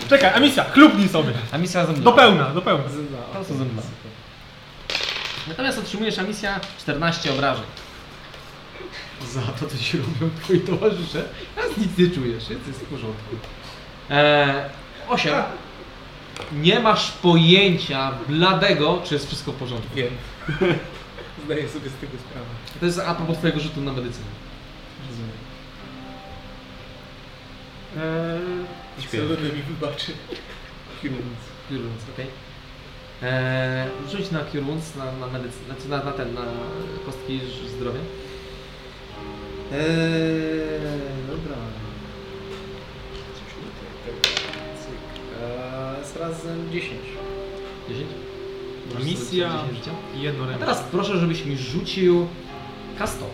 [SPEAKER 3] Czekaj, a misja, chlubnij sobie.
[SPEAKER 1] Amicia ze mną.
[SPEAKER 3] Do pełna, do pełna.
[SPEAKER 1] Po prostu ze mną. Natomiast otrzymujesz Amicia 14 obrażeń. Za to, co ci robią twoi towarzysze, a nic nie czujesz, więc jest w porządku. Eee, 8. Nie masz pojęcia bladego, czy jest wszystko w porządku.
[SPEAKER 4] Wiem. Zdaję sobie z tego sprawę.
[SPEAKER 1] To jest a propos twojego rzutu na medycynę.
[SPEAKER 4] Rozumiem.
[SPEAKER 2] Śpię.
[SPEAKER 4] Pseudonym Eee, mi wybaczy. Kierując.
[SPEAKER 1] Cure Wounds, okej. Eee, rzuć na Cure Wounds, na, na medycynę, znaczy na, na ten, na kostki ż- zdrowia.
[SPEAKER 4] Eee, dobra. Coś mi tutaj tego- cyk. Eee, jest razem 10.
[SPEAKER 1] 10?
[SPEAKER 25] Misja i jedno
[SPEAKER 1] A
[SPEAKER 25] ręce.
[SPEAKER 1] teraz proszę, żebyś mi rzucił K100.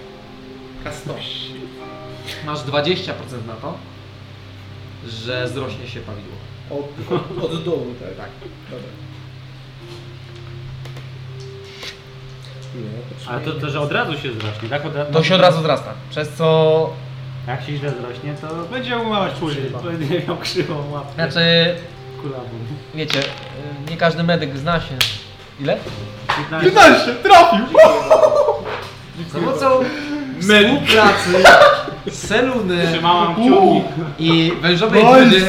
[SPEAKER 4] K100.
[SPEAKER 1] Masz 20% na to, że zrośnie się prawidło.
[SPEAKER 4] Od, od, od dołu, tak? Tak. Dobra. Nie,
[SPEAKER 2] Ale to, to, że od razu się zrośnie, tak? Od, ra-
[SPEAKER 24] To się od razu wzrasta, przez co...
[SPEAKER 2] Jak się źle zrośnie, to
[SPEAKER 26] Będzie umałać później.
[SPEAKER 2] będzie miał krzywą łapkę.
[SPEAKER 1] Znaczy,
[SPEAKER 2] Kulawą.
[SPEAKER 1] wiecie, y, nie każdy medyk zna się. Ile?
[SPEAKER 2] 15.
[SPEAKER 1] Za pomocą współpracy Seluny
[SPEAKER 26] Trzymałam kciuki.
[SPEAKER 1] i wężowej gdy,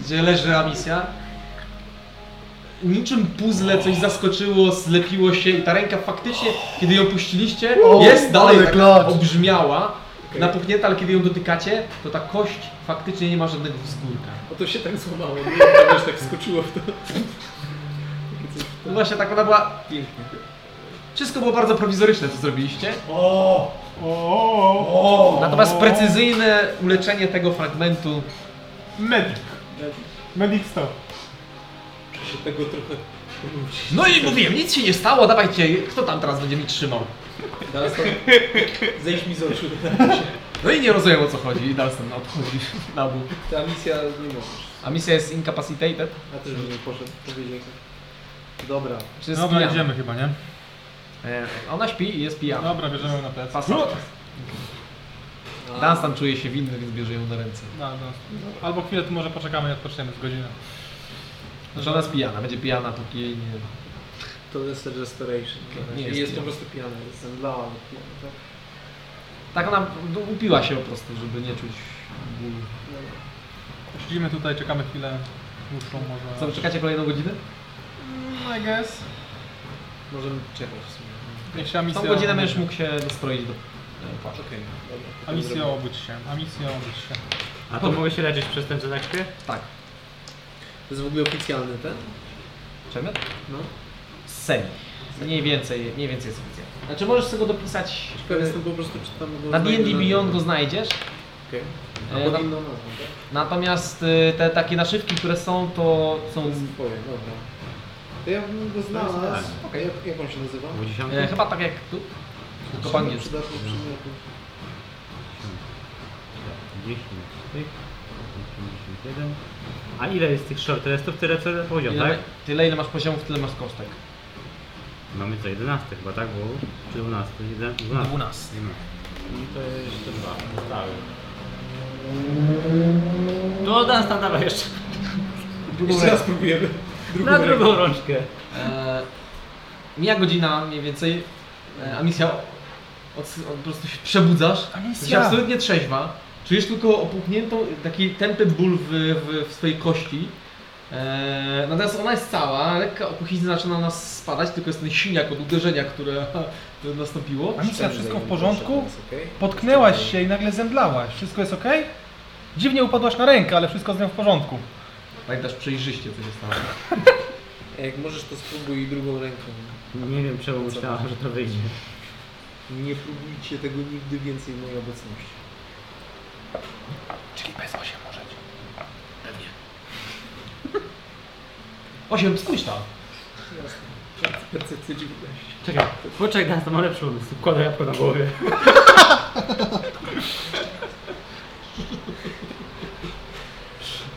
[SPEAKER 1] gdzie leży Amicia, niczym puzzle coś zaskoczyło, zlepiło się i ta ręka faktycznie, kiedy ją puściliście, jest dalej tak obrzmiała, napuchnięta, ale kiedy ją dotykacie, to ta kość faktycznie nie ma żadnego wzgórka.
[SPEAKER 27] Bo to się tak złamało, nie wiem, też tak skoczyło w to.
[SPEAKER 1] No właśnie, tak ona była... Wszystko było bardzo prowizoryczne, co zrobiliście. Natomiast precyzyjne uleczenie tego fragmentu
[SPEAKER 3] Medic. Medic 100.
[SPEAKER 27] Się tego trochę...
[SPEAKER 1] No i mówiłem, nic się nie stało, dawajcie, kto tam teraz będzie mi trzymał?
[SPEAKER 4] Teraz to zejdź mi z oczu.
[SPEAKER 1] No i nie rozumiem o co chodzi i Dalston odchodzi na bok.
[SPEAKER 4] Ta misja nie możesz.
[SPEAKER 1] A misja jest incapacitated?
[SPEAKER 4] Ja też bym nie poszedł, powiedział. Dobra.
[SPEAKER 1] Czy jest
[SPEAKER 3] Dobra,
[SPEAKER 1] pijana?
[SPEAKER 3] idziemy chyba, nie?
[SPEAKER 1] E, Ona śpi i jest pijana.
[SPEAKER 3] Dobra, bierzemy ją na No. plecy.
[SPEAKER 1] Pasa. Dunstan czuje się winny, więc bierze ją na ręce.
[SPEAKER 3] No, no. Albo chwilę tu może poczekamy i odpoczniemy z godzinę.
[SPEAKER 1] Znaczy ona jest pijana, będzie pijana póki jej nie...
[SPEAKER 4] To jest restoration.
[SPEAKER 1] Nie
[SPEAKER 4] Nie,
[SPEAKER 1] jest
[SPEAKER 4] jest, jest po
[SPEAKER 1] pijany.
[SPEAKER 4] prostu pijany, jest zemdlała ale pijana, tak?
[SPEAKER 1] Tak ona d- upiła się po prostu, żeby nie czuć bólu.
[SPEAKER 3] Siedzimy tutaj, czekamy chwilę. Muszą może...
[SPEAKER 1] Co, czekacie kolejną godzinę?
[SPEAKER 3] I guess.
[SPEAKER 4] Możemy czekać w sumie.
[SPEAKER 3] Niech się
[SPEAKER 1] Tą
[SPEAKER 3] Amicja
[SPEAKER 1] godzinę
[SPEAKER 3] obudzi.
[SPEAKER 1] będziesz mógł się dostroić do... e, płaczu.
[SPEAKER 4] Okej, dobra. potem
[SPEAKER 3] Amicja
[SPEAKER 4] zrobimy.
[SPEAKER 3] obudź się, Amicja obudź się.
[SPEAKER 2] A to mogę się leczyć przez ten, co tak śpię?
[SPEAKER 1] Tak.
[SPEAKER 4] To jest w ogóle oficjalny ten?
[SPEAKER 1] Przemy?
[SPEAKER 4] No.
[SPEAKER 1] Semi. Mniej więcej, mniej więcej jest oficjalnie. Znaczy możesz sobie go dopisać...
[SPEAKER 4] Ciekawe jestem po prostu, czy tam go
[SPEAKER 1] Na D&D
[SPEAKER 4] znajdę
[SPEAKER 1] Beyond go znajdziesz.
[SPEAKER 4] Okej.
[SPEAKER 1] E,
[SPEAKER 4] Albo
[SPEAKER 1] na-
[SPEAKER 4] inną nazwę, tak?
[SPEAKER 1] Natomiast y, te takie naszywki, które są, to są
[SPEAKER 4] Twoje, dobra. To ja bym go znalazł. Okej, jak, jak on się nazywa?
[SPEAKER 2] Bo dziesiąty?
[SPEAKER 1] e, chyba tak jak tu. Tylko po angielsku.
[SPEAKER 4] Przydatny przymiotnik.
[SPEAKER 2] Dziesięć tych. pięćdziesiąt jeden. A ile jest tych short restów? Tyle co poziom,
[SPEAKER 1] Ile-
[SPEAKER 2] tak?
[SPEAKER 1] Tyle ile masz poziomów, tyle masz kostek.
[SPEAKER 2] Mamy co, 11 chyba, tak? Bo, czy 12? 11, 12.
[SPEAKER 1] 12.
[SPEAKER 2] No I to jeszcze dwa. Zostały. No, Dunstan, dawaj jeszcze.
[SPEAKER 27] Jeszcze raz próbujemy. Drugą
[SPEAKER 2] Na
[SPEAKER 27] ręką.
[SPEAKER 2] drugą rączkę.
[SPEAKER 1] E, mija godzina mniej więcej, e, a misja od, od, po prostu się przebudzasz. Jesteś absolutnie trzeźwa. Czujesz tylko opuchniętą, taki tępy ból w, w, w swojej kości. E, natomiast ona jest cała, lekka opuchlizna zaczyna na nas spadać, tylko jest ten siniak od uderzenia, które, które nastąpiło.
[SPEAKER 3] Amicja, wszystko w porządku?
[SPEAKER 4] Jest okej?
[SPEAKER 3] Potknęłaś się i nagle zemdlałaś. Wszystko jest ok? Dziwnie upadłaś na rękę, ale wszystko z nią w porządku.
[SPEAKER 1] Pamiętasz przejrzyście, co się stało.
[SPEAKER 4] A Jak możesz, to spróbuj drugą ręką.
[SPEAKER 2] Nie wiem, czemu myślałam, że to wyjdzie.
[SPEAKER 4] Nie próbujcie tego nigdy więcej w mojej obecności.
[SPEAKER 3] Czyli bez 8 możecie.
[SPEAKER 1] 8, spójrz tam.
[SPEAKER 4] Percepcja 19.
[SPEAKER 2] Czekaj, poczekaj, Dunstan ma lepszy pomysł. Wkładaj jabłko na głowie.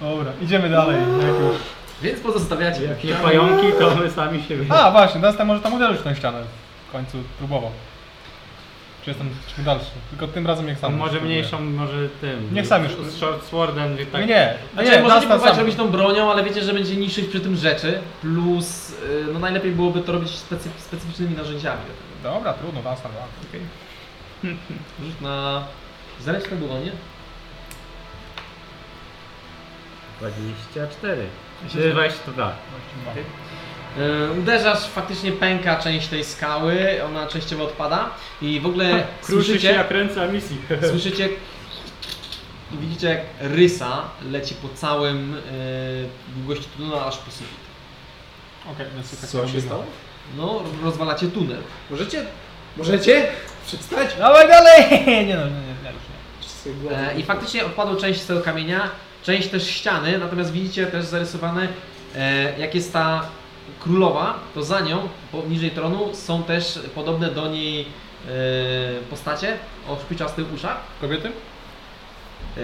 [SPEAKER 3] Dobra, idziemy dalej. jak już.
[SPEAKER 1] Więc pozostawiacie.
[SPEAKER 2] Jak nie pająki, to my sami siebie.
[SPEAKER 3] A, właśnie, Dunstan może tam uderzyć w tę ścianę. W końcu próbował. Czy jestem czy dalszy? Tylko tym razem niech
[SPEAKER 2] A
[SPEAKER 3] sam.
[SPEAKER 2] może
[SPEAKER 3] spróbuje.
[SPEAKER 2] mniejszą, może tym.
[SPEAKER 3] Niech sam już-
[SPEAKER 2] Z short swordem, wie tak.
[SPEAKER 3] Nie, No nie,
[SPEAKER 1] Znaczy,
[SPEAKER 3] nie,
[SPEAKER 1] możecie
[SPEAKER 3] Dunstan
[SPEAKER 1] próbować
[SPEAKER 3] sam.
[SPEAKER 1] robić tą bronią, ale wiecie, że będzie niszczyć przy tym rzeczy. Plus, y, no najlepiej byłoby to robić specyf- specyficznymi narzędziami.
[SPEAKER 3] Dobra, trudno, Dunstan. dobra.
[SPEAKER 1] Rzut na tak zręczne dłonie.
[SPEAKER 2] 24. Czy 22.
[SPEAKER 1] Y, Uderzasz, faktycznie pęka część tej skały, ona częściowo odpada i w ogóle
[SPEAKER 2] Kruszy się
[SPEAKER 1] słyszycie,
[SPEAKER 2] jak ręce misji. no
[SPEAKER 1] słyszycie i widzicie jak rysa leci po całym y, długości tunelu aż po sufit.
[SPEAKER 3] Okej, więc tak
[SPEAKER 27] Co się
[SPEAKER 3] robimy.
[SPEAKER 27] stało?
[SPEAKER 1] No, rozwalacie tunel.
[SPEAKER 27] Możecie? Możecie? Przestać?
[SPEAKER 3] Dawaj dalej! Nie no, nie, nie, nie. już nie.
[SPEAKER 1] E, I faktycznie odpadła część z tego kamienia, część też ściany, natomiast widzicie też zarysowane E, jak jest ta królowa, to za nią, poniżej tronu, są też podobne do niej e, postacie o szpiczastych uszach.
[SPEAKER 3] Kobiety?
[SPEAKER 1] E,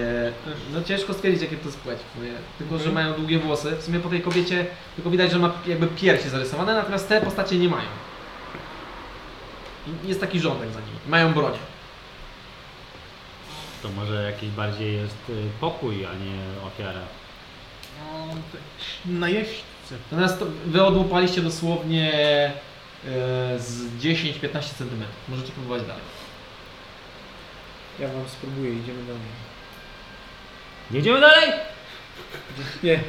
[SPEAKER 1] no ciężko stwierdzić, jakie to jest płeć. w sumie. Tylko, że mają długie włosy. W sumie po tej kobiecie tylko widać, że ma jakby piersi zarysowane, natomiast te postacie nie mają. I jest taki rządek za nimi. Mają broń.
[SPEAKER 2] To może jakiś bardziej jest y, pokój, a nie ofiara. No
[SPEAKER 28] Najeźdźcy.
[SPEAKER 1] Natomiast to wy odłupaliście dosłownie e, z 10-15 cm. Możecie próbować dalej.
[SPEAKER 29] Ja wam spróbuję, idziemy do mnie.
[SPEAKER 2] Jedziemy dalej!
[SPEAKER 29] Nie.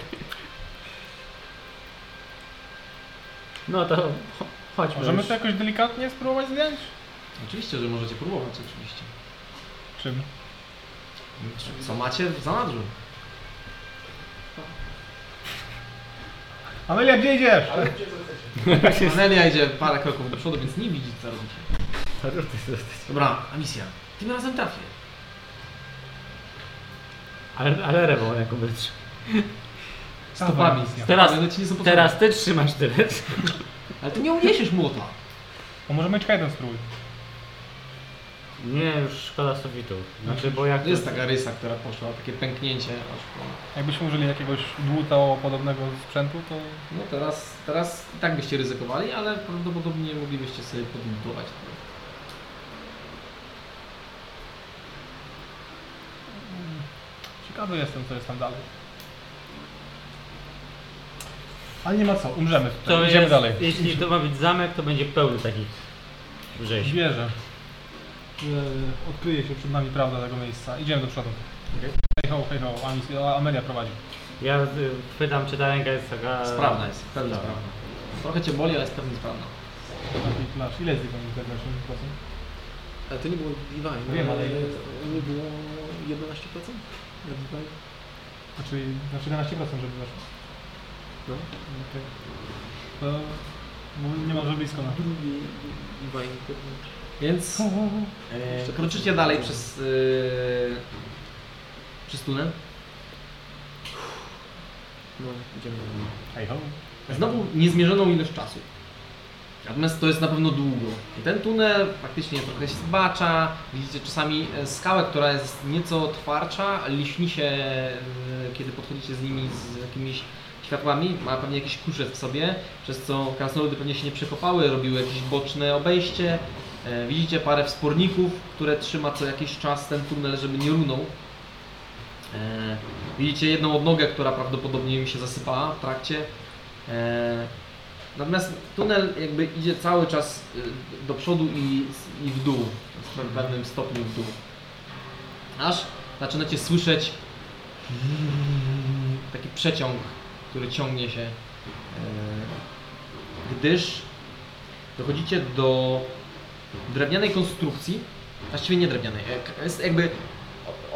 [SPEAKER 2] No to cho- chodźmy
[SPEAKER 3] Możemy
[SPEAKER 2] już.
[SPEAKER 3] to jakoś delikatnie spróbować zdjąć?
[SPEAKER 1] Oczywiście, że możecie próbować, oczywiście.
[SPEAKER 3] Czym?
[SPEAKER 1] Co macie w zanadrzu?
[SPEAKER 3] Amelia, gdzie idziesz?
[SPEAKER 1] Anelia idzie parę kroków do przodu, więc nie widzi co robicie. Dobra, a misja. Tym razem trafię.
[SPEAKER 2] Ale, ale rewol jako wytrzyma.
[SPEAKER 1] Stopami.
[SPEAKER 2] Teraz-
[SPEAKER 1] Ale ci nie są potrzebne.
[SPEAKER 2] Teraz ty trzymasz tylet.
[SPEAKER 1] Ale ty nie uniesiesz młota.
[SPEAKER 3] To możemy mieć jeden strój.
[SPEAKER 2] Nie, już szkoda sowitu. Znaczy, bo jak...
[SPEAKER 1] To jest taka rysa, która poszła, takie pęknięcie. aż po-
[SPEAKER 3] Jakbyśmy użyli jakiegoś dłuta o podobnego sprzętu, to
[SPEAKER 1] No teraz, teraz i tak byście ryzykowali, ale prawdopodobnie moglibyście sobie podbudować.
[SPEAKER 3] ciekawy jestem, co jest tam dalej. Ale nie ma co, umrzemy tutaj.
[SPEAKER 2] To
[SPEAKER 3] Idziemy
[SPEAKER 2] jest,
[SPEAKER 3] dalej.
[SPEAKER 2] Jeśli to ma być zamek, to będzie pełny takich rzeźb.
[SPEAKER 3] Wierzę, że odkryje się przed nami prawda tego miejsca. Idziemy do przodu. Hej ho, hej ho, Amis- a- Amelia prowadzi.
[SPEAKER 2] Ja y, chwytam, czy ta ręka jest taka...
[SPEAKER 1] Sprawna jest, pewnie sprawna. Trochę cię boli, ale jest pewnie sprawna.
[SPEAKER 3] Taki klasz. Znaczy, Ile jest Znaczy, jego nich zewnętrznych
[SPEAKER 4] Ale to nie było Divine.
[SPEAKER 3] Wiem, ale
[SPEAKER 4] ale
[SPEAKER 3] ile
[SPEAKER 4] nie było 11% na Divine.
[SPEAKER 3] Znaczy, znaczy 11% żeby weszło.
[SPEAKER 4] No,
[SPEAKER 3] To no, nie ma, że blisko na.
[SPEAKER 4] drugi Divine. pewnie.
[SPEAKER 1] Więc
[SPEAKER 4] No,
[SPEAKER 1] e, kroczycie dalej przez, e, przez tunel.
[SPEAKER 4] No, idziemy dalej.
[SPEAKER 3] Hej ho.
[SPEAKER 1] Znowu niezmierzoną ilość czasu. Natomiast to jest na pewno długo. I ten tunel faktycznie trochę się zbacza. Widzicie czasami e, skałę, która jest nieco twardsza, liśni się, e, kiedy podchodzicie z nimi z jakimiś światłami. Ma pewnie jakiś kurzec w sobie, przez co krasnoludy pewnie się nie przekopały, robiły jakieś boczne obejście. E, Widzicie parę wsporników, które trzyma co jakiś czas ten tunel, żeby nie runął. E, Widzicie jedną odnogę, która prawdopodobnie mi się zasypała w trakcie. E, Natomiast tunel jakby idzie cały czas y, do przodu i, i w dół, w pewnym stopniu w dół. Aż zaczynacie słyszeć taki przeciąg, który ciągnie się, e, gdyż dochodzicie do drewnianej konstrukcji, właściwie nie drewnianej, e, k- jest jakby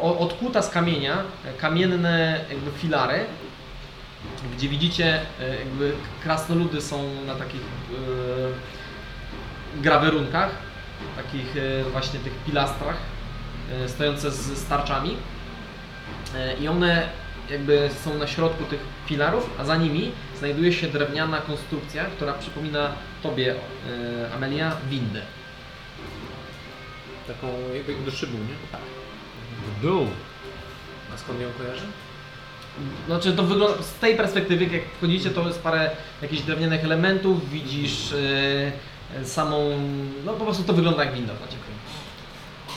[SPEAKER 1] o- odkuta z kamienia, e, kamienne jakby filary, gdzie widzicie, e, jakby krasnoludy są na takich e, grawerunkach, takich e, właśnie tych pilastrach, e, stojące z z tarczami. E, I one jakby są na środku tych filarów, a za nimi znajduje się drewniana konstrukcja, która przypomina tobie, e, Amelia, windę.
[SPEAKER 4] Taką jakby do szybu, nie?
[SPEAKER 1] Tak.
[SPEAKER 2] W dół.
[SPEAKER 4] A skąd ją kojarzy?
[SPEAKER 1] Znaczy to wygląda z tej perspektywy, jak wchodzicie, to jest parę jakichś drewnianych elementów, widzisz e, samą. No po prostu to wygląda jak winda dla ciebie.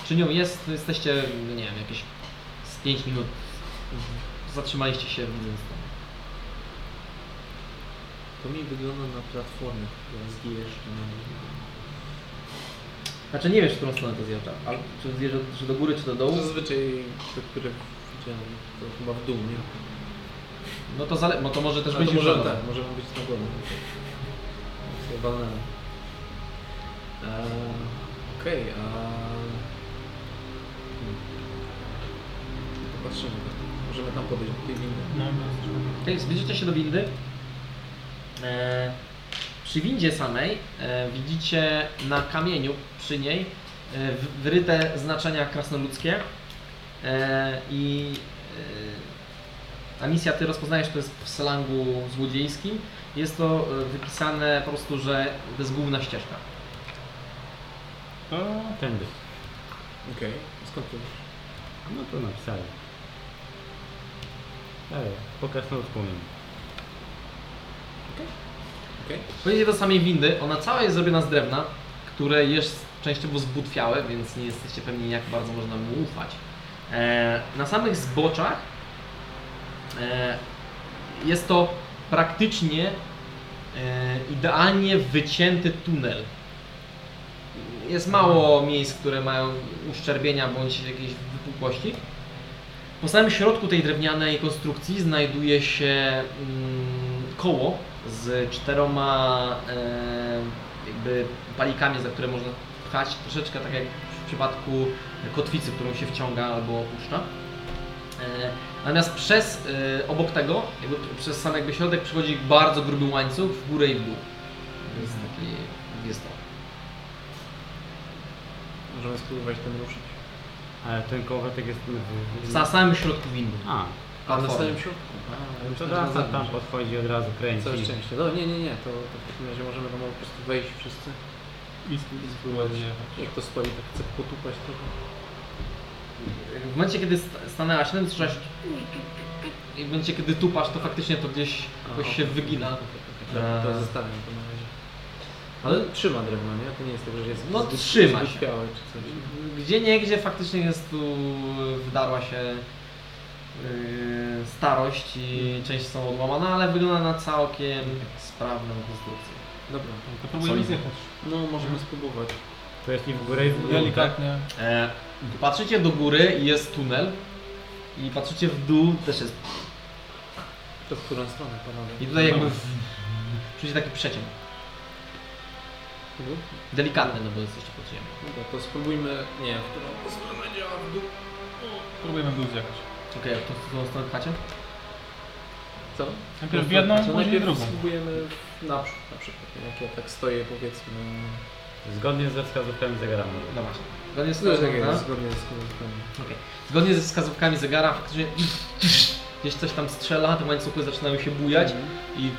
[SPEAKER 1] Czy nią jest, jesteście, no nie wiem, jakieś z 5 minut. Zatrzymaliście się widząc to.
[SPEAKER 4] To mi wygląda na platformę, która zjeżdża na niej.
[SPEAKER 1] Znaczy nie wiesz, w którą stronę to zjeżdża. Al- Czy zjeżdża czy do góry, czy do dołu?
[SPEAKER 4] Zazwyczaj te, które widziałem, to chyba w dół, nie?
[SPEAKER 1] No to zale... bo to może też
[SPEAKER 4] A
[SPEAKER 1] być
[SPEAKER 4] to może,
[SPEAKER 1] już
[SPEAKER 4] tak, może być na górę. Chyba na. E, Okej, a... no. Hmm. Popatrzymy tam. Możemy tam podejść do tej windy.
[SPEAKER 3] No, no,
[SPEAKER 1] Okej, zbliżycie się do windy. E, przy windzie samej e, widzicie na kamieniu przy niej e, w- wyryte znaczenia krasnoludzkie e, i A misja ty rozpoznajesz, to jest w slangu złodziejskim. Jest to e, wypisane po prostu, że to jest główna ścieżka.
[SPEAKER 2] To tędy.
[SPEAKER 4] Okej, skąd to?
[SPEAKER 2] No to napisałem. Ale po krasnoludzku umiem.
[SPEAKER 1] Pojedziecie No do samej windy, ona cała jest zrobiona z drewna, które jest częściowo zbutwiałe, więc nie jesteście pewni jak bardzo można mu ufać. E, na samych zboczach e, jest to praktycznie e, idealnie wycięty tunel. Jest mało miejsc, które mają uszczerbienia bądź jakieś wypukłości. Po samym środku tej drewnianej konstrukcji znajduje się mm, koło z czteroma e, jakby palikami, za które można pchać, troszeczkę tak jak w przypadku kotwicy, którą się wciąga albo opuszcza. E, natomiast przez, e, obok tego, jakby przez sam jakby środek przychodzi bardzo gruby łańcuch w górę i w dół. To Jest
[SPEAKER 4] Mhm.
[SPEAKER 1] taki, jest to.
[SPEAKER 4] Możemy spróbować ten ruszyć.
[SPEAKER 2] Ale ten kołowatek jest... w- w-
[SPEAKER 1] W sa- samym środku windy.
[SPEAKER 2] A,
[SPEAKER 4] A na
[SPEAKER 1] Platformy.
[SPEAKER 4] samym środku? A,
[SPEAKER 2] to
[SPEAKER 4] myślałem, że na
[SPEAKER 2] tam, tam, tam
[SPEAKER 4] zewnątrz.
[SPEAKER 2] podchodzi od razu, kręci.
[SPEAKER 4] Całe szczęście. No nie, nie, nie, to, to w takim razie możemy tam po prostu wejść wszyscy.
[SPEAKER 2] I spróbować jechać.
[SPEAKER 4] Jak to stoi, tak chce potupać trochę.
[SPEAKER 1] W momencie, kiedy st- stanęłaś, ten słyszałeś i w momencie, kiedy tupasz, to faktycznie to gdzieś
[SPEAKER 4] okej.
[SPEAKER 1] jakoś się wygina.
[SPEAKER 4] Dobra,
[SPEAKER 1] Eee.
[SPEAKER 4] To zostawiam to na razie. No, Ale trzyma drewno, nie? To nie jest tak, że jest
[SPEAKER 1] No, trzyma się.
[SPEAKER 4] zgłupiałe czy coś.
[SPEAKER 1] Gdzie nie, gdzie faktycznie jest tu, wdarła się yy, starość i część są odłamane, ale wygląda na całkiem sprawną konstrukcję.
[SPEAKER 4] Dobra,
[SPEAKER 3] To próbujemy zjechać.
[SPEAKER 4] no możemy spróbować.
[SPEAKER 2] To jest i w górę i w dół.
[SPEAKER 3] Delikatnie.
[SPEAKER 1] E, patrzycie do góry i jest tunel i patrzycie w dół też jest.
[SPEAKER 4] To w którą stronę, panowie?
[SPEAKER 1] I tutaj jakby w, czujecie taki przeciąg.
[SPEAKER 4] W dół?
[SPEAKER 1] Delikatny, no bo jesteście pod ziemią.
[SPEAKER 4] Mhm. Dobra, to spróbujmy... Nie, w którą stronę działa w dół?
[SPEAKER 3] Próbujemy był zjechać.
[SPEAKER 1] Okej, okay, to w którą stronę pchacie?
[SPEAKER 4] No, Co?
[SPEAKER 3] Najpierw w jedną,
[SPEAKER 4] To
[SPEAKER 3] później w
[SPEAKER 4] najpierw
[SPEAKER 3] drugą.
[SPEAKER 4] spróbujemy w naprzód na przykład. Jak ja tak stoję, powiedzmy...
[SPEAKER 2] tak? Zgodnie ze wskazówkami zegarami.
[SPEAKER 1] No właśnie. Zgodnie z,
[SPEAKER 4] Zgodnie
[SPEAKER 1] no,
[SPEAKER 4] z zgodnie z komunikami.
[SPEAKER 1] zgodnie ze wskazówkami zegara faktycznie gdzieś coś tam strzela, te łańcuchy zaczynają się bujać i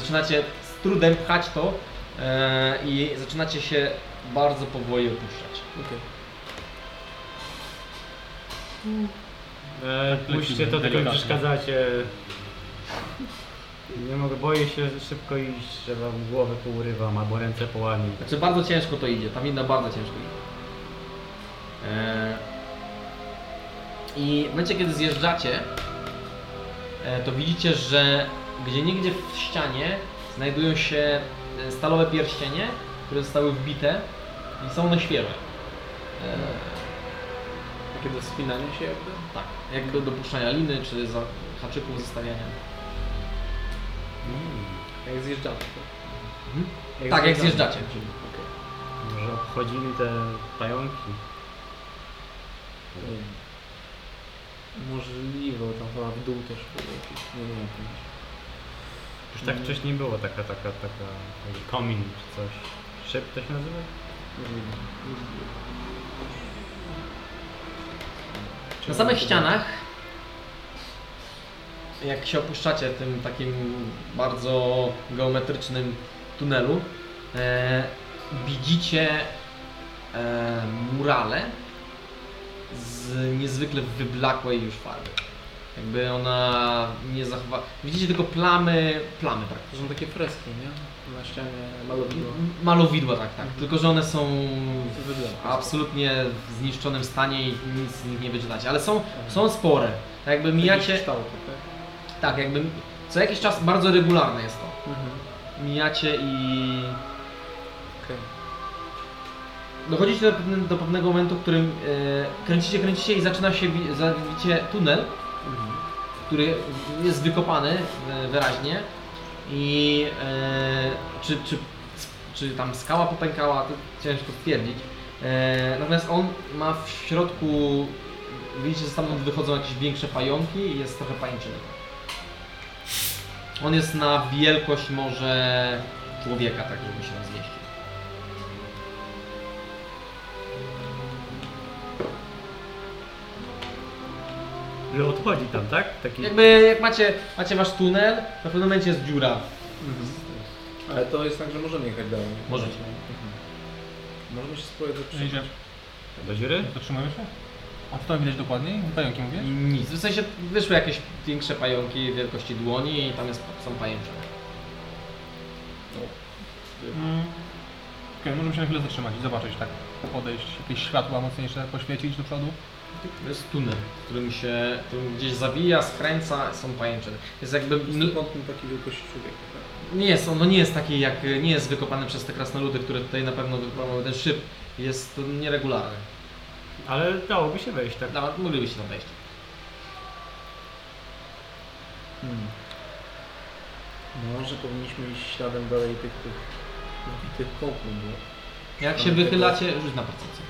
[SPEAKER 1] zaczynacie z trudem pchać to e, i zaczynacie się bardzo powoli opuszczać.
[SPEAKER 4] Okej.
[SPEAKER 2] E, puśćcie to, tylko mi
[SPEAKER 3] delikatnie.
[SPEAKER 2] przeszkadzacie. Nie mogę, boję się że szybko iść, że wam głowę pourywam albo ręce połami.
[SPEAKER 1] Znaczy bardzo ciężko to idzie, ta winda bardzo ciężko idzie. E, I w momencie kiedy zjeżdżacie, e, to widzicie, że gdzie niegdzie w ścianie znajdują się e, stalowe pierścienie, które zostały wbite i są one świeże. E,
[SPEAKER 4] Takie do spinania się jakby?
[SPEAKER 1] Tak, jak do dopuszczania liny, czy za haczyków zostawiania.
[SPEAKER 2] Mm.
[SPEAKER 4] Jak zjeżdżamy, to. Mhm.
[SPEAKER 1] tak, jak zjeżdżacie.
[SPEAKER 2] Może obchodzili te pająki.
[SPEAKER 4] Nie wiem. Możliwe, bo tam chyba w dół też było jakieś, nie wiem jak to jest.
[SPEAKER 2] Już tak wcześniej było, taka, taka, taka, taki komin czy coś. Szyb to się nazywa?
[SPEAKER 4] Możliwe.
[SPEAKER 1] Na samych ścianach, jak się opuszczacie tym takim bardzo geometrycznym tunelu, e, widzicie e, murale z niezwykle wyblakłej już farby. Jakby ona nie zachowa... Widzicie tylko plamy, plamy tak. praktycznie.
[SPEAKER 4] To są takie freski, nie? Na ścianie malowidła.
[SPEAKER 1] Malowidła, tak, tak. Tylko, że one są
[SPEAKER 4] To wygląda.
[SPEAKER 1] w absolutnie w zniszczonym stanie i nic z nich nie wyczytacie. Ale są, są spore. Tak jakby mijacie,
[SPEAKER 4] Kształty, tak?
[SPEAKER 1] tak jakby co jakiś czas bardzo regularne jest to.
[SPEAKER 4] Mhm.
[SPEAKER 1] Mijacie i
[SPEAKER 4] Okej.
[SPEAKER 1] dochodzicie do, pewne- do pewnego momentu, w którym e, kręcicie, kręcicie i zaczyna się, wi- za- widzicie tunel,
[SPEAKER 4] Mhm.
[SPEAKER 1] który jest wykopany e, wyraźnie i e, czy, czy, czy tam skała popękała, to ciężko stwierdzić. E, natomiast on ma w środku, widzicie, że stamtąd wychodzą jakieś większe pająki i jest trochę pajęczyny. On jest na wielkość może człowieka, tak żeby się tam zmieścił.
[SPEAKER 2] Że odchodzi tam, tak? Taki...
[SPEAKER 1] Jakby jak macie, macie wasz tunel, na pewnym momencie jest dziura.
[SPEAKER 4] Ale to jest tak, że możemy jechać dalej.
[SPEAKER 1] Możecie.
[SPEAKER 4] Możemy się spróbować do
[SPEAKER 3] Idziemy.
[SPEAKER 2] Do dziury?
[SPEAKER 3] Zatrzymujemy się? A co tam widać dokładniej? Pająki mówisz?
[SPEAKER 1] Nic. W sensie wyszły jakieś większe pająki wielkości dłoni i tam jest, są pajęcze.
[SPEAKER 3] Mm. Okej, możemy się na chwilę zatrzymać i zobaczyć tak, podejść, jakieś światła mocniejsze poświecić do przodu.
[SPEAKER 1] To jest tunel, którym się którym gdzieś zabija, skręca, są pajęcze. Jest jakby... mn-
[SPEAKER 4] Stąd taki wielkości człowieka. tak?
[SPEAKER 1] Nie jest, ono nie jest taki jak, nie jest wykopany przez te krasnoludy, które tutaj na pewno wyprowadziły ten szyb. Jest to nieregularny.
[SPEAKER 2] Ale dałoby się wejść, tak?
[SPEAKER 1] Nawet moglibyście tam wejść.
[SPEAKER 4] Hmm. Może No, powinniśmy iść śladem dalej tych, tych wbitych kąpów, bo
[SPEAKER 1] Jak się
[SPEAKER 4] Tam tego-
[SPEAKER 1] wychylacie, rzuć na percepcję.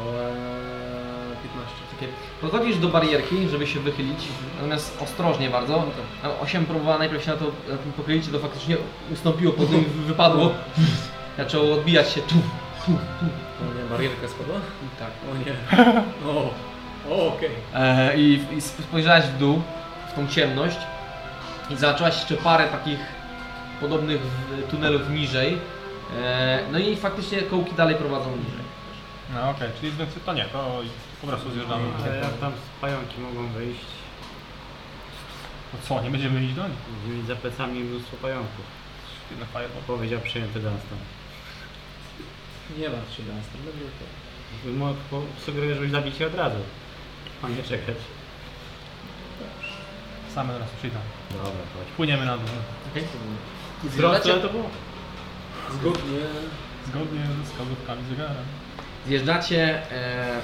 [SPEAKER 4] Eee, 15.
[SPEAKER 1] Takie, podchodzisz do barierki, żeby się wychylić, natomiast ostrożnie
[SPEAKER 4] No
[SPEAKER 1] bardzo.
[SPEAKER 4] tak.
[SPEAKER 1] Tam osiem próbowała najpierw się na to na tym pochylić, to faktycznie ustąpiło, potem wypadło. Zaczęło odbijać się tu.
[SPEAKER 4] O no nie, barierka spadła?
[SPEAKER 1] Tak.
[SPEAKER 4] O nie. O, o okej.
[SPEAKER 1] E, i, I spojrzałaś w dół, w tą ciemność i zobaczyłaś jeszcze parę takich podobnych w- tunelów niżej. E, no i faktycznie kołki dalej prowadzą niżej.
[SPEAKER 3] No okej, czyli więc to nie, to po prostu zjeżdżamy.
[SPEAKER 2] Ale jak tam z pająki mogą wyjść?
[SPEAKER 3] No co, nie będziemy iść do nich?
[SPEAKER 2] Będziemy mieć za plecami mnóstwo pająków.
[SPEAKER 3] Świetny fireball.
[SPEAKER 2] Powiedział przyjęty Dunstan.
[SPEAKER 4] Nie martw się, Dunstan, będzie okej.
[SPEAKER 2] Mo- po- Sugeruję, żebyś zabić je od razu. A nie czekać.
[SPEAKER 3] Same teraz przyjdą.
[SPEAKER 2] Dobra, chodź.
[SPEAKER 3] Płyniemy na dół.
[SPEAKER 2] Zdrowie to było?
[SPEAKER 4] Zgodnie
[SPEAKER 3] Zgodnie ze wskazówkami zegara.
[SPEAKER 1] Zjeżdżacie e,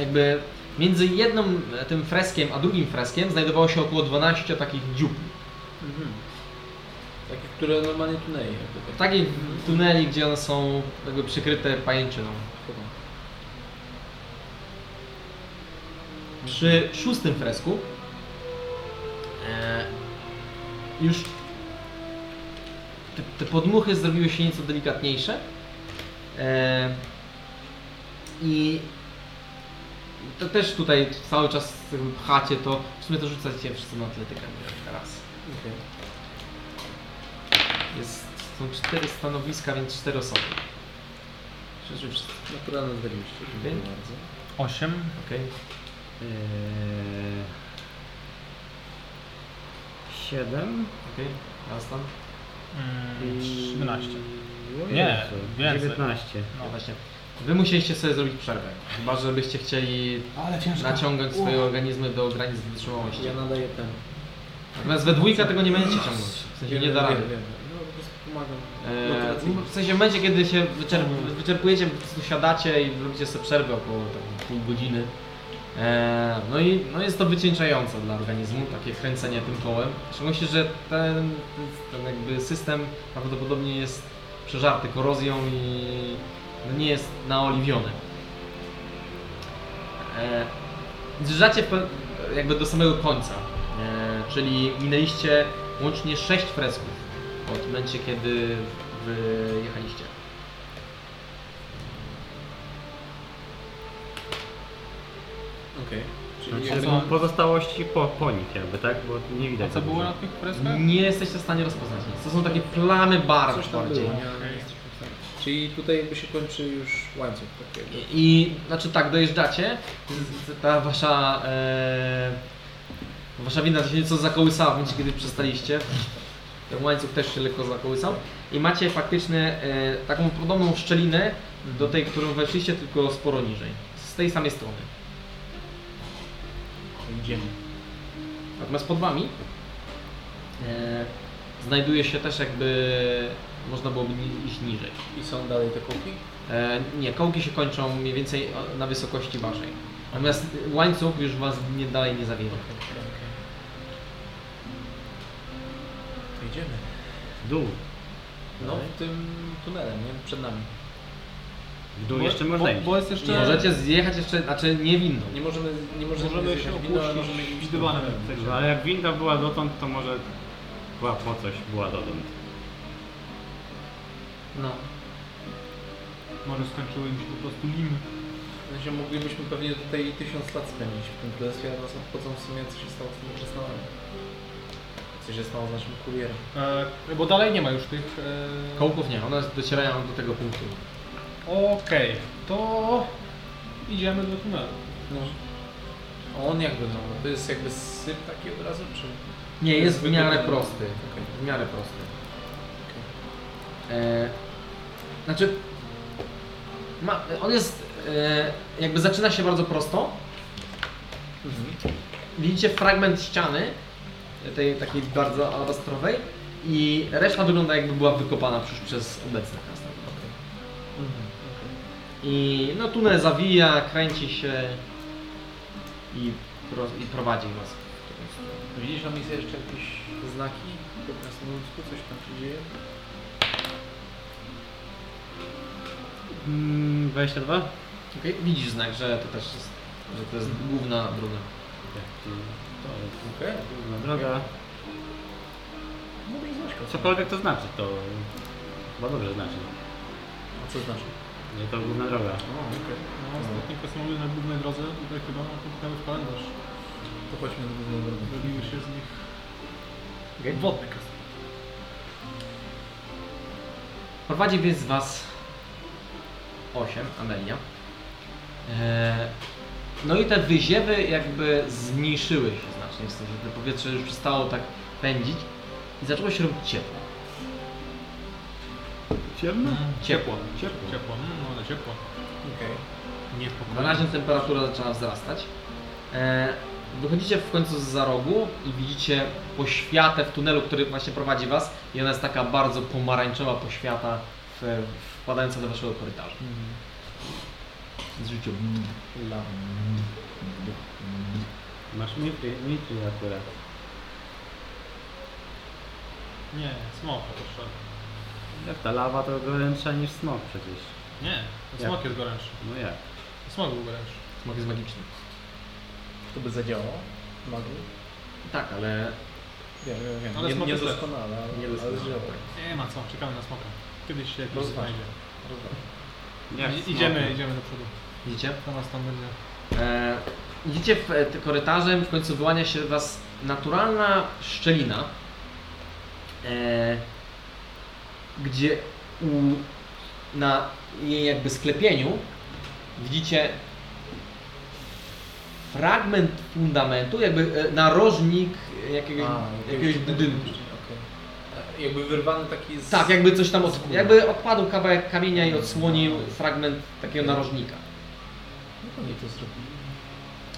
[SPEAKER 1] jakby między jednym e, tym freskiem a drugim freskiem znajdowało się około 12 takich dziupli.
[SPEAKER 4] takie, które normalnie tu nie jakby tak.
[SPEAKER 1] Takich tuneli, gdzie one są jakby przykryte pajęczyną. Przy szóstym fresku e, już te, te podmuchy zrobiły się nieco delikatniejsze e, i to też tutaj cały czas jakby pchacie to, w sumie to rzucacie wszyscy na atletykę teraz.
[SPEAKER 4] Okej.
[SPEAKER 1] Jest, są cztery stanowiska, więc cztery osoby. Przecież wszyscy.
[SPEAKER 4] Naturalne 20, dziękuję
[SPEAKER 1] Okej.
[SPEAKER 4] bardzo.
[SPEAKER 3] 8.
[SPEAKER 1] Okej.
[SPEAKER 2] Eee... Siedem.
[SPEAKER 1] Okej, teraz tam.
[SPEAKER 3] Mm,
[SPEAKER 2] i-
[SPEAKER 3] 13.
[SPEAKER 2] O
[SPEAKER 3] Nie,
[SPEAKER 2] Jezu,
[SPEAKER 3] więcej.
[SPEAKER 2] 19.
[SPEAKER 1] No właśnie. Wy musieliście sobie zrobić przerwę. Chyba, żebyście chcieli
[SPEAKER 30] Ale ciężko.
[SPEAKER 1] naciągać swoje organizmy do granic wytrzymałości.
[SPEAKER 4] Ja nadaję ten.
[SPEAKER 1] Natomiast we dwójka tego nie będziecie ciągnąć. W sensie nie da rady.
[SPEAKER 4] wiem. No po prostu pomagam.
[SPEAKER 30] no,
[SPEAKER 1] Eee, w sensie w momencie, kiedy się wyczerp wyczerpujecie, po prostu siadacie i robicie sobie przerwę około tak, pół godziny. Eee, no i no jest to wycieńczające dla organizmu, takie kręcenie tym kołem. W szczególności, że ten, ten jakby system prawdopodobnie jest przeżarty korozją i no nie jest naoliwiony. Eee, Zjeżdżacie pe- jakby do samego końca, e, czyli minęliście łącznie 6 fresków od momencie, kiedy wyjechaliście.
[SPEAKER 4] Okej.
[SPEAKER 30] znaczy,
[SPEAKER 4] Czyli
[SPEAKER 2] Czyli
[SPEAKER 3] co-
[SPEAKER 2] Znaczy, pozostałości po, po nich jakby, tak? Bo nie widać.
[SPEAKER 3] Co
[SPEAKER 2] za
[SPEAKER 3] było
[SPEAKER 2] dużo.
[SPEAKER 3] na tych
[SPEAKER 2] Mm.
[SPEAKER 3] freskach?
[SPEAKER 1] Nie jesteście w stanie rozpoznać nic. To są takie plamy barw
[SPEAKER 4] coś tam było.
[SPEAKER 1] bardziej.
[SPEAKER 4] Nie, nie jesteśmy w stanie. Czyli tutaj jakby się kończy już łańcuch takiego.
[SPEAKER 1] I, I znaczy tak, dojeżdżacie, z- z- ta wasza e, wasza wina się nieco zakołysała w momencie, kiedy przestaliście. Ten łańcuch też się lekko zakołysał. I macie faktycznie e, taką podobną szczelinę do tej, którą weszliście, tylko sporo niżej. Z tej samej strony.
[SPEAKER 4] Idziemy.
[SPEAKER 1] Natomiast pod wami e, znajduje się też jakby można byłoby ni- iść niżej.
[SPEAKER 4] I są dalej te kółki?
[SPEAKER 1] E, nie, kołki się kończą mniej więcej o- na wysokości waszej. Natomiast łańcuch już was nie, dalej nie zawija.
[SPEAKER 4] To idziemy.
[SPEAKER 2] W dół.
[SPEAKER 4] No w tym tunelem, nie? Przed nami.
[SPEAKER 2] W dół jeszcze można
[SPEAKER 3] bo,
[SPEAKER 2] iść.
[SPEAKER 3] bo jest jeszcze...
[SPEAKER 1] Możecie zjechać jeszcze, znaczy nie winną.
[SPEAKER 4] Nie możemy, nie możemy,
[SPEAKER 30] Możemy się
[SPEAKER 4] zjechać windą, ale
[SPEAKER 30] opuścić
[SPEAKER 4] możemy iść
[SPEAKER 30] widywanem.
[SPEAKER 4] tunelem.
[SPEAKER 2] Dobrze, Ale jak winda była dotąd, to może była po coś była dotąd.
[SPEAKER 1] No.
[SPEAKER 3] Może skończyły im się po prostu limy.
[SPEAKER 4] Znaczy moglibyśmy pewnie tutaj tysiąc lat spędzić w tym królestwie, a nas obchodzą w sumie co się stało z tym Czesnałem. Co się stało z naszym kurierem.
[SPEAKER 3] E, bo dalej nie ma już tych... E...
[SPEAKER 1] Kołków nie, one docierają do tego punktu.
[SPEAKER 3] Okej, to idziemy do tunelu.
[SPEAKER 4] No. A on jak wygląda? To jest jakby syp taki od razu, czy...
[SPEAKER 1] Nie, jest w miarę
[SPEAKER 4] Zwykły-
[SPEAKER 1] prosty.
[SPEAKER 4] Okej.
[SPEAKER 1] W miarę prosty. E, znaczy, ma, on jest, e, jakby zaczyna się bardzo prosto. Mhm. Widzicie fragment ściany, tej takiej bardzo alabastrowej i reszta wygląda jakby była wykopana przez, przez obecnych nas. tak naprawdę. I no tunel zawija, kręci się i, pro, i prowadzi was. w którąś stronę.
[SPEAKER 4] Widzisz tam jest jeszcze jakieś znaki? Po prostu ludzku coś tam się dzieje?
[SPEAKER 3] Mm,
[SPEAKER 2] 22?
[SPEAKER 1] Okej, Widzisz znak, że to też jest, że to jest główna droga.
[SPEAKER 4] Okej.
[SPEAKER 2] Tak, Główna droga.
[SPEAKER 4] Mógłbyś znać kogoś.
[SPEAKER 2] Cokolwiek to znaczy, to chyba dobrze znaczy,
[SPEAKER 4] A co znaczy?
[SPEAKER 2] że to główna droga.
[SPEAKER 4] O, okej.
[SPEAKER 3] No, ostatni kosmolog na głównej drodze, tutaj chyba popchnęły w kalendarz.
[SPEAKER 4] To chodźmy do głównej drogi.
[SPEAKER 3] Zrobimy się z nich.
[SPEAKER 4] Wodny
[SPEAKER 1] Prowadzi więc was 8, Amelia. Eee, no i te wyziewy jakby zmniejszyły się znacznie, w sensie to powietrze już przestało tak pędzić i zaczęło się robić ciepło.
[SPEAKER 2] Ciemno?
[SPEAKER 1] Ciepło.
[SPEAKER 3] Ciepło. Ciepło, mm, no ale ciepło.
[SPEAKER 4] Mhm. Okej.
[SPEAKER 1] Na razie temperatura zaczęła wzrastać. E, wychodzicie w końcu z za rogu i widzicie poświatę w tunelu, który właśnie prowadzi was i ona jest taka bardzo pomarańczowa poświata w, wpadająca do waszego korytarza. Z życiu.
[SPEAKER 2] Masz mitry, mitry akurat.
[SPEAKER 3] Nie, smok jeszcze.
[SPEAKER 2] Jak ta lawa to gorętsza niż smok przecież.
[SPEAKER 3] Nie, to smok jest gorętszy.
[SPEAKER 2] No jak?
[SPEAKER 3] To Smok był gorętszy.
[SPEAKER 1] Smok jest magiczny.
[SPEAKER 4] To by zadziałało? Magii?
[SPEAKER 1] Tak, ale
[SPEAKER 4] Wiem, wiem, wiem.
[SPEAKER 3] Ale
[SPEAKER 4] Tak, nie,
[SPEAKER 3] smok
[SPEAKER 4] nie
[SPEAKER 3] jest lepszy.
[SPEAKER 4] doskonale, ale,
[SPEAKER 1] Nie
[SPEAKER 4] ale
[SPEAKER 1] doskonale.
[SPEAKER 4] działa.
[SPEAKER 3] Nie ma co, czekamy na smoka. Kiedyś się jakoś
[SPEAKER 4] Rozważnie.
[SPEAKER 3] znajdzie.
[SPEAKER 2] Jak
[SPEAKER 3] I-
[SPEAKER 2] smok.
[SPEAKER 3] Idziemy, idziemy do przodu.
[SPEAKER 1] widzicie?
[SPEAKER 3] To nas tam będzie.
[SPEAKER 1] E, idziecie w, e, ty- korytarzem, w końcu wyłania się was naturalna szczelina, e, gdzie u, na jej jakby sklepieniu widzicie fragment fundamentu, jakby e, narożnik jakiegoś,
[SPEAKER 4] A,
[SPEAKER 1] jakiegoś budynku.
[SPEAKER 4] Okej. E, Jakby wyrwany taki z...
[SPEAKER 1] Tak, jakby coś tam od, jakby odpadł kawałek kamienia i odsłonił fragment takiego narożnika.
[SPEAKER 4] Jak oni No to zrobili?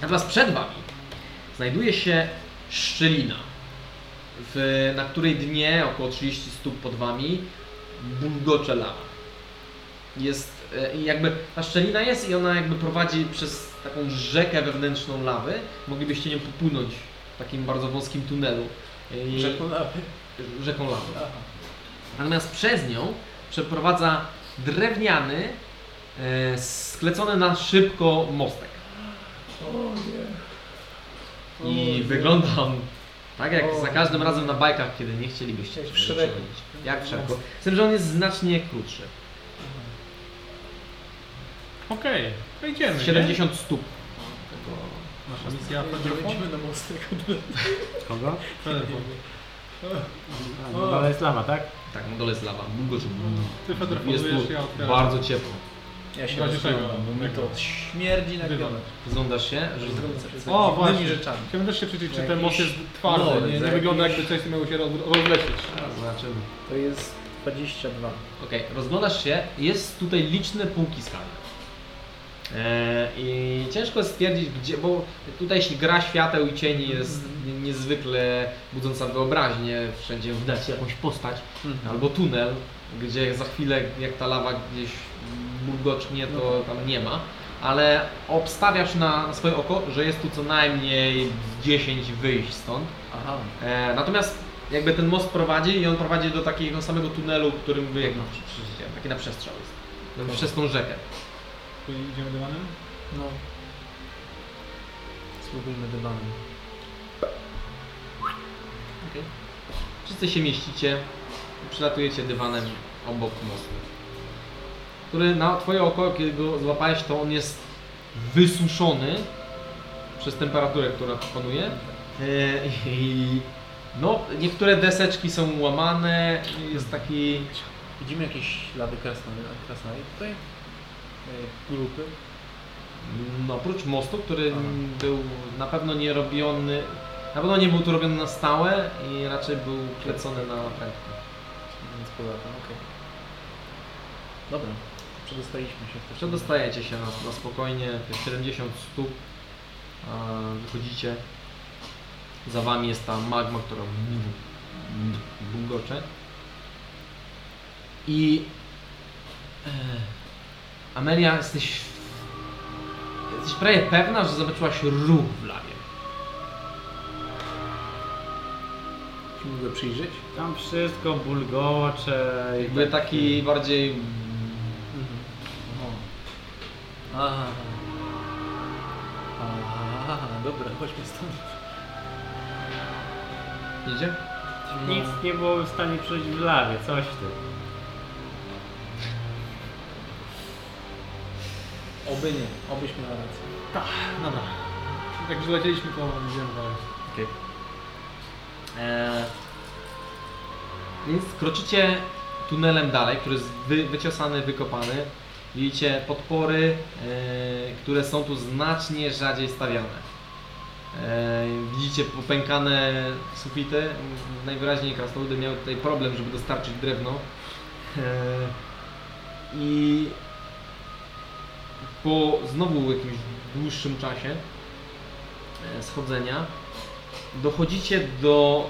[SPEAKER 1] Natomiast przed Wami znajduje się szczelina, w, na której dnie, około 30 stóp pod Wami, bulgocze lawa. Jest, e, i jakby, ta szczelina jest i ona jakby prowadzi przez taką rzekę wewnętrzną lawy. Moglibyście nią popłynąć w takim bardzo wąskim tunelu. e, I-
[SPEAKER 4] Rzekł lawy.
[SPEAKER 1] rzeką lawą. Natomiast przez nią przeprowadza drewniany, e, sklecony na szybko mostek. I wygląda on tak jak za każdym razem na bajkach, kiedy nie chcielibyście
[SPEAKER 4] Jak w
[SPEAKER 1] do niego
[SPEAKER 4] Shreku.
[SPEAKER 1] przychodzić. Jak w szeregu. Z tym, że on jest znacznie krótszy.
[SPEAKER 3] Okej, to
[SPEAKER 4] Tak,
[SPEAKER 3] idziemy. nie?
[SPEAKER 1] 70 stóp. Tego.
[SPEAKER 3] Nasza misja Federfon.
[SPEAKER 4] Lecimy na mostek.
[SPEAKER 2] Kogo?
[SPEAKER 3] Federfon.
[SPEAKER 2] A, no, ale jest lawa, tak?
[SPEAKER 1] Tak, na dole jest lawa. Bulgocze.
[SPEAKER 3] Ty
[SPEAKER 1] Jest
[SPEAKER 3] Federfonujesz, ja
[SPEAKER 1] tu
[SPEAKER 3] otwieram.
[SPEAKER 1] bardzo ciepło.
[SPEAKER 4] Ja się
[SPEAKER 3] Razie czego?
[SPEAKER 4] rozglądam,
[SPEAKER 1] no,
[SPEAKER 4] bo mi to śmierdzi na Tak,
[SPEAKER 3] Dywan.
[SPEAKER 4] kilometr.
[SPEAKER 1] Zglądasz się, że
[SPEAKER 3] O,
[SPEAKER 4] O,
[SPEAKER 3] właśnie.
[SPEAKER 4] właśnie. rzeczami.
[SPEAKER 3] Chciałbym też się przyjrzeć, czy ten
[SPEAKER 4] Jakiś
[SPEAKER 3] most jest twardy,
[SPEAKER 4] lol,
[SPEAKER 3] nie,
[SPEAKER 4] za
[SPEAKER 3] nie wygląda
[SPEAKER 4] jakiś-
[SPEAKER 3] jakby coś miało się roz- rozlecieć.
[SPEAKER 1] Zobaczymy.
[SPEAKER 4] To jest 22.
[SPEAKER 1] Okej, rozglądasz się, jest tutaj liczne półki skalne. E, I ciężko jest stwierdzić, gdzie, bo tutaj jeśli gra świateł i cieni jest nie- niezwykle budząca wyobraźnię, wszędzie widać jakąś postać albo tunel, gdzie za chwilę jak ta lawa gdzieś bulgocznie to tam nie ma, ale obstawiasz na swoje oko, że jest tu co najmniej z 10 wyjść stąd.
[SPEAKER 4] Aha.
[SPEAKER 1] E, natomiast jakby ten most prowadzi i on prowadzi do takiego samego tunelu, którym wy jak przeżycie, taki na przestrzał jest. No, przez tą rzekę.
[SPEAKER 3] Tu Idziemy dywanem?
[SPEAKER 4] No. Spróbujmy dywanem.
[SPEAKER 1] Wszyscy się mieścicie, przylatujecie dywanem obok mostu. Który na twoje oko, kiedy go złapałeś, to on jest
[SPEAKER 31] wysuszony przez temperaturę, która panuje. E, I no, niektóre deseczki są łamane, jest taki
[SPEAKER 4] Widzimy jakieś ślady krasnali, krasnali tutaj? E, Grupy?
[SPEAKER 31] No, oprócz mostu, który był na pewno nie robiony, na pewno nie był tu robiony na stałe i raczej był klecony na prędko.
[SPEAKER 4] Nic poza tym, okej. Dobra, przedostaliśmy się. w takim-
[SPEAKER 31] Przedostajecie się na, na spokojnie, te 70 stóp a, wychodzicie. Za wami jest ta magma, która bulgocze. I e, Amelia, jesteś, jesteś prawie pewna, że zobaczyłaś ruch w lawie.
[SPEAKER 4] Czy mogę przyjrzeć?
[SPEAKER 2] Tam wszystko bulgocze i tak.
[SPEAKER 31] Jakby taki bardziej
[SPEAKER 4] Aha. Aha, dobra, chodźmy stąd.
[SPEAKER 31] idzie.
[SPEAKER 2] nic nie było w stanie przejść w lawie, coś ty.
[SPEAKER 4] Oby nie, obyśmy na rację.
[SPEAKER 3] Dobra. Także Tak, lecieliśmy po ziemi dalej.
[SPEAKER 31] E, Więc kroczycie tunelem dalej, który jest wy, wyciosany, wykopany. Widzicie podpory, e, które są tu znacznie rzadziej stawiane. E, widzicie popękane sufity. Najwyraźniej krasnoludy miały tutaj problem, żeby dostarczyć drewno. E, I po znowu jakimś dłuższym czasie e, schodzenia dochodzicie do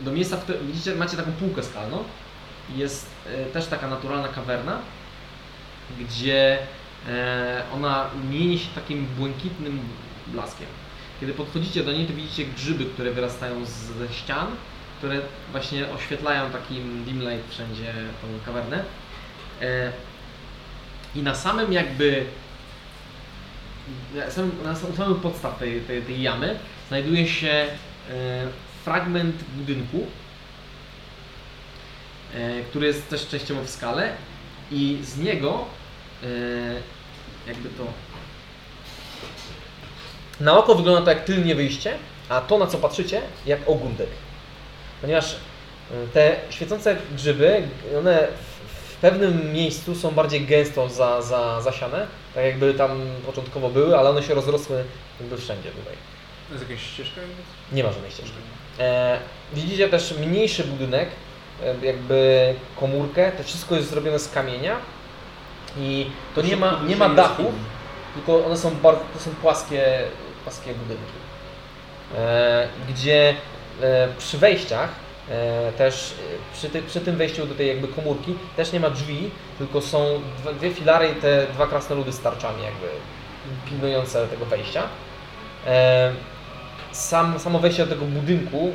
[SPEAKER 31] do miejsca, w którym widzicie, macie taką półkę skalną. Jest e, też taka naturalna kawerna, gdzie e, ona mieni się takim błękitnym blaskiem. Kiedy podchodzicie do niej, to widzicie grzyby, które wyrastają z, ze ścian, które właśnie oświetlają takim dim light wszędzie tą kawernę. E, I na samym jakby na samym, na samym u samych podstaw tej, tej, tej jamy znajduje się e, fragment budynku, e, który jest też częściowo w skale i z niego e, jakby to
[SPEAKER 1] Na oko wygląda to jak tylnie wyjście, a to na co patrzycie jak ogundek. Ponieważ y, te świecące grzyby, one w- w pewnym miejscu są bardziej gęsto za, za, zasiane, tak jakby tam początkowo były, ale one się rozrosły jakby wszędzie tutaj.
[SPEAKER 4] To jest jakaś ścieżka? jakby?
[SPEAKER 1] Nie ma żadnej ścieżki. E, widzicie też mniejszy budynek, e, jakby komórkę, to wszystko jest zrobione z kamienia i to nie ma, nie ma dachu, tylko one są bardzo, to są płaskie, płaskie budynki. E, gdzie e, przy wejściach, e, też e, przy, ty, przy tym wejściu do tej jakby komórki też nie ma drzwi, tylko są dwa, dwie filary i te dwa krasnoludy z tarczami jakby pilnujące tego wejścia. E, sam, samo wejście do tego budynku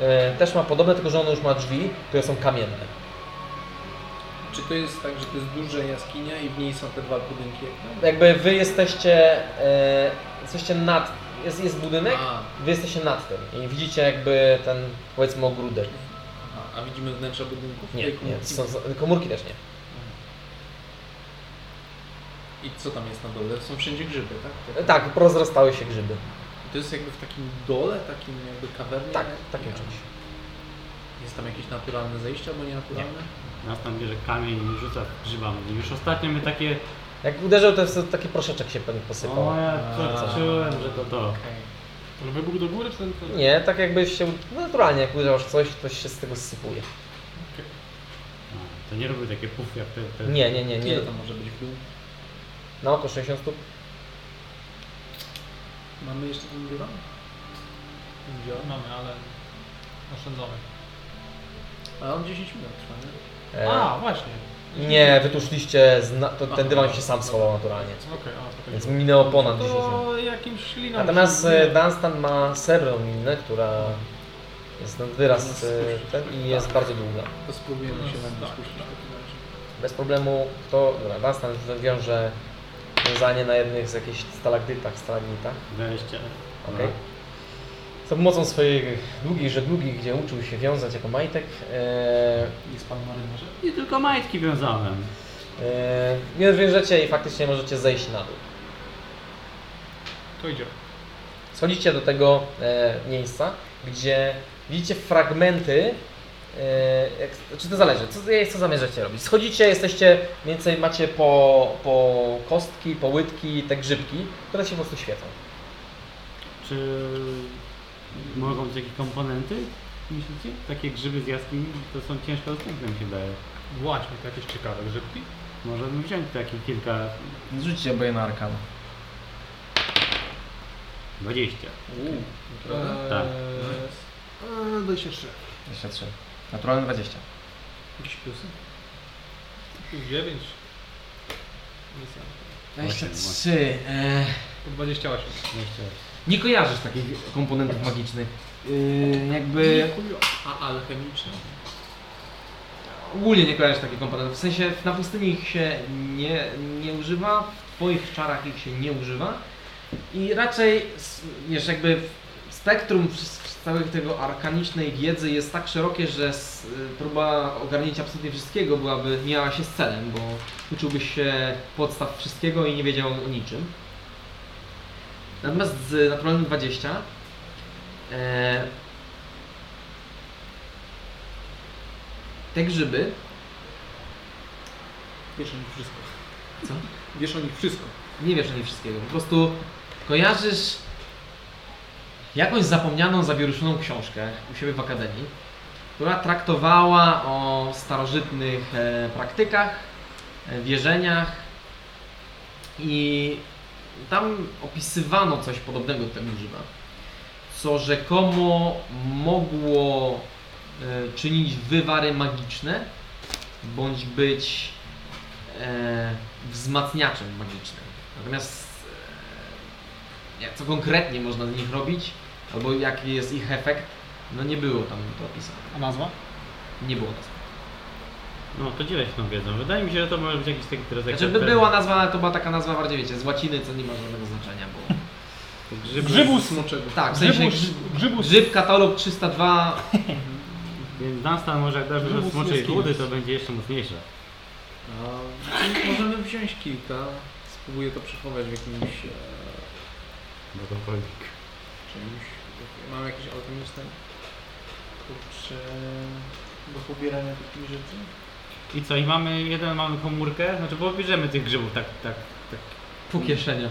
[SPEAKER 1] e, też ma podobne, tylko że ono już ma drzwi, które są kamienne.
[SPEAKER 4] Czy to jest tak, że to jest duża jaskinia i w niej są te dwa budynki? jak
[SPEAKER 1] Jakby wy jesteście, e, jesteście nad, jest, jest budynek,
[SPEAKER 4] tam? A,
[SPEAKER 1] wy jesteście nad tym i widzicie jakby ten, powiedzmy, ogródek.
[SPEAKER 4] aha, a widzimy wnętrza budynków?
[SPEAKER 1] Nie,
[SPEAKER 4] Tej
[SPEAKER 1] nie,
[SPEAKER 4] komórki?
[SPEAKER 1] są, są, komórki też nie.
[SPEAKER 4] I co tam jest na dole? Są wszędzie grzyby, tak?
[SPEAKER 1] E, Tak, rozrastały się grzyby.
[SPEAKER 4] To jest jakby w takim dole, takim jakby kawernie?
[SPEAKER 1] Tak, takim czymś.
[SPEAKER 4] Jest tam jakieś naturalne zejście albo nienaturalne?
[SPEAKER 2] Nas tam bierze kamień i rzuca grzyba. Mówi, Już ostatnio my takie...
[SPEAKER 1] Jak uderzył, to jest taki proszeczek się pewnie posypał.
[SPEAKER 2] O, ja to czułem, że to to.
[SPEAKER 3] Ale wybuch do góry czy ten... ten-
[SPEAKER 1] Nie, tak jakby się, naturalnie jak uderzasz w coś, to się z tego sypuje.
[SPEAKER 2] No, to nie robił takie puf jak te... te...
[SPEAKER 1] Nie, nie, nie,
[SPEAKER 4] Nie.
[SPEAKER 1] nie.
[SPEAKER 4] Ile tam może być w dół?
[SPEAKER 1] Na oko 60 stóp.
[SPEAKER 4] Mamy jeszcze ten dywan? Nie działa.
[SPEAKER 3] Mamy, ale oszczędzamy.
[SPEAKER 4] Ale on 10 minut trwa, nie?
[SPEAKER 1] E,
[SPEAKER 3] A, właśnie.
[SPEAKER 1] Nie, wytuszliście, zna- to, ten dywan się sam schował naturalnie.
[SPEAKER 3] Okej, a to
[SPEAKER 1] Więc
[SPEAKER 3] tak.
[SPEAKER 1] minęło ponad 10 minut.
[SPEAKER 3] To jakimś śliną...
[SPEAKER 1] Natomiast e, Dunstan ma srebrną minę, która jest na wyraz e, ten i jest bardzo długa.
[SPEAKER 4] To spróbujemy się na nim
[SPEAKER 3] tak.
[SPEAKER 4] spuścić w takim razie.
[SPEAKER 1] Bez problemu kto... Dobra, Dunstan wiąże wiązanie na jednych z jakichś stalagdytach, stalagmitach.
[SPEAKER 2] Wejście.
[SPEAKER 1] Okej. Za pomocą swojej długiej żeglugi, gdzie uczył się wiązać jako majtek, e,
[SPEAKER 2] I tylko majtki wiązałem.
[SPEAKER 32] E, Więc wyjeżdżacie i faktycznie możecie zejść na dół.
[SPEAKER 3] To idzie.
[SPEAKER 32] Schodzicie do tego e, miejsca, gdzie widzicie fragmenty. E, jak, czy to zależy, co, co zamierzacie robić? Schodzicie, jesteście, mniej więcej macie po, po kostki, po łydki, te grzybki, które się po prostu świecą.
[SPEAKER 2] Czy mogą być jakieś komponenty? Myślicie? Takie grzyby z jaskini to są ciężko dostępne mi się daje.
[SPEAKER 3] Właśnie, to jakieś ciekawe grzybki.
[SPEAKER 2] Możemy wziąć takie kilka,
[SPEAKER 1] Rzućcie oboje na arkan.
[SPEAKER 2] 20. Tak.
[SPEAKER 33] Eee, 23.
[SPEAKER 1] 23. Naturalne 20.
[SPEAKER 4] Jakieś plusy?
[SPEAKER 3] 9
[SPEAKER 1] 23. E,
[SPEAKER 3] po 28.
[SPEAKER 1] nie kojarzysz takich komponentów magicznych. E, jakby
[SPEAKER 4] A alchemiczne?
[SPEAKER 1] ogólnie nie kojarzysz takich komponentów. W sensie na pustyni ich się nie, nie używa, w twoich czarach ich się nie używa. I raczej s- wiesz, jakby w- spektrum wsz- wsz- całej tego arkanicznej wiedzy jest tak szerokie, że s- próba ogarnięcia absolutnie wszystkiego byłaby, miała się z celem, bo uczyłbyś się podstaw wszystkiego i nie wiedział o niczym. Natomiast z naturalnym 20 e, te grzyby
[SPEAKER 4] Wiesz o nich wszystko.
[SPEAKER 1] Co?
[SPEAKER 4] Wiesz o nich wszystko.
[SPEAKER 1] Nie wiesz o niej wszystkiego. Po prostu kojarzysz jakąś zapomnianą, zawieruszoną książkę u siebie w akademii, która traktowała o starożytnych e, praktykach, e, wierzeniach i tam opisywano coś podobnego do tego grzyba, co rzekomo mogło e, czynić wywary magiczne, bądź być e, wzmacniaczem magicznym. Natomiast e, jak- co konkretnie można z nich robić, albo jaki jest ich efekt, no nie było tam to opisane.
[SPEAKER 3] A nazwa?
[SPEAKER 1] Nie było nazwy.
[SPEAKER 2] No to dzielę się tą wiedzą. Wydaje mi się, że to może być jakiś taki teraz jak
[SPEAKER 1] Znaczy by była nazwa, ale to była taka nazwa bardziej, wiecie, z łaciny, co nie ma żadnego znaczenia, bo...
[SPEAKER 2] grzyby.
[SPEAKER 3] Grzybus!
[SPEAKER 34] Smoczego.
[SPEAKER 1] Tak, w sensie
[SPEAKER 3] Grzybus!
[SPEAKER 1] grzyb,
[SPEAKER 3] Grzybus!
[SPEAKER 1] grzyb katalog 302
[SPEAKER 2] Więc Dunstan może jak dasz dużo
[SPEAKER 3] Grzybów
[SPEAKER 2] smoczej
[SPEAKER 3] jest kilka.
[SPEAKER 2] wody, to będzie jeszcze mocniejsze.
[SPEAKER 4] A, możemy wziąć kilka. Spróbuję to przechować w jakimś... E,
[SPEAKER 2] Dowolnik.
[SPEAKER 4] czymś. Mam jakieś alchemiczne... Kurczę... Do pobierania takich rzeczy?
[SPEAKER 2] I co, i mamy, jeden mamy komórkę, znaczy bo bierzemy tych grzybów tak, tak, tak.
[SPEAKER 1] po kieszeniach.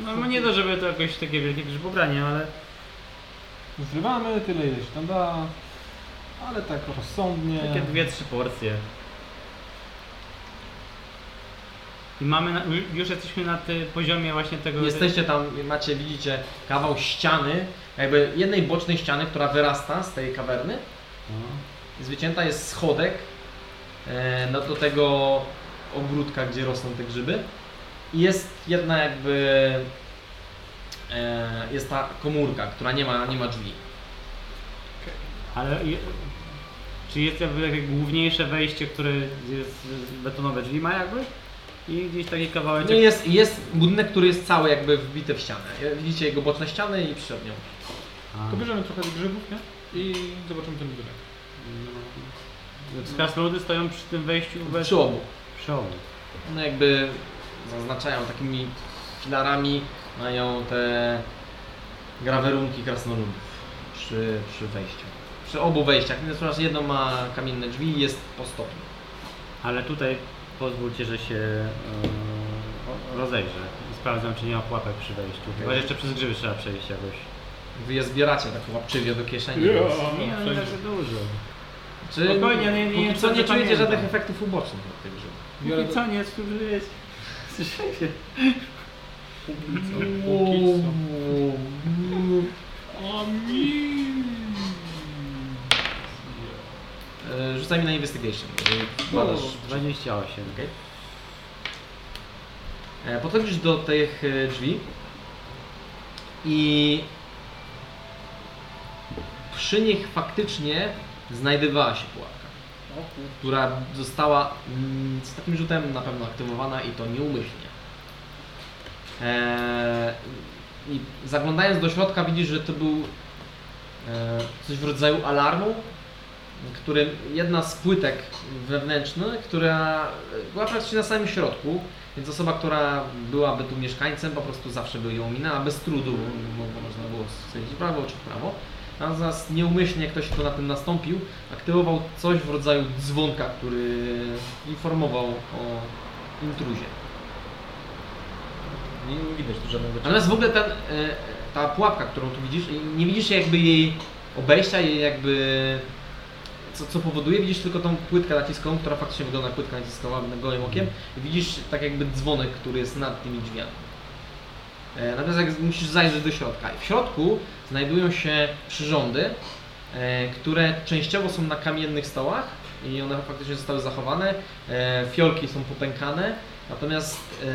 [SPEAKER 2] No, no nie to, żeby to jakoś takie wielkie grzybobranie, ale
[SPEAKER 3] Zrywamy tyle ile się tam da, ale tak rozsądnie.
[SPEAKER 2] Takie dwie, trzy porcje. I mamy, na, ju- już jesteśmy na tym poziomie właśnie tego...
[SPEAKER 1] Jesteście tam, macie, widzicie kawał ściany, jakby jednej bocznej ściany, która wyrasta z tej kawerny.
[SPEAKER 2] No.
[SPEAKER 1] Zwycięta jest schodek e, no do tego ogródka, gdzie rosną te grzyby. I jest jedna jakby e, jest ta komórka, która nie ma, nie ma drzwi.
[SPEAKER 2] Ale je, czy jest jakby takie główniejsze wejście, które jest betonowe drzwi ma jakby? I gdzieś taki kawałeczek...
[SPEAKER 1] No i jest, jest budynek, który jest cały jakby wbity w ścianę. Widzicie jego boczne ściany i przednią.
[SPEAKER 2] A,
[SPEAKER 3] To bierzemy trochę tych grzybów, nie? I zobaczymy ten budynek.
[SPEAKER 2] no. Krasnoludy stoją przy tym wejściu bez...
[SPEAKER 1] Przy obu.
[SPEAKER 2] Przy obu.
[SPEAKER 1] One No jakby zaznaczają takimi filarami, mają te grawerunki krasnoludów przy, przy wejściu. Przy obu wejściach, natomiast jedno ma kamienne drzwi i jest po stopniu.
[SPEAKER 2] Ale tutaj pozwólcie, że się e, o- rozejrzę i sprawdzę, czy nie ma pułapek przy wejściu. Chyba, że jeszcze przez grzyby trzeba przejść jakoś.
[SPEAKER 1] Wy je zbieracie tak łapczywie do kieszeni.
[SPEAKER 2] Nie,
[SPEAKER 3] No,
[SPEAKER 2] ale tak dużo.
[SPEAKER 1] Czy
[SPEAKER 2] Spokojnie, nie- nie-
[SPEAKER 1] póki
[SPEAKER 2] nie
[SPEAKER 1] co nie czujecie
[SPEAKER 2] pamiętam.
[SPEAKER 1] żadnych efektów ubocznych od tych grzyb.
[SPEAKER 2] I co, nie skurzyłeś? Słyszeliście?
[SPEAKER 1] E, Rzucaj mi na investigation. jeżeli Badasz.
[SPEAKER 2] 28.
[SPEAKER 1] Okej. E, Podchodzisz do tych e, drzwi i przy nich faktycznie znajdowała się pułapka, która została mm, z takim rzutem na pewno aktywowana i to nieumyślnie. E, I zaglądając do środka widzisz, że to był e, coś w rodzaju alarmu, którym jedna z płytek wewnętrznych, która była praktycznie na samym środku, więc osoba, która byłaby tu mieszkańcem, po prostu zawsze by ją minęła bez trudu, bo bo można było stwierdzić w prawo czy w prawo. Natomiast nieumyślnie ktoś, kto na tym nastąpił, aktywował coś w rodzaju dzwonka, który informował o intruzie.
[SPEAKER 35] Nie, nie widać tu żadnego ciała.
[SPEAKER 1] Natomiast w ogóle ten, e, ta pułapka, którą tu widzisz, i nie widzisz jakby jej obejścia, jej jakby co, co powoduje, widzisz tylko tą płytkę naciskową, która faktycznie wygląda jak płytka naciskowa gołym okiem. Widzisz tak jakby dzwonek, który jest nad tymi drzwiami. E, Natomiast jak musisz zajrzeć do środka. I W środku znajdują się przyrządy, e, które częściowo są na kamiennych stołach i one faktycznie zostały zachowane. E, Fiolki są popękane, natomiast e,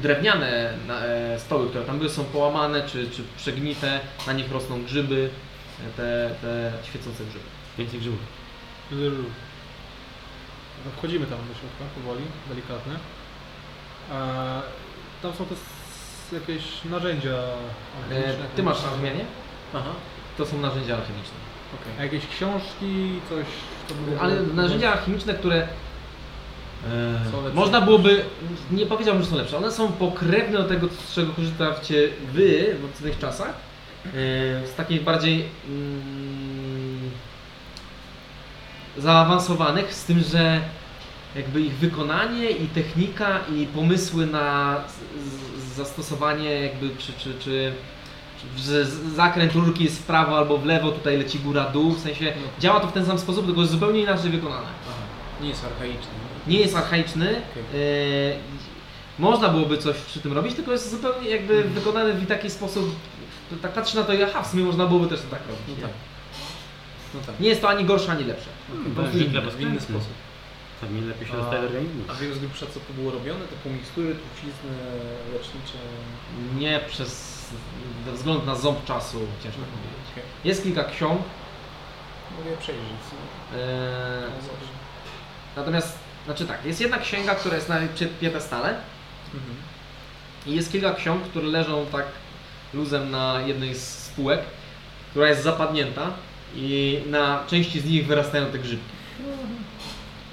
[SPEAKER 1] drewniane na- e, stoły, które tam były, są połamane czy, czy przegnite, na nich rosną grzyby, e, te, te świecące grzyby.
[SPEAKER 2] Więcej grzybów.
[SPEAKER 3] No, Wchodzimy tam do środka powoli, delikatnie. E, tam są też jakieś narzędzia
[SPEAKER 1] E,
[SPEAKER 3] alchemiczne.
[SPEAKER 1] Ty masz rozumienie?
[SPEAKER 4] Aha.
[SPEAKER 1] To są narzędzia alchemiczne.
[SPEAKER 3] A Jakieś książki, coś... co było-
[SPEAKER 1] Ale narzędzia alchemiczne, które e,
[SPEAKER 4] Są lepsze.
[SPEAKER 1] Można byłoby, nie powiedziałbym, że są lepsze, one są pokrewne do tego, z czego korzystacie wy w obecnych czasach. Yy, Z takich bardziej mm, zaawansowanych, z tym, że jakby ich wykonanie i technika i pomysły na z- z- zastosowanie jakby czy, czy, czy że z- zakręt rurki jest w prawo albo w lewo, tutaj leci góra dół, w sensie
[SPEAKER 4] No.
[SPEAKER 1] działa to w ten sam sposób, tylko jest zupełnie inaczej wykonane
[SPEAKER 4] Aha. Nie jest archaiczny.
[SPEAKER 1] nie jest archaiczny.
[SPEAKER 4] Okej.
[SPEAKER 1] E, można byłoby coś przy tym robić, tylko jest zupełnie jakby
[SPEAKER 4] Mhm.
[SPEAKER 1] wykonany w taki sposób. to Tak patrzy na to i aha, w sumie można byłoby też to tak robić.
[SPEAKER 4] No
[SPEAKER 1] nie?
[SPEAKER 4] tak. No tak.
[SPEAKER 1] Nie jest to ani gorsze, ani lepsze.
[SPEAKER 2] Bardzo
[SPEAKER 4] inny,
[SPEAKER 2] dla
[SPEAKER 4] w inny
[SPEAKER 2] sposób.
[SPEAKER 4] sposób.
[SPEAKER 2] Tam nie Tak, lepiej się
[SPEAKER 4] A-
[SPEAKER 2] dostaje do organizmu.
[SPEAKER 4] A wiem z grubsza co tu było robione, to półmikstury, trucizny lecznicze.
[SPEAKER 1] Nie przez ze względu na ząb czasu, ciężko powiedzieć.
[SPEAKER 4] Mhm. Okej.
[SPEAKER 1] Jest kilka ksiąg.
[SPEAKER 4] Mogę przejrzeć. no.
[SPEAKER 1] E,
[SPEAKER 4] No, dobrze.
[SPEAKER 1] natomiast, znaczy tak, jest jedna księga, która jest na pie- piedestale
[SPEAKER 4] Mhm.
[SPEAKER 1] i jest kilka ksiąg, które leżą tak luzem na jednej z spółek, która jest zapadnięta i na części z nich wyrastają te grzybki.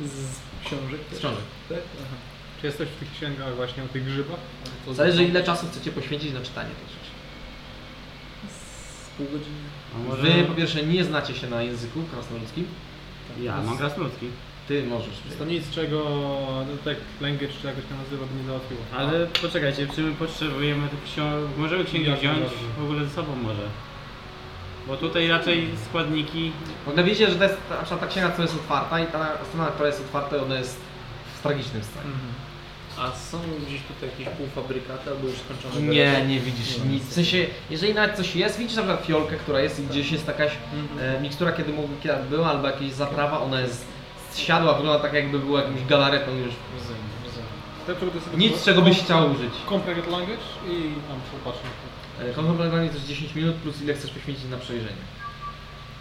[SPEAKER 4] Z książek też?
[SPEAKER 1] Z książek.
[SPEAKER 4] Tak? Aha.
[SPEAKER 3] Czy jest coś w tych księgach właśnie o tych grzybach?
[SPEAKER 4] To
[SPEAKER 1] Zależy ile czasu chcecie poświęcić na czytanie tych rzeczy.
[SPEAKER 4] Z pół godziny.
[SPEAKER 2] A może...
[SPEAKER 1] Wy po pierwsze nie znacie się na języku krasnoludzkim.
[SPEAKER 2] Ja mam krasnoludzki.
[SPEAKER 1] Ty możesz.
[SPEAKER 3] To nic czego no, tak language czy jakoś tam nazywa by nie załatwiło.
[SPEAKER 2] Ale poczekajcie, czy my potrzebujemy tych książek? Możemy księgi
[SPEAKER 3] Jak
[SPEAKER 2] wziąć
[SPEAKER 3] najbardziej.
[SPEAKER 2] w ogóle ze sobą może? Bo tutaj raczej składniki...
[SPEAKER 1] W ogóle widzicie, że to jest ta, na przykład ta księga, która jest otwarta i ta strona, która jest otwarta, ona jest w tragicznym stanie.
[SPEAKER 4] A są gdzieś tutaj jakieś półfabrykaty albo już skończone?
[SPEAKER 1] Nie,
[SPEAKER 4] wyroby?
[SPEAKER 1] nie widzisz
[SPEAKER 4] Nie ma
[SPEAKER 1] nic. W sensie, jeżeli nawet coś jest, widzisz na przykład fiolkę, która jest i gdzieś jest jakaś
[SPEAKER 4] Mhm.
[SPEAKER 1] e, mikstura, kiedy mógł, kiedy była, albo jakaś zaprawa, ona jest zsiadła, wygląda tak jakby była jakimś galaretą już.
[SPEAKER 4] Rozumiem, rozumiem.
[SPEAKER 3] Te, czego Tak, to jest-
[SPEAKER 1] Nic, czego byś chciał użyć.
[SPEAKER 3] Comprehend language i tam popatrzmy.
[SPEAKER 1] E, Kontrolowanie też 10 minut plus ile chcesz poświęcić na przejrzenie.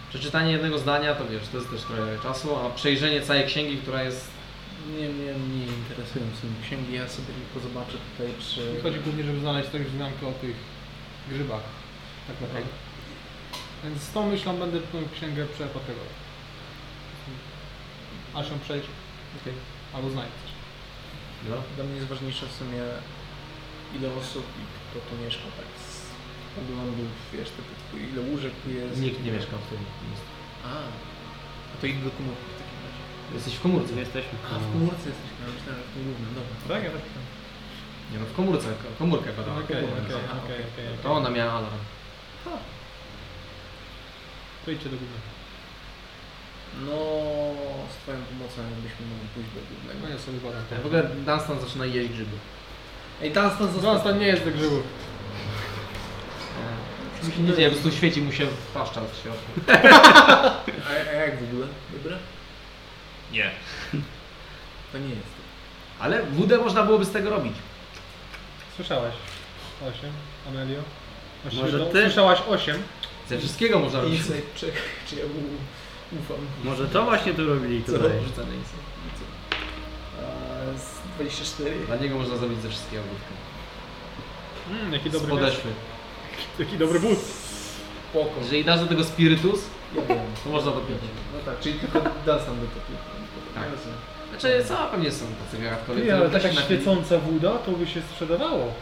[SPEAKER 1] Przeczytanie jednego zdania to wiesz, to jest też trochę czasu, a przejrzenie całej księgi, która jest.
[SPEAKER 4] Nie, nie, nie interesują się księgi, ja sobie tylko zobaczę tutaj przy...
[SPEAKER 3] Chodzi głównie, żeby znaleźć coś wzmiankę o tych grzybach. Tak naprawdę. Więc z tą myślą będę tą księgę przepatrywał. Aż ją przejrz.
[SPEAKER 4] Okej.
[SPEAKER 3] Albo znajdź coś.
[SPEAKER 1] no,
[SPEAKER 4] Dla mnie jest ważniejsze w sumie ile osób i kto tu mieszka, tak z oglądów, wiesz, typu, ile łóżek tu jest.
[SPEAKER 1] Nikt nie mieszka w tym miejscu.
[SPEAKER 4] A, a to idę do komórki w takim razie.
[SPEAKER 1] Jesteś w komórce.
[SPEAKER 2] Gdzie jesteśmy?
[SPEAKER 4] A, w komórce jesteśmy, ja myślałem, że w tym głównym, dobra.
[SPEAKER 3] Tak, ja tak.
[SPEAKER 1] Nie no, w komórce, komórkę badała.
[SPEAKER 3] Okej, okej,
[SPEAKER 4] dobra.
[SPEAKER 3] okej, okej.
[SPEAKER 1] Tak, To ona miała alarm.
[SPEAKER 3] To idźcie do góry.
[SPEAKER 4] No, z twoją pomocą byśmy mogli pójść do
[SPEAKER 3] No
[SPEAKER 4] głównego.
[SPEAKER 3] ja sobie badam.
[SPEAKER 1] W ogóle Dunstan zaczyna jeść grzyby.
[SPEAKER 4] Ej, teraz nas
[SPEAKER 3] No, to nie jest do grzybów.
[SPEAKER 1] Nic się nie dzieje, po prostu świeci mu się paszcza w środku.
[SPEAKER 4] A, a jak w ogóle? Dobre?
[SPEAKER 1] Nie.
[SPEAKER 4] To nie jest.
[SPEAKER 1] Ale wódę można byłoby z tego robić.
[SPEAKER 3] Słyszałaś 8, Amelio? Właściwie
[SPEAKER 2] Może
[SPEAKER 3] to
[SPEAKER 2] ty?
[SPEAKER 3] Słyszałaś 8?
[SPEAKER 1] Ze wszystkiego można robić.
[SPEAKER 4] Insight, czekaj, czy ja mu ufam.
[SPEAKER 2] Może to właśnie tu robili tutaj.
[SPEAKER 1] Rzucane insight.
[SPEAKER 4] A, z 24.
[SPEAKER 1] Dla niego można zrobić ze wszystkiego wódkę.
[SPEAKER 3] Mm, jaki
[SPEAKER 1] Z
[SPEAKER 3] dobry,
[SPEAKER 1] podeszwy.
[SPEAKER 3] jaki dobry but.
[SPEAKER 4] Spoko.
[SPEAKER 1] Jeżeli dasz do tego spirytus,
[SPEAKER 4] Ja wiem.
[SPEAKER 1] to można to pić.
[SPEAKER 4] No tak, czyli tylko das nam do topi.
[SPEAKER 1] Tak. Znaczy, co pewnie są tacy wiaratkowie,
[SPEAKER 3] Ty, ale tak
[SPEAKER 1] też
[SPEAKER 3] taka
[SPEAKER 1] się napili.
[SPEAKER 3] świecąca woda, to by się sprzedawało.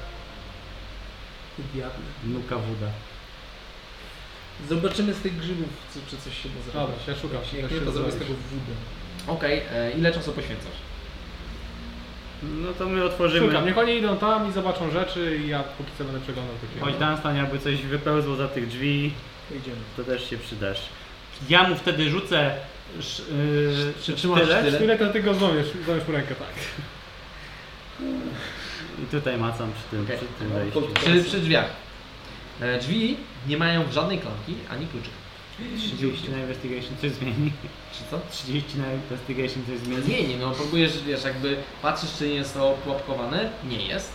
[SPEAKER 4] Diable.
[SPEAKER 2] Nuka woda.
[SPEAKER 4] Zobaczymy z tych grzybów, czy, czy coś się da zrobić.
[SPEAKER 3] Dobra, ja szukam.
[SPEAKER 4] Jak nie, to zrobię z tego wódę.
[SPEAKER 1] Okej, e, ile czasu poświęcasz?
[SPEAKER 2] No to my otworzymy.
[SPEAKER 3] Szukam, niech oni idą tam i zobaczą rzeczy i ja póki co będę przeglądał takie.
[SPEAKER 2] Choć Dunstan jakby coś wypełzło za tych drzwi,
[SPEAKER 4] To idziemy.
[SPEAKER 2] to też się przydasz. Ja mu wtedy rzucę sz, yy,
[SPEAKER 1] Przytrzymasz sztylet?
[SPEAKER 3] Tyle to ty go złamiesz, złamiesz mu rękę, tak.
[SPEAKER 2] i tutaj macam przy tym,
[SPEAKER 1] Okej.
[SPEAKER 2] przy tym wejściu.
[SPEAKER 1] Przy, przy drzwiach. E, drzwi nie mają żadnej klamki ani kluczyka.
[SPEAKER 2] 30 na investigation coś zmieni.
[SPEAKER 1] Czy co?
[SPEAKER 2] 30 na investigation coś zmieni.
[SPEAKER 1] Nie, nie, no próbujesz, wiesz, jakby patrzysz, czy nie jest to pułapkowane. Nie jest.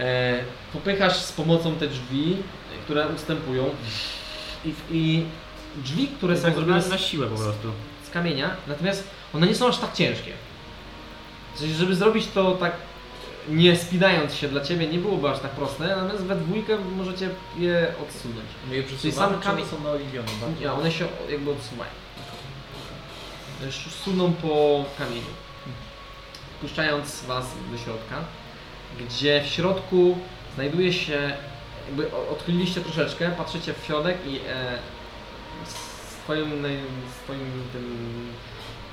[SPEAKER 1] E, popychasz z pomocą te drzwi, które ustępują. I, i drzwi, które są
[SPEAKER 2] Tak,
[SPEAKER 1] zrobione
[SPEAKER 2] na,
[SPEAKER 1] z
[SPEAKER 2] na siłę po prostu.
[SPEAKER 1] z kamienia, natomiast one nie są aż tak ciężkie. Czyli żeby zrobić to tak nie spinając się dla Ciebie nie byłoby aż tak proste, natomiast we dwójkę możecie je odsunąć.
[SPEAKER 4] My je
[SPEAKER 1] sam
[SPEAKER 4] przesuwamy, czy
[SPEAKER 1] kamień-
[SPEAKER 4] one są tak? naoliwione bardzo?
[SPEAKER 1] Nie, one się jakby odsuwają. Sz- Suną po kamieniu, puszczając Was do środka, gdzie w środku znajduje się, jakby o- odchyliliście troszeczkę, patrzycie w środek i e, swoim, naj- swoim tym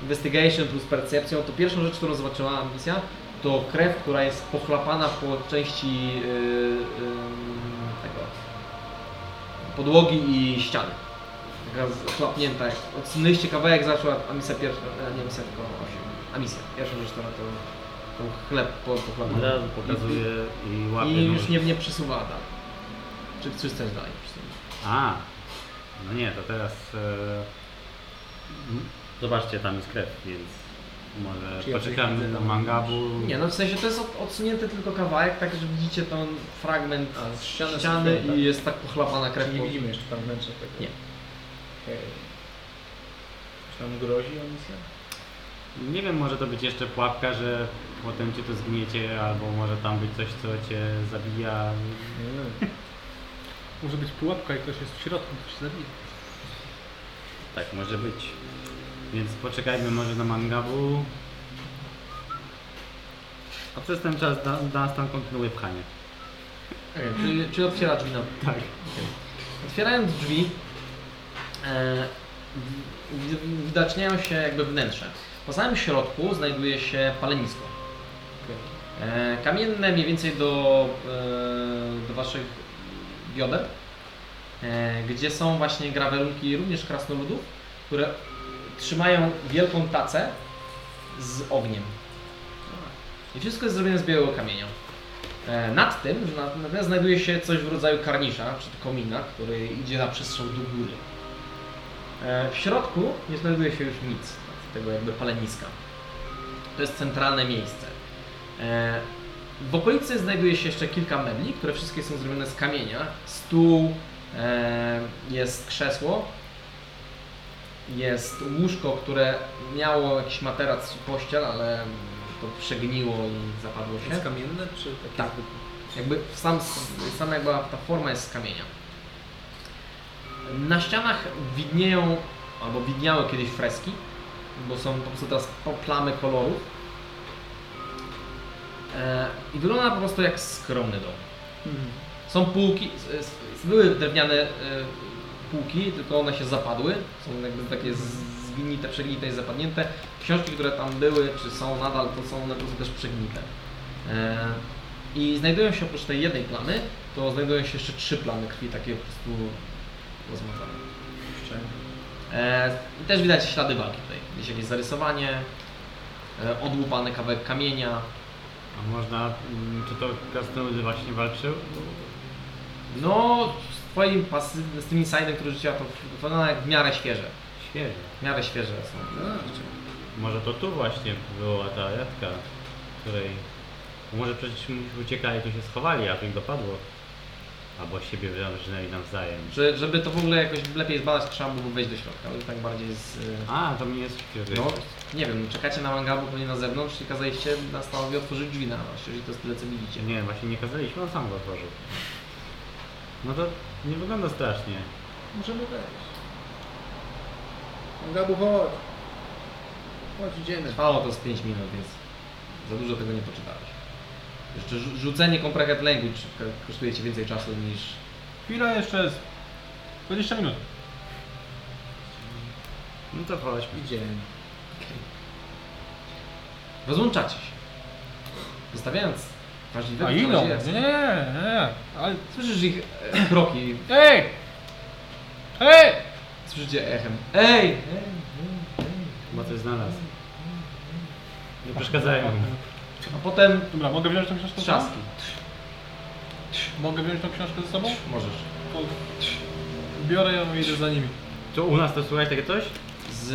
[SPEAKER 1] investigation plus percepcją, to pierwszą rzecz, którą zobaczyła ambicja, to krew, która jest pochlapana po części yy, yy, tego podłogi i ściany. Taka chlapnięta, jak odsunęliście kawałek, zaczęła Amisja pierwsza, e, nie Amisja tylko 8, Amisja, pierwsza rzecz, która to, to chleb po,
[SPEAKER 2] Od
[SPEAKER 1] pochlapana.
[SPEAKER 2] razu pokazuję i łapię.
[SPEAKER 1] I
[SPEAKER 2] nóż.
[SPEAKER 1] już nie, nie przesuwała dalej. Czy, czy chcesz dalej przesunąć?
[SPEAKER 2] A, no nie, to teraz. E... m- Zobaczcie, tam jest krew, więc może
[SPEAKER 4] Czy ja
[SPEAKER 2] poczekamy
[SPEAKER 4] przejdę
[SPEAKER 2] na
[SPEAKER 4] tam?
[SPEAKER 2] mangabu.
[SPEAKER 1] Nie, no w sensie to jest od- odsunięty tylko kawałek, tak że widzicie ten fragment
[SPEAKER 4] A, z ściany,
[SPEAKER 1] ściany
[SPEAKER 4] są- tak.
[SPEAKER 1] i jest tak pochlapana krew.
[SPEAKER 4] Czy nie
[SPEAKER 1] po-
[SPEAKER 4] widzimy jeszcze tam wnętrza tego?
[SPEAKER 1] Nie.
[SPEAKER 4] Okej. Czy nam grozi emisja?
[SPEAKER 2] nie wiem, może to być jeszcze pułapka, że potem cię to zgniecie, albo może tam być coś, co cię zabija.
[SPEAKER 4] Nie.
[SPEAKER 3] Może być pułapka i ktoś jest w środku, ktoś się zabije.
[SPEAKER 2] Tak, może być. Więc poczekajmy może na mangabu. A przez ten czas Dan- Dunstan kontynuuje pchanie.
[SPEAKER 1] Okej, czyli, czyli otwiera drzwi na...
[SPEAKER 2] Tak.
[SPEAKER 1] Otwierając drzwi, e, wi- wi- widaczniają się jakby wnętrze. Po samym środku znajduje się palenisko. E, kamienne mniej więcej do, e, do waszych bioder, e, gdzie są właśnie grawerunki również krasnoludów, które trzymają wielką tacę z ogniem. I wszystko jest zrobione z białego kamienia. E, Nad tym na- natomiast znajduje się coś w rodzaju karnisza, czy komina, który idzie na przestrzał do góry. E, W środku nie znajduje się już nic tego jakby paleniska. To jest centralne miejsce. E, W okolicy znajduje się jeszcze kilka mebli, które wszystkie są zrobione z kamienia. Stół, e, jest krzesło, jest łóżko, które miało jakiś materac i pościel, ale to przegniło i zapadło się.
[SPEAKER 4] Jest kamienne, czy takie
[SPEAKER 1] Tak.
[SPEAKER 4] zwykłe?
[SPEAKER 1] Jakby sam, sama jakby ta forma jest z kamienia. Na ścianach widnieją, albo widniały kiedyś freski, bo są po prostu teraz plamy kolorów. E, I wygląda po prostu jak skromny dom.
[SPEAKER 4] Mhm.
[SPEAKER 1] Są półki, s- s- były drewniane e, półki, tylko one się zapadły. Są jakby takie z- zgnite, przegnite i zapadnięte. Książki, które tam były, czy są nadal, to są one po prostu też przegnite. E, i znajdują się oprócz tej jednej plamy, to znajdują się jeszcze trzy plamy krwi, takie po prostu rozmazane. E, I też widać ślady walki tutaj. Gdzieś jakieś zarysowanie, e, odłupany kawałek kamienia.
[SPEAKER 2] A można, mm, czy to krasnolud właśnie walczył?
[SPEAKER 1] No, z twoim pasywnym, z tym insidem, który rzuciła, to wygląda jak w miarę świeże.
[SPEAKER 2] Świeżo.
[SPEAKER 1] W miarę świeże no. są.
[SPEAKER 2] Może to tu właśnie była ta jatka, której... Może przecież uciekali, tu się schowali, a tu ich dopadło. Albo siebie wyrżnęli nawzajem.
[SPEAKER 1] Że, żeby to w ogóle jakoś lepiej zbadać, trzeba było wejść do środka, ale tak bardziej z... e,
[SPEAKER 2] A, to mnie jest świeże.
[SPEAKER 1] No, nie wiem, czekacie na mangabu pewnie na zewnątrz i kazaliście na stanowi otworzyć drzwi na was, jeżeli to jest tyle, co widzicie.
[SPEAKER 2] Nie, właśnie nie kazaliśmy, on sam go otworzył. No to Nie wygląda strasznie.
[SPEAKER 36] Możemy wejść. Gabu, chodź. Chodź, idziemy.
[SPEAKER 1] Trwało to z 5 minut, więc za dużo tego nie poczytałeś. Jeszcze rzu- rzucenie Comprehend Language k- kosztuje Ci więcej czasu niż...
[SPEAKER 3] Chwila jeszcze jest. 20 minut.
[SPEAKER 2] No to chodźmy.
[SPEAKER 4] Idziemy.
[SPEAKER 1] Rozłączacie się. Zostawiając
[SPEAKER 3] A
[SPEAKER 1] wrażliwego
[SPEAKER 3] idą.
[SPEAKER 1] czarodzieja.
[SPEAKER 3] Nie, nie, nie. Ale...
[SPEAKER 1] Słyszysz ich e, kroki,
[SPEAKER 3] Ej! Ej!
[SPEAKER 1] słyszycie echem. Ej!
[SPEAKER 2] Chyba coś znalazł. Nie przeszkadzają mu.
[SPEAKER 1] A potem
[SPEAKER 3] Dobra, mogę wziąć tą książkę ze sobą?
[SPEAKER 1] trzaski.
[SPEAKER 3] Mogę wziąć tą książkę ze sobą?
[SPEAKER 1] Możesz.
[SPEAKER 3] To... Biorę ją i idę za nimi.
[SPEAKER 2] To u nas to słychać takie coś?
[SPEAKER 1] z,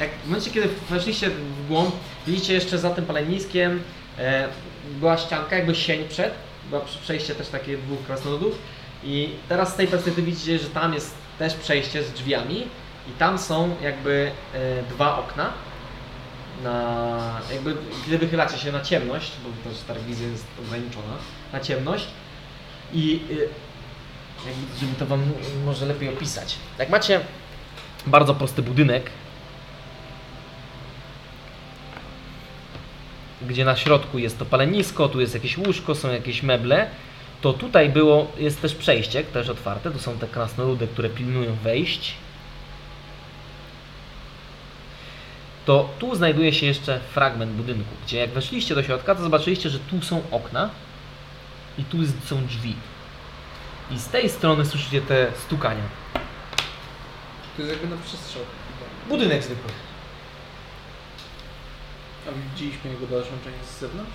[SPEAKER 1] jak w momencie, kiedy weszliście w głąb, widzicie jeszcze za tym paleniskiem e, była ścianka, jakby sień przed, była przy- przejście też takie dwóch krasnoludów i teraz z tej perspektywy widzicie, że tam jest też przejście z drzwiami i tam są jakby e, dwa okna na, jakby, kiedy wychylacie się na ciemność, bo też ta wizja jest ograniczona, na ciemność i y, jakby, żeby to Wam może lepiej opisać. Jak macie bardzo prosty budynek, gdzie na środku jest to palenisko, tu jest jakieś łóżko, są jakieś meble, to tutaj było, jest też przejście, też otwarte, tu są te krasnoludy, które pilnują wejść. To tu znajduje się jeszcze fragment budynku, gdzie jak weszliście do środka, to zobaczyliście, że tu są okna i tu jest- są drzwi. I z tej strony słyszycie te stukania.
[SPEAKER 4] To jest jakby na przestrzał.
[SPEAKER 1] Budynek zwykły.
[SPEAKER 4] A widzieliśmy jego dalszą część z zewnątrz?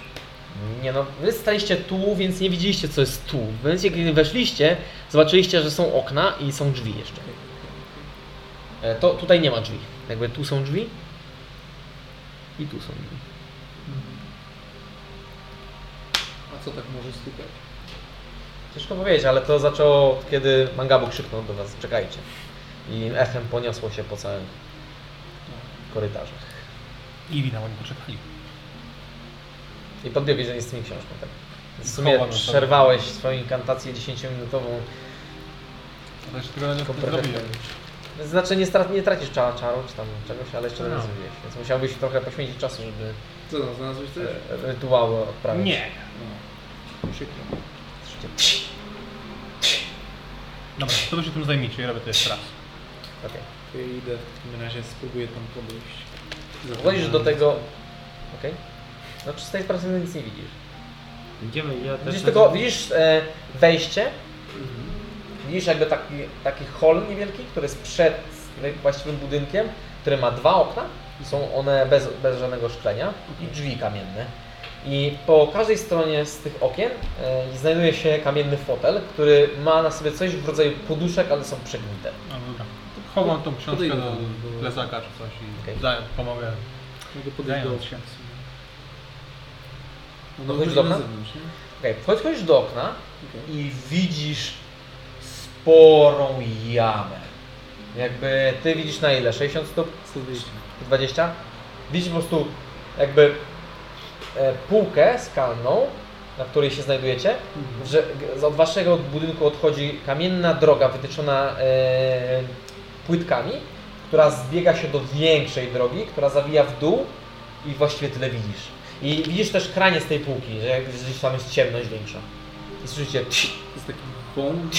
[SPEAKER 1] Nie no, wy staliście tu, więc nie widzieliście co jest tu. W momencie, kiedy weszliście, zobaczyliście, że są okna i są drzwi jeszcze. E, To tutaj nie ma drzwi. Jakby tu są drzwi i tu są drzwi.
[SPEAKER 4] A co tak może stukać?
[SPEAKER 1] Ciężko powiedzieć, ale to zaczęło od kiedy Mangabu krzyknął do was, czekajcie. I echem poniosło się po całym korytarzu.
[SPEAKER 3] I wina, oni poczekali.
[SPEAKER 1] I podbiegłeś do niej z tymi książką, tak. W
[SPEAKER 3] Chowa
[SPEAKER 1] sumie
[SPEAKER 3] na sobie.
[SPEAKER 1] przerwałeś swoją inkantację 10-minutową
[SPEAKER 3] Ale jeszcze tego nie
[SPEAKER 1] Komprehend.
[SPEAKER 3] zrobiłem.
[SPEAKER 1] Znaczy nie, strat, nie tracisz cza, czaru czy tam czegoś, ale jeszcze
[SPEAKER 37] No.
[SPEAKER 1] nie zrobiłeś, więc musiałbyś trochę poświęcić czasu, żeby
[SPEAKER 4] Co tam, znalazłeś coś?
[SPEAKER 1] e, rytuały odprawić.
[SPEAKER 37] Nie.
[SPEAKER 4] Przykro.
[SPEAKER 3] Dobra, to wy się tym zajmijcie, ja robię to jeszcze raz.
[SPEAKER 1] Okej.
[SPEAKER 4] To ja idę w takim razie, spróbuję tam podejść.
[SPEAKER 1] Wchodzisz do tego... Okej. No czy z tej perspektywy nic nie widzisz.
[SPEAKER 2] Idziemy, ja też...
[SPEAKER 1] Widzisz
[SPEAKER 2] na-
[SPEAKER 1] tylko, widzisz e, wejście, widzisz jakby taki, taki hol niewielki, który jest przed właściwym budynkiem, który ma dwa okna, są one bez, bez żadnego szklenia i drzwi kamienne. I po każdej stronie z tych okien e, znajduje się kamienny fotel, który ma na sobie coś w rodzaju poduszek, ale są przegnite.
[SPEAKER 3] No dobra. Chowam tą książkę
[SPEAKER 4] Podejdę
[SPEAKER 3] do
[SPEAKER 4] do-
[SPEAKER 3] plecaka czy coś i
[SPEAKER 1] Okej.
[SPEAKER 3] daję, pomogę.
[SPEAKER 4] Mogę podejść do
[SPEAKER 3] Zając
[SPEAKER 4] okna.
[SPEAKER 3] się.
[SPEAKER 4] No
[SPEAKER 1] Podchodzisz
[SPEAKER 4] dobrze,
[SPEAKER 1] do
[SPEAKER 4] że na
[SPEAKER 1] okna?
[SPEAKER 4] zewnątrz, nie?
[SPEAKER 1] Okej, wchodzisz- wchodzisz do okna
[SPEAKER 4] Okej.
[SPEAKER 1] i widzisz sporą jamę. Jakby ty widzisz na ile? 60 stóp?
[SPEAKER 4] 120.
[SPEAKER 1] 20. Widzisz po prostu jakby e, półkę skalną, na której się znajdujecie,
[SPEAKER 4] Mhm.
[SPEAKER 1] że g- od waszego budynku odchodzi kamienna droga wytyczona e, płytkami, która zbiega się do większej drogi, która zawija w dół i właściwie tyle widzisz. I widzisz też kraniec tej półki, że jak gdzieś tam jest ciemność większa. I słyszycie,
[SPEAKER 4] To jest taki wąwóz,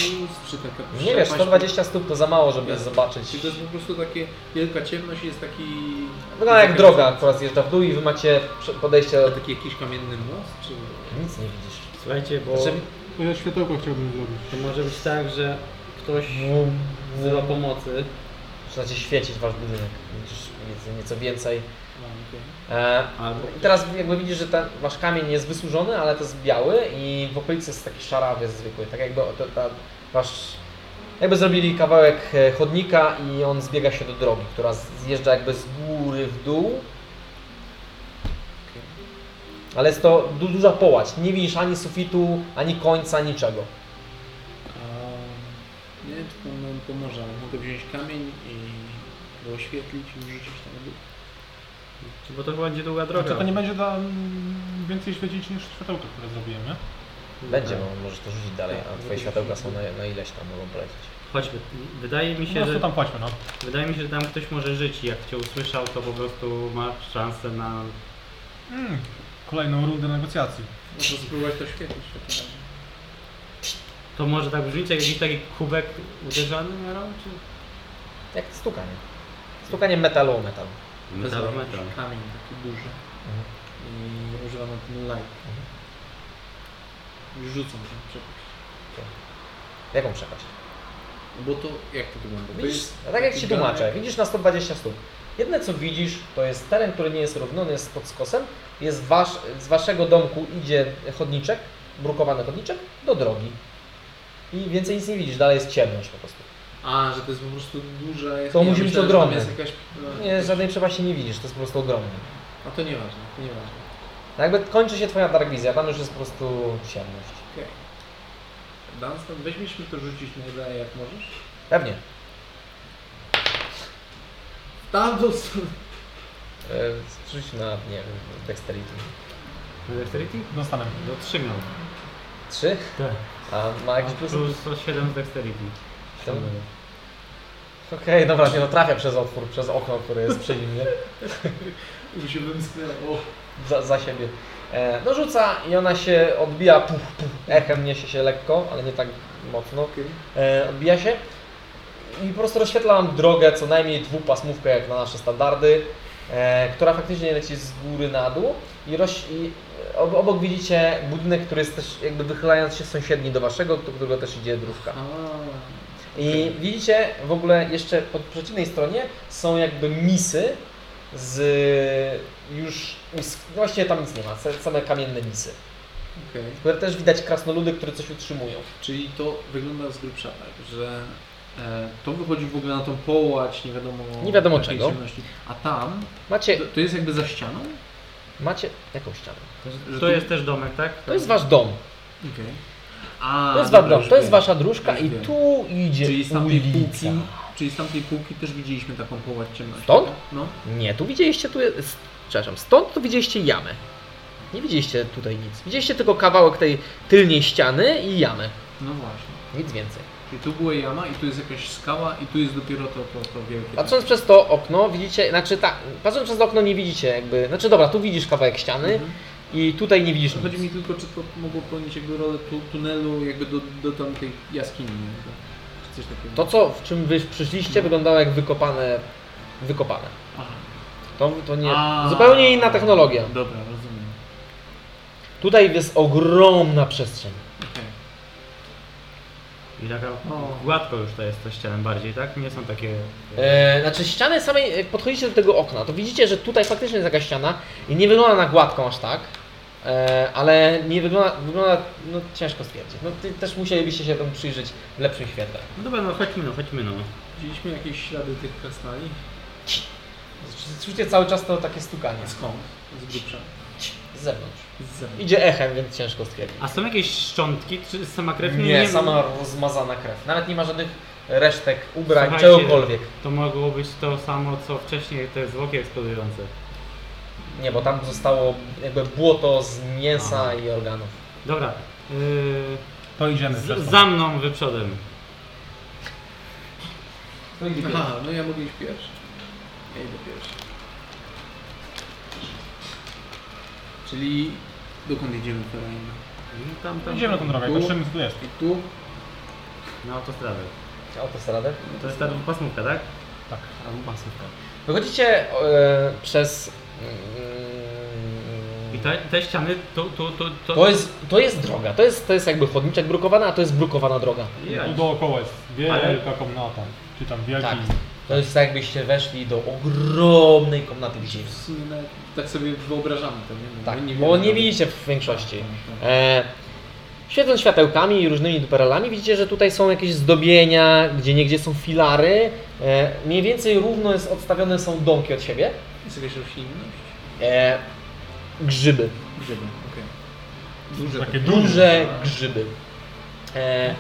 [SPEAKER 4] czy taka
[SPEAKER 1] nie wiesz,
[SPEAKER 4] przepaść?
[SPEAKER 1] 120 stóp to za mało, żeby
[SPEAKER 4] Jasne.
[SPEAKER 1] zobaczyć.
[SPEAKER 4] Czyli to jest po prostu takie wielka ciemność i jest taki...
[SPEAKER 1] Wygląda jak droga, która zjeżdża w dół i wy macie prze- podejście,
[SPEAKER 4] To taki jakiś kamienny most, czy...
[SPEAKER 1] nic nie widzisz.
[SPEAKER 2] Słuchajcie, bo
[SPEAKER 1] Znaczy,
[SPEAKER 3] To ja światełko chciałbym zrobić.
[SPEAKER 2] to może być tak, że ktoś
[SPEAKER 1] Zero
[SPEAKER 2] wzywa pomocy.
[SPEAKER 1] Zaczynacie świecić wasz budynek. Widzisz nieco, nieco więcej.
[SPEAKER 4] No, okej.
[SPEAKER 1] E,
[SPEAKER 2] Albo...
[SPEAKER 1] I teraz jakby widzisz, że ten wasz kamień jest wysłużony, ale to jest biały i w okolicy jest taki szarawiec zwykły. Tak jakby to, ta, wasz... Jakby zrobili kawałek e, chodnika i on zbiega się do drogi, która zjeżdża jakby z góry w dół. Ale jest to du- duża połać. Nie widzisz ani sufitu, ani końca, niczego.
[SPEAKER 4] A... Nie wiem, czy to nam pomoże, ale mogę wziąć kamień i go oświetlić i wrzucić tam na dół.
[SPEAKER 2] Bo to będzie długa droga.
[SPEAKER 3] Droga. Znaczy, mm, To nie będzie da, więcej świecić niż światełko, które zrobiłem, nie?
[SPEAKER 1] Będzie, no. bo możesz to rzucić dalej,
[SPEAKER 4] Tak,
[SPEAKER 1] a twoje światełka są na, na ileś tam mogą polecieć.
[SPEAKER 2] Chodźmy. Wydaje mi
[SPEAKER 3] Po
[SPEAKER 2] się,
[SPEAKER 3] prostu
[SPEAKER 2] że
[SPEAKER 3] tam płaćmy, no.
[SPEAKER 2] wydaje mi się, że tam ktoś może żyć i jak cię usłyszał, to po prostu ma szansę na
[SPEAKER 3] Mm. Kolejną rundę negocjacji.
[SPEAKER 4] Muszę spróbować to świetlić w takim razie.
[SPEAKER 2] To może tak brzmić jak jakiś taki kubek uderzany miarą, czy?
[SPEAKER 1] Jak stukanie. Stukanie metalu o metal.
[SPEAKER 4] No tak.
[SPEAKER 2] Metal, metal.
[SPEAKER 4] Jakiś Kamień taki duży.
[SPEAKER 1] Mhm.
[SPEAKER 4] I używam na tym light. I Rzucam się przepaść.
[SPEAKER 1] Jaką przepaść?
[SPEAKER 4] No Bo to jak to wygląda? To
[SPEAKER 1] Widzisz,
[SPEAKER 4] jest
[SPEAKER 1] a tak jak
[SPEAKER 4] taki
[SPEAKER 1] ci
[SPEAKER 4] dalek-
[SPEAKER 1] tłumaczę, widzisz na 120 stóp. Jedne co widzisz, to jest teren, który nie jest równony, jest pod skosem. Jest wasz, z waszego domku idzie chodniczek, brukowany chodniczek, do drogi. I więcej nic nie widzisz, dalej jest ciemność po prostu.
[SPEAKER 4] A, że to jest po prostu duże.
[SPEAKER 1] To musi być
[SPEAKER 4] myślałem, że tam
[SPEAKER 1] ogromne.
[SPEAKER 4] jest jakaś-
[SPEAKER 1] Nie, żadnej przepaści nie widzisz, to jest po prostu ogromne.
[SPEAKER 4] A to nieważne, to nieważne.
[SPEAKER 1] No Jakby kończy się twoja dark wizja, tam już jest po prostu ciemność.
[SPEAKER 4] Okej. Dunstan, weźmiesz mi to rzucić na ideę jak możesz?
[SPEAKER 1] Pewnie.
[SPEAKER 4] W tamtą stronę.
[SPEAKER 1] Yy, Rzuć na, nie wiem, dexterity.
[SPEAKER 2] No Dexterity? No,
[SPEAKER 3] Dostanę.
[SPEAKER 2] Do 3 miał.
[SPEAKER 1] 3?
[SPEAKER 2] Tak.
[SPEAKER 1] A ma jakiś plus?
[SPEAKER 2] Plus 7 z Dexterity.
[SPEAKER 1] Tam- Okej, dobra, nie no trafia przez otwór, przez okno, które jest przy nim, nie?
[SPEAKER 4] I się wymsknęło.
[SPEAKER 1] Za, za siebie. E, no rzuca i ona się odbija, puf, puf, echem niesie się lekko, ale nie tak mocno.
[SPEAKER 4] Okej.
[SPEAKER 1] E, odbija się i po prostu rozświetla nam drogę, co najmniej dwupasmówkę jak na nasze standardy, e, która faktycznie leci z góry na dół i, roś, i ob, obok widzicie budynek, który jest też jakby wychylając się sąsiedni do waszego, do którego też idzie
[SPEAKER 4] Tak.
[SPEAKER 1] drówka. I widzicie w ogóle jeszcze po przeciwnej stronie są jakby misy z już, z, właściwie tam nic nie ma, sa- same kamienne misy,
[SPEAKER 4] Okej.
[SPEAKER 1] które też widać krasnoludy, które coś utrzymują.
[SPEAKER 4] Czyli to wygląda z grubsza tak, że e, to wychodzi w ogóle na tą połać, nie wiadomo...
[SPEAKER 1] Nie wiadomo
[SPEAKER 4] jakiej
[SPEAKER 1] czego.
[SPEAKER 4] ciemności. A tam,
[SPEAKER 1] Macie,
[SPEAKER 4] to, to jest jakby za ścianą?
[SPEAKER 1] macie jaką ścianę?
[SPEAKER 4] Że
[SPEAKER 2] To jest też domek, tak?
[SPEAKER 1] To jest wasz dom,
[SPEAKER 4] Okej. A,
[SPEAKER 1] to jest,
[SPEAKER 4] dobra,
[SPEAKER 1] wasz dom,
[SPEAKER 4] już
[SPEAKER 1] to jest
[SPEAKER 4] wiem.
[SPEAKER 1] wasza dróżka
[SPEAKER 4] Już
[SPEAKER 1] i
[SPEAKER 4] wiem.
[SPEAKER 1] tu idzie
[SPEAKER 4] Czyli z tamtej
[SPEAKER 1] ulica.
[SPEAKER 4] półki, czyli z tamtej półki też widzieliśmy taką połać ciemności.
[SPEAKER 1] Stąd?
[SPEAKER 4] No.
[SPEAKER 1] Nie, tu widzieliście, tu jest, przepraszam, stąd to widzieliście jamę. Nie widzieliście tutaj nic. Widzieliście tylko kawałek tej tylnej ściany i jamy.
[SPEAKER 4] No właśnie.
[SPEAKER 1] Nic więcej.
[SPEAKER 4] Czyli tu była jama i tu jest jakaś skała i tu jest dopiero to, to, to wielkie.
[SPEAKER 1] Patrząc przez to okno, widzicie, znaczy tak, patrząc przez to okno nie widzicie jakby, znaczy dobra, tu widzisz kawałek ściany
[SPEAKER 4] Mhm.
[SPEAKER 1] i tutaj nie widzisz
[SPEAKER 4] Chodzi
[SPEAKER 1] nic.
[SPEAKER 4] mi tylko, czy to mogło pełnić jakby rolę tu, tunelu jakby do, do tamtej jaskini, jakby. czy coś takiego.
[SPEAKER 1] To co, w czym wy
[SPEAKER 4] No.
[SPEAKER 1] przyszliście wyglądało jak wykopane, wykopane.
[SPEAKER 4] Aha.
[SPEAKER 1] To, to nie,
[SPEAKER 4] A.
[SPEAKER 1] zupełnie inna technologia.
[SPEAKER 4] Dobra, rozumiem.
[SPEAKER 1] Tutaj jest ogromna przestrzeń.
[SPEAKER 4] Okej.
[SPEAKER 2] I taka
[SPEAKER 3] No.
[SPEAKER 4] O.
[SPEAKER 2] gładko już to jest to ścianem bardziej, tak? Nie są takie...
[SPEAKER 1] E, znaczy ściany samej, jak podchodzicie do tego okna, to widzicie, że tutaj faktycznie jest taka ściana i nie wygląda na gładką aż tak, e, ale nie wygląda, wygląda, no ciężko stwierdzić. No ty, też musielibyście się temu przyjrzeć w lepszym świetle.
[SPEAKER 2] No dobra, no chodźmy, no chodźmy, no.
[SPEAKER 4] Widzieliśmy jakieś ślady tych krasnali?
[SPEAKER 1] Czujcie cały czas to takie stukanie
[SPEAKER 4] Skąd? Z grubsza.
[SPEAKER 1] z zewnątrz.
[SPEAKER 4] Z zewnątrz.
[SPEAKER 1] Idzie echem, więc ciężko stwierdzić.
[SPEAKER 2] A są jakieś szczątki? Czy sama krew?
[SPEAKER 1] nie, sama rozmazana krew. Nawet nie ma żadnych resztek, ubrań,
[SPEAKER 2] Słuchajcie,
[SPEAKER 1] czegokolwiek.
[SPEAKER 2] To mogło być to samo, co wcześniej te zwłoki eksplodujące.
[SPEAKER 1] Nie, bo tam zostało jakby błoto z mięsa
[SPEAKER 2] Aha.
[SPEAKER 1] i organów.
[SPEAKER 2] Dobra. Yy,
[SPEAKER 3] To idziemy.
[SPEAKER 2] z,
[SPEAKER 3] zresztą.
[SPEAKER 2] za mną, wy przodem.
[SPEAKER 4] Aha, no ja mogę iść pierwszy. Ja idę pierwszy. Czyli dokąd jedziemy Ferajna?
[SPEAKER 2] No I Tam, tam.
[SPEAKER 3] Idziemy na tą drogę,
[SPEAKER 4] Tu.
[SPEAKER 3] patrzymy co tu jest.
[SPEAKER 4] I tu?
[SPEAKER 2] Na autostradę.
[SPEAKER 1] Autostradę.
[SPEAKER 2] No To jest ta pasmówka, tak?
[SPEAKER 1] Wychodzicie e, przez... mm,
[SPEAKER 2] I te, te ściany, to... to, to, to...
[SPEAKER 1] To jest, to jest droga, to jest, to jest jakby chodniczek brukowana, a to jest brukowana droga.
[SPEAKER 2] Ja,
[SPEAKER 3] Tu dookoła jest wielka komnata. Czy tam wielki...
[SPEAKER 1] Tak. To jest tak jakbyście weszli do ogromnej komnaty gdzie
[SPEAKER 4] W sumie nawet tak sobie wyobrażamy to, nie? No,
[SPEAKER 1] Tak,
[SPEAKER 4] my
[SPEAKER 1] bo
[SPEAKER 4] wiemy,
[SPEAKER 1] nie
[SPEAKER 4] to-
[SPEAKER 1] widzicie w większości.
[SPEAKER 4] Tak, tak.
[SPEAKER 1] E, świecąc światełkami i różnymi duperelami widzicie, że tutaj są jakieś zdobienia, gdzie niegdzie są filary. E, mniej więcej równo jest odstawione są domki od siebie.
[SPEAKER 4] Jest jakaś roślinność?
[SPEAKER 1] E, grzyby,
[SPEAKER 4] Grzyby, okej. Duże
[SPEAKER 3] Takie
[SPEAKER 1] duże grzyby. E,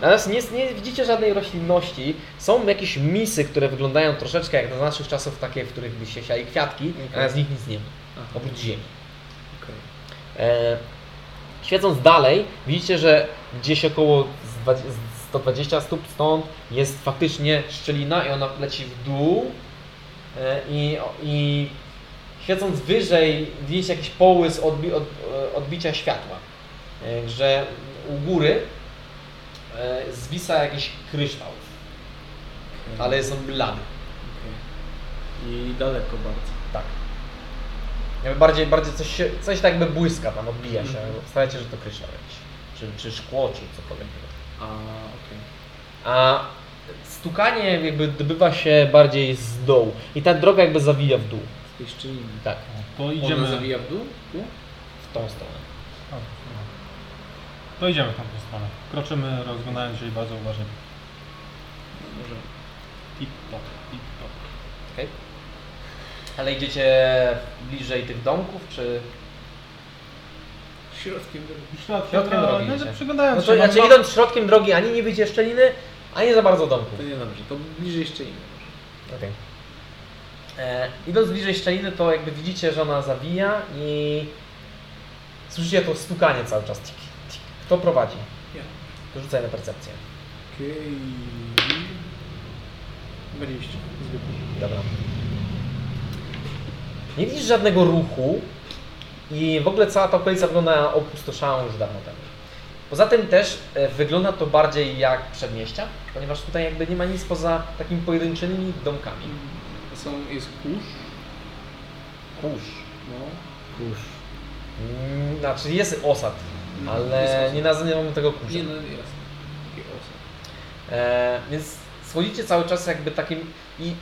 [SPEAKER 1] Natomiast nie, nie widzicie żadnej roślinności. Są jakieś misy, które wyglądają troszeczkę jak do naszych czasów, takie, w których by się siali kwiatki,
[SPEAKER 4] Okej.
[SPEAKER 1] a z nich nic nie ma,
[SPEAKER 4] Aha,
[SPEAKER 1] oprócz ziemi.
[SPEAKER 4] okej.
[SPEAKER 1] E, Świecąc dalej, widzicie, że gdzieś około z dwa- z 120 stóp stąd jest faktycznie szczelina i ona leci w dół. E, I, i świecąc wyżej, widzicie jakiś połys odbi od, e, odbicia światła. E, Że u góry e, zwisa jakiś kryształ, ale jest on blady.
[SPEAKER 4] I daleko bardzo.
[SPEAKER 1] Jakby Bardziej, bardziej coś, się- coś tak jakby błyska tam, odbija się. Stawiacie, że to kryształ jakiś. Czy, czy szkło, czy cokolwiek.
[SPEAKER 4] A, okej.
[SPEAKER 1] A stukanie jakby dobywa się bardziej z dołu. I ta droga jakby zawija w dół.
[SPEAKER 4] Z tej szczeliny.
[SPEAKER 1] Tak,
[SPEAKER 3] To
[SPEAKER 4] Ona
[SPEAKER 3] idziemy,
[SPEAKER 4] zawija w dół? Tu?
[SPEAKER 1] w tą stronę.
[SPEAKER 3] to idziemy w tamtą stronę. Kroczymy, rozglądając się i bardzo uważnie.
[SPEAKER 4] Może.
[SPEAKER 3] Tip-top, tip-top.
[SPEAKER 1] Ale idziecie bliżej tych domków, czy...
[SPEAKER 4] Środkiem drogi.
[SPEAKER 3] Środkiem,
[SPEAKER 1] Środkiem drogi
[SPEAKER 3] no,
[SPEAKER 1] idzie.
[SPEAKER 3] przyglądając
[SPEAKER 1] No
[SPEAKER 3] się.
[SPEAKER 1] to znaczy
[SPEAKER 3] mam-
[SPEAKER 1] idąc środkiem drogi, ani nie wyjdzie szczeliny, ani za bardzo domków.
[SPEAKER 4] To nie dobrze, to bliżej szczeliny. może.
[SPEAKER 1] Okej. E, Idąc bliżej szczeliny, to jakby widzicie, że ona zawija i słyszycie to stukanie cały czas. Tik, tik. Kto prowadzi?
[SPEAKER 4] Ja.
[SPEAKER 1] To Rzucaj na percepcję.
[SPEAKER 4] Okej. 20. Zwykle.
[SPEAKER 1] Dobra. Nie widzisz żadnego ruchu i w ogóle cała ta okolica wygląda opustoszałą już dawno temu. Poza tym też e, wygląda to bardziej jak przedmieścia, ponieważ tutaj jakby nie ma nic poza takimi pojedynczymi domkami.
[SPEAKER 4] Są, jest kurz.
[SPEAKER 1] Kurz.
[SPEAKER 4] No.
[SPEAKER 1] Mm, Znaczy jest osad,
[SPEAKER 4] No, Jest
[SPEAKER 1] ale
[SPEAKER 4] osad.
[SPEAKER 1] nie nazywamy tego kurzem.
[SPEAKER 4] Nie, no jasne. Takie osad.
[SPEAKER 1] E, więc schodzicie cały czas jakby takim i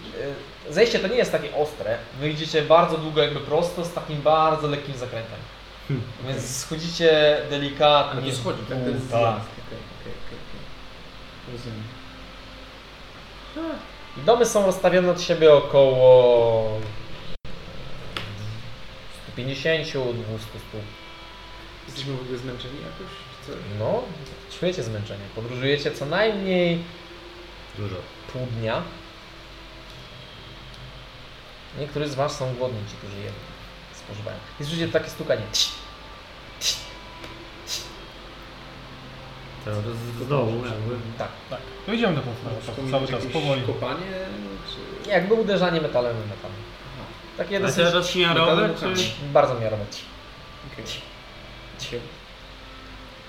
[SPEAKER 1] e, zejście to nie jest takie ostre. Wyjdziecie bardzo długo jakby prosto z takim bardzo lekkim zakrętem. Więc schodzicie
[SPEAKER 4] A
[SPEAKER 1] delikatnie.
[SPEAKER 4] Hmm. to schodzi, tak? To jest
[SPEAKER 1] tak.
[SPEAKER 4] zjazd. Okej, okej, okej. okej. Rozumiem.
[SPEAKER 1] Domy są rozstawione od siebie około 150-200 stóp.
[SPEAKER 4] Jesteśmy w ogóle zmęczeni jakoś? Czy co?
[SPEAKER 1] No, czujecie zmęczenie. Podróżujecie co najmniej
[SPEAKER 2] Dużo.
[SPEAKER 1] pół dnia. Niektórzy z Was są głodni, ci, którzy je spożywają. I słyszycie takie stukanie.
[SPEAKER 2] To z, z dołu jakby.
[SPEAKER 1] Tak.
[SPEAKER 3] To idziemy do półtora, No, tak, cały czas,
[SPEAKER 4] jakieś
[SPEAKER 3] powoli.
[SPEAKER 4] kopanie? Czy...
[SPEAKER 1] Jakby uderzanie metalem w metal. Takie
[SPEAKER 2] A
[SPEAKER 1] dosyć
[SPEAKER 2] teraz miarowe czy...
[SPEAKER 4] Tak.
[SPEAKER 1] bardzo miarowe.
[SPEAKER 4] Okej.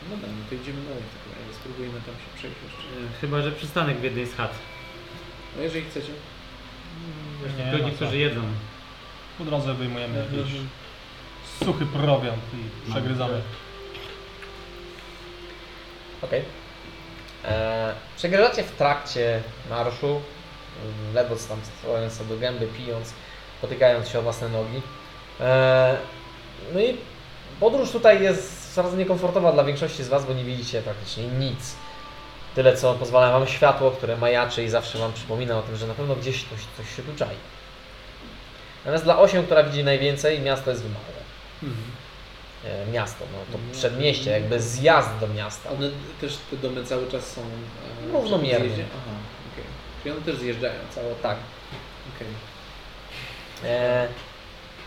[SPEAKER 4] No dobra, no to idziemy dalej w takim razie. Spróbujemy tam się przejść jeszcze.
[SPEAKER 2] E, Chyba, że przystanek w jednej z chat.
[SPEAKER 4] No jeżeli chcecie.
[SPEAKER 2] To
[SPEAKER 3] Nie, no Mhm. co.
[SPEAKER 2] niektórzy jedzą.
[SPEAKER 3] Po drodze wyjmujemy jakiś
[SPEAKER 4] Mhm.
[SPEAKER 3] suchy prowiant i przegryzamy.
[SPEAKER 1] Okej. Okay. Przegrywacie w trakcie marszu, mm, ledwo tam stojąc sobie do gęby, pijąc, potykając się o własne nogi. E, no i podróż tutaj jest coraz niekomfortowa dla większości z Was, bo nie widzicie praktycznie nic. Tyle co pozwala Wam światło, które majaczy i zawsze Wam przypomina o tym, że na pewno gdzieś coś, coś się tu czai. Natomiast dla osią, która widzi najwięcej, miasto jest wymałe.
[SPEAKER 3] Mhm.
[SPEAKER 1] E, miasto, no to przedmieście, jakby zjazd do miasta.
[SPEAKER 4] One też te domy cały czas są. e,
[SPEAKER 1] Równomiernie.
[SPEAKER 4] przy zjeździe? Aha, okej. Czyli one też zjeżdżają całe.
[SPEAKER 1] Tak.
[SPEAKER 4] Okej.
[SPEAKER 1] E,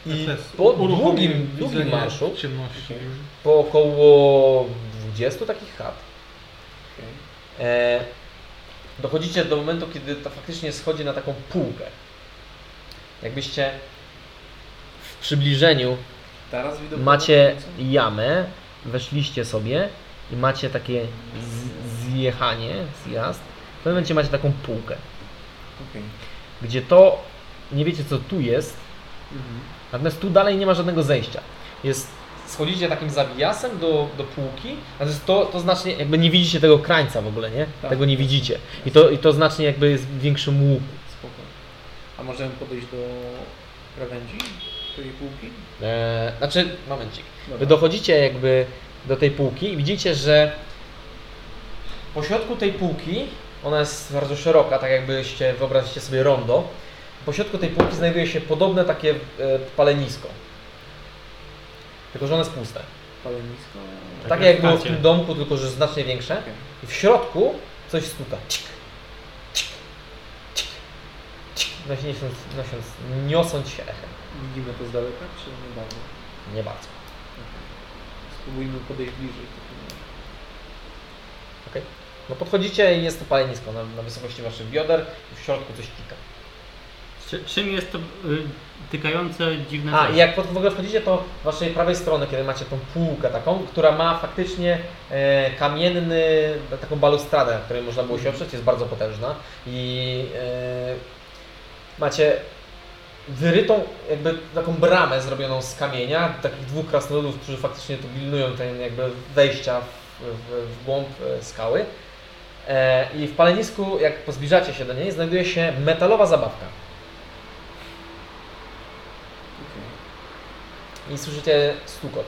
[SPEAKER 1] I
[SPEAKER 3] Tak, To jest
[SPEAKER 1] po
[SPEAKER 3] uruchomienie
[SPEAKER 1] długim,
[SPEAKER 3] widzenia
[SPEAKER 1] długim marszu,
[SPEAKER 3] Ciemności.
[SPEAKER 1] po około 20 takich chat,
[SPEAKER 4] okej.
[SPEAKER 1] e, dochodzicie do momentu, kiedy to faktycznie schodzi na taką półkę. Jakbyście w przybliżeniu
[SPEAKER 4] Teraz widocznie.
[SPEAKER 1] macie jamę, weszliście sobie i macie takie z- zjechanie, zjazd. W pewnym momencie macie taką półkę,
[SPEAKER 4] Okej.
[SPEAKER 1] Mhm. gdzie to, nie wiecie co tu jest,
[SPEAKER 4] Mhm.
[SPEAKER 1] Natomiast tu dalej nie ma żadnego zejścia. Jest, schodzicie takim zawijasem do, do półki, natomiast to, to znacznie, jakby nie widzicie tego krańca w ogóle, nie?
[SPEAKER 4] Tak.
[SPEAKER 1] Tego nie widzicie. I to, I to znacznie jakby jest w większym łuku.
[SPEAKER 4] Spoko. A możemy podejść do krawędzi? Tej półki?
[SPEAKER 1] Eee, znaczy, momencik.
[SPEAKER 4] Dobra.
[SPEAKER 1] Wy dochodzicie jakby do tej półki i widzicie, że po środku tej półki, ona jest bardzo szeroka, tak jakbyście wyobraźcie sobie rondo, po środku tej półki znajduje się podobne takie e, palenisko. Tylko, że ono jest puste.
[SPEAKER 4] Palenisko?
[SPEAKER 1] Takie
[SPEAKER 2] Tak jak
[SPEAKER 1] Tak jak było w
[SPEAKER 2] chacie.
[SPEAKER 1] tym domku, tylko że znacznie większe.
[SPEAKER 4] Okej.
[SPEAKER 1] I w środku coś stuka. Cik, cik, cik, cik. Nosząc, nosząc, niosąc się echem.
[SPEAKER 4] Widzimy to z daleka, czy nie bardzo?
[SPEAKER 1] Nie bardzo.
[SPEAKER 11] Spróbujmy podejść bliżej. w takim razie.
[SPEAKER 1] No podchodzicie i jest to palenisko na, na wysokości waszych bioder i w środku coś kika.
[SPEAKER 2] Czy, czym jest to y, tykające dziwne
[SPEAKER 1] A
[SPEAKER 2] coś?
[SPEAKER 1] i jak pod, w ogóle wchodzicie, to z waszej prawej strony, kiedy macie tą półkę taką, która ma faktycznie e, kamienny, taką balustradę, na której można było się oprzeć, jest bardzo potężna i e, macie wyrytą jakby taką bramę zrobioną z kamienia, takich dwóch krasnoludów, którzy faktycznie tu pilnują ten jakby wejścia w, w, w głąb e, skały. E, I w palenisku, jak pozbliżacie się do niej, znajduje się metalowa zabawka. i słyszycie stukot.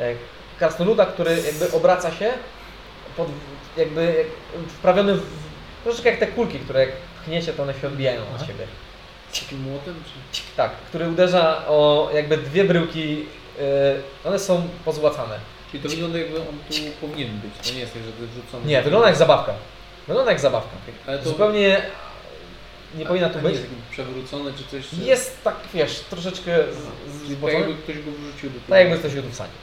[SPEAKER 1] E, Krasnoluda, który jakby obraca się, pod, jakby jak- wprawiony w, troszeczkę jak te kulki, które jak pchniecie, to one się odbijają od siebie.
[SPEAKER 11] Takim młotem? Czy...
[SPEAKER 1] Tak, który uderza o jakby dwie bryłki, e, one są pozłacane.
[SPEAKER 11] Czyli to wygląda jakby on tu powinien być. To nie jest tak, że to jest wrzucony.
[SPEAKER 1] Nie, wygląda jak zabawka. Wygląda jak zabawka.
[SPEAKER 11] Ale to
[SPEAKER 1] Zupełnie nie
[SPEAKER 11] a-
[SPEAKER 1] powinna
[SPEAKER 11] a
[SPEAKER 1] tu
[SPEAKER 11] nie
[SPEAKER 1] być.
[SPEAKER 11] Jest jakby przewrócone czy coś. Czy...
[SPEAKER 1] Jest tak, wiesz, troszeczkę z- z-
[SPEAKER 11] Tak
[SPEAKER 1] zboczony.
[SPEAKER 11] jakby Mhm. ktoś go wrzucił do tego.
[SPEAKER 1] Tak jakby ktoś ją tu wsadził.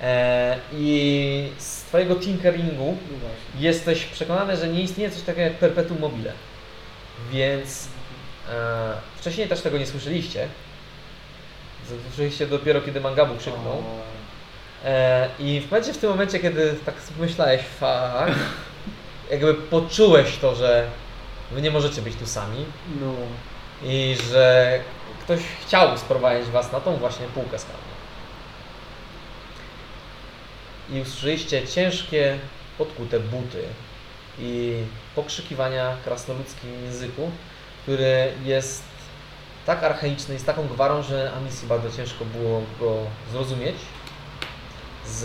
[SPEAKER 1] E, I z twojego tinkeringu
[SPEAKER 11] No właśnie.
[SPEAKER 1] jesteś przekonany, że nie istnieje coś takiego jak perpetuum mobile. Więc e, wcześniej też tego nie słyszeliście. Słyszeliście dopiero kiedy Mangabu krzyknął. E, I w momencie, w tym momencie, kiedy tak myślałeś, fuck, jakby poczułeś to, że wy nie możecie być tu sami
[SPEAKER 11] No.
[SPEAKER 1] i że ktoś chciał sprowadzić was na tą właśnie półkę skalną. I usłyszeliście ciężkie, podkute buty i pokrzykiwania krasnoludzkim języku, który jest tak archaiczny i z taką gwarą, że Amisji bardzo ciężko było go zrozumieć. Z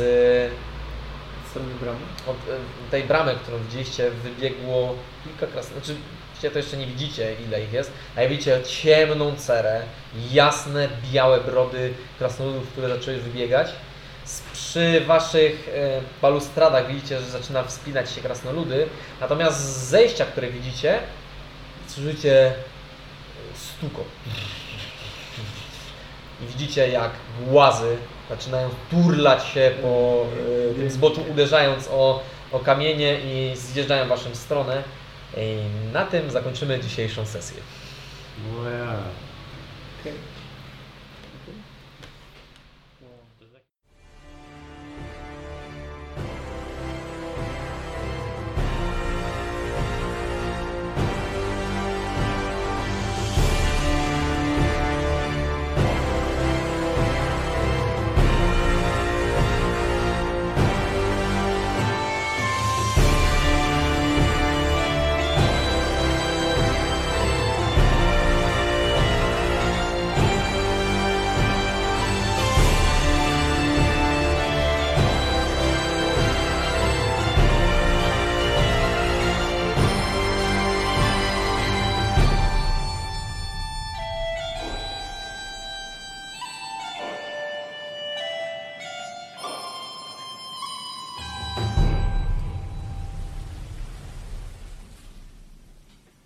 [SPEAKER 11] Z strony bramy.
[SPEAKER 1] od e, tej bramy, którą widzieliście, wybiegło kilka krasnoludów. Znaczy, wiecie, to jeszcze nie widzicie, ile ich jest, ale widzicie ciemną cerę, jasne, białe brody krasnoludów, które zaczęły wybiegać. Z- Przy waszych e, balustradach widzicie, że zaczyna wspinać się krasnoludy, natomiast z zejścia, które widzicie, słyszycie y, stuko. I widzicie, jak głazy zaczynają turlać się po e, tym zboczu, uderzając o, o kamienie i zjeżdżają w waszą stronę. I na tym zakończymy dzisiejszą sesję.
[SPEAKER 2] Ojej.
[SPEAKER 11] Okej.